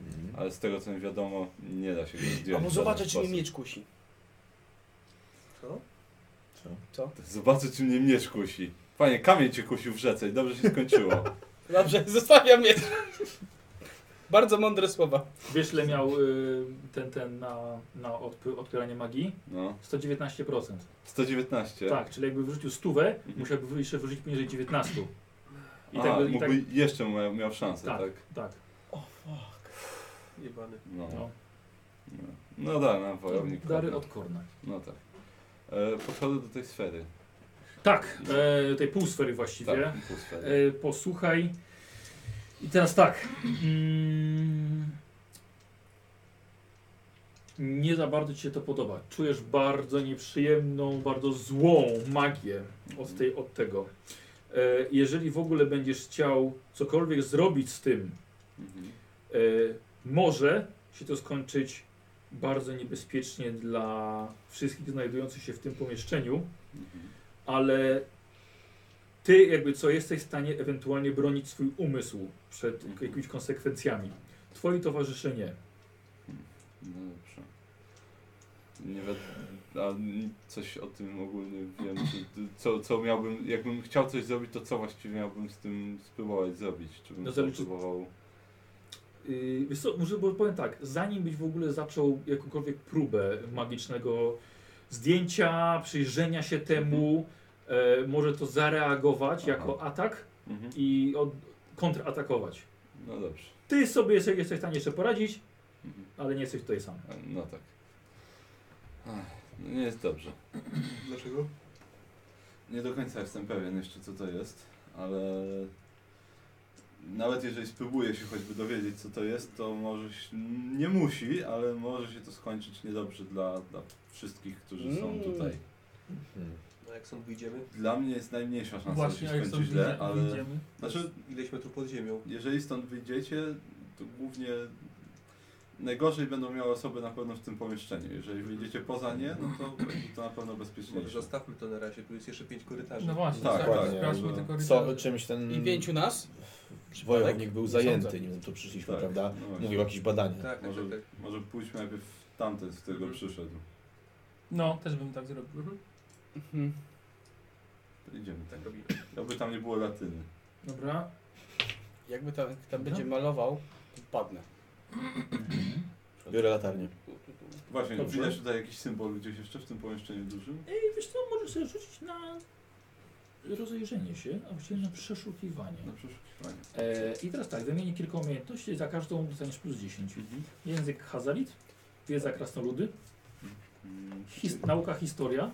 Mhm.
Ale z tego co mi wiadomo, nie da się go zdjąć. w
A
żaden
może zobaczę, czy
sposób.
mnie miecz kusi.
Co?
Co?
Zobaczę, czy mnie miecz kusi. Panie, kamień cię kusił w rzece i dobrze się skończyło.
Dobrze, *laughs* zostawiam miecz. Bardzo mądre słowa.
Wiesz, ile miał y, ten, ten na, na odp- odpieranie magii?
No.
119%.
119.
Tak, czyli jakby wyrzucił stówę,
Mhm.
musiałby wy- jeszcze wyrzucić poniżej 19. I
A,
tak, by- i tak,
mógłby jeszcze miał, miał szansę,
Tak.
tak?
tak.
Jebany.
No.
No.
No, no da, na wojownik.
Dary
padł.
od Korna.
No tak. E, podchodzę do tej sfery.
Tak, e, tej półsfery właściwie.
Tak, półsfery.
E, posłuchaj. I teraz tak. Mm. Nie za bardzo ci się to podoba. Czujesz bardzo nieprzyjemną, bardzo złą magię od, tej, od tego. E, jeżeli w ogóle będziesz chciał cokolwiek zrobić z tym,
Mhm.
e, może się to skończyć bardzo niebezpiecznie dla wszystkich znajdujących się w tym pomieszczeniu
Mhm.
ale ty jakby co jesteś w stanie ewentualnie bronić swój umysł przed
Mhm.
jakimiś konsekwencjami. Twoi towarzysze nie.
No dobrze. Nie wi- a n- coś o tym ogólnie wiem, czy, co, co miałbym, jakbym chciał coś zrobić, to co właściwie miałbym z tym spróbować zrobić? Czy bym
No
no,
zależy-
próbował...
Yy, wiesz co, może bo powiem tak, zanim byś w ogóle zaczął jakąkolwiek próbę magicznego zdjęcia, przyjrzenia się temu, e, może to zareagować
Aha.
jako atak
Mhm.
i od, kontratakować.
No dobrze.
Ty sobie jesteś, jesteś w stanie jeszcze poradzić,
Mhm.
ale nie jesteś tutaj sam.
A, No tak. Ach, No nie jest dobrze.
Dlaczego?
Nie do końca jestem pewien jeszcze co to jest, ale nawet jeżeli spróbuję się choćby dowiedzieć co to jest, to może się, nie musi, ale może się to skończyć niedobrze dla, dla wszystkich, którzy są
Mm.
tutaj.
Mhm.
No jak stąd wyjdziemy?
Dla mnie jest najmniejsza szansa,
Właśnie,
że się
jak
skończy
sobie
źle,
źle,
ale
idziemy.
znaczy,
Ileś metrów pod ziemią.
jeżeli stąd wyjdziecie, to głównie najgorzej będą miały osoby na pewno w tym pomieszczeniu. Jeżeli wyjdziecie poza nie, no to będzie to na pewno
Może
bezpieczniejsze.
zostawmy to na razie, tu jest jeszcze pięć korytarzy.
No właśnie,
Tak,
tak,
dokładnie,
sprawdźmy
jakby-
te korytarze.
Co, czymś ten
Mm.
I pięciu nas?
wojownik był zajęty,
Sądzę.
nim tu przyszliśmy,
Tak,
prawda?
no właśnie.
Mówił o jakichś badaniach.
Tak, tak,
Może,
tak. tak.
może pójdźmy najpierw w tamten, z którego
Mhm.
przyszedł.
No, też bym tak zrobił.
Mhm.
Mhm.
To Idziemy tam.
Tak robimy.
Oby tam nie było latyny.
Dobra.
Jakby tam, jak tam
No.
będzie malował, to padnę.
Tak.
Biorę latarnię.
Właśnie,
Dobrze.
widać tutaj jakiś symbol gdzieś jeszcze w tym pomieszczeniu dużym?
Ej, wiesz co, możesz sobie rzucić na rozejrzenie się, a właściwie na przeszukiwanie.
Na przeszukiwanie.
E, I teraz tak, wymienię kilka umiejętności, za każdą dostaniesz plus 10. Język Hazalit, wiedza krasnoludy,
Mm,
his, nauka historia,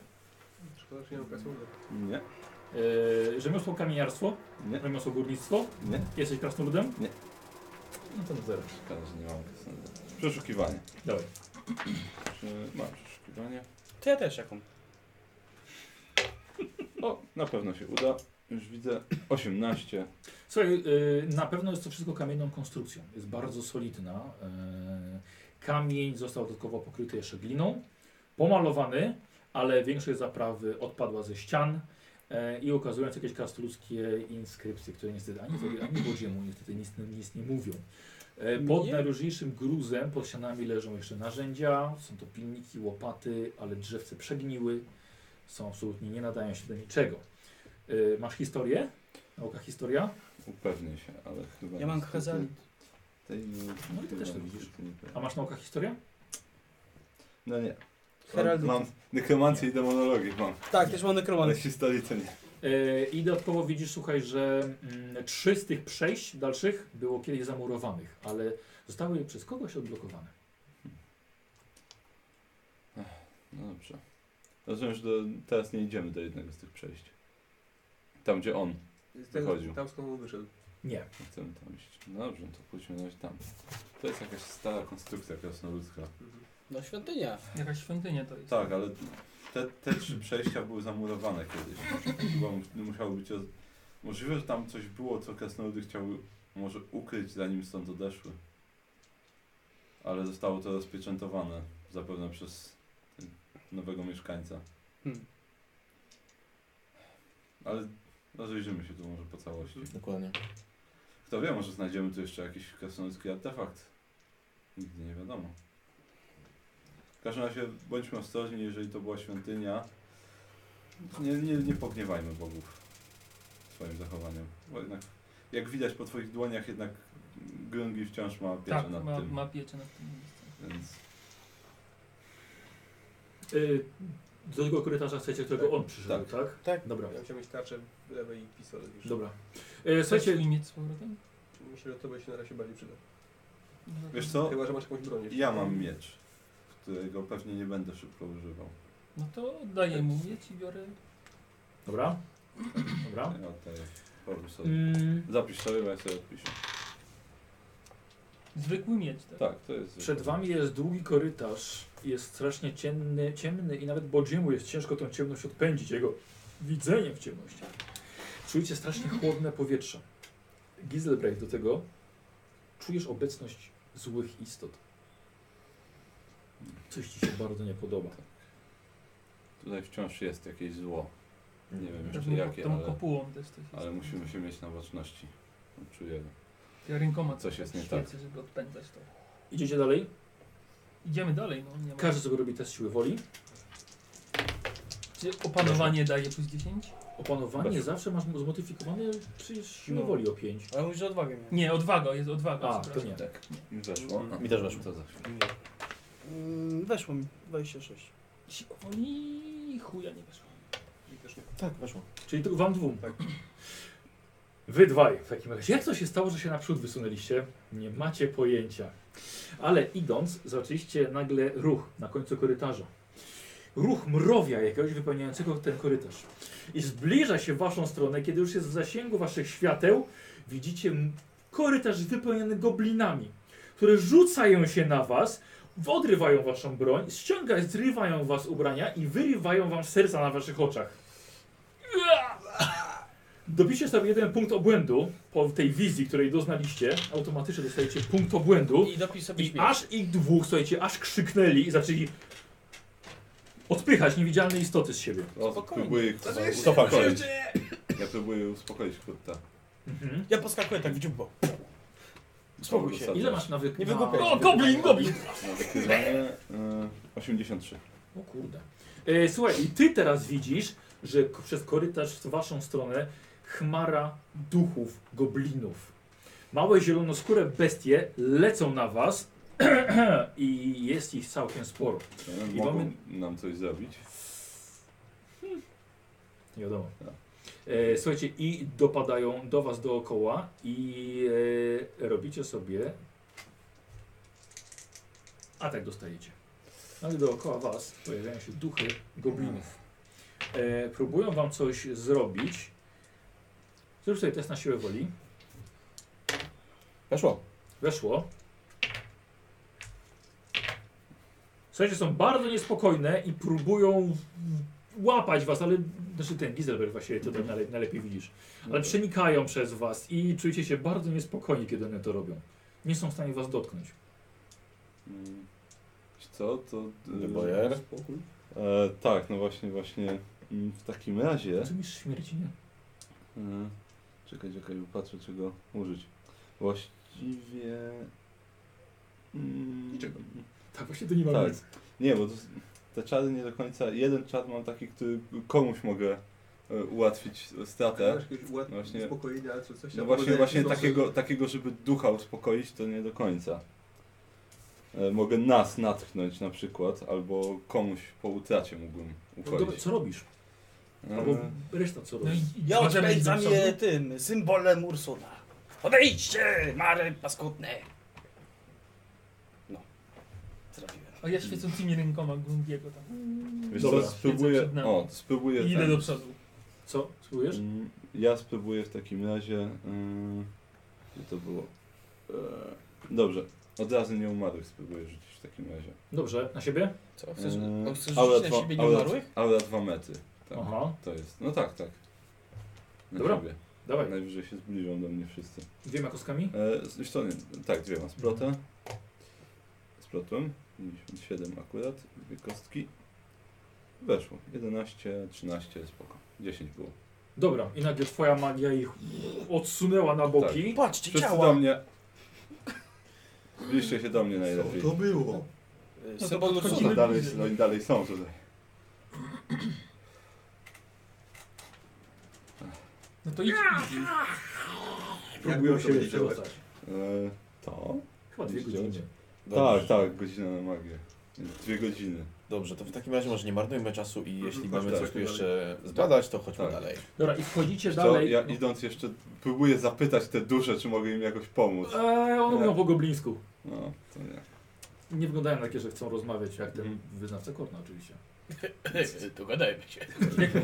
Szkoda, że nie mam kasłówek.
Nie,
e, rzemiosło kamieniarstwo,
nie,
rzemiosło górnictwo.
nie.
Jesteś krasnoludem?
Nie.
No to na zero.
Szkoda, że nie mam kasnoluda. Przeszukiwanie.
Dawaj.
Czy Mam przeszukiwanie.
To ja też jaką.
O, na pewno się uda. Już widzę. 18.
Słuchaj, y, na pewno jest to wszystko kamienną konstrukcją. Jest bardzo solidna. Y, Kamień został dodatkowo pokryty jeszcze gliną, pomalowany, ale większość zaprawy odpadła ze ścian. Y, e, i ukazując jakieś krasnoludzkie inskrypcje, które niestety ani, tobie, ani Bodziemu niestety nic, nic nie mówią. E, Pod
Nie.
najróżniejszym gruzem pod ścianami leżą jeszcze narzędzia, są to pilniki, łopaty, ale drzewce przegniły, są absolutnie, nie nadają się do niczego. E, Masz historię? Nauka historia?
Upewnię się, ale chyba...
Ja mam
niestety
Hezalit.
Tej
No i ty też to widzisz.
niestety nie powiem.
A masz nauka historia?
No nie.
Heraldyka.
Mam nekromancję i demonologię mam,
Tak, też mam
ale
nekromanę.
historii to nie.
E, I dodatkowo widzisz, słuchaj, że mm, trzy z tych przejść dalszych było kiedyś zamurowanych, ale zostały przez kogoś odblokowane.
No dobrze. Rozumiem, że do, teraz nie idziemy do jednego z tych przejść. Tam, gdzie on. Wychodził.
Ten, tam skąd on wyszedł.
Nie.
Nie Chcemy tam iść. No dobrze, to pójdźmy na razie tam. To jest jakaś stara konstrukcja krasnoludzka.
Mhm.
No świątynia.
Jakaś świątynia to jest.
Tak, ale te, te trzy przejścia były zamurowane kiedyś. Chyba mu- musiało być... Roz... Możliwe, że tam coś było, co krasnoludy chciały może ukryć, zanim stąd odeszły. Ale zostało to rozpieczętowane. Zapewne przez y, nowego mieszkańca.
Hmm.
Ale rozejrzymy się tu może po całości.
Dokładnie.
Kto wie, może znajdziemy tu jeszcze jakiś krasnoludzki artefakt. Nigdy nie wiadomo. W każdym razie bądźmy ostrożni, jeżeli to była świątynia. Nie, nie, nie pogniewajmy bogów swoim zachowaniem. Bo jednak, jak widać po twoich dłoniach, jednak Grungi wciąż ma pieczę
Tak,
nad
ma,
tym.
ma pieczę nad tym miejscem.
Więc
Y, Do tego korytarza chcecie, którego
Tak.
on przyszedł, tak?
Tak.
Dobra,
Ja chciałem mieć tarczę w lewej i pistolet już.
dobra. E,
Chcecie
Słuchajcie,
mi mieć z powrotem?
Myślę, że to by się na razie bardziej przyda.
wiesz co?
Chyba, że masz jakąś broń. jeszcze.
No, Ja mam miecz, którego pewnie nie będę szybko używał.
No to oddaję mu mieć i biorę.
dobra. *clears throat* Dobra.
Ja oddaję Borusowi.
No. Mm,
Zapisz sobie, bo ja sobie odpiszę.
Zwykły miecz, tak?
Tak, to jest...
Przed wami jest długi korytarz, jest strasznie ciemny, ciemny i nawet Bodziemu jest ciężko tą ciemność odpędzić, jego widzenie w ciemności. Czujecie strasznie chłodne powietrze. Gizelbrecht do tego czujesz obecność złych istot. Coś ci się bardzo nie podoba.
Tutaj wciąż jest jakieś zło. Nie wiem jeszcze
Pewnie
jakie,
tą
ale,
kopułą też coś jest.
ale musimy się mieć na baczności. Czuję.
Ja rękoma
Coś jest nie tak.
świecę, żeby odpędzać to.
Idziecie dalej?
Idziemy dalej, no nie ma.
Każdy sobie robi test siły woli.
Czy opanowanie daje plus 10?
Opanowanie zawsze masz zmodyfikowane przy siły
No.
woli o 5.
Ale mówisz, że odwagę miałem.
Nie, odwaga, jest odwaga.
A, to
przepraszam.
nie.
Tak. Mi weszło.
Mi też weszło.
To za chwilę.
Mm, weszło mi 26.
Siła woli chuja nie weszło.
I też nie.
Tak, weszło.
Czyli tylko wam dwóm.
Tak.
Wy dwaj w takim razie. Jak to się stało, że się naprzód wysunęliście? Nie macie pojęcia. Ale idąc, zobaczyliście nagle ruch na końcu korytarza. Ruch mrowia jakiegoś wypełniającego ten korytarz. I zbliża się w waszą stronę, kiedy już jest w zasięgu waszych świateł, widzicie m- korytarz wypełniony goblinami, które rzucają się na was, w- odrywają waszą broń, ściągają, zrywają was ubrania i wyrywają wam serca na waszych oczach. Dopiszcie sobie jeden punkt obłędu po tej wizji, której doznaliście. Automatycznie dostajecie punkt obłędu.
I dopisz sobie
I
śmierć.
aż ich dwóch, słuchajcie, aż krzyknęli i zaczęli odpychać niewidzialne istoty z siebie.
O,
Spokojnie.
próbuję ich
Cofam się.
uspokoić. Ja próbuję uspokoić kurta.
Mhm.
Ja poskakuję tak w dziubbo. Spokój się.
Ile masz nawyk?
Nie
na- No,
wygłupiaj się.
O, goblin, goblin!
Na wykrywanie y, 83.
O kurde. E, słuchaj, i ty teraz widzisz, że k- przez korytarz w waszą stronę chmara duchów, goblinów. Małe zielonoskóre bestie lecą na was *clears throat* i jest ich całkiem sporo.
Y,
I
Mogą
mamy-
nam coś zrobić.
Nie wiadomo.
Tak.
E, słuchajcie, i dopadają do was dookoła i e, robicie sobie atak dostajecie. Ale dookoła was pojawiają się duchy goblinów. E, próbują wam coś zrobić. Zrób sobie test na siłę woli.
Weszło.
Weszło. Słuchajcie, są bardzo niespokojne i próbują łapać was, ale znaczy ten Giselberg właśnie to tam najle- najlepiej widzisz. Ale przenikają przez was i czujecie się bardzo niespokojni, kiedy one to robią. Nie są w stanie was dotknąć.
Mm, Wiesz co, to... y,
Debojer.
E, tak, no właśnie, właśnie Mm, W takim razie...
Co mistrz śmierci, nie?
Mm, Czekaj, czekaj, patrzę czego użyć. Właściwie... Mm,
Niczego.
Tak, właśnie to nie ma
Tak.
nic.
Nie, bo to, s- te czary nie do końca... Jeden czar mam taki, który komuś mogę e, ułatwić stratę.
Masz jakieś ład...
Właśnie-
uspokojenia, czy coś
No
tam
właśnie,
powodzenia,
właśnie
czy coś?
takiego, takiego, żeby ducha uspokoić, to nie do końca. E, Mogę nas natchnąć na przykład, albo komuś po utracie mógłbym
No, dobra,
ukoić.
co robisz?
E,
Albo reszta co robi?
Ja
No Możemy iść do
odpędzam
przodu?
je tym, symbolem Ursuna. Odejdźcie, mary paskudne! No, zrobiłem.
A ja świecącymi rękoma Gungiego tam.
Wiesz
Dobra.
co, spróbuję,
Siedzę przed nami.
o, spróbuję
I idę
ten-
do przodu.
Co? Spróbujesz?
Mm, Ja spróbuję w takim razie, mm, gdzie to było? E, Dobrze, od razu nie umarłych spróbuję rzucić w takim razie.
Dobrze, na siebie?
Co, chcesz,
Eee,
no, chcesz
aura
rzucić na
dwa-
siebie
aura-
nieumarłych?
Aura 2 metry, tak,
Aha,
to jest, no tak, tak. Na
Dobra.
siebie.
dawaj.
Najwyżej się zbliżą do mnie wszyscy.
Dwiema kostkami?
E, z- Zresztą nie, tak, dwiema. Splotę. Splotłem. 97 akurat. Dwie kostki. Weszło. 11, 13, spoko. 10 było.
Dobra, i nagle twoja magia ich odsunęła na
Tak.
boki.
Patrzcie,
Wszyscy do mnie. Zbliżcie się do mnie najlepiej.
było?
Eee, Symbol
podchodzimy.
Ursuna.
Oni dalej, oni dalej są tutaj.
No to idź, idź. idź.
Próbują
Jak to
się
będzie
przerzucać.
E, to?
Chyba dwie
Będzie
godziny.
Tak, tak, godzina na magię. Dwie godziny.
Dobrze, to w takim razie może nie marnujmy czasu i jeśli
Chodźmy
mamy coś
tak.
tu jeszcze zbadać, to chodźmy
Tak.
dalej.
Dobra, i wchodzicie
To
dalej.
ja idąc jeszcze próbuję zapytać te dusze, czy mogę im jakoś pomóc.
Eee,
Tak.
one mówią po goblińsku.
No, to nie.
Nie wyglądają na takie, że chcą rozmawiać, jak ten
Mhm.
wyznawca Korna oczywiście.
*laughs*
Dogadajmy się.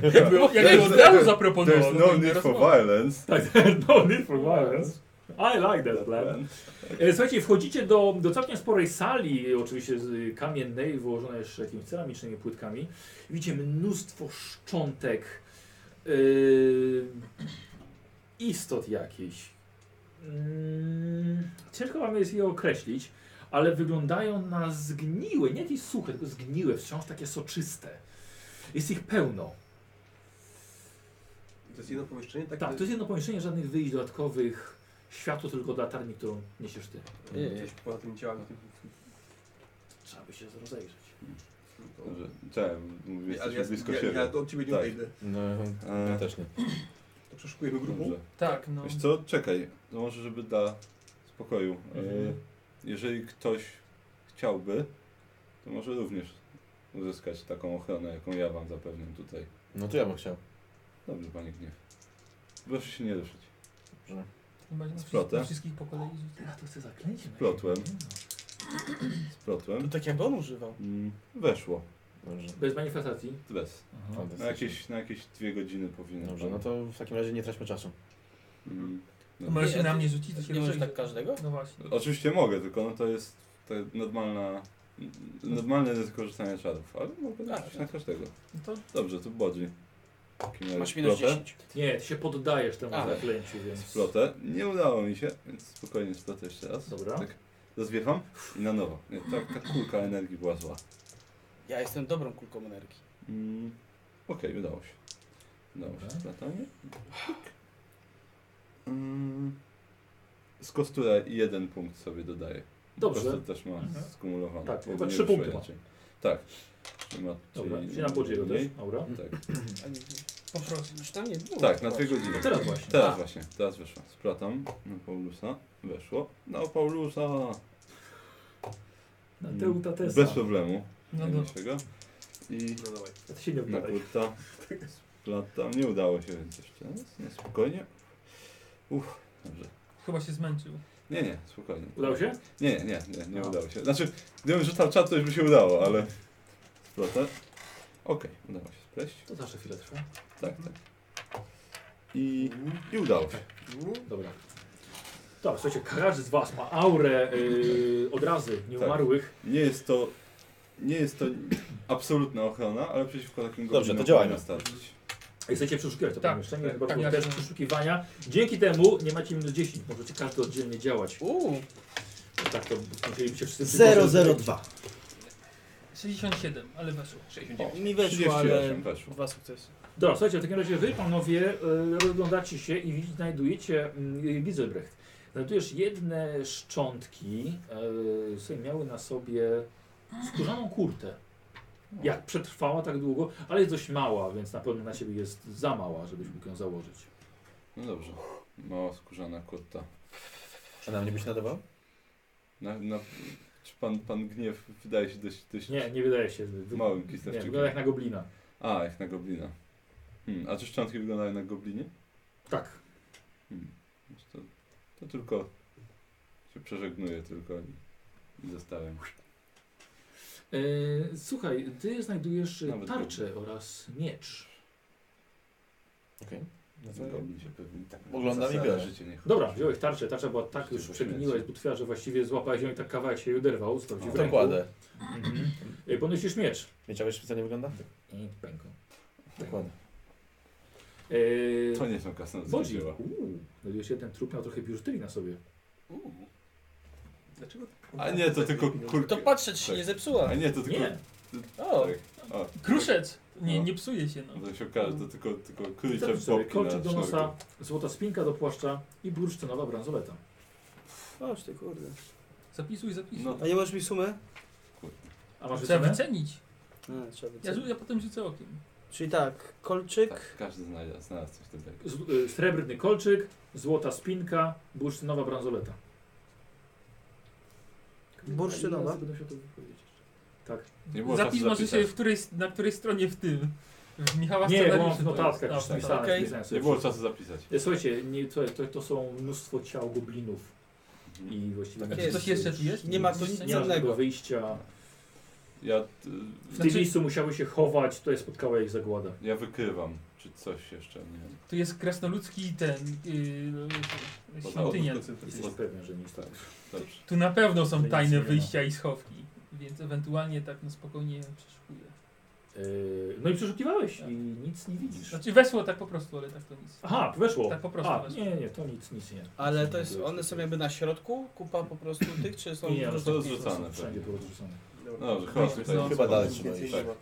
Jakby, jakby od razu
To jest
zaproponował.
no
to nie
need for
rozmowa.
violence.
Tak, *laughs* no need for violence. I like that plan. E, Słuchajcie, wchodzicie do, do całkiem sporej sali, oczywiście z y, kamiennej, wyłożonej jeszcze jakimiś ceramicznymi płytkami. Widzicie mnóstwo szczątek y, istot jakichś. Mm, ciężko wam jest je określić, ale wyglądają na zgniłe, nie jakieś suche, tylko zgniłe, wciąż takie soczyste. Jest ich pełno.
To jest jedno pomieszczenie? Tak,
Tak, to jest jedno pomieszczenie, żadnych wyjść dodatkowych, światło tylko dla tarni, którą niesiesz ty.
Gdzieś poza tymi ciałami.
Trzeba by się rozejrzeć.
Dobrze, Cześć, mówię,
Ale
jesteśmy
ja,
blisko
ja,
siebie.
ja od ciebie nie
Tak.
odejdę.
No,
Eee.
ja też nie.
To przeszukujemy grupą.
Dobrze.
Tak, no.
Wiesz co, czekaj, to może żeby dla spokoju. e,
Mhm.
Jeżeli ktoś chciałby, to może również uzyskać taką ochronę, jaką ja wam zapewniam tutaj.
No to ja bym chciał.
Dobrze, panie Gniew. Proszę się nie ruszyć.
Chyba na
Splotę.
wszystkich- Wszystkich po kolei. rzucę.
Ja to chcę zaklęcie. na
Plotłem.
siebie, nie
To
Splotłem.
tak jakby on używał.
Mm, Weszło.
Dobrze.
no. Bez manifestacji.
Bez.
Aha.
Fantastycznie.
Na jakieś, na jakieś dwie godziny powinien.
Dobrze, no to w takim razie nie traćmy czasu.
Mm.
To Możesz się
Nie,
na
ty-
mnie rzucić, to się
Nie możesz
rozejrzę.
tak każdego?
No właśnie.
Oczywiście mogę, tylko no to jest to jest normalna, normalne ryzyko rzucania czarów, ale mogę
Tak,
dać na każdego.
No to
Dobrze, to bodzi. W takim razie
Masz minus
splotę.
10.
Nie, ty się poddajesz temu
A.
zaklęciu, więc...
Splotę. Nie udało mi się, więc spokojnie splotę jeszcze raz.
Dobra.
Tak. Rozwiewam i na nowo. Nie, ta, ta kulka energii była zła.
Ja jestem dobrą kulką energii.
Mm, Okej, udało się. Udało się
Dobra.
splatanie. Mm, z kostura jeden punkt sobie dodaję.
Dobrze.
Kostur też ma
Mhm.
skumulowane.
Tak,
bo
chyba
nie
trzy
wyszło
punkty ma.
inaczej. Tak. Nie ma,
Dobra,
czyli
się nam podzielę też.
mniej.
Dobra.
Tak,
Mm.
A nie, po prostu. Już tam nie było.
tak na dwie godziny.
Teraz właśnie.
Teraz właśnie, teraz wyszło. Splatam na Paulusa. Weszło. Na Paulusa!
Na
Mm,
Teuta Tesa.
Bez problemu.
No
Nie
do...
niczego. I
No dawaj.
Ja ty się nie
na
wgadaj.
kurta. Splatam. Nie udało się, więc jeszcze raz. Nie, spokojnie. Uff, dobrze.
Chyba się zmęczył.
Nie, nie, spokojnie.
Udało się?
Nie, nie, nie, nie
A.
udało się. Znaczy, gdybym rzucał czat, to już by się udało, ale... Splatę. Okej, udało się spleść.
To zawsze chwilę trwa.
Tak, tak. I, i udało się.
No,
Dobra. Dobra, słuchajcie, każdy z was ma aurę yy, odrazy nieumarłych.
Nie jest to, nie jest to absolutna ochrona, ale przeciwko takim
Dobrze,
goblinom
to działajmy.
powinna starczyć.
Chcecie przeszukiwać to
Tak,
pomieszczenie,
tak,
chyba
tak,
było
jasne.
też przeszukiwania. Dzięki temu nie macie minus 10, możecie każdy oddzielnie działać.
Uuu,
Tak, to musielibyście wszyscy...
002.
67, ale weszło.
69.
Mi weszło,
38
ale
weszło.
dwa sukcesy.
Dobra, słuchajcie, w takim razie wy panowie e, rozglądacie się i widz- znajdujecie, mm, Gizelbrecht, znajdujesz jedne szczątki, e, które miały na sobie skórzaną kurtę. Jak przetrwała tak długo, ale jest dość mała, więc na pewno na ciebie jest za mała, żebyś mógł ją założyć.
No dobrze. Mała skórzana kurta.
A na mnie byś nadawał?
Na, na, czy pan, pan gniew wydaje się dość, dość
Nie, nie wydaje się. Wy,
małym
nie,
kistewczykiem?
wygląda jak na goblina.
A, jak na goblina. Hmm, a czy szczątki wyglądają na goblinie?
Tak.
Więc To, to tylko się przeżegnuję tylko i- i zostałem.
E, słuchaj, ty znajdujesz e,
Nawet
tarczę oraz miecz.
Okej.
no
Goblin się pewnie tak
Oglądam i
zasada
biorę.
życie nie chodzi.
Dobra, wziąłeś tarczę, tarcza była tak już
Przecież
przegniła i
miecz.
butwiała, że właściwie złapałeś ją i tak kawałek się jej oderwał.
No,
Sprawdził w
To
ręku.
kładę.
Mhm. E, Podnosisz miecz.
Wiecie, specjalnie wygląda?
I pęką.
Dokładnie.
To nie są kasnące
Bodzi.
dzieła.
E, Uuu, Znajdujesz jeden trup, miał trochę biżuterii na sobie.
Dlaczego? No.
A nie, to tylko kurka.
To patrzę,
Tak.
czy się nie zepsuła.
A nie, to tylko...
Nie,
O,
Tak. O,
Kruszec! Nie,
No.
nie psuje się, no.
to się okaże, to tylko, tylko krycie
Zapisz sobie
w
kolczyk do nosa, złota spinka do płaszcza i bursztynowa bransoleta.
chodź ty kurde.
Zapisuj, zapisuj.
No.
A nie możesz mi sumę?
A masz
Trzeba
wycenę?
wycenić.
A, trzeba
Ja,
wycenić.
ja potem rzucę okiem.
Czyli tak, kolczyk.
Tak, każdy znalazł, znalazł coś dobrego.
Z- y, Srebrny kolczyk, złota spinka, bursztynowa bransoleta.
Bursztynowa?
Będę musiał to wypowiedzieć. Tak.
Nie było
Zapis
czasu
może
zapisać.
się w której, na której stronie w tym. W Michała
Nie, bo mam w
scenariuszu to
notatkach już
jest. Tak, A,
napisane.
okej.
wpisałem sobie
Nie było
wszystko.
czasu zapisać.
E, Słuchajcie, nie, to, to, to są mnóstwo ciał goblinów
Mhm.
i właściwie...
Tak
nic
jest.
Coś jeszcze tu jest?
Nie ma tu nic
Nie ma żadnego
innego.
wyjścia.
Ja, t-
W tym
Znaczy-
miejscu musiały się chować, tutaj spotkała ich zagłada.
ja wykrywam, czy coś jeszcze, nie wiem.
Tu jest krasnoludzki ten... Yy,
Poza
świątynia.
odwrót-
Jesteś pewien, że nie jest tak.
Dobrze.
Tu na pewno
Że
są
nic
tajne
no.
nie ma.
wyjścia i schowki. Więc ewentualnie tak no spokojnie przeszukuję.
E, No i przeszukiwałeś
Tak.
i nic nie widzisz.
Znaczy wesło tak po prostu, ale tak to nic.
Aha, weszło.
Tak po prostu
A,
weszło.
nie, nie, to nic, nic nie.
Ale
Nic
to
nie
jest,
było.
one są jakby na środku, kupa po prostu tych, czy są...
Nie, nie, one
różne?
są
to
są
zrzucane
Wszędzie
pewnie.
było zrzucone.
Dobra.
Dobrze, chodź
Dobra,
tutaj.
no.
Chyba dalej trzeba
Więcej
iść.
nie ma.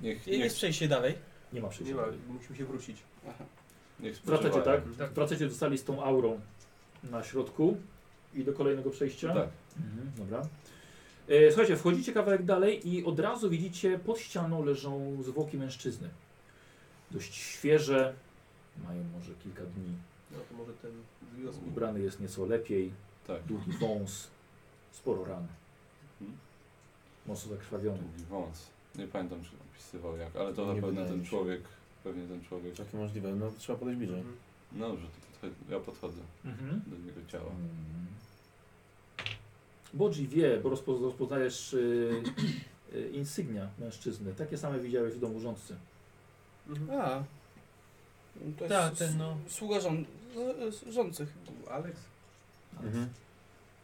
Niech,
I-
niech,
Jest przejście dalej.
Nie ma
Tak,
Nie
przejścia.
ma, musimy się wrócić.
niech
Wracacie,
spoczywają.
tak? Wracacie do sali z tą aurą na środku i do kolejnego przejścia.
Tak.
Mhm, dobra. E, słuchajcie, wchodzicie kawałek dalej i od razu widzicie, pod ścianą leżą zwłoki mężczyzny. Dość świeże, mają może kilka dni.
No to może ten wiosł.
Ubrany jest nieco lepiej,
Tak.
długi wąs, sporo ran. Mocno zakrwawiony.
Długi wąs. Nie pamiętam, czy opisywał jak, ale to
Nie
zapewne
wydaje
ten
mi się.
człowiek, pewnie ten człowiek.
Takie możliwe, no trzeba podejść bliżej.
Mhm.
No dobrze, to podchodź, ja podchodzę
Mhm.
do jego ciała.
Mm. Bodzi wie, bo rozpo, rozpoznajesz y, y, insygnia mężczyzny. Takie same widziałeś w domu rządcy.
Mhm.
A. No To jest
Tak,
tak,
ten no.
sługa rząd, z- z- rządcy chyba.
Alex?
Mhm.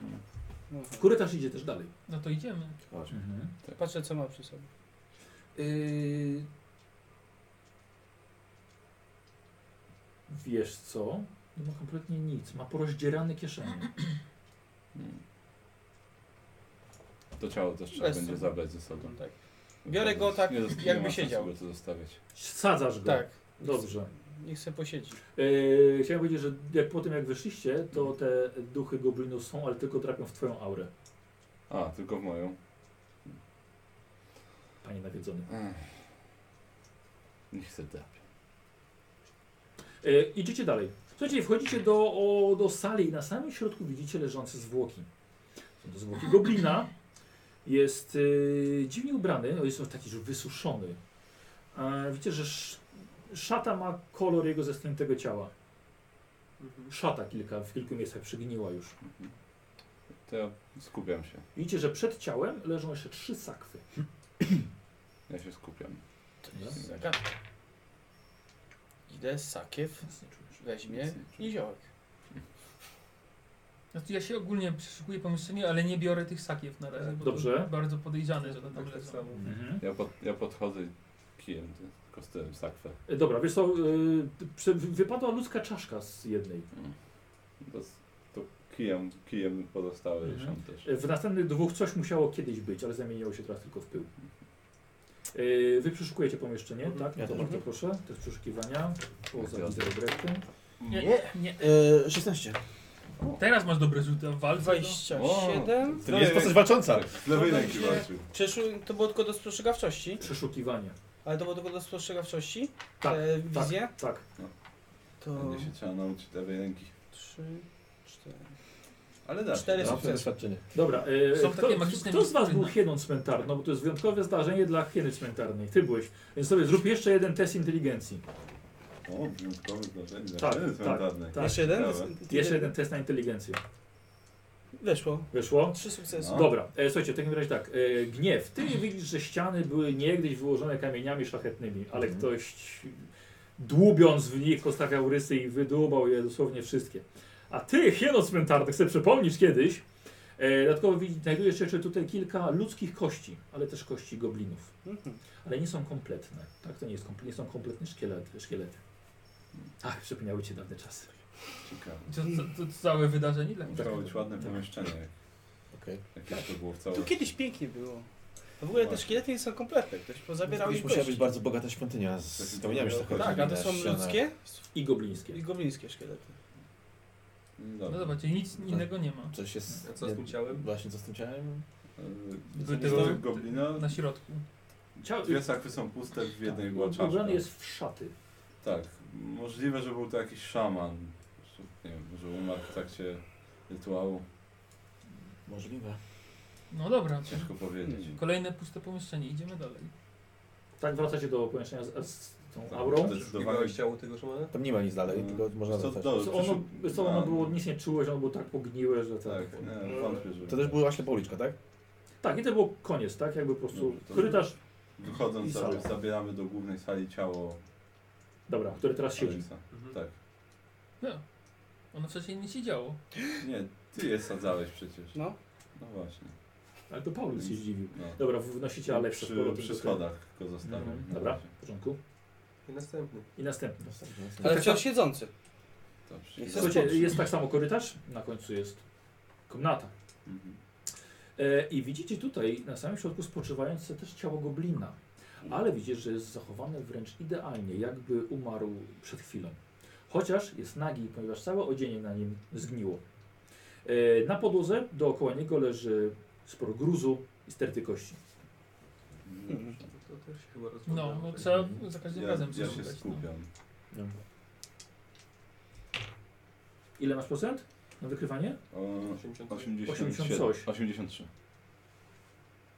Aha.
Korytarz idzie też dalej.
No to idziemy.
Chodź.
Mhm.
Patrzę, co ma przy sobie.
Y, Wiesz co? Nie ma kompletnie nic. Ma porozdzierane kieszenie.
Mm. To ciało też trzeba
Bez
będzie
sensu.
zabrać ze sobą.
Tak. Biorę go
Naprawdę
tak,
nie zosta-
jakby
nie ma sensu
siedział.
go tu zostawiać.
Sadzasz go.
Tak.
Dobrze.
Niech se posiedzi.
Yy, chciałem powiedzieć, że jak po tym jak wyszliście, to te duchy goblinów są, ale tylko trapią w twoją aurę.
A, tylko w moją.
Panie nawiedzony.
Ech. Niech se drapie.
E, idziecie dalej. Słuchajcie, wchodzicie do, o, do sali i na samym środku widzicie leżące zwłoki. Są to zwłoki goblina. Jest e, dziwnie ubrany, no jest on taki już wysuszony. E, widzicie, że sz, szata ma kolor jego zestępnego ciała.
Mhm.
Szata kilka, w kilku miejscach przygniła już.
Mhm. To ja skupiam się.
Widzicie, że przed ciałem leżą jeszcze trzy sakwy.
Ja się skupiam.
Zagadka. Idę, sakiew,
Nic nie czujesz.
weźmie i ziołek.
Znaczy ja się ogólnie przeszukuję pomieszczenie, ale nie biorę tych sakiew na razie, bo
Dobrze.
to bardzo podejrzane, że to tam
Tak, tak
leżą.
samo.
Mhm.
Ja, pod, ja podchodzę kijem, tylko z tyłem sakwę.
E, Dobra, wiesz co, e, prze- wypadła ludzka czaszka z jednej.
To, s- to Kijem, kijem pozostały
Mhm.
mhm. też.
E, W następnych dwóch coś musiało kiedyś być, ale zamieniło się teraz tylko w pył. E, Wy przeszukujecie pomieszczenie, tak? No
Mhm. Ja
to
też.
bardzo proszę. To jest przeszukiwania. Poza wideogrefem.
Nie, nie.
Yy, 16.
Teraz masz dobre rzuty, a w walce to-
27.
To nie
No, e,
jest No, postać walcząca.
Z lewej
Tutaj
ręki
się-
walczył.
Przeszu- to było tylko do spostrzegawczości.
Przeszukiwanie.
Ale to było tylko do spostrzegawczości?
Tak,
Te wizje?
Tak.
To
Będzie się trzeba nauczyć lewej ręki.
3, 4.
Ale da się.
Cztery
da.
są- Sukces.
doświadczenie.
Dobra. e,
Są
Kto,
takie magiczne
kto z was był
miejsca.
hieną cmentarną? Bo to jest wyjątkowe zdarzenie dla hieny cmentarnej. Ty byłeś. Więc sobie zrób jeszcze jeden test inteligencji.
O, wyjątkowe zdarzenie.
Tak,
Zaczyny
tak,
cmentarne.
tak.
Jeszcze jeden?
Dobra.
Jeszcze jeden test na inteligencję.
Weszło.
Wyszło?
Trzy sukcesy.
No. Mhm.
Dobra, e, słuchajcie, w takim razie tak, e, gniew. Ty widzisz, że ściany były niegdyś wyłożone kamieniami szlachetnymi, ale
Mhm.
ktoś dłubiąc w nich postawiał rysy i wydłubał je dosłownie wszystkie. A ty, hieno cmentarny, chcę przypomnieć kiedyś, e, dodatkowo widzisz, znajdujesz jeszcze tutaj kilka ludzkich kości, ale też kości goblinów.
Mhm.
Ale nie są kompletne, tak? To nie, jest komple nie są kompletne szkielety. szkielety. Ach, przypomniały cię dawne czasy.
Ciekawe.
To, to, to całe wydarzenie dla mnie.
Musiało być ładne pomieszczenie.
Okej.
Jakieś to było w
Tu
całym.
kiedyś pięknie było. A w ogóle te
Właśnie.
szkielety nie są
Tak,
kompletne. Ktoś pozabierał
Kiedyś
ich
musiała
kości.
być bardzo bogata świątynia z spełniami, że tak
Tak, a to
na
są
ścianach.
ludzkie
I goblińskie.
i goblińskie szkielety.
No zobaczcie, nic innego nie ma.
Coś jest...
A co z tym ciałem?
Właśnie, co z tym ciałem?
Wytył goblina.
Na środku. Tak.
Ciało,
Dwie sakwy są puste, w jednej była czaszka.
Tak, ubrany jest w szaty.
Tak, możliwe, że był to jakiś szaman. Nie wiem, że umarł w trakcie rytuału.
Możliwe.
No dobra.
Ciężko powiedzieć.
Kolejne puste pomieszczenie, idziemy dalej.
Tak, wracacie do pomieszczenia z, z tą
Tak,
aurą.
Zdecydowanie.
Wybrałeś ciało tego szamana?
Tam nie ma nic dalej,
No.
tylko można
Co,
wracać.
do,
Co ono,
przyszło-
co ono
a,
było, nic nie czułeś, ono było tak pogniłe, że tak.
Tak, nie, wątpię, że...
To też była właśnie policzka, tak?
Tak, i to był koniec, tak? Jakby po prostu
Dobra, to-
korytarz, i
Wychodząc,
sala.
za- zabieramy do głównej sali ciało
dobra, który teraz siedzi.
Aleksa.
Mhm.
Tak.
No. Ono wcześniej nie siedziało.
Nie, ty je sadzałeś przecież.
No.
No właśnie.
Ale to Paulus się zdziwił.
No.
Dobra, wnosicie Aleksa z
przy,
powrotem
przy
do-
schodach go zostawiam.
Mhm.
na
Dobra,
razie.
w porządku.
I następny.
I następny.
Ale wciąż siedzący.
Dobrze.
Niech
Słuchajcie,
skończy.
jest tak samo korytarz, na końcu jest komnata.
Mhm.
E, I widzicie tutaj na samym środku spoczywające też ciało goblina. Ale widzicie, że jest zachowane wręcz idealnie, jakby umarł przed chwilą. Chociaż jest nagi, ponieważ całe odzienie na nim zgniło. E, na podłodze dookoła niego leży sporo gruzu i sterty kości.
Dobrze.
To też się chyba
No,
rozglądałem.
no trzeba za każdym
Ja,
Mhm. razem
ja
coś
się
szukać, no.
skupiam.
Ile masz procent na wykrywanie?
O,
83.
87,
80 coś.
83.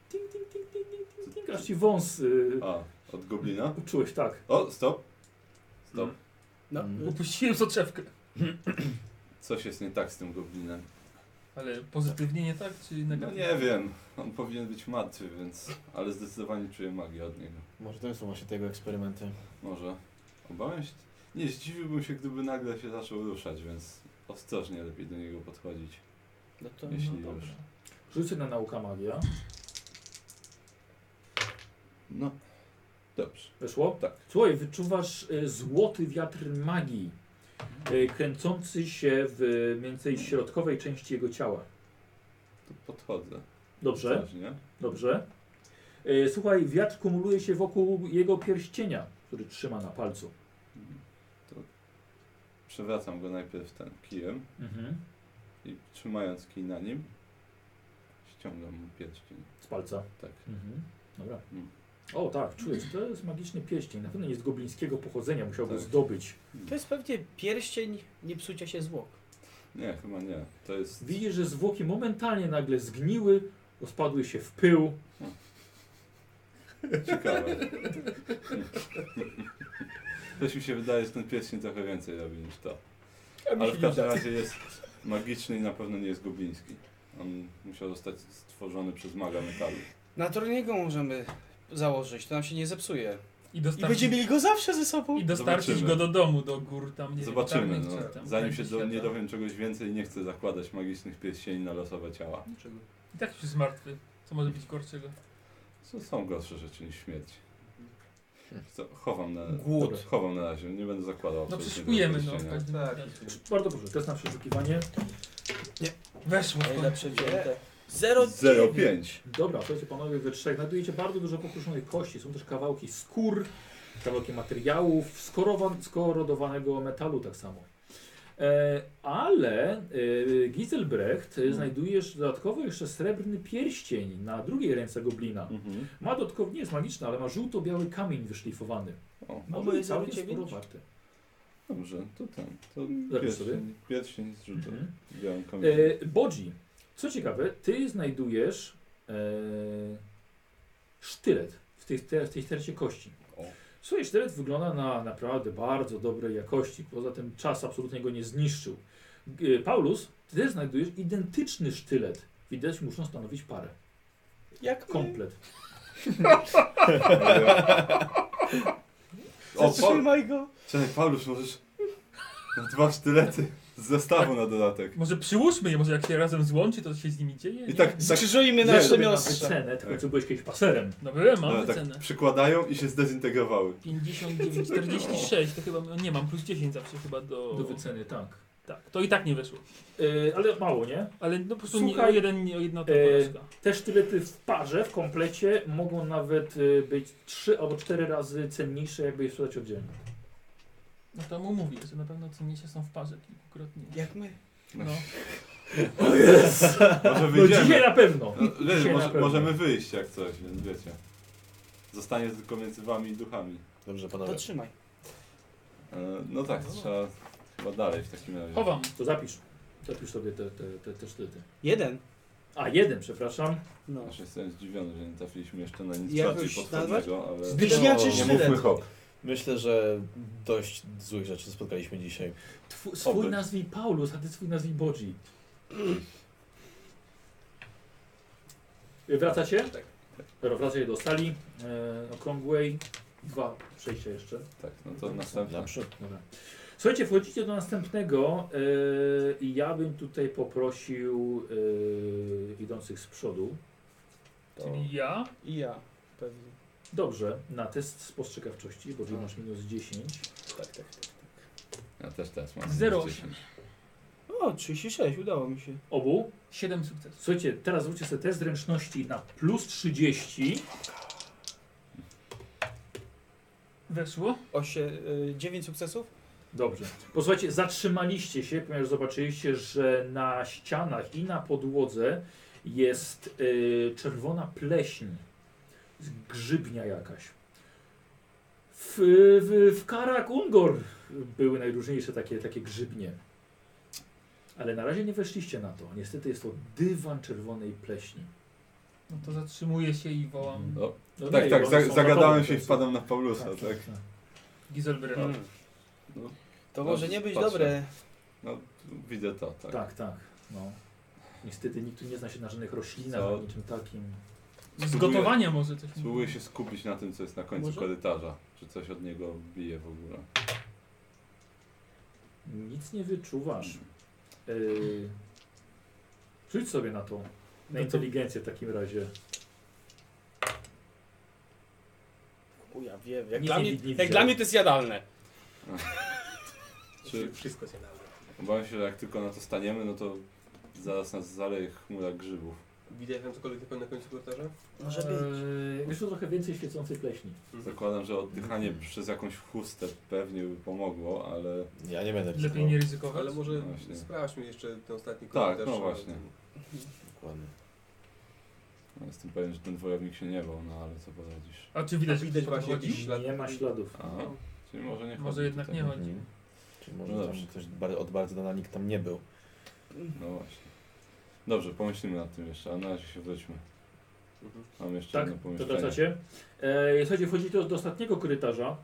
Ting, ting, ting, ting, ting, ting, ting. Aż ci wąs y,
A, no. od goblina?
uczułeś, tak.
O, stop! Stop.
Mhm.
No.
Upuściłem soczewkę.
Coś jest nie tak z tym goblinem.
Ale pozytywnie nie tak, czy
No
negatywnie?
nie wiem, on powinien być martwy, więc... Ale zdecydowanie czuję magię od niego.
Może to są właśnie tego eksperymenty.
Może. Obawiam się... Nie, zdziwiłbym się, gdyby nagle się zaczął ruszać, więc... Ostrożnie lepiej do niego podchodzić.
No to
Jeśli
no,
już.
dobra.
Rzucę na nauka magia.
No. Dobrze.
Weszło?
Tak.
Słuchaj, wyczuwasz e, złoty wiatr magii, e, kręcący się w e, mniej więcej środkowej części jego ciała.
To podchodzę.
Dobrze,
Ostrożnie.
dobrze. E, Słuchaj, wiatr kumuluje się wokół jego pierścienia, który trzyma na palcu.
To... Przewracam go najpierw ten kijem
Mhm.
i trzymając kij na nim... Ściągam mu pierścień.
Z palca.
Tak.
Mhm. Dobra.
Mm.
O tak, czujesz, to jest magiczny pierścień. Na pewno nie z goblińskiego pochodzenia, musiał go
Tak.
zdobyć.
To jest pewnie pierścień nie psucia się zwłok.
Nie, chyba nie. To jest...
Widzisz, że zwłoki momentalnie nagle zgniły, rozpadły się w pył.
Ciekawe. Też mi się wydaje, że ten pierścień trochę więcej robi niż to. Ale w każdym
tak.
razie jest magiczny i na pewno nie jest gobliński. On musiał zostać stworzony przez maga metalu.
Na turniego możemy założyć, to nam się nie zepsuje.
I,
I
dostarczy...
będziemy mieli go zawsze ze sobą.
I dostarczyć
Zobaczymy.
go do domu, do gór tam, nie
Zobaczymy.
wiem,
No.
czarnych, czy tam,
Zanim się
krańcu
do, nie
świata.
dowiem czegoś więcej, nie chcę zakładać magicznych pierścieni na losowe ciała.
Dlaczego?
I tak już jest martwy. Co może być gorszego?
Co są gorsze rzeczy niż śmierć. Co, chowam na...
Głód.
Chowam na razie, nie będę zakładał
No
absolutnie tego
przeszukujemy, no. w
pierścienia.
każdym
Tak.
razie.
Bardzo proszę, test na przeszukiwanie.
Weszło.
Najlepsze wzięte.
tak.
Zero
0,5.
Dobra, słuchajcie panowie, we trzech znajdujecie bardzo dużo pokruszonych kości. Są też kawałki skór, kawałki materiałów, skorowan, skorodowanego metalu tak samo. E, ale e, Giselbrecht e, znajdujesz dodatkowo jeszcze srebrny pierścień na drugiej ręce goblina.
Mhm.
Ma dodatkowo, nie jest magiczny, ale ma żółto-biały kamień wyszlifowany.
O,
Ma
Oboje
no,
za
całkiem
dziewięć?
sporo warte.
dobrze, to ten. To
Mm.
Zapisz sobie.
pierścień, pierścień z rzutem.
Mhm.
Białym
*laughs*
kamieniem.
E, Bodzi, co ciekawe, ty znajdujesz e, sztylet w tej, te, w tej stercie kości.
O.
Słuchaj, sztylet wygląda na naprawdę bardzo dobrej jakości. Poza tym czas absolutnie go nie zniszczył. E, Paulus, ty też znajdujesz identyczny sztylet. Widać, muszą stanowić parę.
Jak my?
Komplet.
O, Paul,
Trzymaj go.
czekaj, Paulus, możesz na dwa sztylety z zestawu na dodatek.
Tak. Może przyłóżmy je, może jak się razem złączy, to się z nimi dzieje?
I tak, tak,
Skrzyżujmy
Nie,
nasze
żeby
Na
miostrza.
wycenę, tylko co byłeś kiedyś paserem.
No byłem, mam
no,
wycenę.
tak przykładają i się zdezintegrowały.
59, 46, to chyba no, nie mam, plus 10 zawsze chyba do...
Do wyceny, tak.
Tak, to i tak nie wyszło.
E, ale mało, nie?
Ale no po prostu nie, o,
Słuchaj,
jeden, nie- o jedna ta
e,
porażka.
Te sztylety w parze, w komplecie mogą nawet y, być 3 albo 4 razy cenniejsze, jakby je sprzedać oddzielnie.
No to mu mówił, że na pewno cenniejsze są w parze kilkukrotnie.
Jak my?
No.
*laughs*
Może
No dzisiaj
wyjdziemy.
na pewno.
No, wiesz,
Dzisiaj na
może,
pewno.
możemy wyjść jak coś, więc wiecie. Zostanie tylko między wami i duchami.
Dobrze,
To
No.
panowie.
trzymaj.
E, No tak, trzeba chyba dalej w takim razie.
Chowam.
To zapisz. Zapisz sobie te, te, te, te sztylety.
Jeden.
A, jeden, przepraszam.
No.
Aż jestem zdziwiony, że nie trafiliśmy jeszcze na nic
Jakoś
bardziej potwornego, ale... No,
Zbliźniaczy
Nie
sztylet.
mówmy hop.
Myślę, że dość złych rzeczy spotkaliśmy dzisiaj.
Twu, swój
Oby.
nazwij Paulus, a ty swój nazwij Bodzi. Mm. Y, Wracacie? Tak. Dobra, wracacie do sali e, okrągłej. Dwa przejścia jeszcze.
Tak, no to następna.
Naprzód.
Dobra. Słuchajcie, wchodzicie do następnego yy, i ja bym tutaj poprosił yy, idących z przodu.
To...
Czyli ja.
I ja. Pewnie.
Dobrze, na test spostrzegawczości, bo tu masz minus 10.
Tak, tak, tak.
Ja też teraz mam.
Zero
10.
O, 36, udało mi się.
Obu.
7 sukcesów.
Słuchajcie, teraz zróbcie sobie test zręczności na plus 30.
Weszło.
Osie, y, 9 sukcesów?
Dobrze. Posłuchajcie, zatrzymaliście się, ponieważ zobaczyliście, że na ścianach i na podłodze jest y, czerwona pleśń, z- grzybnia jakaś. W, w, w Karak Ungor były najróżniejsze takie, takie grzybnie. Ale na razie nie weszliście na to. Niestety jest to dywan czerwonej pleśni.
No to zatrzymuję się i wołam
O,
No
tak,
nie,
tak,
one
za,
są na
zagadałem
dole,
się i
więc-
wpadłem na Paulusa, tak.
Gizelbrycha.
To
No,
może nie być
patrzę.
dobre.
No, widzę to, tak.
Tak, tak. No. Niestety nikt tu nie zna się na żadnych roślinach,
Co?
ani niczym takim.
Z gotowania może coś.
Spróbuję się skupić na tym, co jest na końcu
Może?
korytarza. Czy coś od niego bije w ogóle.
Nic nie wyczuwasz. Yy, rzuć sobie na tą. Na
to-
inteligencję w takim razie.
Uja, wiem. Jak,
Nic
dla
nie
mnie,
wi- nie
jak
widziałem.
dla mnie to jest jadalne.
Czy
Wszystko jest jadalne.
obawiam się, że jak tylko na to staniemy, no to zaraz nas zaleje chmura grzybów.
Widać tam cokolwiek na pewno na końcu korytarza?
Może być.
Eee, Wiesz, tu trochę więcej świecącej pleśni.
Zakładam, że oddychanie przez jakąś chustę pewnie by pomogło, ale
Ja nie będę
Lepiej nie ryzykować.
Ale może
Właśnie.
sprawdźmy jeszcze ten ostatni
Tak,
korytarz.
no właśnie.
Dokładnie.
no, jestem pewien, że ten wojownik się nie bał, no ale co poradzisz.
A czy widać,
A widać
że
właśnie
podchodzi?
jakiś- Ślad-
Nie ma śladów.
A, czyli może nie
Może
chodzi
jednak
tutaj.
nie chodzi.
Mhm. Czyli może
No
tam
dobrze.
też bar- od bardzo dana nikt tam nie był.
No właśnie. Dobrze, pomyślimy nad tym jeszcze, a na razie się wróćmy.
Mhm.
Mam jeszcze
Tak?
jedno
To
pomieszczenie.
wracacie? Eee, słuchajcie, wchodzicie do, do ostatniego korytarza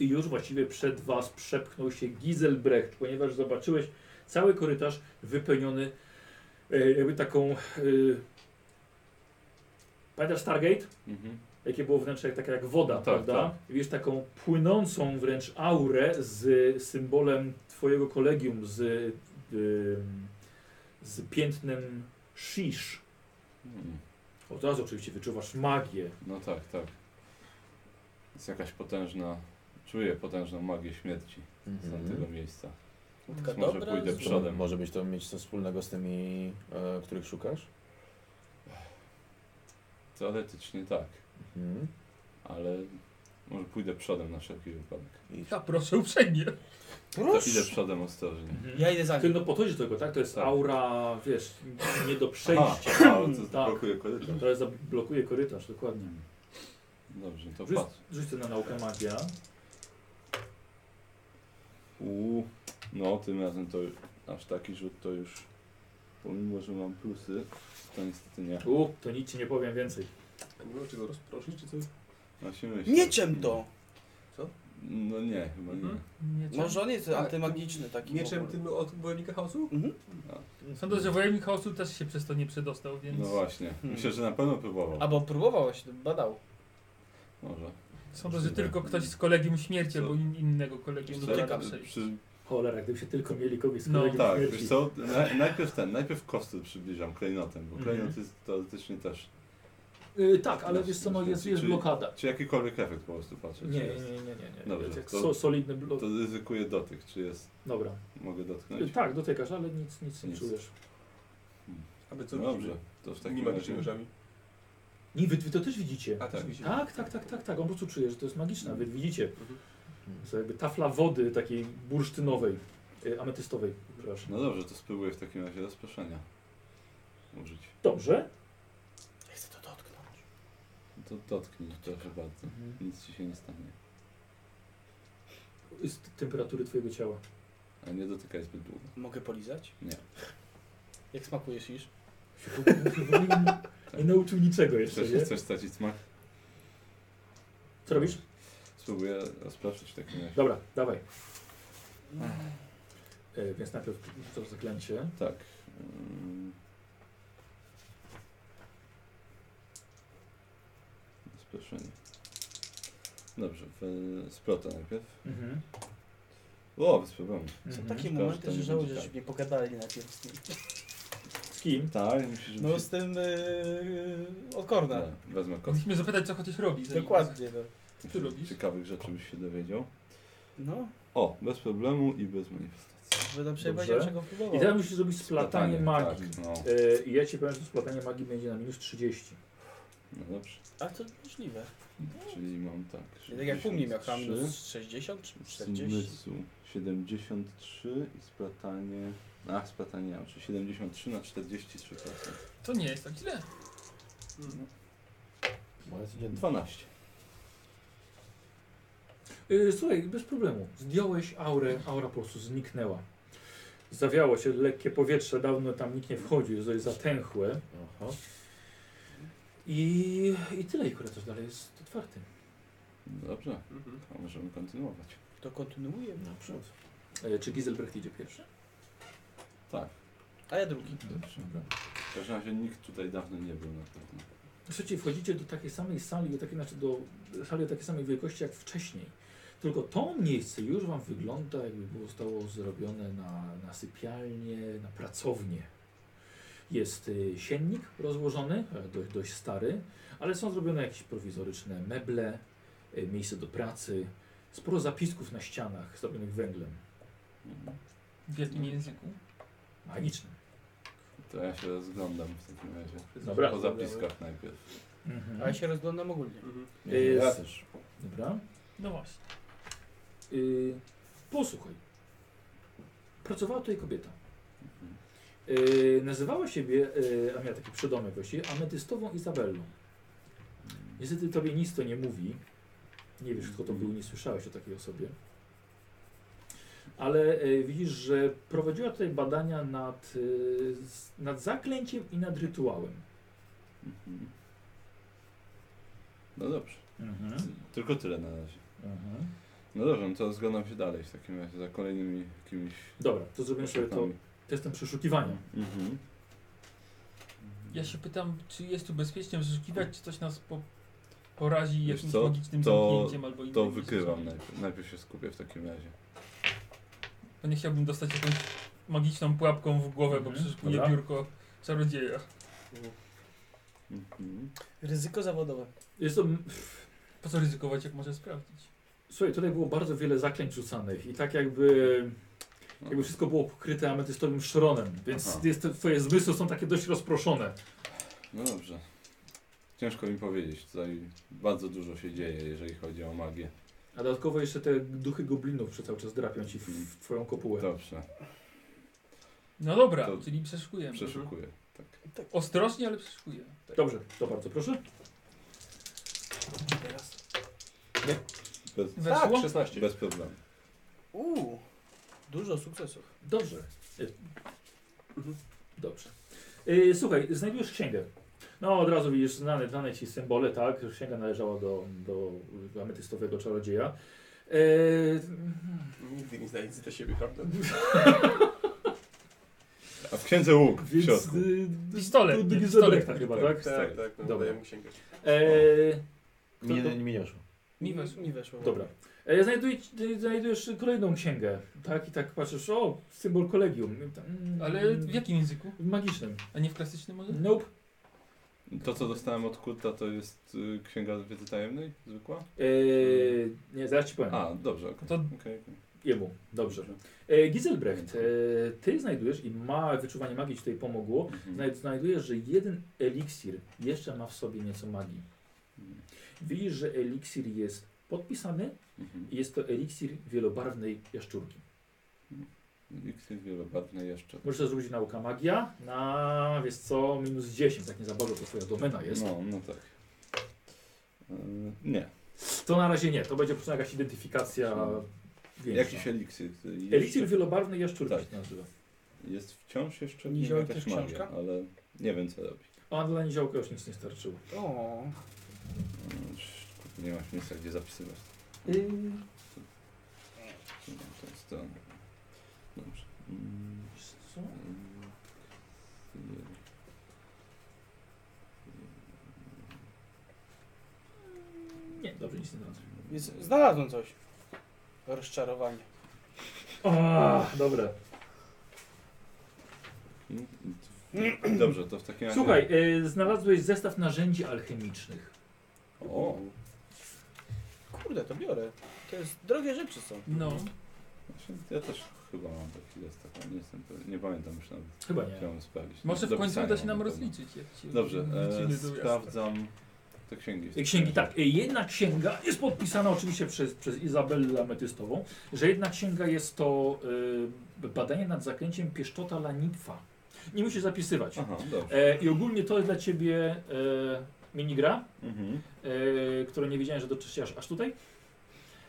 i już właściwie przed was przepchnął się Giselbrecht, ponieważ zobaczyłeś cały korytarz wypełniony e, jakby taką... E, pamiętasz Stargate?
Mhm.
jakie było wnętrze, jak- taka jak woda,
No tak,
prawda?
tak.
I wiesz taką płynącą wręcz aurę z symbolem twojego kolegium, z, ym, z piętnem Shish.
Mm.
Od razu oczywiście wyczuwasz magię.
No tak, tak.
Mhm.
Jest jakaś potężna, czuję potężną magię śmierci z tamtego miejsca.
Taka dobra,
Może pójdę
zła.
Mhm. przodem.
Może być to mieć coś wspólnego z tymi, e, których szukasz?
Teoretycznie tak,
Mhm.
ale może pójdę przodem na wszelki wypadek.
Ja proszę uprzejmie.
To idę przodem ostrożnie.
Ja idę za
Ty
nim.
no podchodzisz do tego, tak? To jest
Tak.
aura, wiesz, nie do
Aha,
przejścia.
aha, to
Tak.
blokuje korytarz.
To jest blokuje korytarz, dokładnie.
Dobrze, to
Rzuć,
patrz.
rzuć sobie na naukę magia.
Uuu, no tym razem to aż taki rzut to już, pomimo że mam plusy, to niestety nie.
U, to nic ci nie powiem więcej.
A nie mogę czego rozproszyć, czy coś?
Właśnie myślę.
Mieczem to!
No nie, chyba nie.
Mhm.
Może on jest
A,
antymagiczny taki.
Mieczem
w ogóle. Mhm.
tym od wojownika chaosu?
Sądzę, że wojownik chaosu też się przez to nie przedostał, więc
No właśnie, myślę, że na pewno próbował.
Albo próbowałeś, badał.
Może.
sądzę, że tylko ktoś z kolegium śmierci
Co?
albo in- innego kolegium
Wiesz co,
dotyka
przy-
przejść.
przy-
Cholera, gdyby się tylko mieli kogoś z
No.
kolegium
Tak,
śmierci.
wiesz co, na, najpierw ten, najpierw kosty przybliżam klejnotem, bo
Mhm.
klejnot jest teoretycznie też,
Y, tak, ale wiesz co, no jest, jest
Znaczy, Czyli-
blokada.
czy jakikolwiek efekt po prostu patrzę,
Nie,
czy
nie,
jest.
nie, nie, nie. nie.
Dobrze,
Jak
to-
so, solidny blok.
To ryzykuję dotyk, czy jest,
Dobra.
mogę
Y,
dotknąć?
tak, dotykasz, ale nic, nic nie
Nic.
czujesz.
Aby co
No Dobrze,
widzimy?
to w
Nie
takim
magicznymi
razie...
orzami.
Nie, wy, wy to też widzicie.
A też
Tak.
widzimy.
Tak, tak, tak, tak, tak. On po prostu czuje, że to jest magiczne. Wy
Mhm.
widzicie.
Mhm.
To jakby tafla wody takiej bursztynowej, y, ametystowej, przepraszam.
No dobrze, to spróbuję w takim razie rozproszenia użyć.
Dobrze.
Ja Chcę to dotknąć.
To dotknij, proszę bardzo.
Mhm.
Nic ci się nie stanie.
Z t- temperatury twojego *laughs* ciała.
A nie dotykaj zbyt długo.
Mogę polizać?
Nie.
Jak smakuje iż?
Nie nauczył niczego jeszcze,
Chcesz,
nie?
chcesz stracić smak?
Co robisz?
Spróbuję rozproszyć w takim razie.
Dobra, dawaj. Y, więc najpierw to zaklęcie.
Tak. ym. Rozproszenie. Dobrze, w splota najpierw.
Mhm.
O, bez problemu.
Są
Mhm.
takie
Każdy
momenty, że
nie
żałuję,
będzie
że
tak.
żeśmy nie pogadali najpierw z nim.
Z kim?
Tak, musisz
No z tym yy, od Korna.
Tak, Wezmę kot.
Musimy zapytać, co chociaż robi. zanim-
Dokładnie. No.
Ty robisz?
Ciekawych rzeczy byś się dowiedział.
no,
O, bez problemu i bez manifestacji.
będę
Dobrze.
przejmował czego
I
próbował.
teraz musisz zrobić splatanie magii.
Tak, no.
E, I ja ci powiem, że splatanie magii będzie na minus 30.
no dobrze.
A to możliwe.
Czyli mam tak.
Tak jak u mnie miał tam
63.
60 czy 40.
Zmysł 73 i splatanie. A, splatanie nie mam, czyli 73 na 43%.
To nie jest tak źle.
Moja codzienna.
12.
E, Słuchaj, bez problemu. Zdjąłeś aurę, aura po prostu zniknęła. Zawiało się lekkie powietrze, dawno tam nikt nie wchodził, to jest zatęchłe.
Aha.
I, i tyle, i korytarz dalej jest otwarty.
No Dobrze,
Mhm.
a możemy kontynuować.
To kontynuuję.
Naprzód.
E, Czy Gizelbrecht idzie pierwszy?
Tak,
A ja drugi.
dobrze. W każdym razie nikt tutaj dawno nie był na pewno.
Słuchajcie, wchodzicie do takiej samej sali, do takiej, znaczy do sali o takiej samej wielkości jak wcześniej. Tylko to miejsce już Wam wygląda, jakby było zostało zrobione na, na sypialnię, na pracownię. Jest y, siennik rozłożony, e, dość, dość stary, ale są zrobione jakieś prowizoryczne meble, y, miejsce do pracy, sporo zapisków na ścianach zrobionych węglem
Mhm.
W jakim języku?
magicznym.
To ja się rozglądam w takim razie.
Dobra.
Po zapiskach najpierw.
A ja się rozglądam ogólnie.
Mhm.
Jest.
Ja też.
Dobra.
No właśnie.
Y, posłuchaj. Pracowała tutaj kobieta.
Mhm.
Yy, nazywała siebie, yy, a miała taki przydomek właściwie, ametystową Izabellą. Niestety tobie nic to nie mówi. Nie wiesz kto to był, nie słyszałeś o takiej osobie. Ale yy, widzisz, że prowadziła tutaj badania nad, yy, z- nad zaklęciem i nad rytuałem.
Mhm. No dobrze, tylko tyle na razie. No dobrze, no to rozglądam się dalej w takim razie za kolejnymi jakimiś
Dobra, to zrobimy sobie to
poszukami.
testem przeszukiwania.
Mhm.
Ja się pytam, czy jest tu bezpiecznie wyszukiwać, czy coś nas po... porazi
Wiesz
jakimś
co?
magicznym
To-
zamknięciem albo innym.
To
niż-
wykrywam najpierw. Najpierw się skupię w takim razie.
Bo nie chciałbym dostać jakąś magiczną pułapką w głowę, bo
Mhm.
przeszukuję
Dobra.
biurko czarodzieja.
Mhm.
Ryzyko zawodowe.
Jest to,
Po co ryzykować, jak może sprawdzić?
słuchaj, tutaj było bardzo wiele zaklęć rzucanych i tak jakby Jakby wszystko było pokryte ametystowym szronem, więc
Aha.
jest, to- twoje zmysły są takie dość rozproszone.
No dobrze. Ciężko mi powiedzieć. Tutaj bardzo dużo się dzieje, jeżeli chodzi o magię.
A dodatkowo jeszcze te duchy goblinów przez cały czas drapią ci w, w twoją kopułę.
Dobrze,
No dobra,
To-
czyli Mhm. przeszukujemy.
przeszukuję.
Ostrożnie, ale przeszukujemy.
Dobrze, to bardzo proszę.
Bez,
Weszło?
16.
bez problemu.
Uuu, dużo sukcesów.
Dobrze. Y, Dobrze. Y, Słuchaj, znajdujesz księgę. No od razu widzisz znane, znane ci symbole, tak? Księga należała do, do ametystowego czarodzieja. Y,
Nigdy nie znajdzie nic dla siebie, prawda?
A w księdze łuk w
Więc
środku.
y,
Pistolet,
to
nie,
drugi
pistolet.
zadek tak chyba, tak?
Tak, tak, no,
Dobra.
daję mu księgę.
E, Kto
Mi,
to-
nie- mi nie weszło.
Mi weszło.
Mi weszło.
Dobra. E, Znajduj, ty znajdujesz kolejną księgę, tak? I tak patrzysz, o, symbol kolegium. Mm,
Ale w jakim języku?
W magicznym.
A nie w klasycznym może?
Nope.
To, co dostałem od Kurta, to jest y, księga wiedzy tajemnej? Zwykła?
E, nie, zaraz ci powiem.
A, dobrze, okej.
To
okej, okej.
Jemu. Dobrze. E, Giselbrecht, e, ty znajdujesz, i małe wyczuwanie magii ci tutaj pomogło,
Mhm.
znaj- znajdujesz, że jeden eliksir jeszcze ma w sobie nieco magii. Widzisz, że eliksir jest podpisany
Mhm.
i jest to eliksir wielobarwnej jaszczurki.
X jest wielobarwny jeszcze.
Możesz to zrobić nauka magia na, wiesz co, minus 10, tak nie za bardzo to twoja domena jest.
No, no tak. Y, Nie.
To na razie nie, to będzie po prostu jakaś identyfikacja
Hmm.
większa.
Jakiś eliksir. który
Eliksir
jeszcze-
wielobarwny jaszczurki
Tak.
się nazywa.
Jest wciąż jeszcze
Nie
nie
działa
jakaś
też
magia,
książka?
ale nie wiem co robi.
A dla niziołka już nic nie starczyło.
O,
Mm, kurde, Nie masz miejsca gdzie zapisywać. To jest to. Dobrze. Mm,
Co?
mm,
Nie, dobrze, nic nie znalazłem.
więc znalazłem coś. Rozczarowanie.
O, Ah, dobra.
mm, mm, Dobrze, to w takim razie.
Słuchaj, y, znalazłeś zestaw narzędzi alchemicznych.
O,
Kurde, to biorę. To jest drogie rzeczy są.
No.
Mhm. właśnie znaczy, ja też chyba mam taki zestaw, ale nie jestem pewien. Nie pamiętam już nawet.
Chyba nie.
Chciałem sprawdzić.
Może w końcu
Dopisałem
uda się
na
nam
pewno.
rozliczyć. Jak się
Dobrze, e,
wrócimy do miasta.
sprawdzam te księgi.
Y, Księgi, tak. y, Jedna księga jest podpisana oczywiście przez, przez Izabellę Ametystową, że jedna księga jest to y, badanie nad zaklęciem pieszczota lanitwa. Nie musisz
tak.
zapisywać.
Aha, dobrze.
E, I ogólnie to jest dla ciebie e, minigra,
Mhm.
e, które nie wiedziałem, że dotrzecie aż, aż tutaj,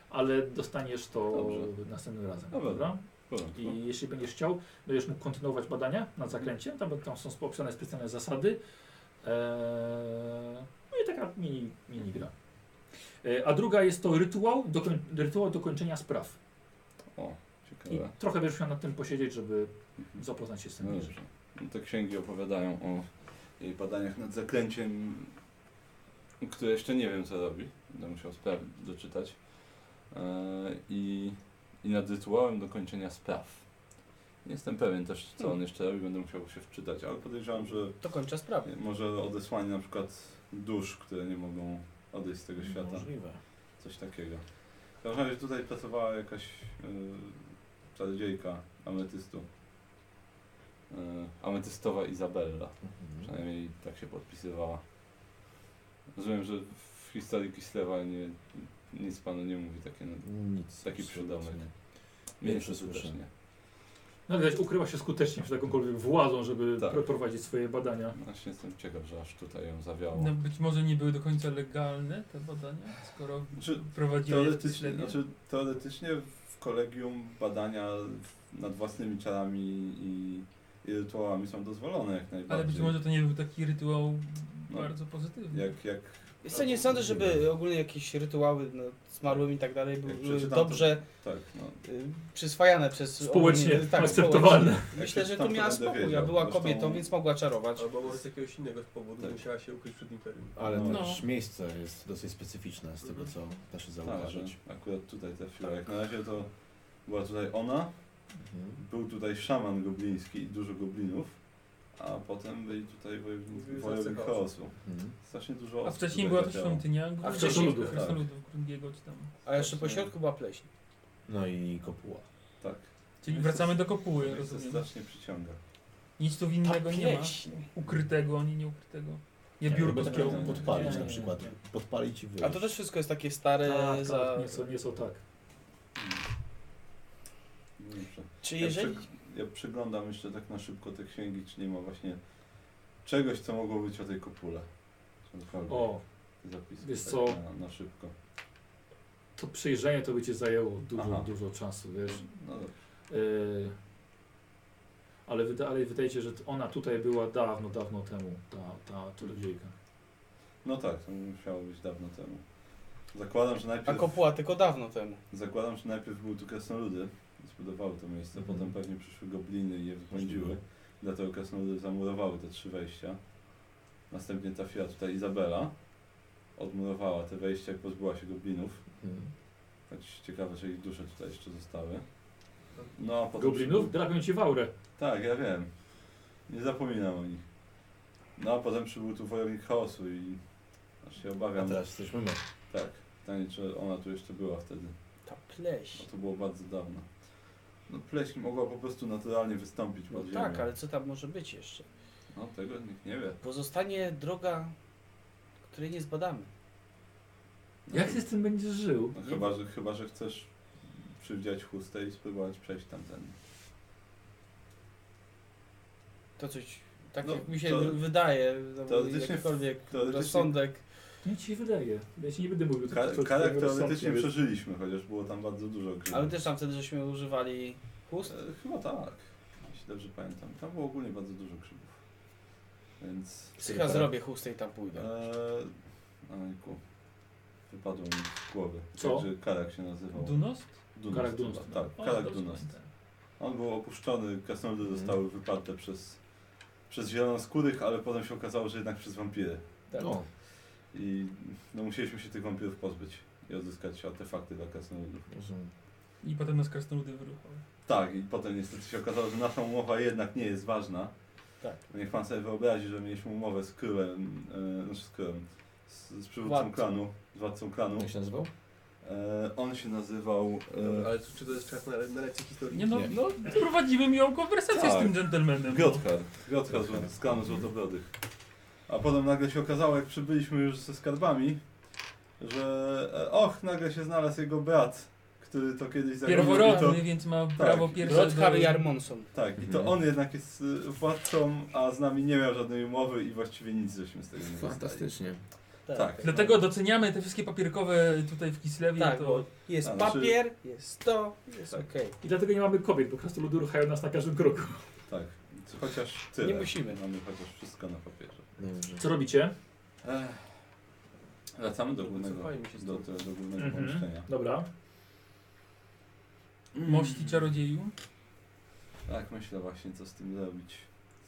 ale dostaniesz to
Dobrze. No
następnym razem.
Dobra.
Dobra?
w porządku.
I jeśli będziesz chciał, będziesz mógł kontynuować badania nad zaklęciem. Tam, tam są opisane specjalne zasady. E, no i taka mini, minigra. E, a druga jest to rytuał do, koń- rytuał do kończenia spraw.
O,
I
ciekawe.
trochę będziesz musiał nad tym posiedzieć, żeby
Mhm.
zapoznać się z tym
No
bliżej.
dobrze. No te księgi opowiadają o jej badaniach nad zaklęciem, które jeszcze nie wiem co robi. Będę musiał sprawdzić, doczytać. E, I, I nad rytuałem do kończenia spraw. Nie jestem pewien też co on jeszcze robi, będę musiał się wczytać, ale podejrzewam, że
To kończę sprawę.
może odesłanie na przykład dusz, które nie mogą odejść z tego świata.
Możliwe.
Coś takiego. W każdym razie tutaj pracowała jakaś yy, czarodziejka ametystu. Yy, ametystowa Izabella. Przynajmniej tak się podpisywała. Rozumiem, że w historii Kislewa nie, nic panu nie mówi takie,
Nic.
taki
absolutnie.
przydomek.
Pierwszy słyszę.
skutecznie.
No widać, ukrywa się skutecznie przed jakąkolwiek władzą, żeby
Tak.
pro- prowadzić swoje badania.
Właśnie jestem ciekaw, że aż tutaj ją zawiało.
No, być może nie były do końca legalne te badania, skoro
Znaczy,
prowadziły je
Teoretycznie,
bezpośrednio.
znaczy, teoretycznie w kolegium badania nad własnymi ciałami i, i rytuałami są dozwolone jak najbardziej.
Ale być może to nie był taki rytuał
No.
bardzo pozytywny.
Jak, jak,
Wiesz co, nie sądzę, żeby ogólnie jakieś rytuały no, zmarłym i tak dalej
Jak
były
przeczytam, to-
dobrze
tak, no.
y, przyswajane przez...
Społecznie
ogólnie- tak,
akceptowalne.
społecznie. Myślę,
Jak
że
tam
tu
to
miała
będę
spokój, a
wiedział.
była
Zresztą-
kobietą, więc mogła czarować.
Albo może z jakiegoś innego powodu
Tak.
musiała się ukryć przed imperium.
Ale
No.
też miejsce jest dosyć specyficzne z tego, co da się
Tak, że
zauważyć.
akurat tutaj trafiła. Jak na razie to była tutaj ona,
Mhm.
był tutaj szaman gobliński i dużo goblinów, a potem byli tutaj wojowni-
Mówiłeś
wojownik
o chaosu.
chaosu.
Mhm.
Strasznie dużo
A
osób
wcześniej
tutaj Tak,
była to
zadziało.
świątynia
A
Grungiego-
wcześniej była.
krasnoludów Grungiego czy tam.
A jeszcze po środku była pleśń.
No i kopuła.
Tak.
Czyli wracamy do kopuły,
Mnie to
rozumiem.
strasznie przyciąga.
Nic tu winnego nie ma. Ukrytego ani nieukrytego. Nie biurko
Jakby
z
takiego
piorą.
piątą.
podpalić
Nie,
na
nie,
przykład. Podpalić i wyjść.
A to też wszystko jest takie stare
Tak,
za...
tak, nie są, nie są tak.
Mm.
Dobrze.
Czy
Ja,
jeżeli...
przyg- ja przeglądam jeszcze tak na szybko te księgi, czy nie ma właśnie czegoś, co mogło być o tej kopule. Cokolwiek.
O,
Zapisy
wiesz
tak
co?
Na, na szybko.
to przejrzenie to by cię zajęło dużo,
Aha.
dużo czasu, wiesz.
No dobrze.
Yy, ale, wyda, ale wydaje się, że ona tutaj była dawno, dawno temu, ta, ta czarodziejka.
No tak, to musiało być dawno temu. Zakładam, że
A
najpierw,
kopuła tylko dawno temu.
zakładam, że najpierw były tu krasnoludy, zbudowały to miejsce,
Mhm.
potem pewnie przyszły gobliny i je wypędziły. Dlatego krasnoludy zamurowały te trzy wejścia. Następnie trafiła tutaj Izabela, odmurowała te wejścia i pozbyła się goblinów.
Hmm.
Choć ciekawe, czy ich dusze tutaj jeszcze zostały. No, a potem
Goblinów?
Przybył...
Drapią ci w aurę.
Tak, ja wiem. Nie zapominam o nich. No, a potem przybył tu wojownik chaosu i... Aż się
A
obawiam.
teraz jesteśmy my.
Tak. Pytanie, czy ona tu jeszcze była wtedy.
Ta pleś.
Bo to było bardzo dawno. No, pleśń mogła po prostu naturalnie wystąpić
No
pod ziemią.
tak, ale co tam może być jeszcze?
No, tego nikt nie wie.
Pozostanie droga, której nie zbadamy.
No,
Jak ty z tym będziesz żył?
no, chyba, że, chyba, że chcesz przywdziać chustę i spróbować przejść tamten.
To coś, tak
No,
jak mi się
to-
wydaje, no,
teoretycznie-
jakikolwiek
teoretycznie-
rozsądek.
Nie ci się wydaje. Ja ci nie będę mówił. co-
Ka-
co- co-
Karek
co- co-
teoretycznie
co-
przeżyliśmy, chociaż było tam bardzo dużo gry.
Ale też tam wtedy żeśmy używali chust.
E, Chyba tak, jeśli dobrze pamiętam. Tam było ogólnie bardzo dużo grzybów. Więc...
Psycha zrobię chustę i tam pójdę.
E, ojku, wypadło mi z głowy.
Co?
Także Karak się nazywał.
Dunost?
Dunost
Karak
chyba,
Dunost.
Tak,
O,
Karak
dobrze
Dunost.
pamiętam. Mhm.
On był opuszczony, kasnoludy zostały wyparte przez, przez zielonoskórych, ale potem się okazało, że jednak przez wampiry.
Tak.
O,
I no, musieliśmy się tych wampirów pozbyć i odzyskać artefakty dla kasnoludów.
rozumiem.
I potem nas krasnoludy wyruchały.
Tak, i potem niestety się okazało, że nasza umowa jednak nie jest ważna.
Tak.
Niech pan sobie wyobrazi, że mieliśmy umowę z królem, e, znaczy z królem, z, z przywódcą
Władcą.
klanu, z władcą klanu.
Jak się nazywał?
E, on się nazywał... e,
Dobra, ale czy to jest czas na, na lekcję historii?
Nie no,
Nie.
no prowadzimy miłą konwersację z
Tak.
tym
E,
dżentelmenem.
Grothar, Grothar z, z klanu Złotobrodych. A potem nagle się okazało, jak przybyliśmy już ze skarbami, że e, och, nagle się znalazł jego brat, który to kiedyś zagroził i to...
Pierworodny, więc ma prawo pierwsze
Rodhar
do-
Jarmonson.
Tak, i
Mhm.
to on jednak jest y, władcą, a z nami nie miał żadnej umowy i właściwie nic żeśmy z tego nie dostali.
Fantastycznie.
Tak.
Dlatego doceniamy te wszystkie papierkowe tutaj w Kislewie.
Tak,
to...
bo jest
A, znaczy-
papier, jest to, jest
Tak.
okej.
I dlatego nie mamy kobiet, bo krasnoludy ruchają nas na każdym kroku.
Tak, Co- chociaż tyle.
Nie musimy.
Mamy chociaż wszystko na papierze.
Dobrze.
Co robicie?
Ech. Wracamy do głównego,
Wycofajmy się
do,
stąd.
do, No do głównego
Mhm.
pomieszczenia.
Dobra.
Mości czarodzieju.
Tak, myślę właśnie co z tym zrobić,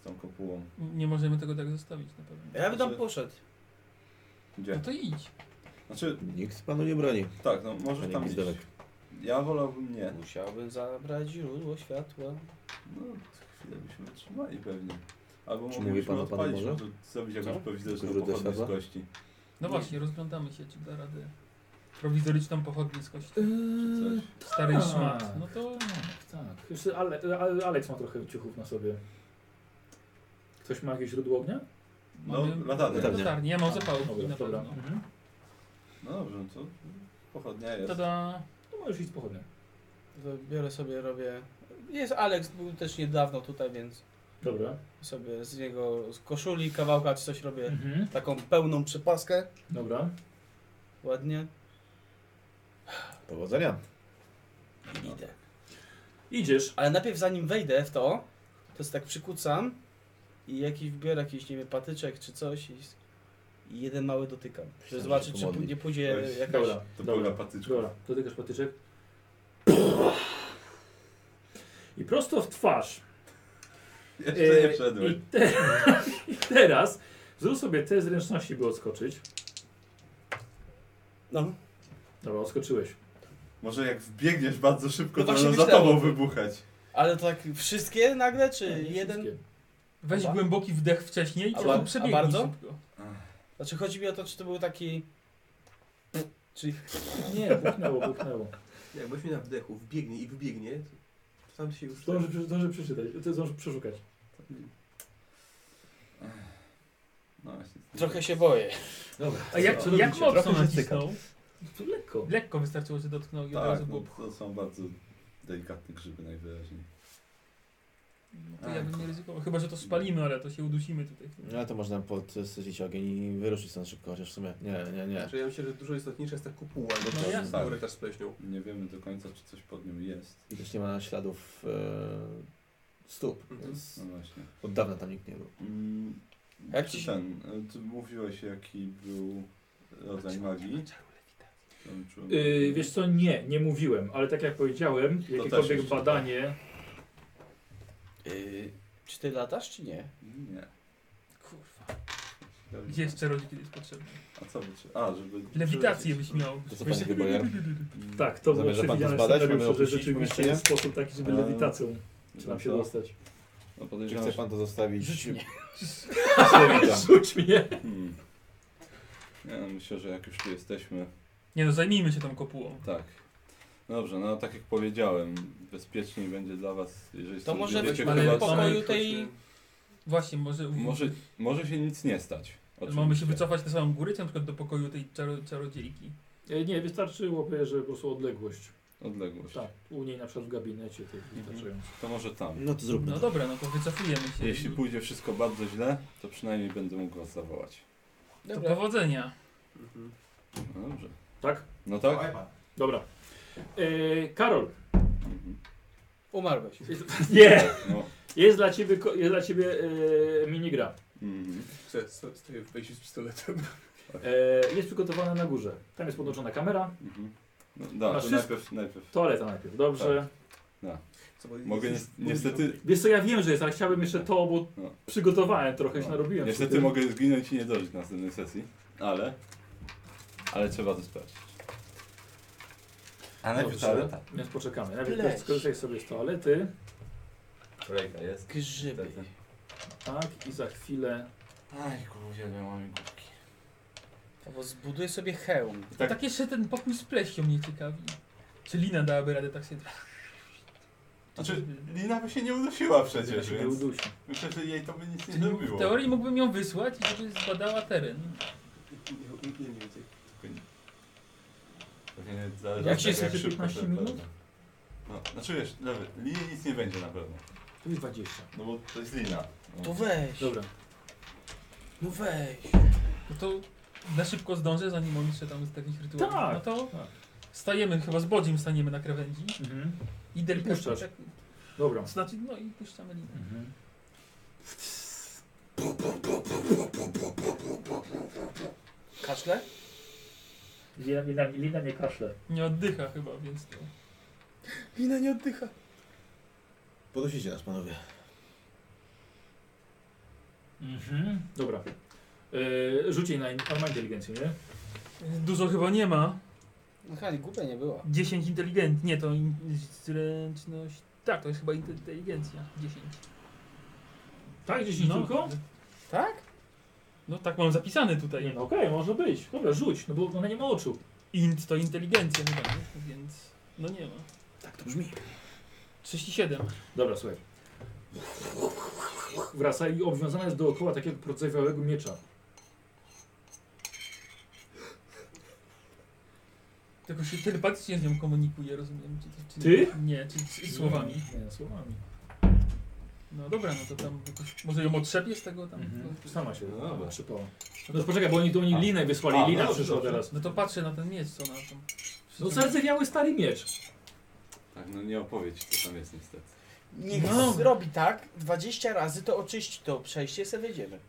z tą kopułą.
Nie możemy tego tak zostawić na pewno.
Ja bym tam
Znaczy-
poszedł.
No
Gdzie?
to idź.
Znaczy,
Nikt panu nie broni.
tak, no możesz
Panie
tam iść.
Gwizdorek.
Ja wolałbym nie.
Musiałbym zabrać źródło światła.
No, chwilę byśmy wytrzymali pewnie. Albo
Czy mówi
moglibyśmy
pan o Panu
odpalić,
Boże?
może zrobić jakąś
Co?
prowizoryczną
Tylko źródło
pochodność z
światła?
kości.
No
Nie.
właśnie, rozglądamy się, czy da radę. Prowizoryczną pochodnię z kości.
Czy coś.
Stary
tak.
szmat. No to
Tak, tak. Jeszcze ale, ale Alex ma trochę ciuchów na sobie. Ktoś ma jakieś źródło ognia?
No,
mamy-
latarnia.
Latarnia.
latarnię. Ja mam zapałki
Dobra,
No, na
dobra.
pewno.
Mhm.
No dobrze, no to pochodnia jest.
Tada.
No możesz iść z pochodnią.
To biorę sobie, robię... Jest Alex, był też niedawno tutaj, więc
Dobra.
sobie z jego z koszuli, kawałka czy coś robię.
Mhm.
Taką pełną przypaskę.
Dobra.
Ładnie.
Powodzenia.
I idę.
Idziesz.
Ale najpierw zanim wejdę w to, to się tak przykucam i jakiś biorę jakiś, nie wiem, patyczek czy coś i, i jeden mały dotykam. Żeby
się
zobaczyć, czy
pomodli.
nie pójdzie
Weź.
jakaś...
Dobra,
To
dobra.
była patyczka.
Dobra, dotykasz patyczek. I prosto w twarz.
Jeszcze nie
E,
wszedłem.
I, te, *laughs* I teraz zrób sobie te zręczności, by odskoczyć.
No,
Dobra, odskoczyłeś.
Może jak wbiegniesz bardzo szybko,
No
to
właśnie
będą za
myślałem.
tobą wybuchać.
ale to tak wszystkie nagle, czy
Nie, nie
jeden?
wszystkie.
Weź
Ba-
głęboki wdech wcześniej i
A
po
ba-
prostu
a
przebiegnij
bardzo?
szybko.
Znaczy chodzi mi o to, czy to był taki... Czy...
Nie, buchnęło, buchnęło.
Jak weźmie na wdechu, wbiegnie i wybiegnie, Sam się już.
Zdążę, prze- zdążę przeczytać, to zdążę przeszukać.
No właśnie.
Trochę się boję.
Dobra.
A jak,
co
jak
robicie?
mocno
Trochę rzecyka.
nacisnął?
To lekko.
Lekko wystarczyło, że dotknął i od
Tak,
razu
no,
było...
to są bardzo delikatne grzyby najwyraźniej.
No to ja bym nie ryzykował. Chyba, że to spalimy, ale to się udusimy tutaj.
No ale to można podsycić ogień i wyruszyć stąd szybko, chociaż w sumie nie, nie, nie.
Znaczy, ja myślę, że dużo istotniejsza jest ta kupuła, bo
No
ta
jasne.
korytarz z pleśnią.
Nie wiemy do końca, czy coś pod nim jest.
I też nie ma śladów e, stóp,
Mhm.
więc
No właśnie.
od dawna tam nikt nie był.
Mm,
Jak
czy
ci-
ten, y, ty mówiłeś jaki był rodzaj magii? Tam czułem-
Yy, wiesz co, nie, nie mówiłem, ale tak jak powiedziałem,
też
jakiekolwiek
jeszcze
badanie...
Yy, czy ty latasz, czy nie?
Nie.
Kurwa.
Ciekawe.
Gdzie jeszcze rodzi kiedyś potrzebny?
A co by czy... A, żeby...
Lewitację
przelecieć.
byś miał.
To co, panie Wybojer?
Mm,
Tak, to było
Zamierza pan to
przewidziane
zbadać?
scenariusze,
Mamy
że
opuścić
rzeczywiście
pomieszczenie?
jest sposób taki, żeby
Eee,
lewitacją czy nam się
to-
dostać.
No
Czy
podejrzewam,
chce
że-
pan to zostawić?
Rzuć mnie.
Slowika?
Rzuć mnie!
Hmm. Ja myślę, że jak już tu jesteśmy,
Nie no, zajmijmy się tą kopułą.
tak. Dobrze, no tak jak powiedziałem, bezpieczniej będzie dla was, jeżeli
To
stąd
może
wyjdziecie,
być-
ale
chyba-
po- pokoju
Sami
tej-
chodźmy.
Właśnie, może...
może, może się nic nie stać.
Mamy się
oczywiście.
wycofać na samą górę, czy na przykład do pokoju tej czaro, czarodziejki.
E, Nie, wystarczyłoby, że po prostu odległość.
Odległość.
Tak, u niej na przykład w gabinecie to jest
Mhm.
wystarczające.
To może tam.
No to zróbmy
No
to.
dobra, no to wycofujemy się.
Jeśli pójdzie wszystko bardzo źle, to przynajmniej będę mógł was zawołać.
To
Dobra.
powodzenia.
Mhm.
No dobrze.
Tak?
No tak?
Dobra. E, Karol,
Mhm.
Umarłeś.
*laughs* nie!
No.
Jest dla ciebie, ko- jest dla ciebie e, minigra.
Mhm.
Chcę, sto- stoję w wejściu z pistoletem.
E, jest przygotowana na górze. Tam jest podłączona kamera,
Mhm. No, da,
Masz
to
wszystko?
najpierw, najpierw.
toaleta najpierw, dobrze?
Co, bo
Mogę
jesteś-
ni- niestety,
Wiesz co, ja wiem, że jest, ale chciałbym jeszcze to, bo
No.
przygotowałem trochę, się narobiłem. przy
niestety
tym.
mogę zginąć i nie dożyć następnej sesji, ale, ale trzeba to sprawdzić. A
Dobrze. Więc poczekamy. Najpierw
Pleś.
skorzystaj sobie z toalety.
Kolejka jest.
Grzyby.
Tak, i za chwilę.
Aj, kurwa, nie mam główki.
Albo zbuduję sobie hełm.
Tak. tak jeszcze ten pokój z pleścią mnie ciekawi. Czy Lina dałaby radę tak się...
Znaczy, Lina by się nie udusiła
Zaraz
przecież,
się nie
więc
udusi.
myślę, że jej to by nic nie
Czyli w
zrobiło.
teorii mógłbym ją wysłać, i żeby zbadała teren.
Nie, nie, nie więcej.
Nie, zależy
Jak
od
się
tego,
jesteście
szybko
15
to
minut?
wpadnie. No, znaczy wiesz, lewy, linie nic nie będzie na pewno.
Tu jest 20.
No bo to jest lina. No.
To weź.
Dobra.
No weź.
No to na szybko zdążę, zanim oni się tam z takich rytuałów.
Tak,
No to
tak.
stajemy, chyba z Bodziem staniemy na krawędzi.
Mhm.
I delikatnie
puszczasz.
tak...
Dobra.
Znaczy, no i puszczamy Linę.
Mhm.
Kaszle?
Lina, lina, lina nie kaszle.
Nie oddycha chyba, więc to...
Wina nie oddycha.
Podnosicie nas, panowie.
Mhm. Dobra. Yy, rzuć jej na in- on ma inteligencję, nie?
Dużo chyba nie ma.
No Hali, głupia nie była.
10 inteligent, nie to in- zręczność. Tak, to jest chyba inte- inteligencja. 10.
Tak, 10
No.
tylko?
Tak? No tak mam zapisane
Nie,
tutaj.
no okej, może być. Dobra, rzuć, no bo ona nie ma oczu.
Int to inteligencja chyba, nie? więc no nie ma.
Tak to brzmi.
37.
Dobra, słuchaj. Wraca i obwiązana jest dookoła takiego procewiałego miecza.
Tylko się telepatycznie z nią komunikuje, rozumiem. Czy, to- czy
Ty?
Nie, czy, czy słowami.
Nie, słowami.
No dobra, no to tam jakoś, może ją otrzepie z tego No tam.
Mhm. Sama się
No dobra.
przypała. No to poczekaj, bo oni tu oni
A.
linę wysłali,
A, no
lina
dobrze,
przyszła
dobrze.
teraz.
No to patrzę na ten miecz, co na tam.
No zardzewiały stary miecz.
Tak, no nie opowiedz, co tam jest niestety.
Niech
No.
zrobi tak 20 razy, to oczyści to przejście, se wyjdziemy.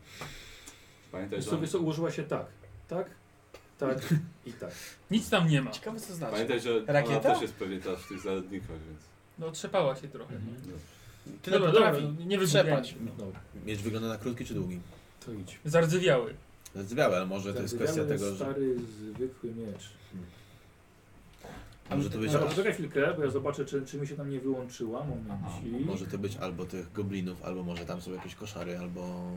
Pamiętaj,
Wiesz
że
co,
on,
wiesz co, ułożyła się tak, tak, tak i tak.
Nic tam nie ma.
Ciekawe co to znaczy.
pamiętaj, że ona
Rakieta?
też jest pewnie teraz w tych zarodnikach, więc...
No otrzepała się trochę.
Mhm.
Tyle
dobra, dobra,
potrafi.
nie wygłupiajmy
trzepać.
się.
No, dobra,
Miecz wygląda na krótki czy długi?
to idź.
Zardzewiały.
Zdrowiały, ale może to jest kwestia
Zardzewiały,
tego, że...
Tak, stary, zwykły miecz.
A Może to być,
Dobra, poczekaj chwilkę, bo ja zobaczę, czy, czy mi się tam nie wyłączyła. Momencik.
może to być albo tych goblinów, albo może tam są jakieś koszary, albo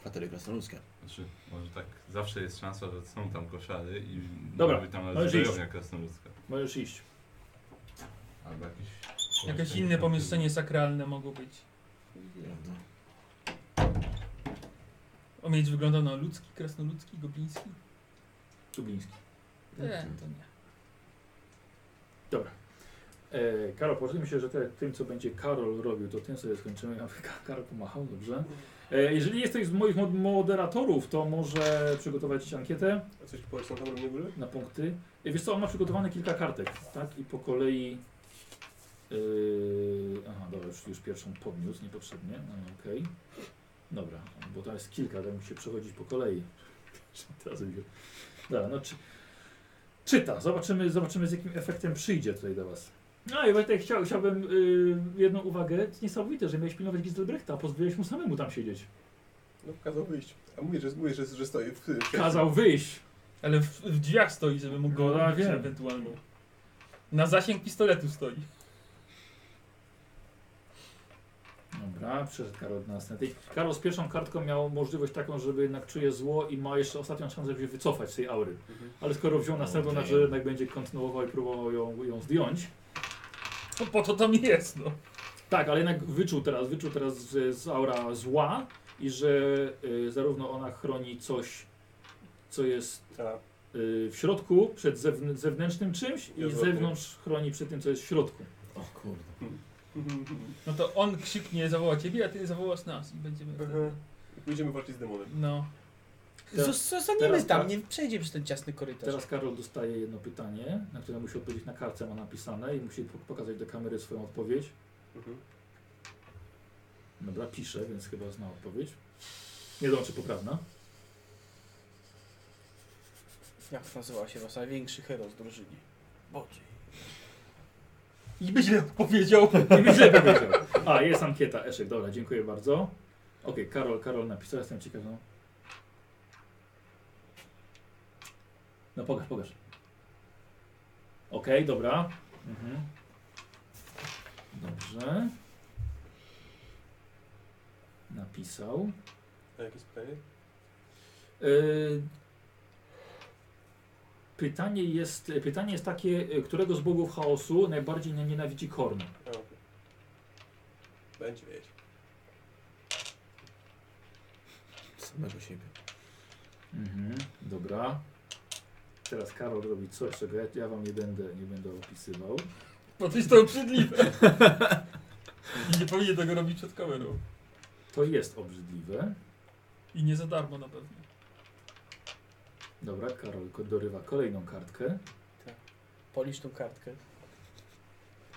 kwatery krasnoludzkie.
Znaczy, może tak zawsze jest szansa, że są tam koszary i
Dobra,
może być tam
możesz iść.
zbrojownia krasnoludzka.
Możesz iść.
Albo jakiś
Jakieś inne pomieszczenie sakralne mogło być. Omieć wyglądał na ludzki, krasnoludzki, gobliński.
Dubliński.
Nie.
To nie. Dobra. E, Karol, pożyjmy się, że te, tym, co będzie Karol robił, to tym sobie skończymy. Ja mówię, Ka- Karol pomachał, dobrze. E, jeżeli jesteś z moich mod- moderatorów, to może przygotować ci ankietę
A coś powiesz na temat w ogóle?
na punkty. E, wiesz co, on ma przygotowane kilka kartek, tak? I po kolei... E, aha, dobra, już, już pierwszą podniósł niepotrzebnie, no, okej. Dobra, bo tam jest kilka, tam musi się przechodzić po kolei. *laughs* Teraz mówię. Dobra, no czy, czyta. Zobaczymy, zobaczymy z jakim efektem przyjdzie tutaj do Was. No i Wojtek, chciał, chciałbym y, jedną uwagę. To jest niesamowite, że miałeś pilnować Gizelbrechta, a pozwoliłeś mu samemu tam siedzieć.
No, kazał wyjść. A mówię, że, mówię, że, że stoję w tym.
Kazał wyjść.
Ale w, w drzwiach stoi, żeby mógł go
No, ja
ubić
wiem.
ewentualnie. Na zasięg pistoletu stoi. *laughs*
Dobra, przeszedł Karol do następnej. Karol z pierwszą kartką miał możliwość taką, żeby jednak czuje zło i ma jeszcze ostatnią szansę, żeby się wycofać z tej aury.
Mhm.
Ale skoro wziął następną, znaczy, że jednak będzie kontynuował i próbował ją, ją zdjąć.
To po to tam jest, no.
Tak, ale jednak wyczuł teraz, wyczuł teraz z, z aura zła i że y, zarówno ona chroni coś, co jest
Tak.
y, w środku przed zewn zewnętrznym czymś i z
Odwrotnie.
zewnątrz chroni przed tym, co jest w środku.
O kurde.
Mhm.
No to on krzyknie, zawoła ciebie, a ty zawołasz nas i będziemy wtedy...
Mhm. Pójdziemy walczyć z demonem.
No.
Zos- Zostaniemy
teraz
tam,
tak.
nie przejdzie przez ten ciasny korytarz.
Teraz Karol dostaje jedno pytanie, na które musi odpowiedzieć na kartce, ma napisane i musi po- pokazać do kamery swoją odpowiedź.
Mhm.
Dobra, pisze, więc chyba zna odpowiedź. Nie wiadomo, czy poprawna.
Jak nazywała się wasza największy hero z drużyny? Bodziej.
I by źle powiedział.
Nie wiem, źle powiedział. A, jest ankieta, Eszek, dobra, dziękuję bardzo. Okej, Karol, Karol napisał, jestem ciekaw. No, no pokaż, pokaż. Okej, dobra. Mhm. Dobrze. Napisał.
A jakie jest pytanie?
Y, Pytanie jest, pytanie jest takie, y, którego z bogów chaosu najbardziej nienawidzi Korn?
A, okej. Będzie wiedzieć.
Samego siebie.
Mhm, dobra. Teraz Karol robi coś, czego ja, ja wam nie będę, nie będę opisywał.
Bo No to jest to obrzydliwe. I nie powinien tego robić przed kamerą.
To jest obrzydliwe.
I nie za darmo na pewno.
Dobra, Karol ko- dorywa kolejną kartkę.
Polisz tą kartkę.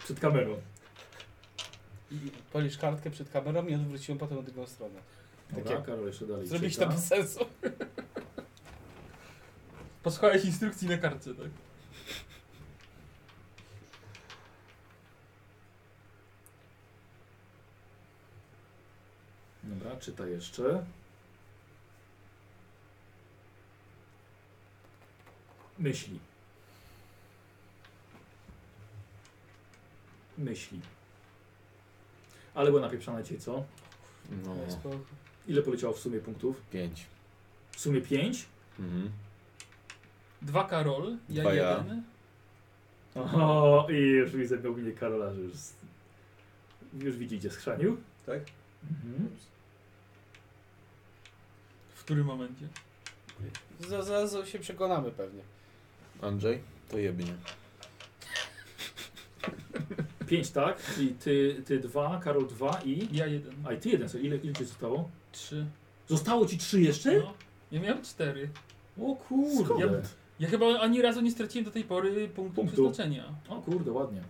Przed kamerą.
I- Polisz kartkę przed kamerą i odwróć ją potem na drugą stronę.
Dobra, Karol jeszcze dalej
Zrobić to
czyta.
bez sensu.
Posłuchałeś instrukcji na kartce, tak?
Dobra, czyta jeszcze. Myśli. Myśli. Ale było napieprzane cię, co?
No,
Ile poleciało w sumie punktów?
pięć.
W sumie 5?
Mhm.
Dwa Karol, ja
Dwa ja.
jeden.
O, i już widzę pełnię Karola, że już, już widzicie, schrzanił.
Tak?
Mhm.
W którym momencie?
Za- Zaraz się przekonamy pewnie.
Andrzej, to jebnie.
Pięć, tak? Czyli ty, ty dwa, Karol dwa i...
Ja jeden.
A i ty jeden, co? Ile, ile ci zostało?
Trzy.
Zostało ci trzy jeszcze?
No. Ja miałem cztery.
O kurde.
Ja chyba ani razu nie straciłem do tej pory punktu, No
Punktu.
przeznaczenia.
O kurde, ładnie.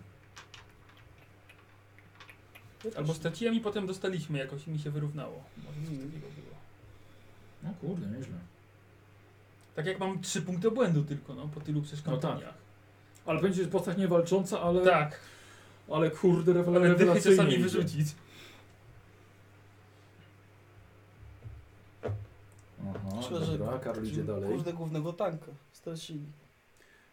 Albo straciłem i potem dostaliśmy jakoś i mi się wyrównało. Może coś takiego było.
No kurde, nieźle.
Tak jak mam trzy punkty błędu tylko, no, po tylu przeszkodniach.
Ale będzie postać niewalcząca, ale...
tak,
Ale kurde, rewel-
ale dychy
rewelacyjnie
czasami
idzie.
wyrzucić.
Aha, No, dobra, Karol idzie dalej.
Kurde głównego tanka. Stracili.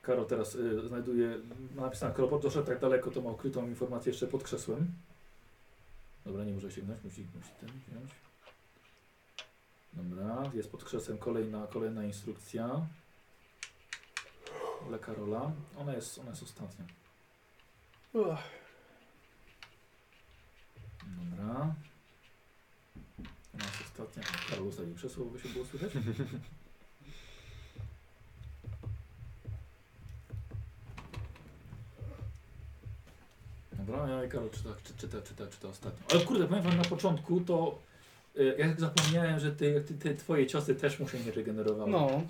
Karol teraz y, znajduje, ma napisane, Kropot doszedł tak daleko, to ma ukrytą informację jeszcze pod krzesłem. Dobra, nie może sięgnąć, musi, musi ten wziąć. Dobra, jest pod krzesłem kolejna, kolejna instrukcja dla Karola. Ona jest, ona jest ostatnia. Dobra. U nas ostatnia. Karol ustawił krzesło, by się było słychać. Dobra, ja Karol czyta, czy- czyta, czyta, czyta ostatnio. Ale kurde, powiem wam na początku, to y, ja zapomniałem, że ty, ty, ty, twoje ciosy też muszą się regenerowały.
No.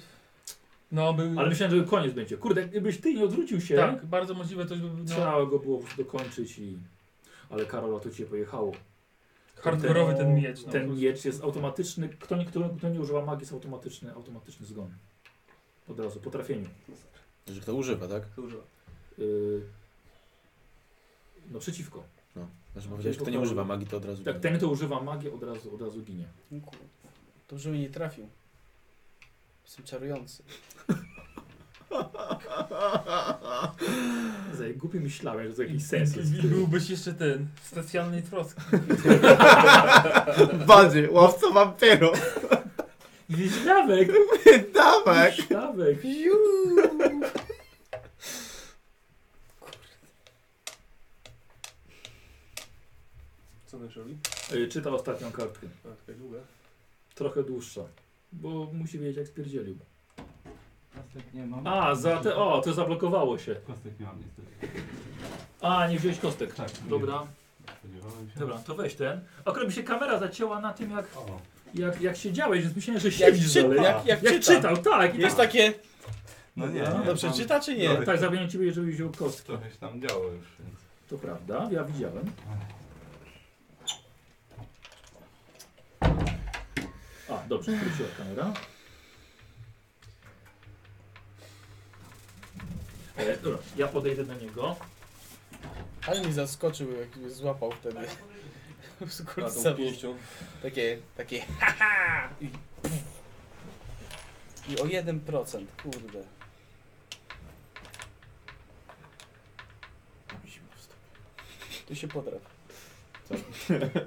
No, był...
Ale myślałem, że koniec będzie. Kurde, gdybyś ty nie odwrócił się,
Tak, bardzo możliwe to, żeby... No,
trzeba go było dokończyć i... Ale Karol, a to cię pojechało.
hardkorowy ten miecz. No,
Ten miecz jest automatyczny. Kto nie, kto, kto nie używa magii, jest automatyczny, automatyczny zgon. Od razu, po trafieniu.
Że kto używa, tak?
Kto używa?
Yy... No przeciwko.
Znaczy powiedziałeś, kto nie używa magii, to od razu.
Tak, ten, kto używa magii, od razu, od razu ginie.
No kur- Dobrze mi nie trafił. Jestem czarujący.
Za głupi myślałem, że to jakiś sens jest.
I byłbyś jeszcze ten, w specjalnej troski.
Bardziej, łowca wampirów.
Wiślawek!
Dawek.
Wiślawek!
Co on jeszcze robi?
Yy, Czyta ostatnią kartkę.
A, taka długa.
Trochę dłuższa. Bo musi wiedzieć, jak spierdzielił.
Kostek nie mam.
A, za te... O, to zablokowało się.
Kostek nie mam niestety.
A, nie wziąłeś kostek.
Tak, nie.
Dobra,
Spodziewałem się.
dobra, to weź ten. Akurat mi się kamera zacięła na tym, jak
O,
Jak, jak siedziałeś, więc myślałem, że
Jak
siedzisz
czyta,
dalej.
jak, jak
Jak
czyta.
czytał, tak. I
Jest
tak,
takie,
no nie,
Dobra.
nie.
dobrze
tam
czyta czy nie?
Dobra.
tak zamienię ciebie, jeżeli wziął kostkę.
Trochę się tam działo już. Więc...
To prawda, ja widziałem. A, dobrze, wróciła kamera. E, dobra, ja podejdę do niego.
Ale mi zaskoczył, jak mnie złapał wtedy.
Tak.
*laughs*
A,
Skurcz
tą pięścią.
Takie, takie *laughs* haha! I, pff. I o 1%, kurde. Tu się podrap. *laughs*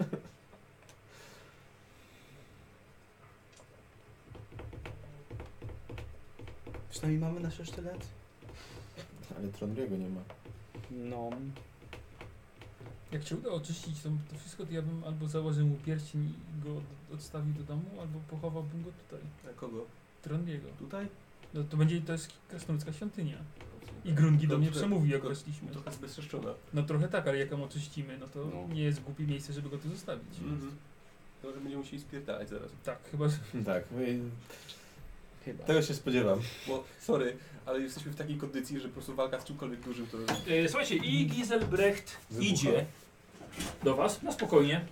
Przynajmniej mamy nasze sztylet?
Ale Trondriego
*laughs*
nie ma.
No.
Jak się uda oczyścić to, to wszystko, to ja bym albo założył mu pierścień i go od- odstawił do domu, albo pochowałbym go tutaj,
A kogo?
Trondiego.
Tutaj?
No to będzie, to jest krasnoludzka świątynia. I Grungi do mnie
Dobrze.
przemówi, jak
To-
weszliśmy.
Trochę zbezczeszczona.
No trochę tak, ale jak ją oczyścimy, no to
No.
nie jest głupie miejsce, żeby go tu zostawić.
Mhm. To, że będziemy musieli spierdalać zaraz.
Tak, chyba, że...
Tak, no i
Chyba.
tego się spodziewam.
Bo, sorry, ale jesteśmy w takiej kondycji, że po prostu walka z czymkolwiek dużym to...
E, słuchajcie, i Giselbrecht
Wybucha.
idzie do was na spokojnie.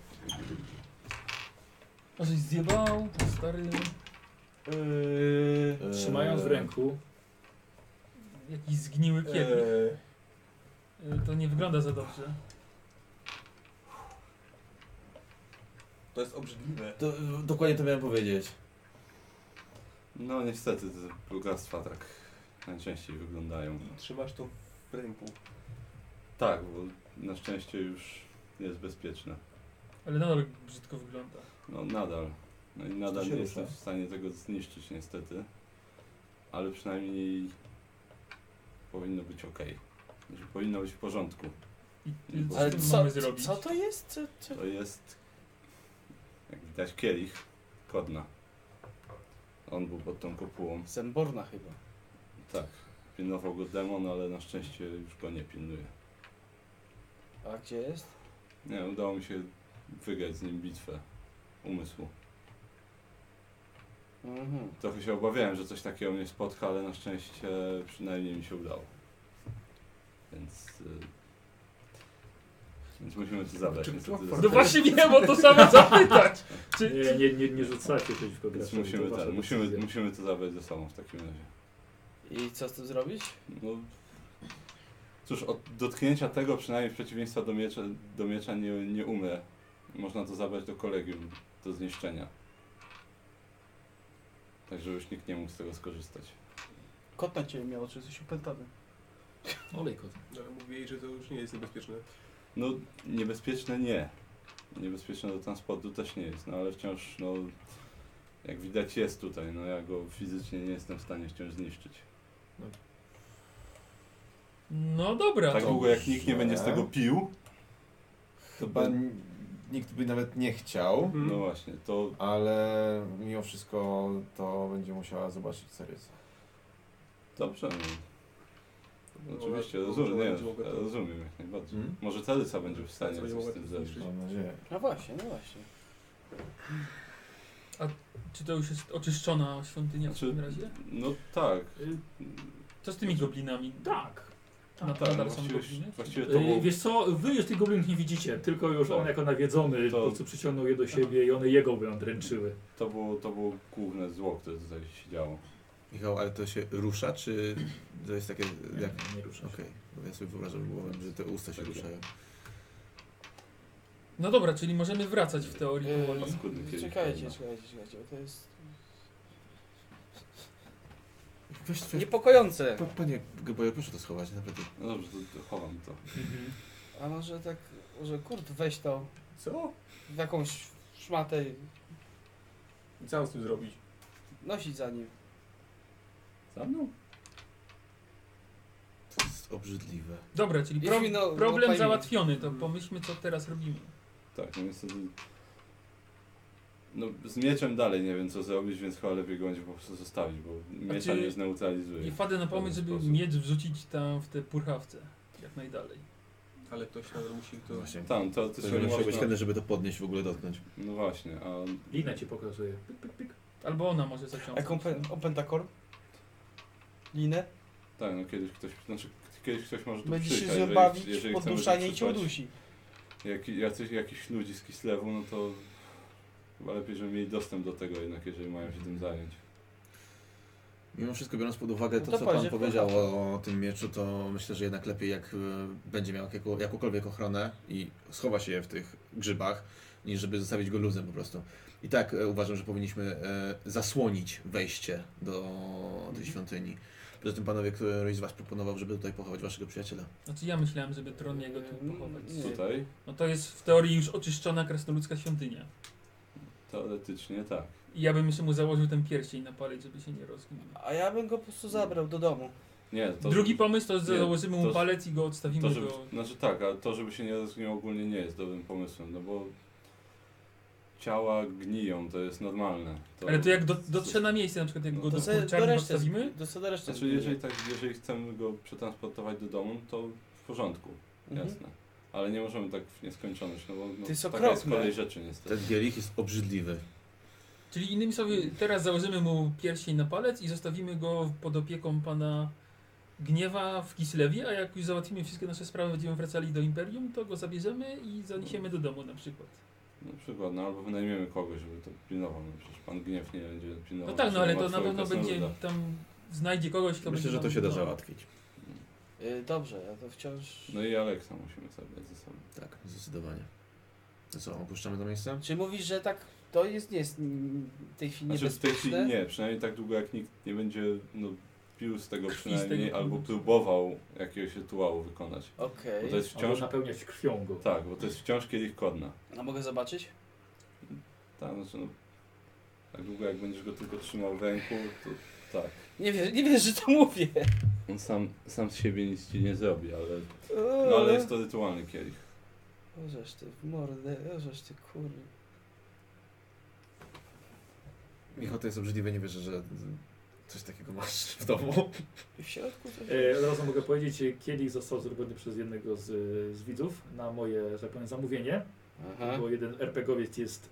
A żeś zjebał, stary...
*laughs*
Yy,
Eee,
Trzymając
E,
w ręku.
Jakiś zgniły kielich.
Eee,
Y, To nie wygląda za dobrze.
to jest obrzydliwe.
To, dokładnie to miałem powiedzieć.
No niestety, te bogactwa tak najczęściej wyglądają.
I trzymasz to w ręku.
Tak, bo na szczęście już jest bezpieczne.
Ale nadal brzydko wygląda.
No nadal. No i nadal
się
nie
rusza?
jestem w stanie tego zniszczyć niestety. Ale przynajmniej powinno być ok. Znaczy, powinno być w porządku.
I
Nie,
ty, co
Ale
z tym
co,
mamy zrobić?
co to jest? Co, co?
To jest, jak widać, kielich kodna. On był pod tą kopułą.
Zemborna chyba.
Tak, pilnował go demon, ale na szczęście już go nie pilnuje.
A gdzie jest?
Nie, udało mi się wygrać z nim bitwę umysłu.
Mhm.
Trochę się obawiałem, że coś takiego mnie spotka, ale na szczęście przynajmniej mi się udało. Więc... Y... Więc musimy to zabrać. niestety.
No właśnie wiem, bo to *laughs* samo zapytać! Czy,
Nie, nie, nie, nie rzucacie przeciwko
Więc
graczowi.
musimy,
to wasza
ten, musimy,
decyzja.
musimy to zabrać ze sobą w takim razie.
I co z tym zrobić?
No, cóż, od dotknięcia tego, przynajmniej w przeciwieństwie do miecza, do miecza nie, nie umrę. Można to zabrać do kolegium, do zniszczenia. Tak, żeby już nikt nie mógł z tego skorzystać.
Kot na ciebie miał, czy jesteś upętany?
Olej kot.
No, Ale mówię jej, że to już nie jest niebezpieczne.
No, niebezpieczne nie. Niebezpieczne do transportu też nie jest, no ale wciąż, no, jak widać jest tutaj, no ja go fizycznie nie jestem w stanie wciąż zniszczyć.
No dobra,
Tak
to No
długo jak nikt nie będzie z tego pił,
Chyba
nikt by nawet nie chciał,
Mhm.
No właśnie, to
ale mimo wszystko to będzie musiała zobaczyć Cerysa.
dobrze. No. Oczywiście,
Może-
rozumiem,
może
nie,
będzie mogła No to-
rozumiem jak najbardziej.
Mhm.
Może Taryca będzie w stanie
Taryca będzie mogła
coś z tym
to
zrobić.
zniszczyć.
Mam nadzieję.
No właśnie, no właśnie.
Czy to już jest oczyszczona świątynia w
Znaczy-
takim razie? Y,
No tak.
Co z tymi goblinami?
Tak.
Na
tak,
nadal są
właściwie,
gobliny?
właściwie to
Yy,
było...
wiesz co, wy już tych goblinów nie widzicie, tylko już on
Tak.
jako nawiedzony
To-
po prostu przyciągnął je do siebie i one jego by dręczyły.
To było, to było główne zło, które tutaj się działo.
Michał, ale to się rusza, czy to jest takie jak...
nie rusza się.
Okej, bo ja sobie wyobrażam głowę, że te usta się
Takie.
ruszają.
No dobra, czyli możemy wracać w teorii powoli.
Paskudny kielich
Yy, Czekajcie,
wina.
czekajcie, czekajcie, bo to jest
Weź, weź,
niepokojące.
pa, panie Geboje, proszę to schować, naprawdę.
No dobrze, to, to chowam to.
Mhm.
A może tak, może kurt, weź to
Co?
w jakąś szmatę i
I co mam z tym zrobić?
nosić za nim.
Za mną?
To jest obrzydliwe.
Dobra, czyli
Jeśli
pro,
no- no
problem
fajnie.
załatwiony,
Mm.
to pomyślmy co teraz robimy.
Tak, no niestety... No z mieczem dalej nie wiem co zrobić, więc chyba lepiej go będzie po prostu zostawić, bo miecza
Znaczy,
czy-
nie zneutralizuje.
I wpadłem na pomysł, żeby
sposób.
miecz wrzucić tam w te purchawce, jak najdalej.
Ale ktoś nadal musi to...
Właśnie.
Tam,
To
teoretycznie
nie musiał
można...
być chętny, żeby to podnieść, w ogóle dotknąć.
No właśnie, a
Lina cię pokazuje. Pik, pik, pik.
Albo ona może
Jak
zaciągnąć.
opę- opętakor? Linę?
Tak, no kiedyś ktoś, znaczy kiedyś ktoś może tu
Będzie się
przyjść, a
się
jeżeli-
bawić
jeżeli
w
chcemy
podduszanie i cię
przetrwać
udusi.
Jak, jacyś, jakiś ludzi z Kislewu, no to chyba lepiej, żeby mieli dostęp do tego jednak, jeżeli mają się tym zająć.
Mimo wszystko, biorąc pod uwagę
No
to,
to
co
patrz,
Pan
jak
powiedział o, o tym mieczu, to myślę, że jednak lepiej, jak y, będzie miał jaką, jakąkolwiek ochronę i schowa się w tych grzybach, niż żeby zostawić go luzem po prostu. I tak e, uważam, że powinniśmy e, zasłonić wejście do tej świątyni. Poza tym, panowie, któryś z Was proponował, żeby tutaj pochować Waszego przyjaciela.
Znaczy ja myślałem, żeby Troniego
E,
tu pochować.
Nie.
Tutaj
No to jest w teorii już oczyszczona krasnoludzka świątynia.
teoretycznie tak.
I ja bym jeszcze mu założył ten pierścień na palec, żeby się nie rozgnił.
A ja bym go po prostu zabrał do domu.
Nie, to,
Drugi pomysł to, że
nie,
założymy mu
to-
palec i go odstawimy
to żeby,
do...
Znaczy tak, ale to żeby się nie rozgniło ogólnie nie jest dobrym pomysłem, no bo ciała gniją, to jest normalne.
Ale to jak do, dotrze na miejsce, na przykład jak
No
go
To
do
sobie do
kurczarni
reszty,
odstawimy,
do sobie do reszty.
Znaczy jeżeli, tak, jeżeli chcemy go przetransportować do domu, to w porządku,
Mhm.
jasne. Ale nie możemy tak w nieskończoność, no bo no,
To jest
taka jest
okropne.
kolej rzeczy niestety.
Ten bielich jest obrzydliwy.
Czyli innymi słowy, teraz założymy mu pierścień na palec i zostawimy go pod opieką pana Gniewa w Kislewie, a jak już załatwimy wszystkie nasze sprawy, będziemy wracali do Imperium, to go zabierzemy i zaniesiemy do domu na przykład.
Na przykład, no albo wynajmiemy kogoś, żeby to pilnował. No przecież pan gniew nie będzie
No
pilnował.
tak, no ale to na
Łatwo
pewno będzie
krasnoluda.
tam, znajdzie kogoś,
Myślę,
kto będzie no,
że to
nam
się da
pilnował.
załatwić.
Y, Dobrze, ja to wciąż...
No i Aleksa musimy zabrać ze sobą.
Tak, zdecydowanie. To co, opuszczamy to miejsce?
Czy mówisz, że tak to jest, nie jest mm, w tej chwili
Znaczy w tej chwili
niebezpieczne?
nie, przynajmniej tak długo jak nikt nie będzie no, pił z tego
Krwi z
przynajmniej,
tego
albo
pił.
próbował jakiegoś rytuału wykonać.
Okej.
Bo to jest
Albo
wciąż...
napełniać krwią go.
Tak, bo to jest wciąż kielich kodna.
A mogę zobaczyć?
Tak, znaczy no, tak długo jak będziesz go tylko trzymał w ręku, to tak.
Nie wiesz, nie wiesz, że to mówię.
On sam, sam z siebie nic ci nie zrobi, ale, no, ale jest to rytualny kielich.
Ożeż ty w mordę, ożeż ty kurwa.
Michał, to jest obrzydliwe, nie wierzę, że coś takiego masz w domu.
I w środku coś...
E, Od razu mogę powiedzieć, e, kielich został zrobiony przez jednego z, e, z widzów na moje, że tak powiem, zamówienie,
Aha.
Tak.
bo jeden RPGowiec jest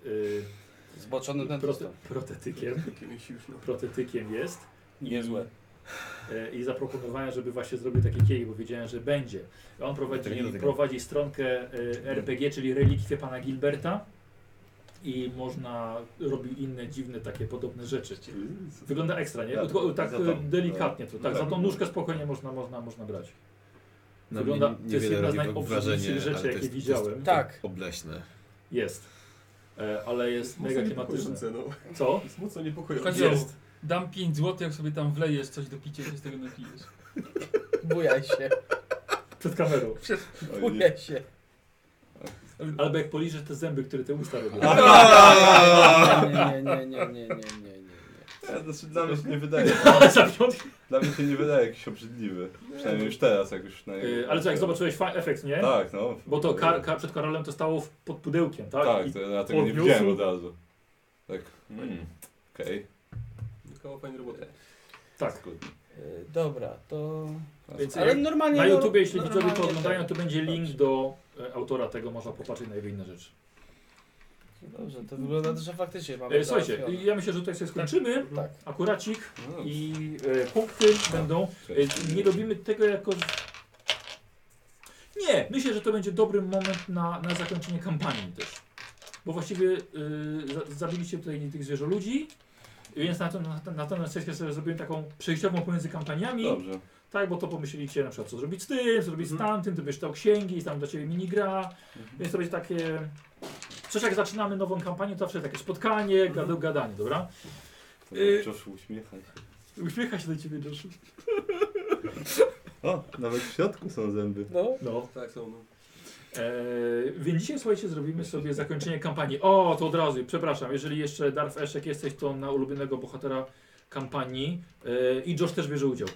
No
Zboczony
e,
ten
prote, protetykiem,
Jakimś już, no.
protetykiem jest
Niezłe.
E, i zaproponowałem, żeby właśnie zrobił taki kielich, bo wiedziałem, że będzie. On
Tego nie
prowadzi,
dotykam.
prowadzi stronkę e, RPG, czyli relikwie pana Gilberta i można, robił inne dziwne takie podobne rzeczy. Wygląda ekstra, nie?
Tak,
Tylko, tak
za
e,
tą.
delikatnie to, tak,
Tak.
No.
za tą nóżkę spokojnie można, można, można brać.
Na
Wygląda,
mnie
to jest
No, niewiele
jedna z
robi wrażenie,
najobrzydliwszych
ale
rzeczy,
to
jakie
jest- To
widziałem.
jest
Tak.
obleśne.
Jest. E, ale jest mega klimatyczne.
Niepokojące, no.
Co?
Jest mocno niepokojące.
Kazio,
Jest.
dam 5 zł, jak sobie tam wlejesz coś do picia, się z tego napijesz.
Bujaj
*laughs*
się,
Przed kamerą.
Oj, nie.
bujaj
*laughs*
się.
Albo jak poliżesz te zęby, które te usta robią.
Nie, nie, nie, nie, nie, nie, nie, nie, nie.
Ja, znaczy, dla mnie się nie wydaje.
*laughs* Za piątkę.
Dla mnie się nie wydaje jakiś obrzydliwy. Przynajmniej już teraz, jak już na
Yy, Ale co, jak zobaczyłeś fa- efekt, nie?
Tak, no.
Bo to kar, kar, przed Karolem to stało w- pod pudełkiem, tak?
Tak,
I
to ja tego nie
odniósł.
widziałem od razu. Tak,
Hmm.
mm, okej.
Wykonała fajną
E.
robotę.
tak.
Yy, Dobra, to...
Więc
Ale
jak
normalnie...
na
no-
YouTubie, jeśli widzowie
normalnie
to oglądają,
tak.
to będzie link do e, autora tego, można popatrzeć na jego inne rzeczy.
Dobrze, to wygląda, że faktycznie mamy...
E, Słuchajcie,
załatwione.
ja myślę, że tutaj sobie skończymy.
Tak.
Akuracik
No,
i e, punkty będą. E, nie robimy tego jako. Nie, myślę, że to będzie dobry moment na, na zakończenie kampanii też. Bo właściwie y, za, zabiliście tutaj tych zwierzę ludzi, więc na, tę- na, tę- na tę sesję sobie zrobiłem taką przejściową pomiędzy kampaniami.
Dobrze.
Tak, bo to pomyśleliście na przykład co zrobić z tym, co zrobić z tamtym, ty będziesz czytał księgi, tam dla ciebie minigra, więc to będzie takie... Coś jak zaczynamy nową kampanię, to zawsze takie spotkanie, gadu, gadanie, dobra?
To
Y-
Josh uśmiecha się.
Uśmiecha się do ciebie, Joshu.
O, nawet w środku są zęby.
No,
No.
Tak, są. No.
Eee, więc dzisiaj, słuchajcie, zrobimy sobie zakończenie kampanii. O, to od razu, przepraszam, jeżeli jeszcze Darf Eszek jesteś, to na ulubionego bohatera kampanii eee, i Josh też bierze udział.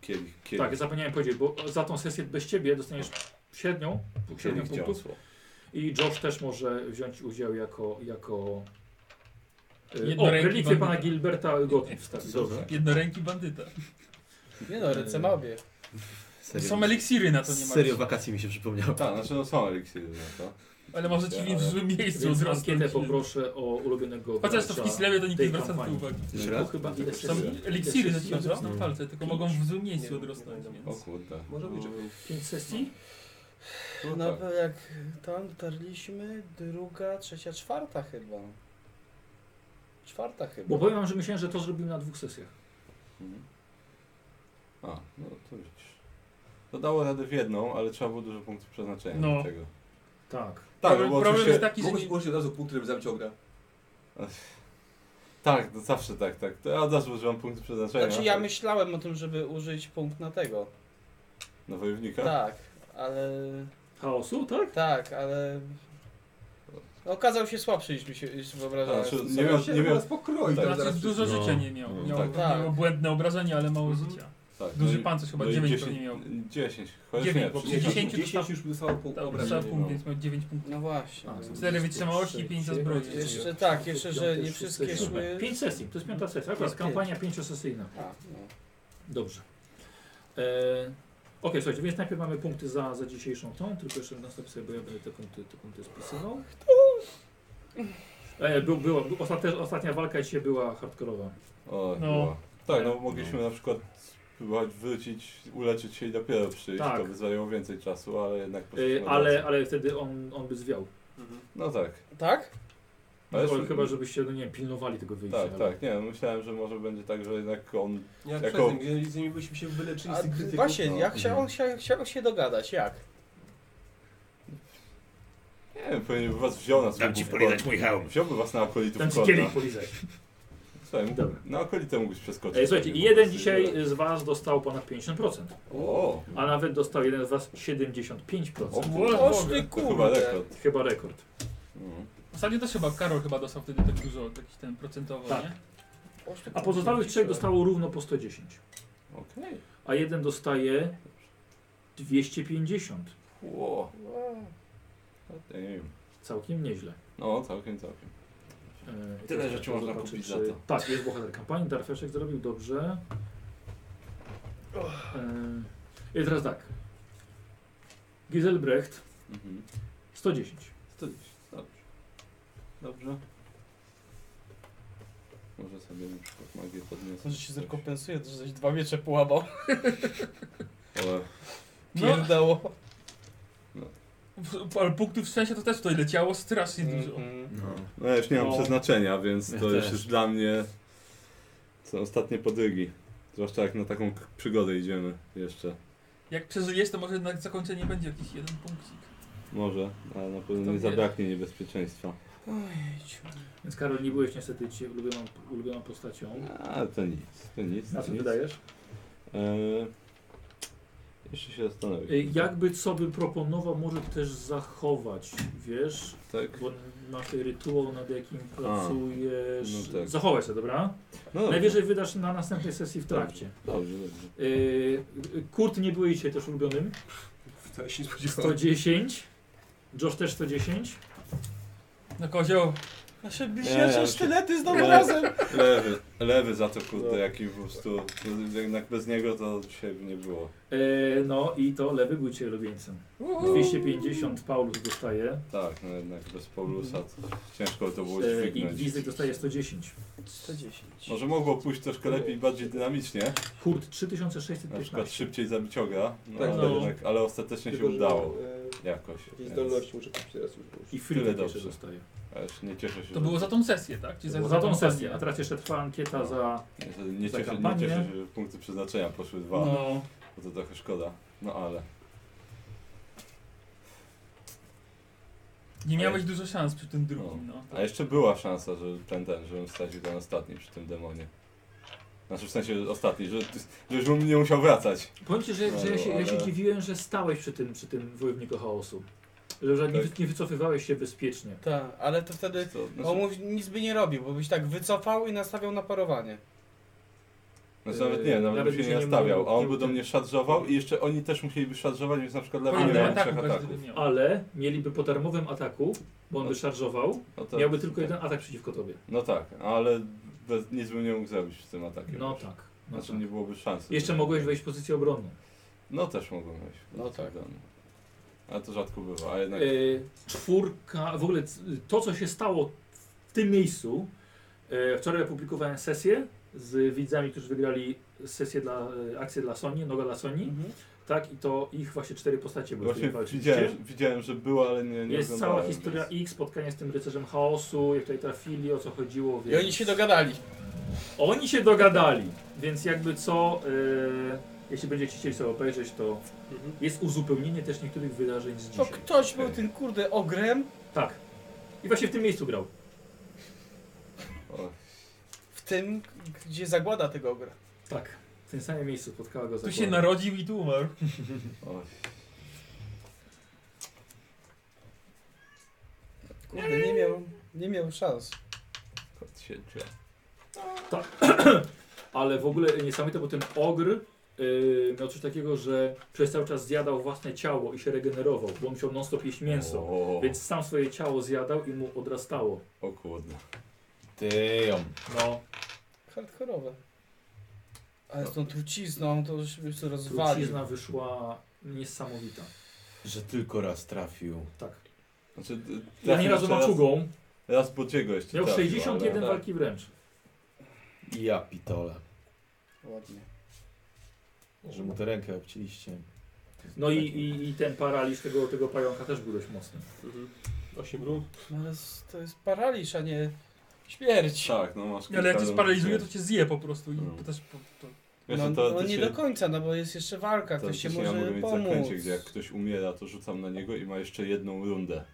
Kielich, kielich.
Tak, zapomniałem powiedzieć, bo za tą sesję bez ciebie dostaniesz siedmiu, siedmiu
kielich
punktów.
dziąsło.
I Josh też może wziąć udział jako. jako y, o,
Jednoręki
relikwie pana
bandyta.
Gilberta Gottlieb wstawił. Dobrze.
Jednoręki bandyta.
nie no, ręce ma obie.
Serio,
Są eliksiry na to nie ma.
serio wakacje mi się przypomniało.
Tak, znaczy no są eliksiry na to.
Ale może ci w złym miejscu
Więc
od razu.
ankietę poproszę o ulubionego
Chociaż to w
gracza.
Kislewie to nikt nie
tej
zwraca na to
kampanii.
uwagi.
Jeszcze
To
raz?
chyba ile
Tylko
Są
Tyle.
sesji?
eliksiry
Ile
że
sesji
ci odrosną
zrobił?
w palce, tylko mogą w złym miejscu odrosnąć,
nie,
więc...
O kurde.
Może być, że
Pięć sesji?
No
No, tak.
bo jak tam dotarliśmy, druga, trzecia, czwarta chyba. Czwarta chyba.
Bo powiem wam, że myślałem, że to zrobimy na dwóch sesjach.
Mhm. A, no to widzisz. To dało radę w jedną, ale trzeba było dużo punktów przeznaczenia
No.
do tego.
Tak.
Tak,
Problem-
bo
problem
oczywiście...
jest taki, że
Mogłeś
nie-
ułożyć od razu punkt, żeby zabić ogra.
Tak, no zawsze tak, tak. To ja od razu używam punktu przeznaczenia.
Znaczy ja myślałem o tym, żeby użyć punkt na tego.
Na wojownika?
Tak, ale...
Chaosu, tak?
Tak, ale... Okazał się słabszy niż mi się niż wyobrażałem.
A, czy-
sobie.
Nie miał- nie miał-
raz pokroi.
Tak,
Tak,
Znaczy dużo życia
no.
nie miał. Miał,
tak.
miał
Tak.
błędne obrażenie, ale mało
Mhm.
życia.
Tak,
Duży
i-
pan coś chyba
i
9
10
pewnie miał.
10, chociaż
Dziewięć,
nie,
bo
przecież-
10 to
10 już dostało punkt
Tak,
obrażenia.
nie
Dostał punkt,
miał.
więc miał 9 punktów.
No właśnie.
A, są
4 wytrzymałości i 5 za zbroję.
Jeszcze tak, jeszcze, że nie wszystkie
Pięć
szły...
Pięć sesji, to jest piąta sesja. Akurat
Pięć.
kampania pięciosesyjna.
A, no.
Dobrze. E, Okej, słuchajcie, więc najpierw mamy punkty za, za dzisiejszą tą, tylko jeszcze następny sobie, bo ja będę te punkty, te punkty spisywał. E, był, była, był, ostatnia, ostatnia walka dzisiaj była hardkorowa. E,
O,
No.
no. Tak, no mogliśmy na przykład spróbować wrócić, uleczyć się i dopiero przyjść.
Tak.
To by zajęło więcej czasu, ale jednak
E,
poszliśmy
ale,
razem.
ale wtedy on, on by zwiał.
Mhm.
No tak.
Tak?
No,
Ale
ale
już-
chyba, żebyście, no nie wiem, pilnowali tego wyjścia. no.
Tak,
ale-
tak, nie, myślałem, że może będzie tak, że jednak on
Jak
Jako-
jako... przed tym, z nimi byśmy się wyleczyli
A,
z tych krytyków.
właśnie,
no.
ja chciałem, chciałem, chciałem się dogadać, jak?
nie wiem, pewnie by was wziął na swój
Dam ci
bóg
polizać
kor-
mój hełm.
Wziąłby was na okolitów
Ten
korna.
kielich polizaj.
Słuchaj, mógł,
Dobra.
na okolitę mógłbyś przeskoczyć.
E, słuchajcie, i jeden dzisiaj z was dostał ponad 50%,
O,
a nawet dostał jeden z was 75%.
o,
O, ty
No, to chyba
kurde.
rekord.
Chyba rekord.
Mhm.
Ostatnio też chyba Karol chyba dostał wtedy tak dużo, jakiś ten procentowo,
Tak.
nie?
Oż ty
A pozostałych
kurde.
trzech dostało równo po 110.
Okej.
a jeden dostaje 250.
Ło. Damn.
Całkiem nieźle.
No, całkiem, całkiem.
E,
Tyle
to
rzeczy
zobaczę,
można kupić za
czy-
to.
Tak, jest bohater kampanii, Darfeszek zrobił dobrze. E, I teraz tak. Giselbrecht
Mhm.
110.
110, dobrze.
Dobrze.
Może sobie na przykład magię podniosę.
Może się zrekompensuje, że żeś dwa miecze połamał.
Ale
No,
Pierdało.
w- ale punktów szczęścia to też tutaj leciało strasznie dużo.
Mhm.
No.
No ja już nie mam
No.
przeznaczenia, więc
Ja
to już
też.
jest dla mnie są ostatnie podrygi. Zwłaszcza jak na taką k- przygodę idziemy jeszcze.
Jak przeżyjesz, to może jednak zakończenie będzie jakiś jeden punkcik.
Może, ale na pewno nie
Kto wie.
zabraknie niebezpieczeństwa.
Więc Karol, nie byłeś niestety ci ulubioną, ulubioną postacią.
A to nic, to nic.
Na
to
co
nic.
wydajesz?
Eee, jeszcze się
E,
zastanowię.
Jakby co by proponował, może też zachować, wiesz?
Tak?
Bo masz tutaj rytuał, nad jakim pracujesz.
no tak.
Zachowaj się, dobra?
No dobrze.
Najwyżej wydasz na następnej sesji w trakcie.
Dobrze, dobrze.
Yy, Kurt nie był jej dzisiaj też ulubionym.
Wcale się nie spodziewałem.
110. Josh też 110.
No kozioł,
Nasze
Nie,
bliźniacze
ale-
sztylety znowu
Nie.
razem.
Lewy, lewy za to kurde,
No.
jaki po prostu. no, Jednak bez niego to dzisiaj by nie było.
Yy, no i to lewy był cię ulubieńcem. 250 Paulus dostaje.
Tak, no jednak bez Paulusa to ciężko to było
Yy, I
dźwignąć.
Gwizdek dostaje 110.
110.
Może mogło pójść troszkę lepiej, bardziej dynamicznie,
Kurt
na przykład
3615.
szybciej zabiciąga, no,
Tak,
ale,
no.
jednak, ale ostatecznie
Tylko,
się
że,
udało
e,
jakoś.
Jakieś
więc-
zdolności muszę kupić teraz już. bo już-
I
Tyle
Frida jeszcze
dobrze.
dostaje.
a już nie cieszę się,
to
że-
było za tą sesję, tak? Czy
Za tą sesję, a teraz jeszcze trwa
No.
ankieta za...
że nie,
za
cieszę, nie
kampanię.
cieszę się, że punkty przeznaczenia poszły dwa,
No,
bo to trochę szkoda. No ale.
nie miałeś dużo szans przy tym drugim, no.
A jeszcze była szansa, że ten, ten, żebym stracił ten ostatni przy tym demonie. Znaczy w sensie ostatni, że, że już bym nie musiał wracać.
Powiem ci, że, że ja, się, ja się
Ale-
dziwiłem, że stałeś przy tym, przy tym wojowniku chaosu. Że, że nie,
Tak.
wy- nie wycofywałeś się bezpiecznie.
Tak, ale to wtedy
To,
No
on
znaczy,
mu nic by nie robił, bo byś tak wycofał i nastawiał na parowanie.
znaczy nawet nie, nawet,
Nawet
bym się
by
nie
się nie
nastawiał, a on
mógł-
by do mnie szadrzował i jeszcze oni też musieliby szadrzować, więc na przykład
Tak,
Po
lewy nie
jednym
miał
ataku
trzech
każdy
ataków.
by
No,
tak miał.
Ale mieliby po darmowym ataku, bo on by szarżował,
No tak,
miałby tylko jeden atak przeciwko tobie.
No tak, ale bez, nic bym nie mógł zrobić z tym atakiem.
No tak. No
Znaczy
tak.
nie byłoby szansy.
Jeszcze mogłeś wejść w pozycję obronną.
No też mogłem wejść.
No tak.
Ale to rzadko bywa, a jednak...
Yy, czwórka, w ogóle c- to co się stało w tym miejscu, yy, wczoraj opublikowałem sesję z widzami, którzy wygrali sesję dla, yy, akcję dla Sony, noga dla Sony, tak i to ich właśnie cztery postacie były.
Właśnie
które walczyły.
widziałem, widziałem, że była, ale nie, nie
Jest cała
oglądałem,
historia
więc-
ich, spotkanie z tym rycerzem chaosu, jak tutaj trafili, o co chodziło,
I
więc...
oni się dogadali.
Oni się dogadali, więc jakby co, yy, jeśli będziecie chcieli sobie obejrzeć, to
Mhm.
jest uzupełnienie też niektórych wydarzeń z
To
dzisiaj.
ktoś był tym kurde ogrem
Tak. I właśnie w tym miejscu grał.
O,
w tym, gdzie zagłada tego ogra.
Tak. W tym samym miejscu spotkała go
Tu
zagłada.
się narodził i tu umarł.
o,
Kurde, nie miał, nie miał szans.
kot siedział.
Ale w ogóle niesamowite, bo ten ogr yy, miał coś takiego, że przez cały czas zjadał własne ciało i się regenerował, bo on musiał non stop jeść mięso.
O,
Więc sam swoje ciało zjadał i mu odrastało.
o kurde.
Tyjom.
No,
Hardkorowe. Ale z tą trucizną to już by się rozwalił.
trucizna wyszła niesamowita.
Że tylko raz trafił.
Tak.
Znaczy, d-
Ja nie
trafił
razu
jeszcze
maczugą.
Raz Bodziego jeszcze
Miał
trafił,
61
Tak.
ale-
walki wręcz.
Ja pitole.
Ładnie.
Że mu tę rękę obcięliście.
No i, i, i ten paraliż tego, tego pająka też był dość mocny.
Mhm. Osiem rund.
No ale s- to jest paraliż, a nie śmierć.
Tak, no masz
Ale jak cię
kilka
sparaliżuje, to
różnych-
cię zje po prostu i
No.
też po, to
Wiesz,
No,
to,
no
to
nie
się,
do końca, no bo jest jeszcze walka,
to
ktoś się
się ja
może
mogę mieć
pomóc.
zaklęcie, gdzie jak ktoś umiera, to rzucam na niego i ma jeszcze jedną rundę.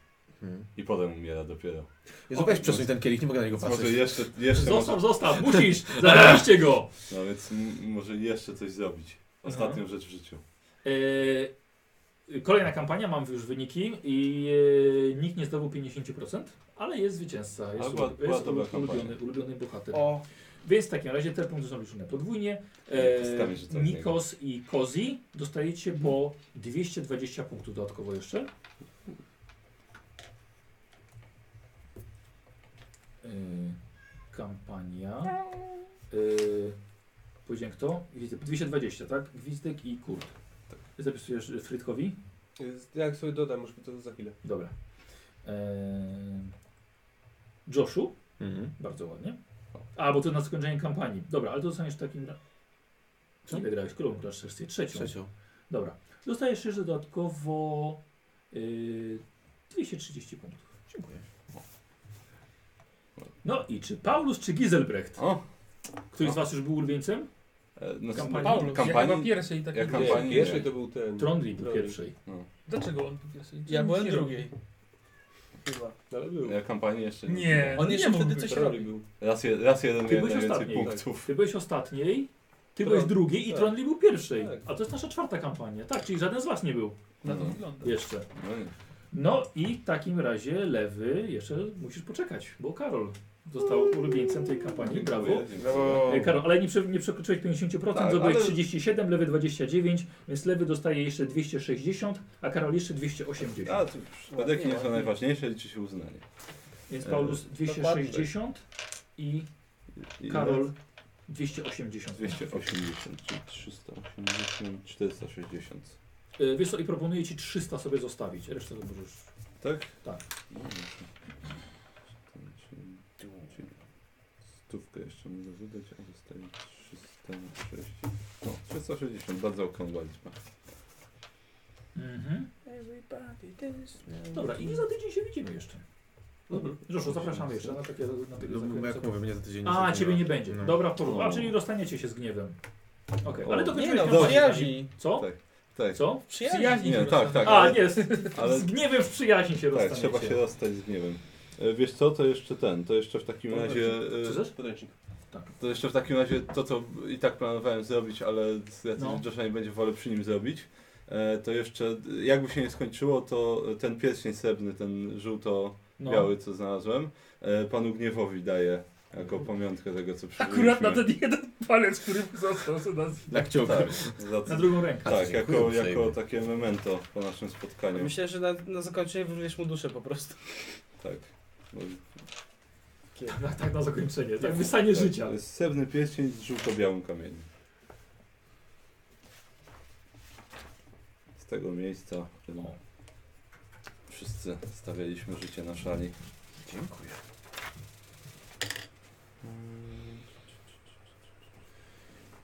Hmm.
I potem umiera dopiero.
Jezu, weź przesuń ten kielich, nie mogę na niego
Może
patrzeć.
jeszcze, jeszcze może,
Zostaw, zostaw,
*laughs*
musisz!
Tak.
Zabiliście go!
no więc m- może jeszcze coś zrobić. Ostatnią rzecz w życiu.
Yy, kolejna kampania, mam już wyniki i yy, nikt nie zdobył 50%, ale jest zwycięzca. Jest,
Ale była-
ulu-
była
jest
dobra
ulu-
kampania.
ulubiony, ulubiony bohater.
O,
Więc w takim razie te punkty są liczone podwójnie.
Stawiam, że to
E,
od niego.
Nikos i Kozi dostajecie po 220 punktów dodatkowo jeszcze. E, kampania. E, powiedziałem kto? Gwizdek. 220, tak? Gwizdek i Kurt. Zapisujesz e, Frytkowi?
Jest- Jak sobie dodam, może to za chwilę.
Dobra. E, Joshu?
Mhm.
Bardzo ładnie. A, bo to na skończenie kampanii. Dobra, ale to dostaniesz w takim... ra-
Co?
Ile grałeś? Którą grasz sesję? Trzecią.
Trzecią.
Dobra. Dostajesz jeszcze dodatkowo yy, 230 punktów.
Dziękuję.
No i czy Paulus, czy Giselbrecht?
O!
Któryś z was już był ulubieńcem?
E, no,
Kampanii.
Paulus, ja chyba
kampanii
pierwszy i tak taki
Ja
drugi.
Nie,
kampanii
pierwszy
nie.
to był ten.
Trondri był
Trondri.
pierwszej.
Dlaczego on był pierwszy?
ja byłem
Czemu się
drugiej. Chyba.
No, Ale był.
ja kampanii jeszcze
robi?
nie.
Nie,
On
nie
jeszcze
mógł
wtedy
być.
coś
Trondri
robił.
był.
Raz, je, raz jeden
Ty
miałem
byłeś
najwięcej
ostatni, tak.
punktów.
Ty byłeś ostatniej, ty
Trond-
byłeś drugiej i
tak.
Trondli był pierwszej.
Tak.
A to jest nasza czwarta kampania. Tak, czyli żaden z was nie był
Na to
No.
wygląda.
jeszcze.
No nie.
No i w takim razie lewy jeszcze musisz poczekać, bo Karol został ulubieńcem tej kampanii. Brawo.
Brawo.
E, Karol, ale nie, prze, nie przekroczyłeś 50%,
Tak,
zrobiłeś
ale-
37, lewy 29, więc lewy dostaje jeszcze 260, a Karol jeszcze 280.
A, tu przypadki nie są najważniejsze, liczy się uznanie.
Więc
e,
Paulus 260 i
I
Karol 280.
280, czyli 380, 460.
E, Wiesz co, i proponuję ci 300 sobie zostawić, resztę to możesz.
Tak?
Tak.
No dobrze. Ten, czyli- czyli Stówkę jeszcze mogę wydać, a zostaje 306. No, 360, bardzo okrągła liczba.
Mhm. Dobra, i za tydzień się widzimy jeszcze.
Mhm.
Dobra.
Zresztą zapraszamy jeszcze na takie na takie
No, jak
zakręcenie.
mówię, mnie za tydzień nie
A,
zabiera.
ciebie nie będzie.
No.
Dobra, porówno. A,
No.
czyli rozstaniecie się z gniewem. Okej,
O.
ale to
Nie
będzie
no,
miał-
w przyjaźni.
Co?
Tak,
Co?
Przyjaźni.
nie, tak, tak.
A,
ale-
nie, z,
ale-
z gniewem w przyjaźni się
Tak,
rozstaniecie.
trzeba się rozstać z gniewem. E, Wiesz co, to jeszcze ten, to jeszcze w takim razie... e,
Co też?
Podręcznik.
To jeszcze w takim razie to, co i tak planowałem zrobić, ale z racji,
No.
że Josha nie będzie wolę przy nim zrobić, e, to jeszcze, jakby się nie skończyło, to ten pierścień srebrny, ten
No.
żółto-biały, co znalazłem, e, panu Gniewowi daję jako pamiątkę tego, co przeżyliśmy.
Mhm. Akurat na ten jeden palec, który został co nas.
Dla kciuka.
Tak, za
Na
to,
drugą rękę.
tak jako,
Dziękuję
jako
uprzejmie.
takie memento po naszym spotkaniu.
Myślę, że na, na zakończenie wyrwiesz mu duszę po prostu.
Tak. Bo-
Tak, tak, na zakończenie. Tak, wystanie
tak,
życia.
to jest Srebrny pierścień z żółto-białym kamieniem. Z tego miejsca, w którym wszyscy stawialiśmy życie na szali.
Dziękuję.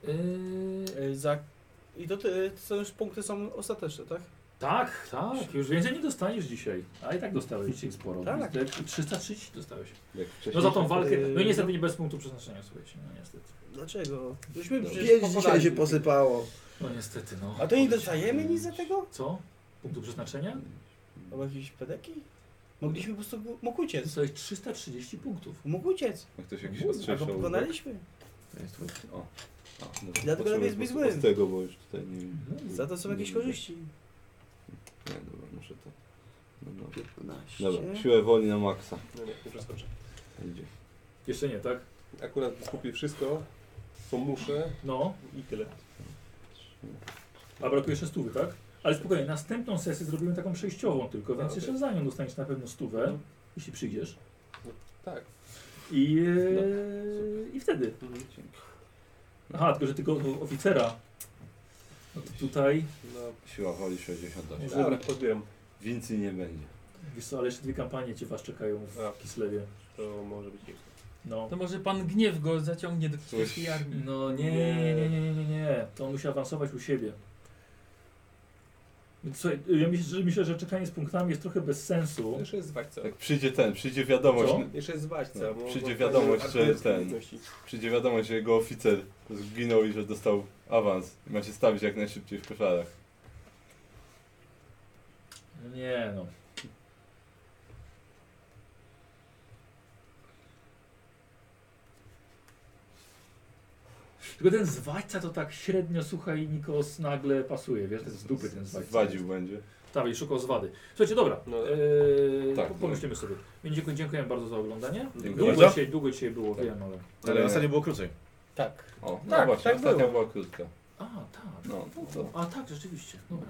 Yy,
Y, Za... I to, ty, to są już punkty są ostateczne, tak?
tak, tak. Już więcej nie dostaniesz dzisiaj. A i tak dostałeś dzisiaj sporo.
Tak.
Te 330 dostałeś.
Jak
No
wcześniej-
za tą walkę. No i niestety
no.
nie bez punktu przeznaczenia, słuchajcie. No niestety.
Dlaczego? Byśmy
Dobra.
przecież pokonali.
posypało.
No niestety, no.
A to nie dostajemy nic za tego?
Co? Punktu przeznaczenia?
Albo jakieś pedeki? Mogliśmy po prostu... Mógł uciec.
Dostałeś 330 punktów.
Mógł uciec.
Jak ktoś jakiś
Kurde,
No, A go
ostrzejszy ołówek.
pokonaliśmy.
To jest twój.
O. A, no,
Dlatego
potrzebuję
lepiej
po
być
prostu
złym.
Z tego, bo już tutaj nie wiem.
No, Za to są jakieś korzyści.
Nie, dobra, muszę to. No, dobra.
15.
dobra, siłę woli na maksa.
No nie, nie przeskoczę.
Idzie.
Jeszcze nie, tak?
Akurat kupię wszystko, co muszę
No.
i tyle.
A brakuje jeszcze stówy, tak? Ale spokojnie, następną sesję zrobimy taką przejściową tylko, więc
A,
jeszcze za nią dostaniesz na pewno stówę, jeśli przyjdziesz.
Tak.
I, e, i wtedy.
Mhm.
Aha, tylko że tylko o- oficera. No to tutaj.
No,
Siła woli 68.
dobra, podbieram.
Więcej nie będzie.
Wiesz co, ale jeszcze dwie kampanie cię was czekają
A.
w Kislewie.
To może być niezłe.
No.
To może pan gniew go zaciągnie do kiskiej armii.
No nie, nie, nie, nie, nie, nie. To on musi awansować u siebie. Więc słuchaj, ja myślę, że, myślę, że czekanie z punktami jest trochę bez sensu.
Jeszcze jest zwać co?
Jak przyjdzie ten, przyjdzie wiadomość,
Co?
Jeszcze jest zwać co?
Tak. No,
bo-
przyjdzie
bo-
wiadomość, że
artylerii
ten-
umiejętności.
przyjdzie wiadomość, że jego oficer zginął i że dostał awans. I macie stawić jak najszybciej w koszarach.
No nie no. Tylko ten zwadźca to tak średnio, słuchaj, Nikos nagle pasuje, wiesz, to jest z dupy ten zwadźca.
Zwadził będzie.
Tak, i szukał zwady. Słuchajcie, dobra,
No.
eee,
Tak,
po- pomyślimy sobie. Więc dziękuję, dziękuję bardzo za oglądanie.
Dziękuję
Długo
bardzo.
dzisiaj, długo dzisiaj było,
Tak.
wiem, ale...
Ale ostatnio było krócej.
Tak.
O, no
Tak,
właśnie,
tak
ostatnia
było.
była krótka.
A, tak.
No, to co?
A, tak, rzeczywiście, dobra.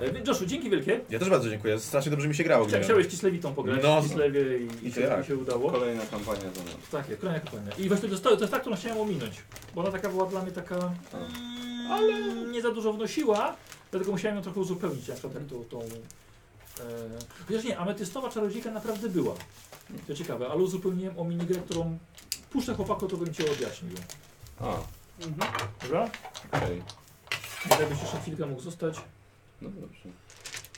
E, więc Joshu, dzięki wielkie.
Ja też bardzo dziękuję. Strasznie dobrze mi się grało.
Chcia-
gniewem.
Chciałeś Kislewitą pograć,
No.
w Kislewie i, i,
I
się,
tak.
i się udało.
Kolejna kampania za mną.
Takie, Tak kolejna kampania. I właśnie dostały, to jest ta, którą chciałem ominąć. Bo ona taka była dla mnie taka. mm, Ale nie za dużo wnosiła, dlatego musiałem ją trochę uzupełnić, na przykład jak tą. tą e, chociaż nie, ametystowa czarodziejka naprawdę była. To ciekawe, ale uzupełniłem o minigrę, którą puszczę chłopaku, to bym cię odjaśnił.
A,
Dobra?
okej.
Jakbyś jeszcze chwilkę mógł zostać.
No dobrze.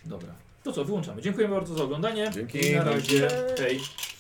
Dobra. To co, wyłączamy. Dziękuję bardzo za oglądanie.
Dzięki.
I na razie. Hej.